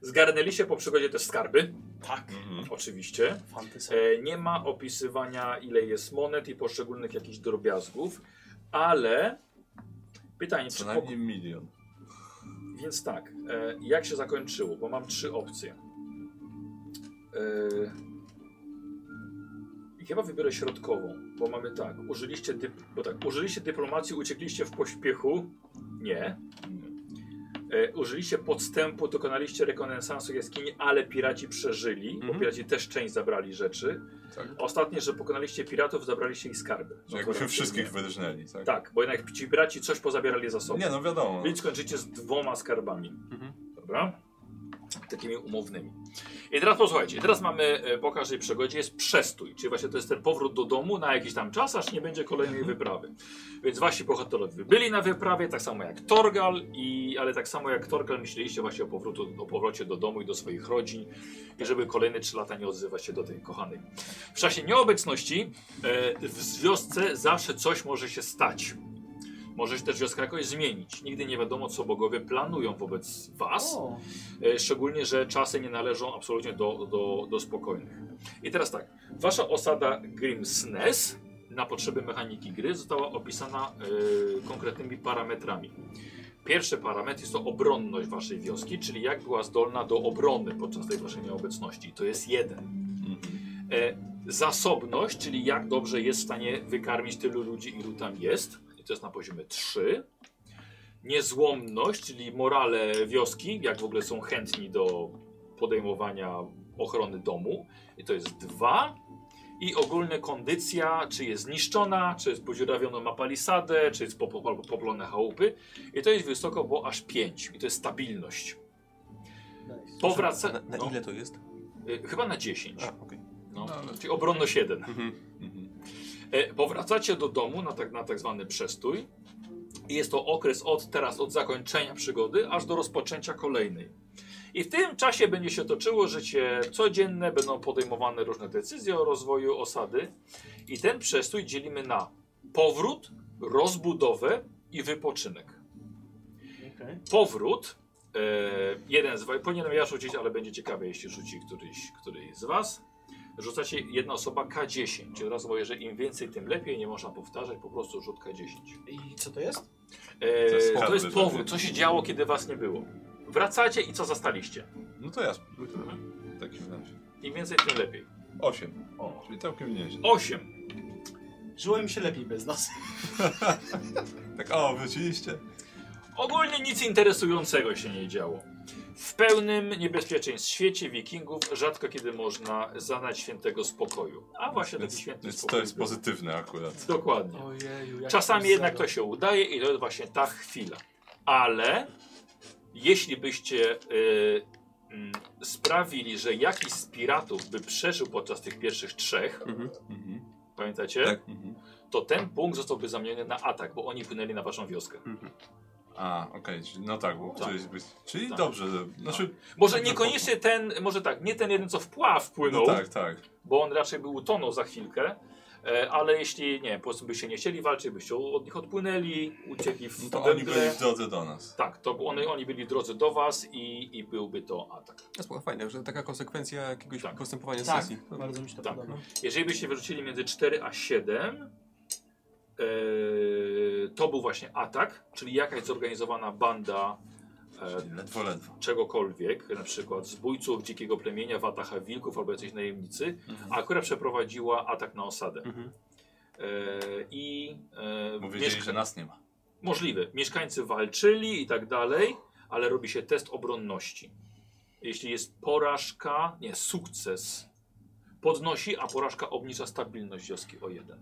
Speaker 1: zgarnęliście po przygodzie też skarby,
Speaker 3: Tak.
Speaker 2: Mhm.
Speaker 1: oczywiście.
Speaker 3: Fantasy.
Speaker 1: E, nie ma opisywania, ile jest monet i poszczególnych jakichś drobiazgów, ale pytanie,
Speaker 2: Co
Speaker 1: czy po,
Speaker 2: najmniej milion.
Speaker 1: więc tak, e, jak się zakończyło? Bo mam trzy opcje. E, i chyba wybiorę środkową, bo mamy tak, użyliście, dyp, bo tak, użyliście dyplomacji, uciekliście w pośpiechu. Nie. E, użyliście podstępu, dokonaliście rekonesansu jaskini, ale piraci przeżyli, bo
Speaker 4: Mhm.
Speaker 1: piraci też część zabrali rzeczy.
Speaker 4: Tak.
Speaker 1: Ostatnie, że pokonaliście piratów, zabraliście ich skarby.
Speaker 2: Że jakbyśmy wszystkich wyrżnęli, tak?
Speaker 1: Tak, bo jednak ci piraci coś pozabierali za sobą.
Speaker 2: Nie, no wiadomo.
Speaker 1: Więc kończycie z dwoma skarbami.
Speaker 4: Mhm.
Speaker 1: Dobra? Takimi umownymi. I teraz posłuchajcie, teraz mamy e, po każdej przygodzie jest przestój, czyli właśnie to jest ten powrót do domu na jakiś tam czas, aż nie będzie kolejnej wyprawy. Więc wasi bohaterowie byli na wyprawie, tak samo jak Torgal, i, ale tak samo jak Torgal myśleliście właśnie o, powrótu, o powrocie do domu i do swoich rodzin i żeby kolejne trzy lata nie odzywać się do tej kochanej. W czasie nieobecności e, w wiosce zawsze coś może się stać. Może się też wioska jakoś zmienić. Nigdy nie wiadomo, co bogowie planują wobec was.
Speaker 3: O,
Speaker 1: E, Szczególnie, że czasy nie należą absolutnie do, do, do spokojnych. I teraz tak. Wasza osada Grimsnes na potrzeby mechaniki gry została opisana e, konkretnymi parametrami. Pierwszy parametr jest to obronność waszej wioski, czyli jak była zdolna do obrony podczas tej waszej nieobecności. To jest jeden.
Speaker 2: Mhm.
Speaker 1: E, zasobność, czyli jak dobrze jest w stanie wykarmić tylu ludzi, ilu tam jest. I to jest na poziomie 3. Niezłomność, czyli morale wioski, jak w ogóle są chętni do podejmowania ochrony domu. I to jest 2. I ogólna kondycja, czy jest zniszczona, czy jest podziurawiono ma palisadę, czy jest pop- albo poplone chałupy. I to jest wysoko, bo aż 5. I to jest stabilność.
Speaker 3: nice.
Speaker 1: Powraca...
Speaker 4: Na, na
Speaker 1: no,
Speaker 4: ile to jest?
Speaker 1: y, chyba na 10.
Speaker 4: A, okej.
Speaker 1: No.
Speaker 4: no, ale-
Speaker 1: Czyli obronność 1.
Speaker 4: Mhm.
Speaker 2: Mhm.
Speaker 1: E, Powracacie do domu na tak, na tak zwany przestój. I jest to okres od teraz, od zakończenia przygody, aż do rozpoczęcia kolejnej. I w tym czasie będzie się toczyło życie codzienne, będą podejmowane różne decyzje o rozwoju osady. I ten przestój dzielimy na powrót, rozbudowę i wypoczynek.
Speaker 3: Okej.
Speaker 1: Powrót. E, jeden z was, powinienem ja rzucić, ale będzie ciekawe, jeśli rzuci któryś, któryś z was. Rzucacie jedna osoba K10. Czyli od razu mówię, że im więcej, tym lepiej. Nie można powtarzać, po prostu rzut K10.
Speaker 3: I co to jest?
Speaker 1: E,
Speaker 2: To jest
Speaker 1: to
Speaker 2: skarby,
Speaker 1: jest powrót.
Speaker 2: żeby-
Speaker 1: Co się działo, kiedy was nie było. Wracacie i co zastaliście.
Speaker 2: No to ja spróbuję w takim razie.
Speaker 1: Im więcej, tym lepiej.
Speaker 2: Osiem. O, czyli całkiem nieźle.
Speaker 1: 8.
Speaker 3: Żyło im się lepiej bez nas.
Speaker 2: Tak, o, wróciliście.
Speaker 1: Ogólnie nic interesującego się nie działo. W pełnym niebezpieczeństw świecie wikingów rzadko kiedy można zadać świętego spokoju. A właśnie
Speaker 2: Więc-
Speaker 1: taki święty
Speaker 2: Więc
Speaker 1: spokój.
Speaker 2: to jest
Speaker 1: był.
Speaker 2: pozytywne akurat.
Speaker 1: Dokładnie.
Speaker 3: Ojeju,
Speaker 1: Czasami jednak to się udaje i to jest właśnie ta chwila. Ale jeśli byście y, mm, sprawili, że jakiś z piratów by przeżył podczas tych pierwszych trzech,
Speaker 4: Mhm.
Speaker 2: Mhm.
Speaker 1: pamiętacie?
Speaker 4: Tak.
Speaker 2: Mhm.
Speaker 1: To ten punkt zostałby zamieniony na atak, bo oni płynęli na waszą wioskę.
Speaker 2: A, okej, czyli- no tak, bo
Speaker 1: Tak.
Speaker 2: któryś by... Czyli
Speaker 1: Tak.
Speaker 2: dobrze, że- znaczy...
Speaker 1: Może
Speaker 2: Dobrze,
Speaker 1: niekoniecznie ten, może tak, nie ten jeden co wpław wpłynął,
Speaker 2: No tak, tak.
Speaker 1: bo on raczej by utonął za chwilkę. e, Ale jeśli nie, po prostu byście nie chcieli walczyć, byście od nich odpłynęli, uciekli w
Speaker 2: No to
Speaker 1: we
Speaker 2: oni
Speaker 1: mgle.
Speaker 2: byli w drodze do nas.
Speaker 1: Tak, to by- one, oni byli w drodze do was i, i byłby to atak.
Speaker 4: No spoko, fajne, że taka konsekwencja jakiegoś
Speaker 1: Tak.
Speaker 4: postępowania
Speaker 3: Tak,
Speaker 4: sesji. To-
Speaker 3: bardzo mi się to
Speaker 1: Tak.
Speaker 3: podoba.
Speaker 1: Jeżeli byście wyrzucili między 4 a 7, yy, to był właśnie atak, czyli jakaś zorganizowana banda e,
Speaker 2: Czyli ledwo, ledwo.
Speaker 1: czegokolwiek, na przykład zbójców dzikiego plemienia, watacha wilków albo jacyś najemnicy,
Speaker 2: Mhm.
Speaker 1: a która przeprowadziła atak na osadę.
Speaker 4: Mhm.
Speaker 1: E, I e,
Speaker 2: Bo wiedzieli,
Speaker 1: mieszka-
Speaker 2: że nas nie ma.
Speaker 1: Możliwe. Mieszkańcy walczyli i tak dalej, ale robi się test obronności. Jeśli jest porażka, nie, sukces podnosi, a porażka obniża stabilność wioski o jeden.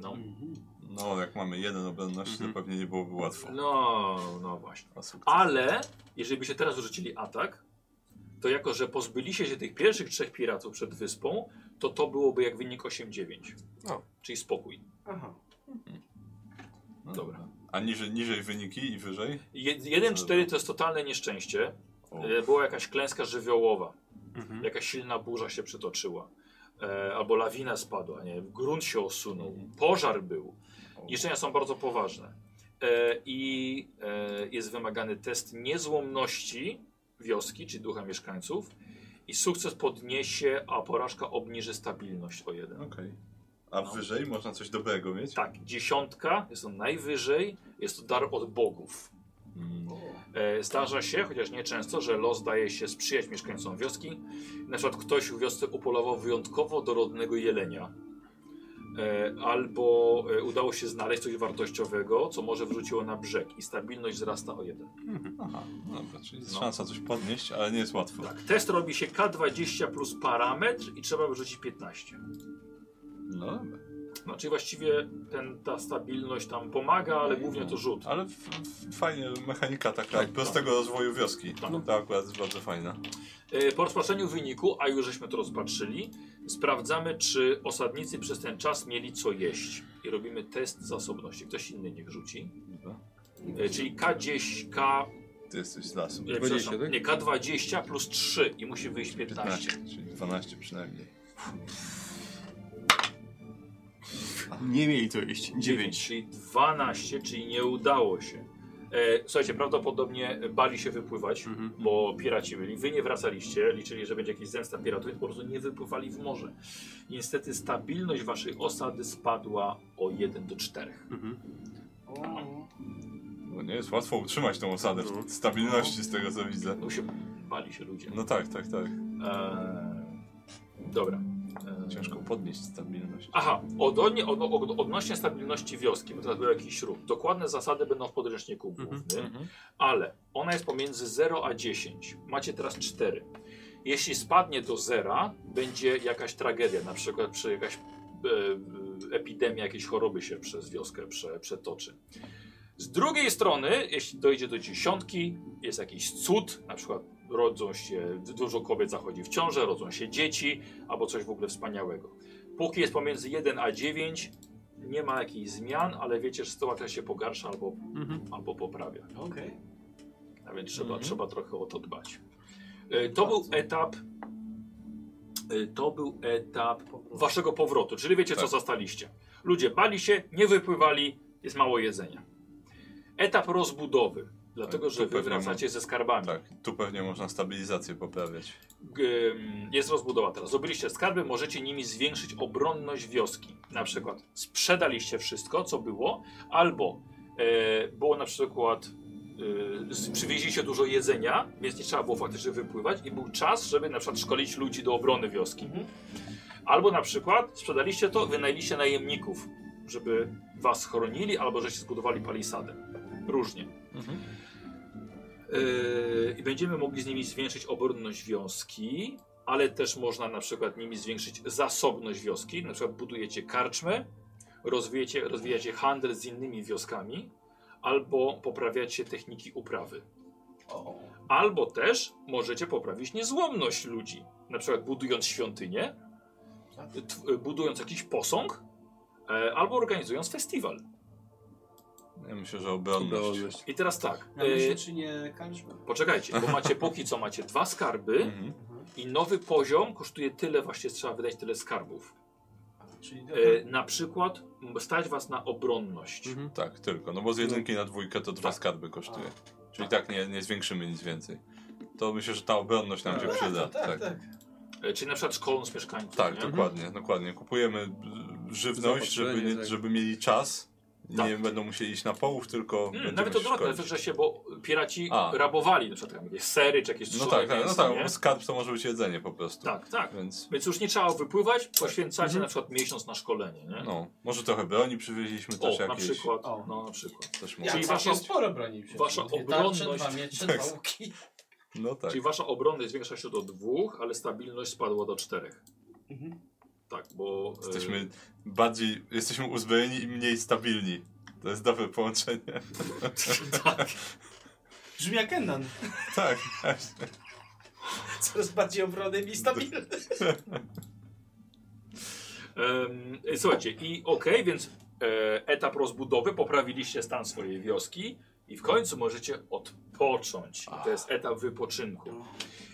Speaker 1: No,
Speaker 3: Mhm.
Speaker 2: No, jak mamy jeden obronności,
Speaker 4: Mhm.
Speaker 2: to pewnie nie byłoby łatwo.
Speaker 1: no, no właśnie.
Speaker 2: O sukces.
Speaker 1: Ale jeżeli byście teraz rzucili atak, to jako, że pozbyliście się tych pierwszych trzech piratów przed wyspą, to to byłoby jak wynik 8-9.
Speaker 4: O.
Speaker 1: Czyli spokój.
Speaker 3: Aha.
Speaker 2: No
Speaker 1: dobra.
Speaker 2: A niżej, niżej wyniki i wyżej?
Speaker 1: Jed- 1-4 to jest totalne nieszczęście.
Speaker 2: O.
Speaker 1: E, Była jakaś klęska żywiołowa.
Speaker 4: Mhm.
Speaker 1: Jakaś silna burza się przytoczyła. e, albo lawina spadła, nie wiem, grunt się osunął, pożar był. Niszczenia są bardzo poważne. E, I e, jest wymagany test niezłomności wioski, czy ducha mieszkańców. I sukces podniesie, a porażka obniży stabilność o jeden.
Speaker 2: Okej. A
Speaker 1: No.
Speaker 2: wyżej można coś dobrego mieć?
Speaker 1: Tak, dziesiątka jest to najwyżej, jest to dar od bogów.
Speaker 2: Mm.
Speaker 1: E, Zdarza się, chociaż nie często, że los daje się sprzyjać mieszkańcom wioski. Na przykład ktoś w wiosce upolował wyjątkowo dorodnego jelenia. E, Albo e, udało się znaleźć coś wartościowego, co może wrzuciło na brzeg i stabilność wzrasta o jeden.
Speaker 2: Aha, dobra, czyli jest
Speaker 1: No.
Speaker 2: szansa coś podnieść, ale nie jest łatwo.
Speaker 1: Tak, test robi się K20 plus parametr i trzeba wyrzucić 15.
Speaker 2: No dobra.
Speaker 1: No, czyli właściwie ten, ta stabilność tam pomaga, ale głównie to rzut.
Speaker 2: Ale f- f- fajnie, mechanika taka
Speaker 1: Tak,
Speaker 2: prostego rozwoju wioski.
Speaker 1: Tak.
Speaker 2: To akurat jest bardzo fajna.
Speaker 1: E, Po rozpatrzeniu wyniku, a już żeśmy to rozpatrzyli, sprawdzamy, czy osadnicy przez ten czas mieli co jeść. I robimy test zasobności. Ktoś inny niech rzuci. E, Czyli K10, K,
Speaker 2: Ty jesteś z lasu.
Speaker 1: e,
Speaker 4: 20,
Speaker 1: przepraszam,
Speaker 4: tak?
Speaker 1: nie, K20 plus 3 i musi wyjść 15.
Speaker 2: 15, czyli 12 przynajmniej.
Speaker 4: Nie mieli co jeść. Dziewięć.
Speaker 1: Czyli 12, czyli nie udało się. E, Słuchajcie, prawdopodobnie bali się wypływać,
Speaker 4: Mhm.
Speaker 1: bo piraci byli. Wy nie wracaliście, liczyli, że będzie jakiś zemsta piratów, więc po prostu nie wypływali w morze. Niestety stabilność waszej osady spadła o 1 do 4.
Speaker 4: Mhm.
Speaker 8: O,
Speaker 2: Bo nie jest łatwo utrzymać tą osadę w stabilności z tego co widzę.
Speaker 1: No się bali się ludzie.
Speaker 2: No tak, tak, tak.
Speaker 1: Eee, dobra. Eee,
Speaker 2: Ciężko podnieść stabilność.
Speaker 1: Aha, odnośnie, od, od, odnośnie stabilności wioski, bo teraz był jakiś śrub. Dokładne zasady będą w podręczniku
Speaker 4: Mhm,
Speaker 1: głównym, ale ona jest pomiędzy 0 a 10. Macie teraz 4. Jeśli spadnie do 0, będzie jakaś tragedia, na przykład przy jakaś e, epidemia jakiejś choroby się przez wioskę prze, przetoczy. Z drugiej strony, jeśli dojdzie do dziesiątki, jest jakiś cud, na przykład rodzą się, dużo kobiet zachodzi w ciążę, rodzą się dzieci, albo coś w ogóle wspaniałego. Póki jest pomiędzy 1 a 9, nie ma jakichś zmian, ale wiecie, że sytuacja się pogarsza albo,
Speaker 4: Mhm.
Speaker 1: albo poprawia.
Speaker 8: Okej.
Speaker 1: A więc trzeba,
Speaker 2: Mhm.
Speaker 1: trzeba trochę o to dbać. E, To był etap. e, To był etap waszego powrotu, czyli wiecie, co
Speaker 2: Tak.
Speaker 1: zastaliście. Ludzie bali się, nie wypływali, jest mało jedzenia. Etap rozbudowy, dlatego
Speaker 2: Tak,
Speaker 1: że
Speaker 2: tu
Speaker 1: wy
Speaker 2: pewnie
Speaker 1: wracacie ze skarbami.
Speaker 2: Tak, tu pewnie można stabilizację poprawiać.
Speaker 1: Ym, jest rozbudowa teraz. Zdobyliście skarby, możecie nimi zwiększyć obronność wioski. Na przykład sprzedaliście wszystko, co było, albo e, było na przykład e, z- przywieźliście dużo jedzenia, więc nie trzeba było faktycznie wypływać i był czas, żeby na przykład szkolić ludzi do obrony wioski.
Speaker 8: Mhm.
Speaker 1: Albo na przykład sprzedaliście to, wynajęliście najemników, żeby was chronili, albo żeście zbudowali palisadę. Różnie.
Speaker 4: Mhm.
Speaker 1: Yy, I będziemy mogli z nimi zwiększyć obronność wioski, ale też można na przykład nimi zwiększyć zasobność wioski. Na przykład budujecie karczmę, rozwijecie, rozwijacie handel z innymi wioskami, albo poprawiacie techniki uprawy.
Speaker 8: O.
Speaker 1: Albo też możecie poprawić niezłomność ludzi. Na przykład budując świątynię, tw- budując jakiś posąg, e, albo organizując festiwal.
Speaker 2: Ja myślę, że obronność.
Speaker 1: I teraz tak.
Speaker 8: Ja myślę,
Speaker 1: e,
Speaker 8: czy nie karczmy.
Speaker 1: Poczekajcie, bo macie póki co macie dwa skarby.
Speaker 2: Mhm.
Speaker 1: I nowy poziom kosztuje tyle, właśnie trzeba wydać tyle skarbów.
Speaker 8: Czyli
Speaker 1: E,
Speaker 2: Mhm.
Speaker 1: na przykład m, stać was na obronność.
Speaker 4: Mhm.
Speaker 2: Tak, tylko. No bo z jedynki na dwójkę to dwa
Speaker 1: Tak.
Speaker 2: skarby kosztuje. Czyli tak nie, nie zwiększymy nic więcej. To myślę, że ta obronność nam się
Speaker 8: tak,
Speaker 2: przyda.
Speaker 8: tak, tak, tak.
Speaker 1: E, czyli na przykład szkoląc mieszkańców.
Speaker 2: Tak,
Speaker 1: nie? Hmm,
Speaker 2: dokładnie, dokładnie. Kupujemy y, żywność, żeby,
Speaker 4: Zaopatrzenie,
Speaker 2: nie,
Speaker 4: tak.
Speaker 2: żeby mieli czas.
Speaker 1: Tak.
Speaker 2: Nie będą musieli iść na połów, tylko.
Speaker 1: Mm,
Speaker 2: będziemy
Speaker 1: nawet
Speaker 2: się
Speaker 1: odwrotnie,
Speaker 2: szkolić.
Speaker 1: że się, bo piraci
Speaker 2: A.
Speaker 1: rabowali na przykład tam jakieś sery czy jakieś
Speaker 2: No
Speaker 1: trzczowe
Speaker 2: tak, tak, no
Speaker 1: mięso,
Speaker 2: tak,
Speaker 1: nie?
Speaker 2: bo skarb to może być jedzenie po prostu.
Speaker 1: tak, tak.
Speaker 2: Więc
Speaker 1: Więc już nie trzeba wypływać, poświęcacie na przykład miesiąc na szkolenie, nie?
Speaker 2: Mhm. no, może trochę broni przywieźliśmy
Speaker 1: o,
Speaker 2: też
Speaker 1: na
Speaker 2: jakieś.
Speaker 1: przykład,
Speaker 8: O.
Speaker 1: no na przykład.
Speaker 2: Też
Speaker 1: Ja.
Speaker 2: może.
Speaker 1: Czyli wasz jest-
Speaker 3: sporo broni wziąłem.
Speaker 1: wasza
Speaker 3: Dwie Tarcze,
Speaker 1: obronność-
Speaker 3: dwa miecze,
Speaker 2: Tak.
Speaker 3: dwa łuki.
Speaker 2: No tak.
Speaker 1: Czyli wasza obronność zwiększa się do dwóch, ale stabilność spadła do czterech.
Speaker 8: Mhm.
Speaker 1: Tak, bo... e,
Speaker 2: Jesteśmy bardziej, jesteśmy uzbrojeni i mniej stabilni. To jest dobre połączenie.
Speaker 3: Brzmi jak Ennan.
Speaker 2: Tak,
Speaker 3: Coraz bardziej obronny i stabilny.
Speaker 1: Em, słuchajcie, i okej, więc e, etap rozbudowy, poprawiliście stan swojej wioski i w końcu możecie odpocząć. I to jest etap wypoczynku.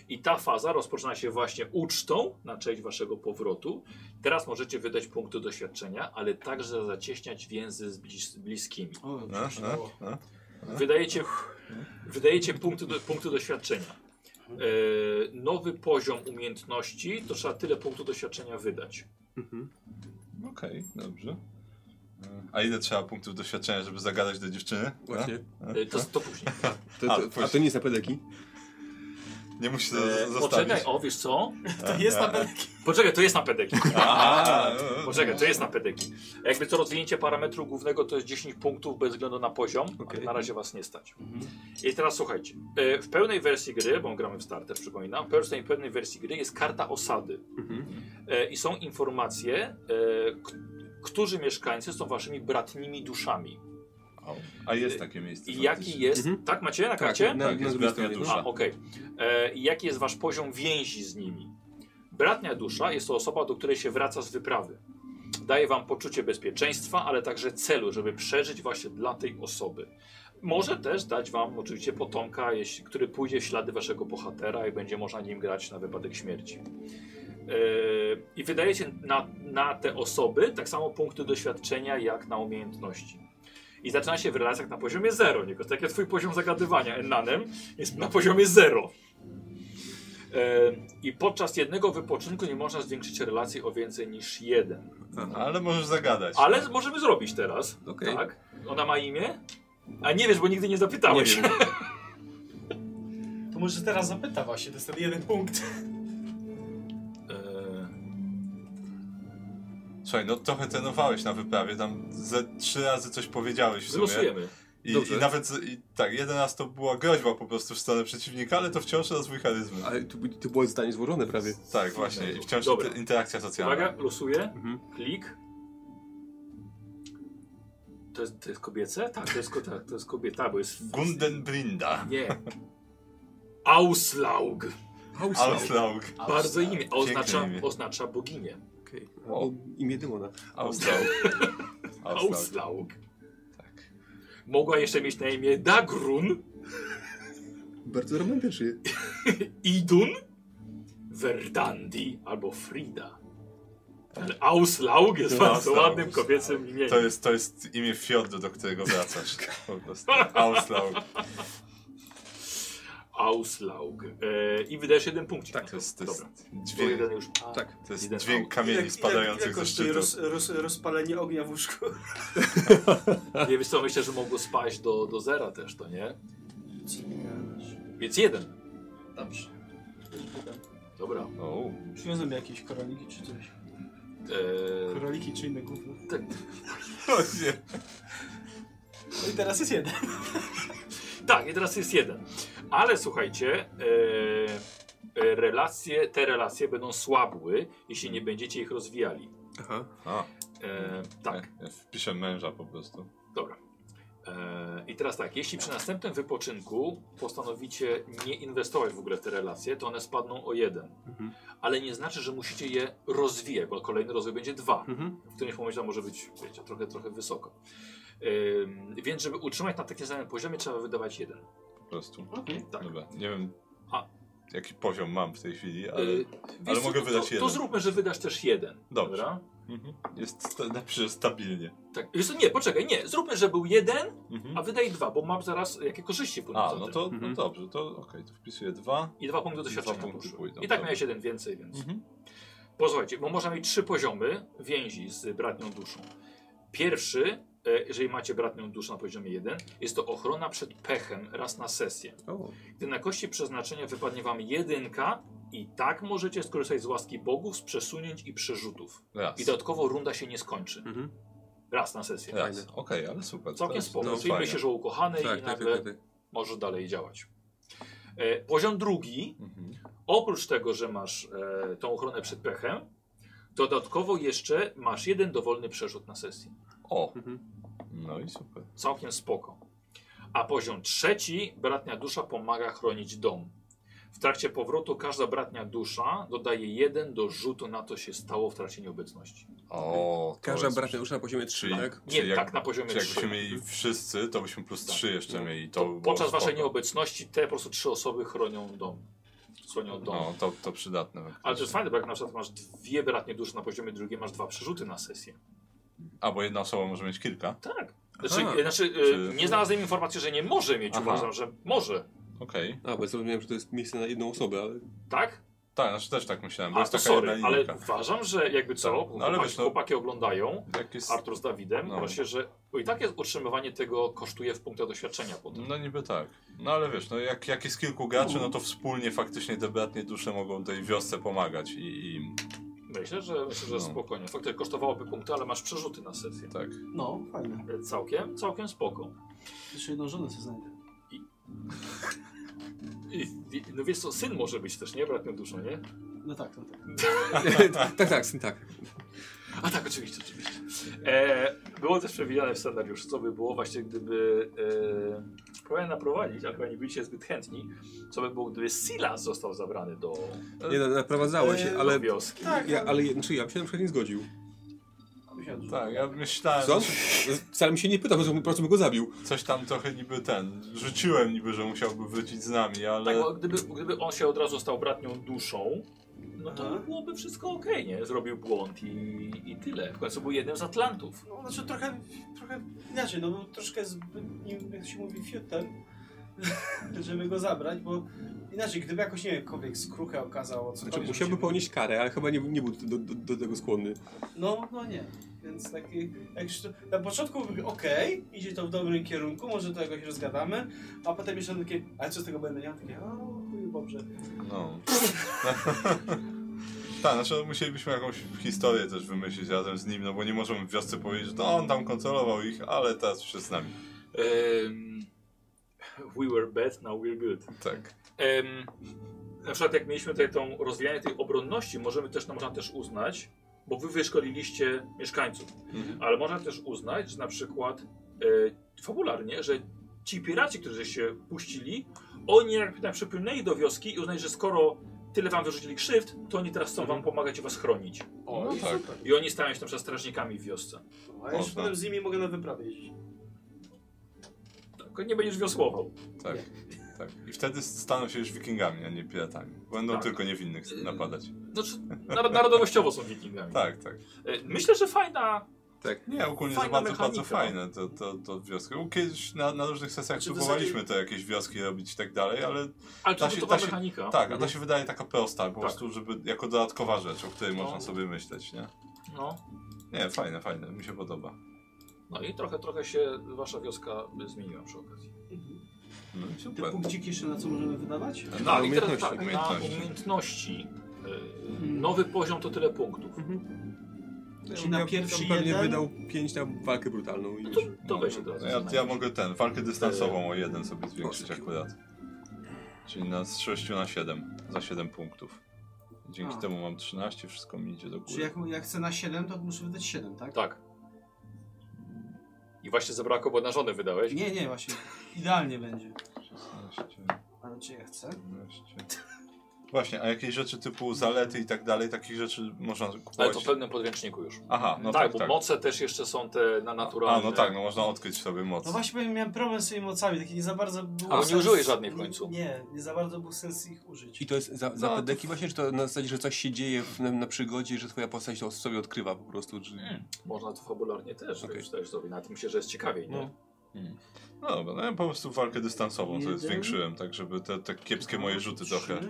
Speaker 1: I ta faza rozpoczyna się właśnie ucztą na cześć waszego powrotu. Teraz możecie wydać punkty doświadczenia, ale także zacieśniać więzy z blis bliskimi.
Speaker 9: O,
Speaker 2: No, no, no.
Speaker 1: Wydajecie, wydajecie punkty, do, punkty doświadczenia. E, nowy poziom umiejętności, to trzeba tyle punktów doświadczenia wydać.
Speaker 2: No. Okej, dobrze. A ile trzeba punktów doświadczenia, żeby zagadać do dziewczyny? No?
Speaker 4: Właśnie.
Speaker 1: E, to, to później.
Speaker 4: To,
Speaker 2: A,
Speaker 4: to, a to nie jest na pedeki?
Speaker 2: No? Nie musi
Speaker 1: E,
Speaker 2: to zostawić.
Speaker 1: poczekaj, o wiesz co?
Speaker 3: To jest na pewno.
Speaker 1: Poczekaj, to jest na pedeki.
Speaker 2: A,
Speaker 1: Poczekaj, to jest na pedeki. Jakby co rozwinięcie parametru głównego to jest 10 punktów bez względu na poziom,
Speaker 4: Okej. Mhm.
Speaker 1: ale na razie was nie stać. I teraz słuchajcie, e, w pełnej wersji gry, bo gramy w starter, przypominam, w pełnej, pełnej wersji gry jest karta osady e, i są informacje, e, k- którzy mieszkańcy są waszymi bratnimi duszami
Speaker 2: A jest takie miejsce.
Speaker 1: i jaki
Speaker 2: faktycznie.
Speaker 1: jest,
Speaker 4: Mhm.
Speaker 1: tak macie na
Speaker 4: Tak,
Speaker 1: karcie?
Speaker 4: na, na
Speaker 2: Tak, jest
Speaker 4: drugiej
Speaker 2: bratnia
Speaker 4: stronie.
Speaker 2: dusza.
Speaker 1: A, okej. E, i Jaki jest wasz poziom więzi z nimi? Bratnia dusza jest to osoba, do której się wraca z wyprawy. Daje wam poczucie bezpieczeństwa, ale także celu, żeby przeżyć właśnie dla tej osoby. Może też dać wam oczywiście potomka, jeśli, który pójdzie w ślady waszego bohatera i będzie można nim grać na wypadek śmierci. E, I wydajecie na, na te osoby tak samo punkty doświadczenia jak na umiejętności. I zaczyna się w relacjach na poziomie 0, Niko. Tak jak twój poziom zagadywania Ennanem jest na poziomie 0. E, I podczas jednego wypoczynku nie można zwiększyć relacji o więcej niż jeden.
Speaker 4: Aha,
Speaker 2: Ale możesz zagadać.
Speaker 1: Ale możemy zrobić teraz.
Speaker 4: Okej.
Speaker 1: Tak? Ona ma imię? A nie wiesz, bo nigdy nie zapytałeś.
Speaker 4: Nie wiem.
Speaker 3: To może teraz zapyta właśnie, to jest ten jeden punkt.
Speaker 1: E,
Speaker 2: Słuchaj, no trochę trenowałeś na wyprawie, tam ze trzy razy coś powiedziałeś w sumie.
Speaker 1: Wylosujemy.
Speaker 2: I,
Speaker 4: Dobrze.
Speaker 2: I nawet, z- i, tak, jeden raz to była groźba po prostu w stronę przeciwnika, ale to wciąż rozwój charyzmy.
Speaker 4: Ale to, by- to było zdanie złożone prawie.
Speaker 2: Tak, właśnie, i wciąż
Speaker 1: Dobra.
Speaker 2: inter, interakcja socjalna.
Speaker 1: Uwaga, losuję.
Speaker 4: Mhm.
Speaker 1: Klik. To jest, to jest kobiece? Tak, to jest, ko- tak, to jest kobieta, bo jest...
Speaker 2: Gundenbrinda.
Speaker 1: Nie. Auslaug.
Speaker 4: Auslau.
Speaker 2: Auslaug.
Speaker 1: Bardzo imię. Oznacza,
Speaker 2: Piękne imię.
Speaker 1: oznacza boginię.
Speaker 4: Okej. O, imię demona.
Speaker 2: Auslaug. Auslaug.
Speaker 1: Auslaug. Tak. Mogła jeszcze mieć na imię Dagrun,
Speaker 4: Bardzo romantycznie.
Speaker 1: Idun, Verdandi albo Frida. Ale Auslaug jest
Speaker 2: Tak. Auslaug. tak.
Speaker 1: bardzo ładnym kobiecym imieniem.
Speaker 2: To jest, to jest imię Fjordu, do którego wracasz. Po prostu. Auslaug.
Speaker 1: Auslaug. E, I wydajesz jeden punkt.
Speaker 2: Tak, to jest, to jest
Speaker 1: Dobra. To
Speaker 2: dźwięk,
Speaker 1: jeden już.
Speaker 4: Tak.
Speaker 2: to jest
Speaker 1: jeden
Speaker 2: dźwięk kamieni spadających ze
Speaker 9: kosztuje
Speaker 2: szczytu.
Speaker 9: roz, roz, rozpalenie ognia w łóżku?
Speaker 1: Nie wiesz co, myślę, że mogło spaść do, do zera też, to nie? Więc jeden.
Speaker 3: Dobrze.
Speaker 1: Dobra.
Speaker 2: O,
Speaker 3: Przywiozłem jakieś koraliki czy coś.
Speaker 1: E,
Speaker 3: Koraliki czy inne gówno.
Speaker 1: tak,
Speaker 2: o nie.
Speaker 3: No i teraz jest jeden.
Speaker 1: Tak, i teraz jest jeden. Ale słuchajcie, e, e, relacje, te relacje będą słabły, jeśli nie będziecie ich rozwijali.
Speaker 4: Aha.
Speaker 2: A,
Speaker 1: E, tak,
Speaker 2: ja wpiszę męża po prostu.
Speaker 1: dobra. E, I teraz tak, jeśli przy następnym wypoczynku postanowicie nie inwestować w ogóle w te relacje, to one spadną o jeden.
Speaker 4: Mhm.
Speaker 1: Ale nie znaczy, że musicie je rozwijać, bo kolejny rozwój będzie dwa.
Speaker 4: Mhm.
Speaker 1: W którymś momencie może być wiecie, trochę, trochę wysoko. Ym, więc żeby utrzymać na takim samym poziomie, trzeba wydawać jeden. E,
Speaker 2: Po prostu.
Speaker 3: Okej.
Speaker 1: Tak.
Speaker 2: Dobra, nie wiem
Speaker 1: A.
Speaker 2: jaki poziom mam w tej chwili, ale
Speaker 1: Y,
Speaker 2: ale
Speaker 1: wiesz co,
Speaker 2: mogę
Speaker 1: to,
Speaker 2: wydać
Speaker 1: to,
Speaker 2: jeden.
Speaker 1: To zróbmy, że wydasz też jeden.
Speaker 2: Dobrze.
Speaker 1: Dobra?
Speaker 2: mhm. jest sta- napiszę że stabilnie.
Speaker 1: Tak. Wiesz co, nie, poczekaj, nie. Zróbmy, że był jeden,
Speaker 2: Mhm.
Speaker 1: a wydaj dwa, bo mam zaraz jakie korzyści płyną
Speaker 2: A,
Speaker 1: za
Speaker 2: no
Speaker 1: tym.
Speaker 2: to
Speaker 4: Mhm.
Speaker 2: no dobrze, to okej, to wpisuję dwa.
Speaker 1: I dwa punkty doświadczenia
Speaker 2: Dwa punkty
Speaker 1: poszły.
Speaker 2: pójdą,
Speaker 1: I tak
Speaker 2: dobra.
Speaker 1: miałeś jeden więcej, więc...
Speaker 2: Mhm.
Speaker 1: Posłuchajcie, bo można mieć trzy poziomy więzi z bratnią duszą. Pierwszy, e, jeżeli macie bratnią duszę na poziomie jeden, jest to ochrona przed pechem raz na sesję.
Speaker 4: O.
Speaker 1: Gdy na kości przeznaczenia wypadnie wam jedynka, i tak możecie skorzystać z łaski bogów, z przesunięć i przerzutów.
Speaker 2: Raz.
Speaker 1: I dodatkowo runda się nie skończy.
Speaker 4: Mhm.
Speaker 1: Raz na sesję.
Speaker 2: Raz.
Speaker 4: Fajne.
Speaker 2: Okej, ale super. to
Speaker 1: Całkiem
Speaker 2: jest-
Speaker 1: spoko.
Speaker 2: to
Speaker 1: No,
Speaker 2: jest
Speaker 1: Czyli
Speaker 2: fajne.
Speaker 1: myślisz o ukochanej
Speaker 4: Tak,
Speaker 1: i
Speaker 4: tak,
Speaker 1: nagle
Speaker 4: tak, tak.
Speaker 1: możesz dalej działać. E, poziom drugi,
Speaker 2: Mhm.
Speaker 1: oprócz tego, że masz e, tą ochronę przed pechem, dodatkowo jeszcze masz jeden dowolny przerzut na sesji.
Speaker 2: O,
Speaker 4: Mhm.
Speaker 2: no i super.
Speaker 1: Całkiem spoko. A poziom trzeci, bratnia dusza pomaga chronić dom. W trakcie powrotu każda bratnia dusza dodaje jeden do rzutu na to się stało w trakcie nieobecności.
Speaker 2: O, to
Speaker 4: Każda
Speaker 2: jest-
Speaker 4: bratnia już na poziomie 3,
Speaker 2: Czyli-
Speaker 4: tak? Mhm.
Speaker 1: Nie,
Speaker 2: Czyli jak-
Speaker 1: tak na poziomie
Speaker 2: Czy
Speaker 1: 3.
Speaker 2: jakbyśmy mieli wszyscy, to byśmy plus
Speaker 1: Tak.
Speaker 2: trzy jeszcze
Speaker 4: No.
Speaker 2: mieli. To,
Speaker 1: To
Speaker 2: by było
Speaker 1: podczas waszej
Speaker 2: spoko.
Speaker 1: nieobecności te po prostu trzy osoby chronią dom. stronie od domu.
Speaker 2: No, to, to przydatne.
Speaker 1: Ale to jest fajne, bo jak na przykład masz dwie bratnie dusze na poziomie drugiej, masz dwa przerzuty na sesję.
Speaker 2: A, bo jedna osoba może mieć kilka?
Speaker 1: Tak.
Speaker 2: Aha.
Speaker 1: Znaczy, e, znaczy e,
Speaker 2: Czy-
Speaker 1: nie znalazłem informacji, że nie może mieć,
Speaker 2: Aha.
Speaker 1: uważam, że może.
Speaker 2: Okej.
Speaker 4: A, bo ja zrozumiałem, że to jest miejsce na jedną osobę, ale...
Speaker 1: Tak?
Speaker 2: Tak, znaczy też tak myślałem, bo
Speaker 1: A
Speaker 2: jest
Speaker 1: to
Speaker 2: taka
Speaker 1: sorry,
Speaker 2: jedna
Speaker 1: ale
Speaker 2: linijka.
Speaker 1: uważam, że jakby co,
Speaker 2: Tak. No, ale
Speaker 1: chłopaki,
Speaker 2: wiesz, no-
Speaker 1: chłopaki oglądają,
Speaker 2: Jak jest...
Speaker 1: Artur z Dawidem,
Speaker 2: No.
Speaker 1: właśnie, że bo i tak jest utrzymywanie tego kosztuje w punktach doświadczenia potem.
Speaker 2: No niby tak. No ale wiesz, no jak, jak jest kilku graczy, no to wspólnie faktycznie te bratnie dusze mogą tej wiosce pomagać i, i
Speaker 1: Myślę, że, myślę, że
Speaker 2: No.
Speaker 1: spokojnie. Faktycznie kosztowałoby punkty, ale masz przerzuty na sesję.
Speaker 2: tak.
Speaker 3: No, fajne.
Speaker 1: E, Całkiem, całkiem spoko.
Speaker 3: Jeszcze jedną żonę sobie znajdę.
Speaker 1: I, i, no wiesz co, syn może być też, nie? Bratny duszą, nie?
Speaker 3: No tak, no tak.
Speaker 4: tak, tak, syn, tak.
Speaker 1: A tak, oczywiście, oczywiście. E, było też przewidziane w scenariuszu, co by było właśnie, gdyby... E, próbowałem naprowadzić, ale chyba nie byliście zbyt chętni, co by było, gdyby Silas został zabrany do,
Speaker 4: Nie, no, naprowadzało się, ale...
Speaker 1: do wioski.
Speaker 3: Tak,
Speaker 4: Ja, ale znaczy, ja bym się na przykład nie zgodził.
Speaker 3: Myślałem, że...
Speaker 2: Tak, ja myślałem,
Speaker 4: Co?
Speaker 2: że
Speaker 4: Wcale mi się nie pytał, po co bym go zabił. Znaczy,
Speaker 2: coś tam trochę niby ten, rzuciłem niby, że musiałby wrócić z nami, ale...
Speaker 1: Tak, bo gdyby, gdyby on się od razu stał bratnią duszą, no to
Speaker 10: Aha.
Speaker 1: byłoby wszystko okej, nie? Zrobił błąd i, i tyle. W końcu był jednym z Atlantów.
Speaker 3: No, znaczy trochę, trochę inaczej, no był troszkę zbyt, nie wiem, jak to się mówi, fiutem, żeby go zabrać, bo inaczej, gdyby jakoś, nie wiem, kobiek skruchę okazał, co
Speaker 4: Znaczy, musiałby ponieść karę, ale chyba nie, nie był do, do, do tego skłonny.
Speaker 3: No, no nie. Więc taki, jak już to, na początku mówię, okej, idzie to w dobrym kierunku, może to jakoś rozgadamy, a potem jeszcze takie, ale co z tego będę? Ja mam takie, o, chuj, dobrze.
Speaker 2: No. tak, znaczy musielibyśmy jakąś historię też wymyślić razem z nim, no bo nie możemy w wiosce powiedzieć, że to on tam kontrolował ich, ale teraz już jest z nami.
Speaker 1: Em, we were bad, now we're good.
Speaker 2: Tak.
Speaker 1: Em, na przykład jak mieliśmy tutaj tą rozwijanie tej obronności, możemy też, no, można też uznać, bo wy wyszkoliliście mieszkańców,
Speaker 2: Mhm.
Speaker 1: ale można też uznać, że na przykład e, fabularnie, że ci piraci, którzy się puścili, oni jakby tam przypłynęli do wioski i uznali, że skoro tyle wam wyrzucili krzywd, to oni teraz chcą
Speaker 2: Mhm.
Speaker 1: wam pomagać i was chronić.
Speaker 10: O,
Speaker 2: No
Speaker 10: i
Speaker 2: tak.
Speaker 10: super.
Speaker 1: I oni stają się na przykład strażnikami w wiosce.
Speaker 10: A ja już
Speaker 2: Można.
Speaker 10: potem z nimi mogę na wyprawę jeździć.
Speaker 1: Tak, nie będziesz wiosłował.
Speaker 2: Tak. Tak. I wtedy staną się już wikingami, a nie piratami. Będą
Speaker 1: Tak.
Speaker 2: tylko niewinnych napadać.
Speaker 1: Znaczy, narod- narodowościowo są wikingami.
Speaker 2: Tak, tak.
Speaker 1: E, Myślę, że fajna
Speaker 2: Nie, ogólnie
Speaker 1: Fajna
Speaker 2: jest
Speaker 1: mechanika.
Speaker 2: bardzo,
Speaker 1: no.
Speaker 2: bardzo fajne to, to, to wioski. Kiedyś na, na różnych sesjach
Speaker 10: Znaczy, to
Speaker 2: próbowaliśmy to jakieś wioski robić i tak dalej, ale
Speaker 1: Ale
Speaker 2: Da
Speaker 1: to
Speaker 2: się-
Speaker 1: to była
Speaker 2: da się-
Speaker 1: mechanika.
Speaker 2: tak, a to się wydaje taka prosta, po
Speaker 1: No. Mhm. Tak.
Speaker 2: prostu, żeby jako dodatkowa rzecz, o której
Speaker 1: No.
Speaker 2: można sobie myśleć, nie?
Speaker 1: No.
Speaker 2: Nie, fajne, fajne, mi się podoba.
Speaker 1: no i trochę, trochę się wasza wioska zmieniła przy okazji.
Speaker 2: No i
Speaker 10: Te
Speaker 2: super.
Speaker 10: punkciki jeszcze na co możemy wydawać?
Speaker 1: No, i teraz
Speaker 4: umiejętności,
Speaker 1: tak,
Speaker 2: umiejętności.
Speaker 1: na umiejętności. y, Nowy poziom to tyle punktów.
Speaker 10: Czyli na pierwszy
Speaker 4: Znaczy, tam pewnie
Speaker 10: jeden?
Speaker 4: wydał 5 na walkę brutalną i
Speaker 1: No
Speaker 4: już.
Speaker 1: to, to weź od
Speaker 2: No,
Speaker 1: razu.
Speaker 2: ja, ja
Speaker 1: znajdziesz.
Speaker 2: mogę ten, walkę dystansową o jeden sobie zwiększyć
Speaker 4: Proszę.
Speaker 2: akurat. Czyli na, z 6 na 7, za 7 punktów. Dzięki
Speaker 10: A.
Speaker 2: temu mam 13, wszystko mi idzie do
Speaker 10: Czyli
Speaker 2: góry.
Speaker 10: jak, jak chcę na 7, to muszę wydać 7, tak?
Speaker 1: Tak. I właśnie zabrakło, bo na żonę wydałeś.
Speaker 10: Nie, nie, właśnie. Idealnie będzie.
Speaker 2: 16,
Speaker 10: Ale czy ja chcę?
Speaker 2: 12. Właśnie, a jakieś rzeczy typu zalety i tak dalej, takich rzeczy można
Speaker 1: No Ale
Speaker 2: kupować.
Speaker 1: to w pełnym podręczniku już.
Speaker 2: Aha, no
Speaker 1: tak,
Speaker 2: tak,
Speaker 1: bo
Speaker 2: tak.
Speaker 1: moce też jeszcze są te na
Speaker 2: A,
Speaker 1: naturalne.
Speaker 2: no tak, no można odkryć sobie moc.
Speaker 3: No właśnie powiem, miałem problem z tymi mocami, taki nie za bardzo był
Speaker 1: A, bo nie
Speaker 3: sens-
Speaker 1: użyłeś żadnej w końcu.
Speaker 3: Nie, nie za bardzo był sens ich użyć.
Speaker 4: I to jest za, za
Speaker 2: No, to-
Speaker 4: pedeki właśnie, czy to na zasadzie, że coś się dzieje w, na, na przygodzie, że twoja postać to sobie odkrywa po prostu? Czy...
Speaker 1: Można to fabularnie też
Speaker 4: Okej.
Speaker 1: wyczytać sobie. Na tym myślę, że jest ciekawiej, nie?
Speaker 4: No.
Speaker 2: No dobra, no ja po prostu walkę dystansową sobie
Speaker 10: Jeden.
Speaker 2: zwiększyłem, tak żeby te, te kiepskie moje rzuty
Speaker 10: Trzy.
Speaker 2: trochę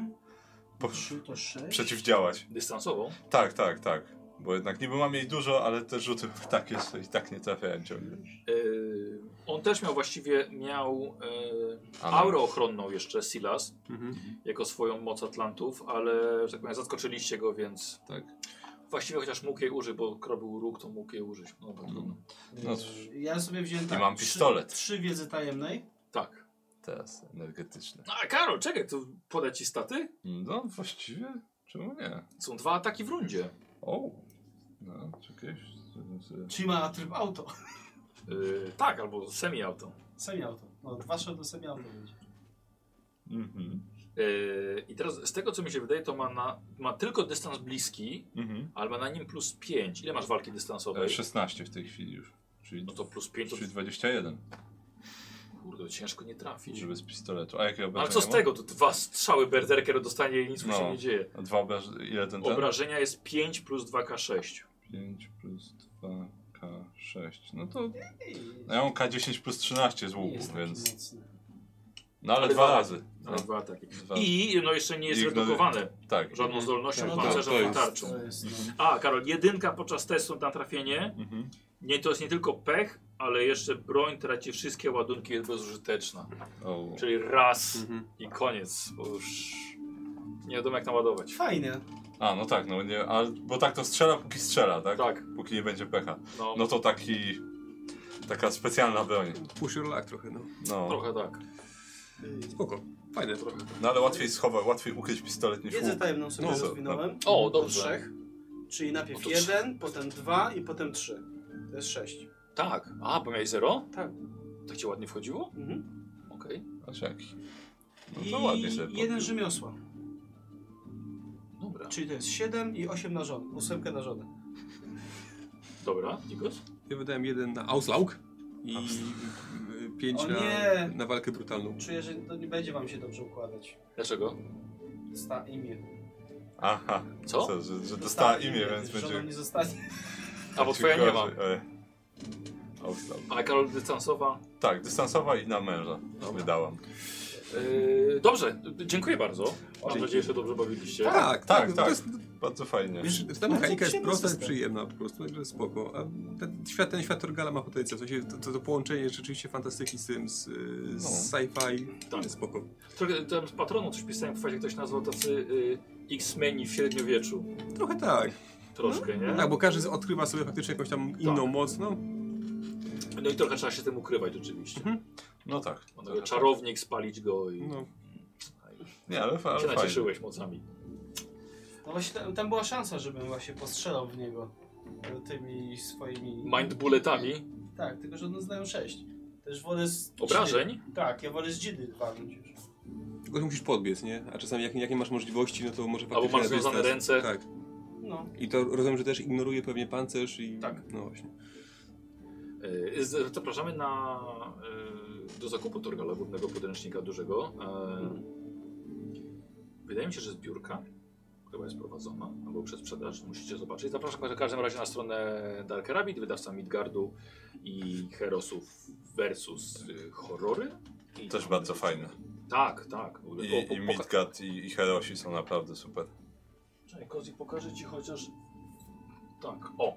Speaker 2: po,
Speaker 10: 3 to 6.
Speaker 2: przeciwdziałać.
Speaker 1: Dystansową.
Speaker 2: Tak, tak, tak. Bo jednak niby mam jej dużo, ale te rzuty takie że i tak nie trafiają ciągle.
Speaker 1: Yy, on też miał właściwie miał yy,
Speaker 2: A, no.
Speaker 1: aurę ochronną jeszcze, Silas.
Speaker 4: Mhm.
Speaker 1: jako swoją moc Atlantów, ale że tak powiem, zaskoczyliście go, więc
Speaker 2: Tak.
Speaker 1: właściwie chociaż mógł jej użyć, bo krobił róg, to mógł jej użyć. No, tak, trudno.
Speaker 2: No cóż.
Speaker 10: Ja sobie wziąłem tak,
Speaker 2: I mam
Speaker 10: trzy-
Speaker 2: pistolet.
Speaker 10: Trzy wiedzy tajemnej.
Speaker 1: tak. No,
Speaker 2: Teraz energetyczne.
Speaker 1: A Karol, czekaj, tu poda ci staty?
Speaker 2: No właściwie, czemu nie?
Speaker 1: Są dwa ataki w rundzie.
Speaker 2: O! No, czekaj. zrobię sobie-
Speaker 10: Czyli ma tryb auto.
Speaker 1: Yy, tak, albo semi-auto.
Speaker 10: Semi auto. No, dwa szedł semi auto będzie.
Speaker 2: Mhm.
Speaker 1: Yy, I teraz z tego, co mi się wydaje, to ma, na, ma tylko dystans bliski,
Speaker 2: Mhm.
Speaker 1: ale ma na nim plus 5. Ile masz walki
Speaker 2: E,
Speaker 1: dystansowej?
Speaker 2: 16 w tej chwili już. Czyli,
Speaker 1: No to plus 5 to
Speaker 2: czyli 21.
Speaker 1: Kurde, ciężko nie trafić. No,
Speaker 2: Żeby z pistoletu. A jakie obrażenia
Speaker 1: Ale co z
Speaker 2: ma?
Speaker 1: tego? To dwa strzały berserker dostanie i nic mu się
Speaker 2: No.
Speaker 1: nie dzieje.
Speaker 2: A Dwa obrażenia. Ile ten ten?
Speaker 1: Obrażenia jest 5 plus 2K6.
Speaker 2: 5 plus 2 K6. No to. No ja mam K10 plus 13 z
Speaker 3: Nie
Speaker 2: łuku,
Speaker 3: jest taki
Speaker 2: więc.
Speaker 3: mocny.
Speaker 2: No ale
Speaker 1: Ale
Speaker 2: dwa
Speaker 1: dwa
Speaker 2: razy. No,
Speaker 1: Ale dwa ataki.
Speaker 2: dwa.
Speaker 1: I no jeszcze nie jest
Speaker 2: Ignoruj-
Speaker 1: redukowane
Speaker 2: Tak.
Speaker 1: żadną zdolnością, no
Speaker 2: No tak,
Speaker 1: pancerzem,
Speaker 2: to
Speaker 1: tak,
Speaker 2: jest-
Speaker 1: tarczą.
Speaker 3: To jest, no.
Speaker 1: A, Karol, jedynka podczas testu na trafienie.
Speaker 2: Mhm.
Speaker 1: Nie, to jest nie tylko pech, ale jeszcze broń traci wszystkie ładunki, jest bezużyteczna.
Speaker 2: O.
Speaker 1: Czyli raz
Speaker 4: Mhm.
Speaker 1: i koniec, bo już nie wiadomo jak naładować.
Speaker 3: Fajne.
Speaker 2: A, no tak, no nie. A, bo tak to strzela, póki strzela, tak?
Speaker 1: Tak,
Speaker 2: Póki nie będzie pecha.
Speaker 1: no,
Speaker 2: No to taki. Taka specjalna broń.
Speaker 4: Push your luck trochę, no.
Speaker 2: No,
Speaker 1: trochę tak.
Speaker 4: Spoko. Fajne.
Speaker 2: no ale łatwiej schować, łatwiej ukryć pistolet niż
Speaker 3: Wiedzę
Speaker 2: łuk.
Speaker 3: tajemną sobie
Speaker 2: No, co?
Speaker 3: rozwinąłem.
Speaker 1: O,
Speaker 3: Do
Speaker 1: dobrze.
Speaker 3: trzech. Czyli najpierw
Speaker 1: O, to
Speaker 3: jeden, potem dwa i potem trzy. To jest sześć.
Speaker 1: Tak, a, bo miałeś zero?
Speaker 3: Tak.
Speaker 1: Tak ci ładnie wchodziło?
Speaker 3: Mhm.
Speaker 1: Okej.
Speaker 2: Patrz jaki. No
Speaker 3: I
Speaker 2: to ładnie sobie.
Speaker 3: jeden
Speaker 2: podbił.
Speaker 3: rzemiosła.
Speaker 1: Dobra.
Speaker 3: Czyli to jest siedem i osiem na żonę. Ósemkę na żonę.
Speaker 1: Dobra, Nikos?
Speaker 4: Ja wydałem jeden na Auslauk i y, pięć
Speaker 3: O
Speaker 4: na,
Speaker 3: nie!
Speaker 4: na walkę brutalną.
Speaker 3: Czuję, że to nie będzie wam się dobrze układać.
Speaker 1: Dlaczego?
Speaker 3: Sta imię.
Speaker 2: Aha,
Speaker 1: Co?
Speaker 2: Co, że, że dostała imię, więc
Speaker 3: Żoną
Speaker 2: będzie.
Speaker 3: nie zostanie.
Speaker 1: A bo twoja nie ma.
Speaker 2: Auslauk.
Speaker 1: A Karol dystansowa.
Speaker 2: Tak, dystansowa i na męża. Wydałam.
Speaker 1: Yy, dobrze, dziękuję bardzo. Mam
Speaker 2: Dzięki.
Speaker 1: nadzieję, że dobrze bawiliście.
Speaker 2: tak,
Speaker 4: Tak, tak.
Speaker 2: tak.
Speaker 4: To jest,
Speaker 2: Bardzo fajnie.
Speaker 4: wiesz, ta
Speaker 3: Bardzo
Speaker 4: mechanika jest
Speaker 3: przyjemny
Speaker 4: prosta, jest
Speaker 3: system.
Speaker 4: przyjemna po prostu, także spoko. A ten świat, ten świat Torgala ma potencjał. W sensie to, to, to połączenie jest rzeczywiście fantastyki z tym, z, y, z
Speaker 2: No.
Speaker 4: sci-fi.
Speaker 1: Tak.
Speaker 4: Tak. Spoko.
Speaker 1: Trochę tam z patronu coś pisałem, w fazie ktoś nazwał tacy y, X-meni w średniowieczu.
Speaker 4: Trochę tak.
Speaker 1: Troszkę, nie?
Speaker 2: No.
Speaker 4: Tak, bo każdy z- odkrywa sobie faktycznie jakąś tam inną moc, no.
Speaker 1: No i trochę trzeba się tym ukrywać rzeczywiście.
Speaker 2: No tak.
Speaker 1: On mówi, czarownik, spalić go i
Speaker 4: no.
Speaker 2: Nie, ale,
Speaker 1: się
Speaker 2: fa- ale fajnie.
Speaker 1: nacieszyłeś mocami.
Speaker 3: No właśnie tam, tam była szansa, żebym właśnie postrzelał w niego. e, Tymi swoimi...
Speaker 1: Mind bulletami
Speaker 3: Tak, tylko że one zdają sześć. Też wolę z...
Speaker 1: obrażeń.
Speaker 3: Tak, ja wolę z dzidy walnąć już.
Speaker 4: Tylko że musisz podbiec, nie? A czasami jak, jak nie masz możliwości, no to może
Speaker 1: Albo
Speaker 4: faktycznie...
Speaker 1: masz
Speaker 4: na dystans.
Speaker 1: związane ręce.
Speaker 4: Tak.
Speaker 3: No.
Speaker 4: I to rozumiem, że też ignoruje pewnie pancerz i...
Speaker 3: Tak.
Speaker 4: No właśnie.
Speaker 1: Y, z- Zapraszamy na, y, do zakupu Torgala, głównego podręcznika dużego. Y, Wydaje mi się, że zbiórka chyba jest prowadzona, albo przez sprzedaż, musicie zobaczyć. Zapraszam w każdym razie na stronę Dark Rabbit, wydawca Midgardu i Herosów versus y, horrory. I
Speaker 2: Też
Speaker 1: tam-
Speaker 2: bardzo fajne.
Speaker 1: Tak, tak. W ogóle
Speaker 2: I,
Speaker 1: po- po-
Speaker 2: i
Speaker 1: poka-
Speaker 2: Midgard i, i Herosi są naprawdę super.
Speaker 1: Czekaj, Kozi, pokażę ci chociaż. Tak, o.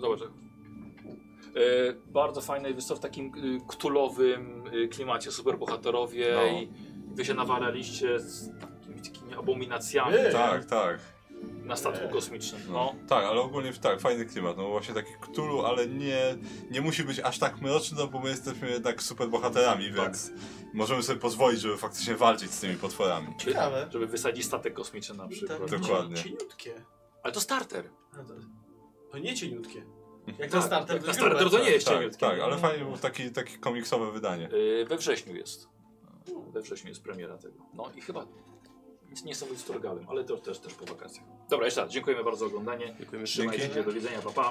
Speaker 1: Zobacz. E, bardzo fajne, jest to w takim y, ktulowym y, klimacie, superbohaterowie
Speaker 2: No.
Speaker 1: i wy się nawalaliście z takimi, takimi abominacjami
Speaker 3: Eee.
Speaker 2: Tak, tak.
Speaker 1: na statku kosmicznym.
Speaker 2: No.
Speaker 1: No.
Speaker 2: Tak, ale ogólnie w- tak, fajny klimat. No właśnie taki Cthulhu, ale nie, nie musi być aż tak mroczny, no bo my jesteśmy jednak super
Speaker 1: Tak.
Speaker 2: bohaterami, więc możemy sobie pozwolić, żeby faktycznie walczyć z tymi potworami.
Speaker 3: Ciekawe.
Speaker 1: Żeby wysadzić statek kosmiczny na przykład.
Speaker 3: Tak.
Speaker 2: Dokładnie.
Speaker 3: Cieniutkie.
Speaker 1: Ale to starter.
Speaker 3: No to, to nie cieniutkie. Jak
Speaker 1: Tak,
Speaker 3: na starter,
Speaker 1: jak na
Speaker 3: grube,
Speaker 1: starter to nie jest No.
Speaker 2: Tak,
Speaker 1: cieniutkie.
Speaker 2: tak, ale fajnie było takie, takie komiksowe wydanie.
Speaker 1: Y, we wrześniu jest. We wrześniu jest premiera tego. No i chyba nic nie są z Torgalem, ale to też, też po wakacjach. Dobra, jeszcze raz. Dziękujemy bardzo za oglądanie.
Speaker 4: Dziękujemy.
Speaker 1: Trzymajcie się, do widzenia, pa pa.